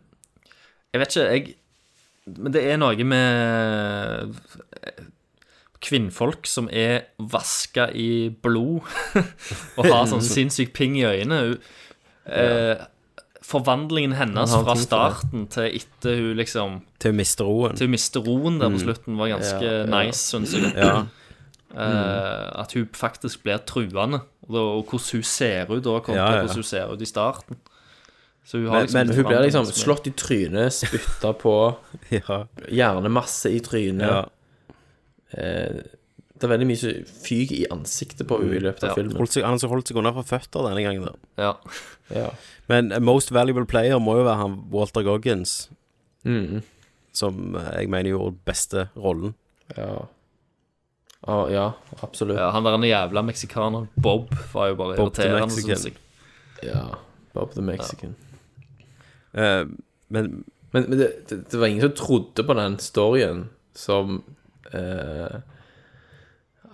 J: Jeg vet ikke, jeg Men det er noe med eh, kvinnfolk som er vaska i blod [laughs] og har
I: [laughs]
J: sånn sinnssyk ping i øynene. Hun- Eh, forvandlingen hennes
A: Hun har
J: fra
A: ting for det.
J: starten til etter hun liksom
A: Til å miste roen.
J: til å miste roen der på
A: Mm.
J: slutten var ganske
A: Ja, ja.
J: nice, syns jeg.
A: Ja.
I: Mm.
J: Eh, at hun faktisk blir truende, og, da, og hvordan hun ser ut da, kontra
I: Ja, ja.
J: hvordan hun ser ut i starten. Så hun har
I: Men,
J: liksom
I: men
J: et
I: hun blir
J: forandring
I: liksom
J: som er-
I: slått i trynet, spytta på,
A: ja.
I: hjernemasse i trynet.
A: Ja.
I: Eh, det er veldig mye som fyker i ansiktet på henne i løpet av filmen.
A: Holdt seg, han som holdt seg unna fra føtter denne gangen. Der.
J: Ja.
I: Ja.
A: Men eh, most valuable player må jo være han Walter Goggins,
I: Mhm.
A: som eh, jeg mener gjorde beste rollen.
I: Ja. Ah, ja, absolutt.
J: Ja, han der han jævla meksikaneren Bob var jo bare
A: Bob the
J: irriterende,
A: Mexican.
J: syns jeg.
I: Ja. Bob the Mexican.
A: Eh, men
I: Men, men det, det, det var ingen som trodde på den storyen som eh,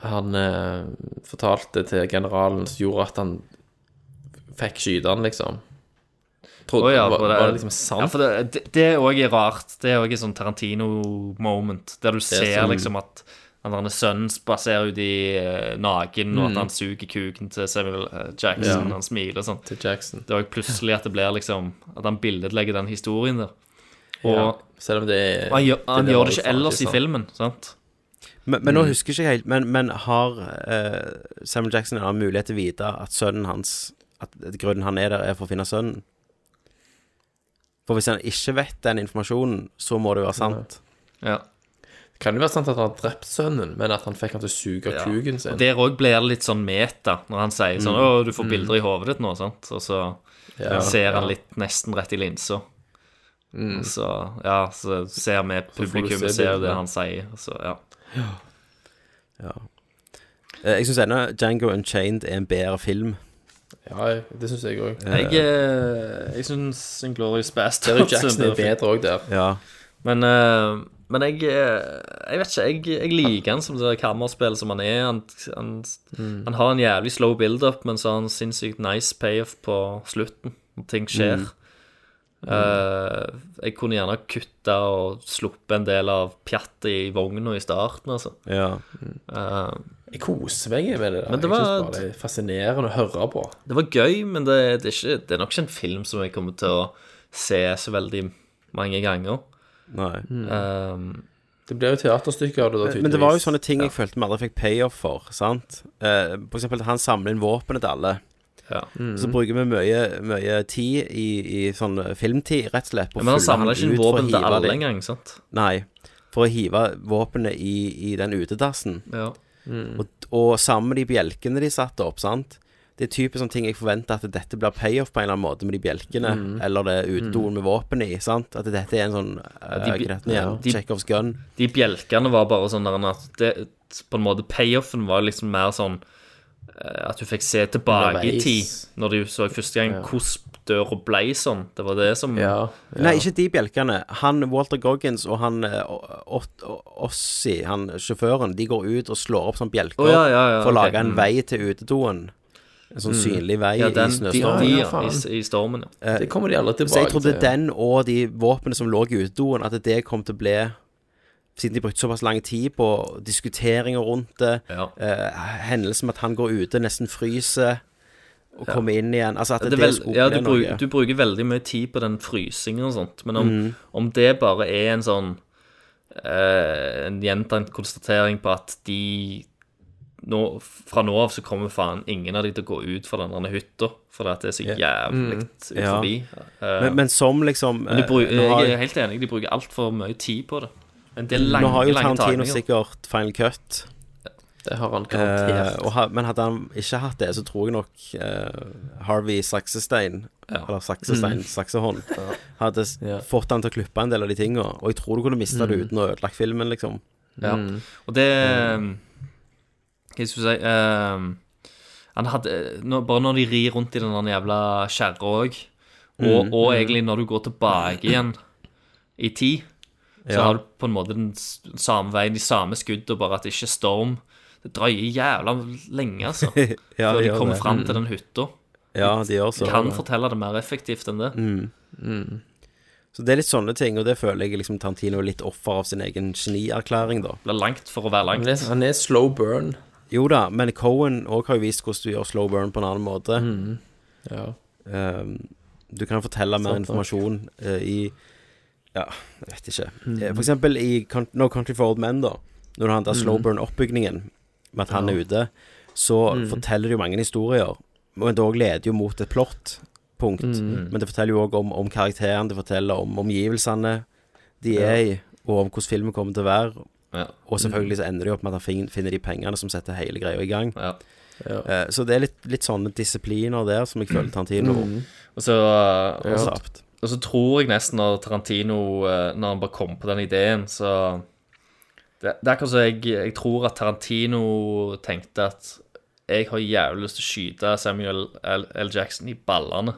I: han eh, fortalte til generalen som gjorde at han fikk skyte han, liksom. Trodde,
J: Å ja,
I: var,
J: for det-
I: var det liksom sant?
J: Ja, for det, det, det er også rart. Det er også et sånn Tarantino-moment, der du ser
I: som-
J: liksom at han der sønnen spaserer ut i eh, naken, og
I: Mm.
J: at han suger kuken til Samuel eh, Jackson,
I: Ja.
J: han smiler og sånn.
I: Til Jackson.
J: Det er også plutselig at det blir liksom At han billedlegger den historien der.
I: Ja,
J: Og,
I: selv om det er-
J: og han gjør, han
I: det
J: gjør
I: var
J: det
I: jo
J: ikke
I: faen
J: ellers
I: ikke sant.
J: i filmen, sant?
A: Men, men nå
J: Mm.
A: husker jeg ikke helt Men, men har eh, Samuel Jackson en annen mulighet til å vite at sønnen hans At grunnen han er der, er for å finne sønnen? For hvis han ikke vet den informasjonen, så må det jo være sant.
J: Ja.
I: Det kan jo være sant at han har drept sønnen, men at han fikk han til å suge kuken sin.
J: Og der òg blir det litt sånn meta, når han sier sånn
I: Mm.
J: 'Å, du får
I: Mm.
J: bilder i hodet ditt nå', sant? Og så
I: Ja,
J: ser han
I: ja.
J: litt nesten rett i linsa.
I: Mm.
J: Og Så, ja, så ser vi
I: får du
J: publikum
I: se
J: ser jo
I: bildene.
J: det han sier, og så, ja.
A: Ja. Eh, jeg syns ennå Django Unchained er en bedre film.
I: Ja, det syns jeg òg.
J: Jeg, eh, jeg syns Inglorious Bastards
I: Terry Jackson er bedre òg der.
A: Ja.
J: Men, eh, men jeg, eh, jeg vet ikke, jeg, jeg liker han som det der kammerspillet som han er. Han, han,
I: Mm.
J: han har en jævlig slow build-up, men så har han sinnssykt nice payoff på slutten. når Ting skjer.
I: Mm.
J: Eh, jeg kunne gjerne kutta og sluppet en del av pjattet i vogna i starten, altså.
A: Ja.
J: Eh,
I: Jeg koser meg med det. der.
J: Men det
I: Jeg
J: var-
I: synes bare det er fascinerende å høre på.
J: det var gøy, men det, det, er ikke, det er nok ikke en film som jeg kommer til å se så veldig mange ganger.
A: Nei.
J: Eh,
I: Det blir jo teaterstykker
J: Mm.
I: av det, da,
A: Men, men det var jo sånne ting jeg følte vi aldri fikk payoff for. sant? Eh, for eksempel at han samler inn våpenet til alle.
J: Ja.
A: Så bruker vi mye, mye tid i, i sånn filmtid, rett og slett. på å
J: Ja, men han
A: fylle
J: samler ikke inn
A: ut for å
J: våpen til
A: hive
J: alle
A: de-
J: engang, sant?
A: Nei. For å hive våpenet i, i den utedassen.
J: Ja. Mm.
A: Og, og sammen med de bjelkene de satte opp, sant. Det er typisk sånne ting jeg forventer at dette blir payoff på en eller annen måte med de bjelkene,
J: Mm.
A: eller det utedoen med våpen i, sant. At dette er en sånn uh,
J: de bi-
A: igjen,
J: ja.
A: Chekhovs gun.
J: De bjelkene var bare sånn der enn at det, På en måte payoffen var liksom mer sånn eh, At du fikk se tilbake i
A: Underveis.
J: tid, når du så første gang
A: Ja.
J: hvordan døra ble sånn. Det var det som
A: Nei, ikke de bjelkene. Han Walter Goggins og han eh, Ott- Ossi, han sjåføren, de går ut og slår opp sånne bjelker
J: Å, ja, ja, ja,
A: for å
J: ok,
A: lage en
J: mm.
A: vei til utedoen. En sånn synlig vei
J: ja, den,
A: i snøstormen.
J: De, de, ja, i, I stormen, ja.
A: Eh, Så jeg trodde den og de våpnene som lå i utedoen, at det kom til å bli siden de brukte såpass lang tid på diskuteringer rundt det, eh, hendelsen med at han går ute, nesten fryser, og
J: Ja.
A: kommer inn igjen Altså at det,
J: Det er vel-
A: skulle
J: ja,
A: bli
J: du,
A: noe.
J: bruk, du bruker veldig mye tid på den frysingen og sånt, men om,
A: Mm.
J: om det bare er en sånn eh, En gjentatt konstatering på at de nå, Fra nå av så kommer faen ingen av de til å gå ut fra den der hytta, fordi at det er så jævlig
A: Mm.
J: ut
A: Ja.
J: forbi. Eh,
A: Men- men som liksom,
J: men de bru-
A: eh, nå har-
J: Jeg er helt enig, de bruker altfor mye tid på det. Men det er
A: Nå
J: lange,
A: har jo
J: lange
A: Tarantino
J: tagninger.
A: sikkert final cut.
I: Det har han garantert.
A: Eh, og ha, men hadde han ikke hatt det, så tror jeg nok eh, Harvey Saksestein, eller Saksestein,
I: Mm.
J: [laughs]
A: Saksehånd, hadde s- fått han til å klippe en del av de tinga. Og jeg tror du kunne mista det
J: Mm.
A: uten å ha ødelagt filmen,
J: [laughs]
A: liksom.
J: Ja. Mm. Og det eh, Hva skal jeg si eh, Han hadde nå- Bare når de rir rundt i den der jævla kjerra òg, og,
A: Mm.
J: og egentlig når du går tilbake igjen i tid, så
A: Ja.
J: har du på en måte den s- samme veien, de samme skuddene, bare at det ikke er storm. Det drøyer jævla lenge, altså,
A: [laughs] Ja,
J: før
A: det
J: de
A: gjør
J: kommer
A: det.
J: fram til
A: Mm.
J: den hytta.
A: Ja, de gjør så.
J: Kan fortelle det mer effektivt enn det.
A: Mm. Så det er litt sånne ting, og det føler jeg liksom Tarantino er litt offer av sin egen genierklæring, da.
J: Blir langt for å være langt.
I: Han er, han er slow burn.
A: Jo da, men Cohen òg har jo vist hvordan du gjør slow burn på en annen
J: Mm.
A: måte. Ehm, du kan fortelle mer
I: Sant nok.
A: informasjon eh, i Ja, jeg vet ikke.
I: Mm.
A: Eh, For eksempel i Con- No Country for Old Men, da. Når du har den der
I: Mhm.
A: slow burn-oppbygningen med at han
I: Ja.
A: er ute, så
I: Mhm.
A: forteller det jo mange historier. Men det òg leder jo mot et plot-punkt.
I: Mhm.
A: Men det forteller jo òg om, om karakteren, det forteller om omgivelsene de er
I: Ja. Mm.
A: i, og om hvordan filmen kommer til å være.
J: Ja.
A: Og selvfølgelig så ender det jo opp med at han fin- finner de pengene som setter hele greia i gang.
I: Ja.
A: Eh, Så det er litt, litt sånne disipliner der som jeg føler Tarantino
I: Mhm.
J: Og så,
A: Ja.
J: og, så, og så tror jeg nesten når Tarantino eh, Når han bare kom på den ideen, så Det, det er akkurat som jeg, jeg tror at Tarantino tenkte at jeg har jævlig lyst til å skyte Samuel L. L. Jackson i ballene.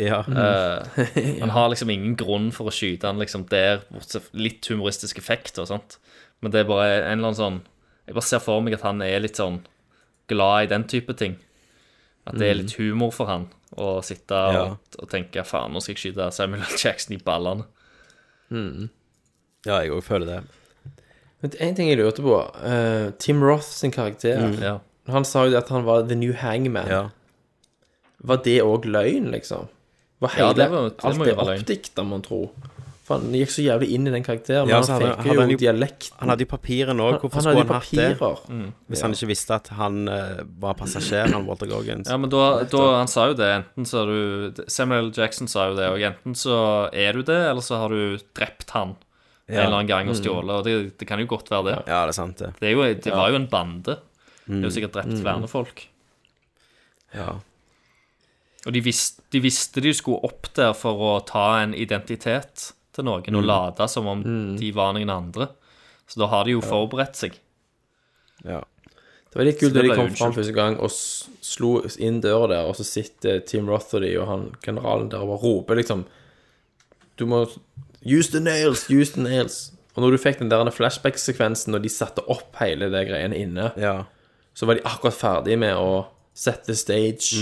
A: Ja.
I: Mm.
J: Eh,
A: [laughs]
J: han har liksom ingen grunn for å skyte han liksom der, bortsett fra litt humoristisk effekt og sånt. Men det er bare en eller annen sånn Jeg bare ser for meg at han er litt sånn glad i den type ting. At det er litt
A: Mm.
J: humor for han å sitte og, og tenke faen, nå skal jeg skyte Samuel L. Jackson i ballene.
A: Ja, jeg òg føler det.
I: Men en ting jeg lurte på eh, Tim Roth sin karakter
J: Mm. Ja.
I: Han sa jo det at han var the new hangman
A: Ja.
I: Var det også løgn liksom? Var
J: Ja,
I: hele,
J: det var- det må
I: alt
J: jo
I: det
J: være løgn.
I: oppdiktet man tror For han gikk så jævlig inn i den karakteren
A: Ja,
I: Men
A: så
I: han
A: hadde-
I: fikk
A: hadde
I: jo
A: han jo-
I: dialekten
A: Han hadde jo papirene òg.
I: Han-
A: Hvorfor
I: han
A: skulle han
I: hadde
A: hatt
I: jo
A: det?
I: papirer. Mm.
A: Hvis
I: Ja.
A: han ikke visste at han eh, var passasjer, han Walter Goggins.
J: Ja, men da, da Han sa jo det. Enten så har du Samuel L. Jackson sa jo det, og enten så er du det, eller så har du drept han en
A: Ja.
J: eller annen gang og
A: Mm.
J: stjålet. Og det, det kan jo godt være det.
A: Ja, det er sant, det.
J: Det, er jo, det
A: Ja.
J: var jo en bande. Det er
A: Mm.
J: jo sikkert drept
A: Mm.
J: vernefolk.
A: Ja.
J: Og de, vis, de visste de skulle opp der for å ta en identitet til noen
I: Mm.
J: og late som om de var noen andre. Så da har de jo forberedt seg.
A: Ja.
I: Det var litt
J: Så
I: kult da
J: det
I: de
J: ble
I: kom
J: unnskyldt.
I: fram første gang Og s- slo inn døra der Og så sitter Tim Roth og de Og han generalen der og bare roper liksom Du må Use the nails, use the nails Og når du fikk den der flashback-sekvensen Når de satte opp hele det greiene inne Så var de akkurat ferdige med å Sette stage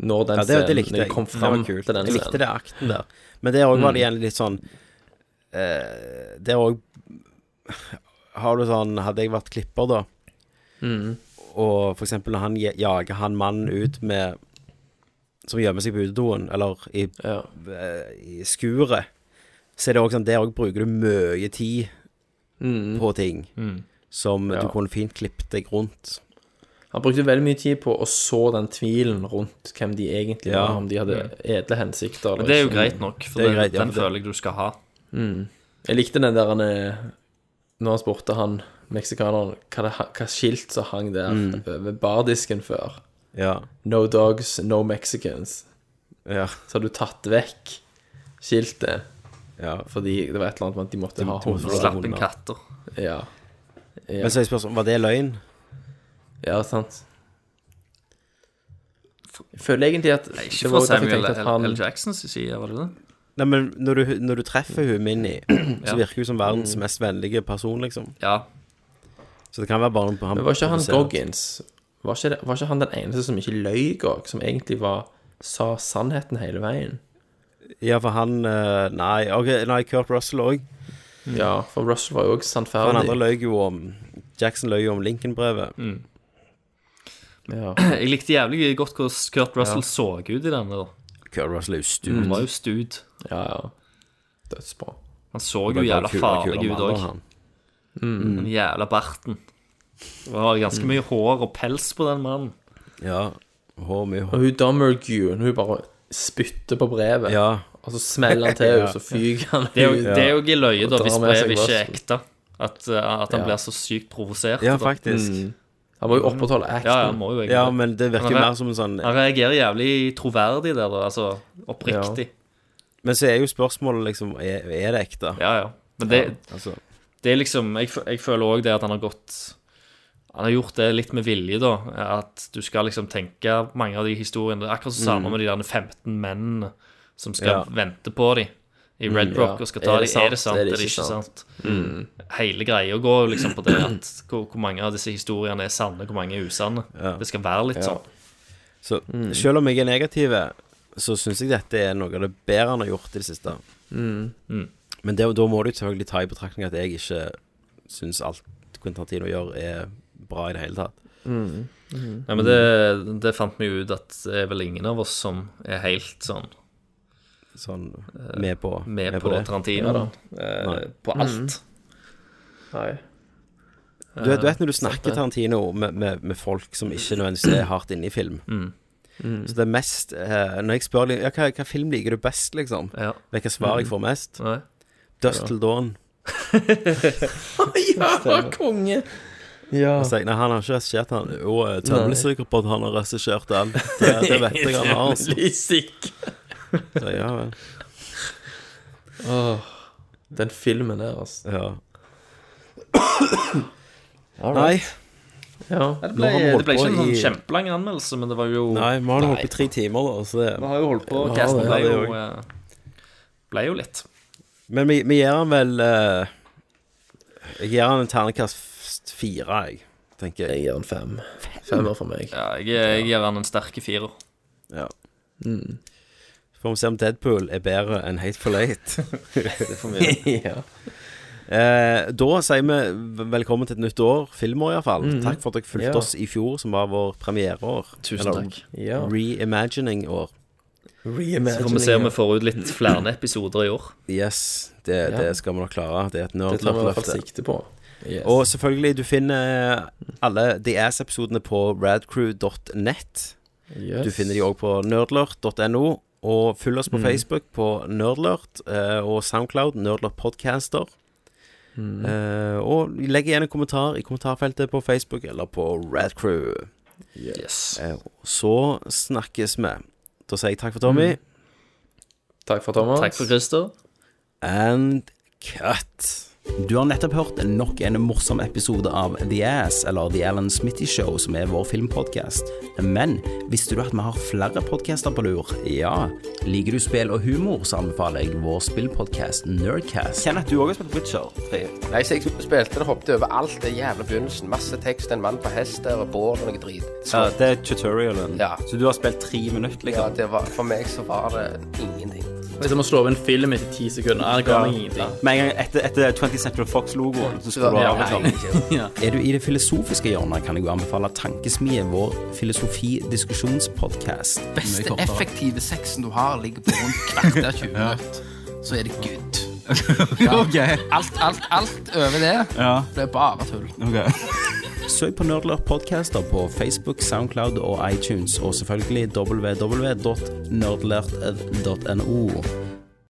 I: Når
A: Mm.
I: den
A: ja, det, det likte
I: scenen
A: jeg.
I: kom
A: Det var
I: fram
A: kult.
I: til den
A: Jeg likte
I: scenen
A: det akten der. Men det òg var det
I: Mm.
A: igjen litt sånn eh, Det òg Har du sånn Hadde jeg vært klipper, da,
I: Mm.
A: og for eksempel når han je- jager han mannen ut med Som gjemmer seg på utedoen, eller i, eh, i skuret, så er det òg sånn Der òg bruker du mye tid
I: Mm.
A: på ting
I: Mm.
A: som
I: Ja.
A: du kunne fint klippet deg rundt.
I: Han brukte veldig mye tid på å så den tvilen rundt hvem de egentlig
A: Ja. Mm.
I: var, om de hadde edle hensikter. eller
J: Men det er jo
I: ikke.
J: greit nok, for
I: Det er
J: den,
I: greit, ja,
J: den
I: for det-
J: føler jeg du skal ha.
I: Mm. Jeg likte den der han eh, Når han spurte han meksikaneren hva, det, hva skilt som hang der
A: Mm.
I: ved bardisken før.
A: Ja.
I: No dogs, no Mexicans.
A: Ja.
I: Så hadde du tatt vekk skiltet
A: Ja.
I: fordi det var et eller annet med at de måtte
A: De
I: ha
A: måtte
I: hodet.
A: slappe inn
J: katter.
I: Ja. ja.
A: Men så er spørsmålet Var det løgn?
I: Ja, sant. Jeg føler egentlig at
J: Nei,
I: det
J: ikke
I: var
J: fra
I: jo derfor jeg
J: Samuel
I: tenkte
J: L.
I: at han-
J: L. Jacksons side, var det det?
A: Nei, men når du, når du treffer hun Minnie, så
J: Ja.
A: virker hun som verdens
J: Mm.
A: mest vennlige person, liksom.
J: Ja. [laughs]
A: Så det kan være bare han
I: Men var ikke han
A: produsert.
I: Goggins var ikke, det- var ikke han den eneste som ikke løy òg, som egentlig var, sa sannheten hele veien?
A: Ja, for han eh, Nei, ok, nei Kurt Russell òg.
I: Ja, for Russell var jo òg
A: For han andre
I: sannferdig.
A: løy jo om Jackson løy jo om Lincoln-brevet.
I: Ja.
J: Jeg likte jævlig godt hvordan Kurt Russell
A: Ja.
J: så ut i denne. da
A: Kurt Russell er jo stud.
J: Han
I: Mm.
J: var jo stud.
I: Ja, ja. Dødsbra.
J: Han så
A: Han
J: jo
A: var
J: jævla
A: kul- kul
J: farlig ut
A: mann,
J: òg.
A: han.
I: Mm.
J: Den jævla barten. Det var ganske mye hår og pels på den mannen.
A: Ja. Hår mye
I: Og
A: hår.
I: hun Dummerguen, hun bare spytter på brevet,
A: Ja.
I: og så smeller han til henne,
A: Ja.
I: så fyker han
J: Det er jo,
I: ut,
J: det er jo ikke løye,
I: og
J: da,
I: drar
J: hvis
I: med seg
J: brevet ikke er
I: Russell.
J: ekte. At, uh, at han
I: Ja.
J: blir så sykt provosert.
A: Ja,
J: da.
A: faktisk.
I: Mm. Han må jo opprettholde acten.
J: Ja, ja, han må jo egentlig
A: Ja, men det virker
J: Han
A: jo
J: re-
A: mer som en sånn-
J: Han reagerer jævlig troverdig der, da. Altså oppriktig.
A: Men så er jo spørsmålet liksom Er, er det ekte?
J: Ja, ja. Men det,
A: Ja, altså.
J: det er liksom Jeg, fø- jeg føler òg det at han har gått Han har gjort det litt med vilje, da. At du skal liksom tenke mange av de historiene. Det er akkurat så samme
I: Mm.
J: med de der 15 mennene som skal
I: Ja.
J: vente på dem i Red
I: Mm,
J: Rock
I: ja.
J: og skal ta
I: Er
J: dem.
I: det
J: Er det
I: sant?
J: sant, er det ikke sant? Hele greia går jo liksom på det at hvor, hvor mange av disse historiene er sanne, hvor mange er usanne. Det skal være litt
A: Ja.
J: sånn.
A: Så selv om jeg er negativ, så syns jeg dette er noe av det bedre han har gjort i det siste.
I: Mm. Mm.
A: Men det, da må du selvfølgelig ta i betraktning at jeg ikke syns alt Quentin Tarantino gjør, er bra i det hele tatt.
I: Mm. Mhm.
J: Nei, men det, det fant vi jo ut at det er vel ingen av oss som er helt sånn eh,
A: Sånn med på,
J: med på,
A: det.
J: Tarantino, da. Eh,
A: Nei.
J: På alt.
I: Nei.
A: Du, vet- du vet når du snakker Tarantino med, med, med folk som ikke nødvendigvis er hardt inne i film.
J: Mm.
I: [laughs] Mm.
A: Så det er mest eh, Når jeg spør ja, hva, hva film liker du best, liksom,
J: Ja.
A: vet du hva svar jeg
J: Mm.
A: får mest?
J: Nei.
A: Dust
J: Ja.
A: til dawn.
I: Ja, konge! Ja.
A: Og så sier jeg, Altså, nei, han har ikke regissert han. Jo, jeg er temmelig
I: Nei.
A: sikker på at han har regissert den. Det, det vet jeg han har. altså.
I: Temmelig sikker.
A: Så, ja vel.
I: Åh, den filmen der, altså.
A: Ja.
I: All
A: Nei.
I: right. Ja.
J: Nei, Det
A: Nå
J: ble,
A: har vi holdt
J: det ble ikke
A: på
J: en sånn
A: i-
J: kjempelang anmeldelse, men det var jo
A: Nei, vi har nå holdt
J: Nei.
A: på i tre timer, da. Så det,
J: Vi har jo holdt på.
A: Ja,
J: Casten
A: det-
J: ble
A: det er
J: jo, eh, ble jo litt.
A: Men vi, vi gir han vel eh, Jeg gir han en ternekast fire, jeg, tenker jeg.
I: Jeg gir han fem. Femmer for meg.
J: Ja, jeg, eh, jeg gir han en sterke firer.
A: Ja.
I: Mm.
A: Får vi se om Deadpool er bedre enn Hateful Eight. [laughs]
I: Det får vi gjøre. Ja.
A: Eh, da sier vi v- velkommen til et nytt år, filmår iallfall.
I: Mhm.
A: Takk for at dere fulgte
I: Ja.
A: oss i fjor, som var vår premiereår.
J: Tusen
A: Eller
J: takk.
I: Ja.
A: Reimagining-år.
J: Så får vi se om vi får ut litt flere episoder i år.
A: Yes, det,
I: Ja.
A: det skal vi nok klare. Det er et
I: Det tar vi i hvert fall
A: nerdløft.
I: sikte på. Yes.
A: Og selvfølgelig, du finner eh, alle The Ass-episodene på radcrew.net.
I: Yes. Mm.
A: Du finner de òg på nerdlurt.no. Og følg oss på Facebook på Nerdlurt eh, og Soundcloud, Nerdlurt Podcaster.
I: Mm.
A: Eh, og legg igjen en kommentar i kommentarfeltet på Facebook eller på Radcrew.
I: Yes.
A: Eh, så snakkes vi. Da sier jeg takk for Tommy.
I: Takk for Thomas.
J: Takk for Christer.
A: And cut. Du har nettopp hørt nok en morsom episode av The Ass, eller The Alan Smitty Show, som er vår filmpodkast. Men visste du at vi har flere podkaster på lur? Ja. Liker du spill og humor, så anbefaler jeg vår spillpodkast Nerdcast.
U: Kjenn at du òg har spilt Witcher 3. Nei, så jeg spilte det, hoppet over alt det jævla begynnelsen. Masse tekst, en mann på hest der, og bål og noe drit.
V: Ja, det er tutorialen.
U: Ja.
V: Så du har spilt tre minutter, liksom?
U: Ja, det var, for meg så var det ingenting.
I: Det er som å slå av en film etter ti sekunder. Ah, Det ga meg
V: Ja.
I: ingenting.
V: Med en gang etter, etter 20 Central Fox-logoen, så skulle
I: Så-
V: du ha
I: ja,
A: sånn.
U: [laughs]
V: liksom
I: ja.
A: Er du i det filosofiske hjørnet, kan jeg jo anbefale Tankesmie, vår filosofi-diskusjonspodkast.
W: beste effektive sexen du har, ligger på rundt kvarter 20 minutter. Så er det good.
V: Ok.
W: Alt, alt, alt over det
A: Ja.
W: blir bare tull.
A: Søk på Nerdlurt Podcaster på Facebook, Soundcloud og iTunes, og selvfølgelig www.nerdlert.no.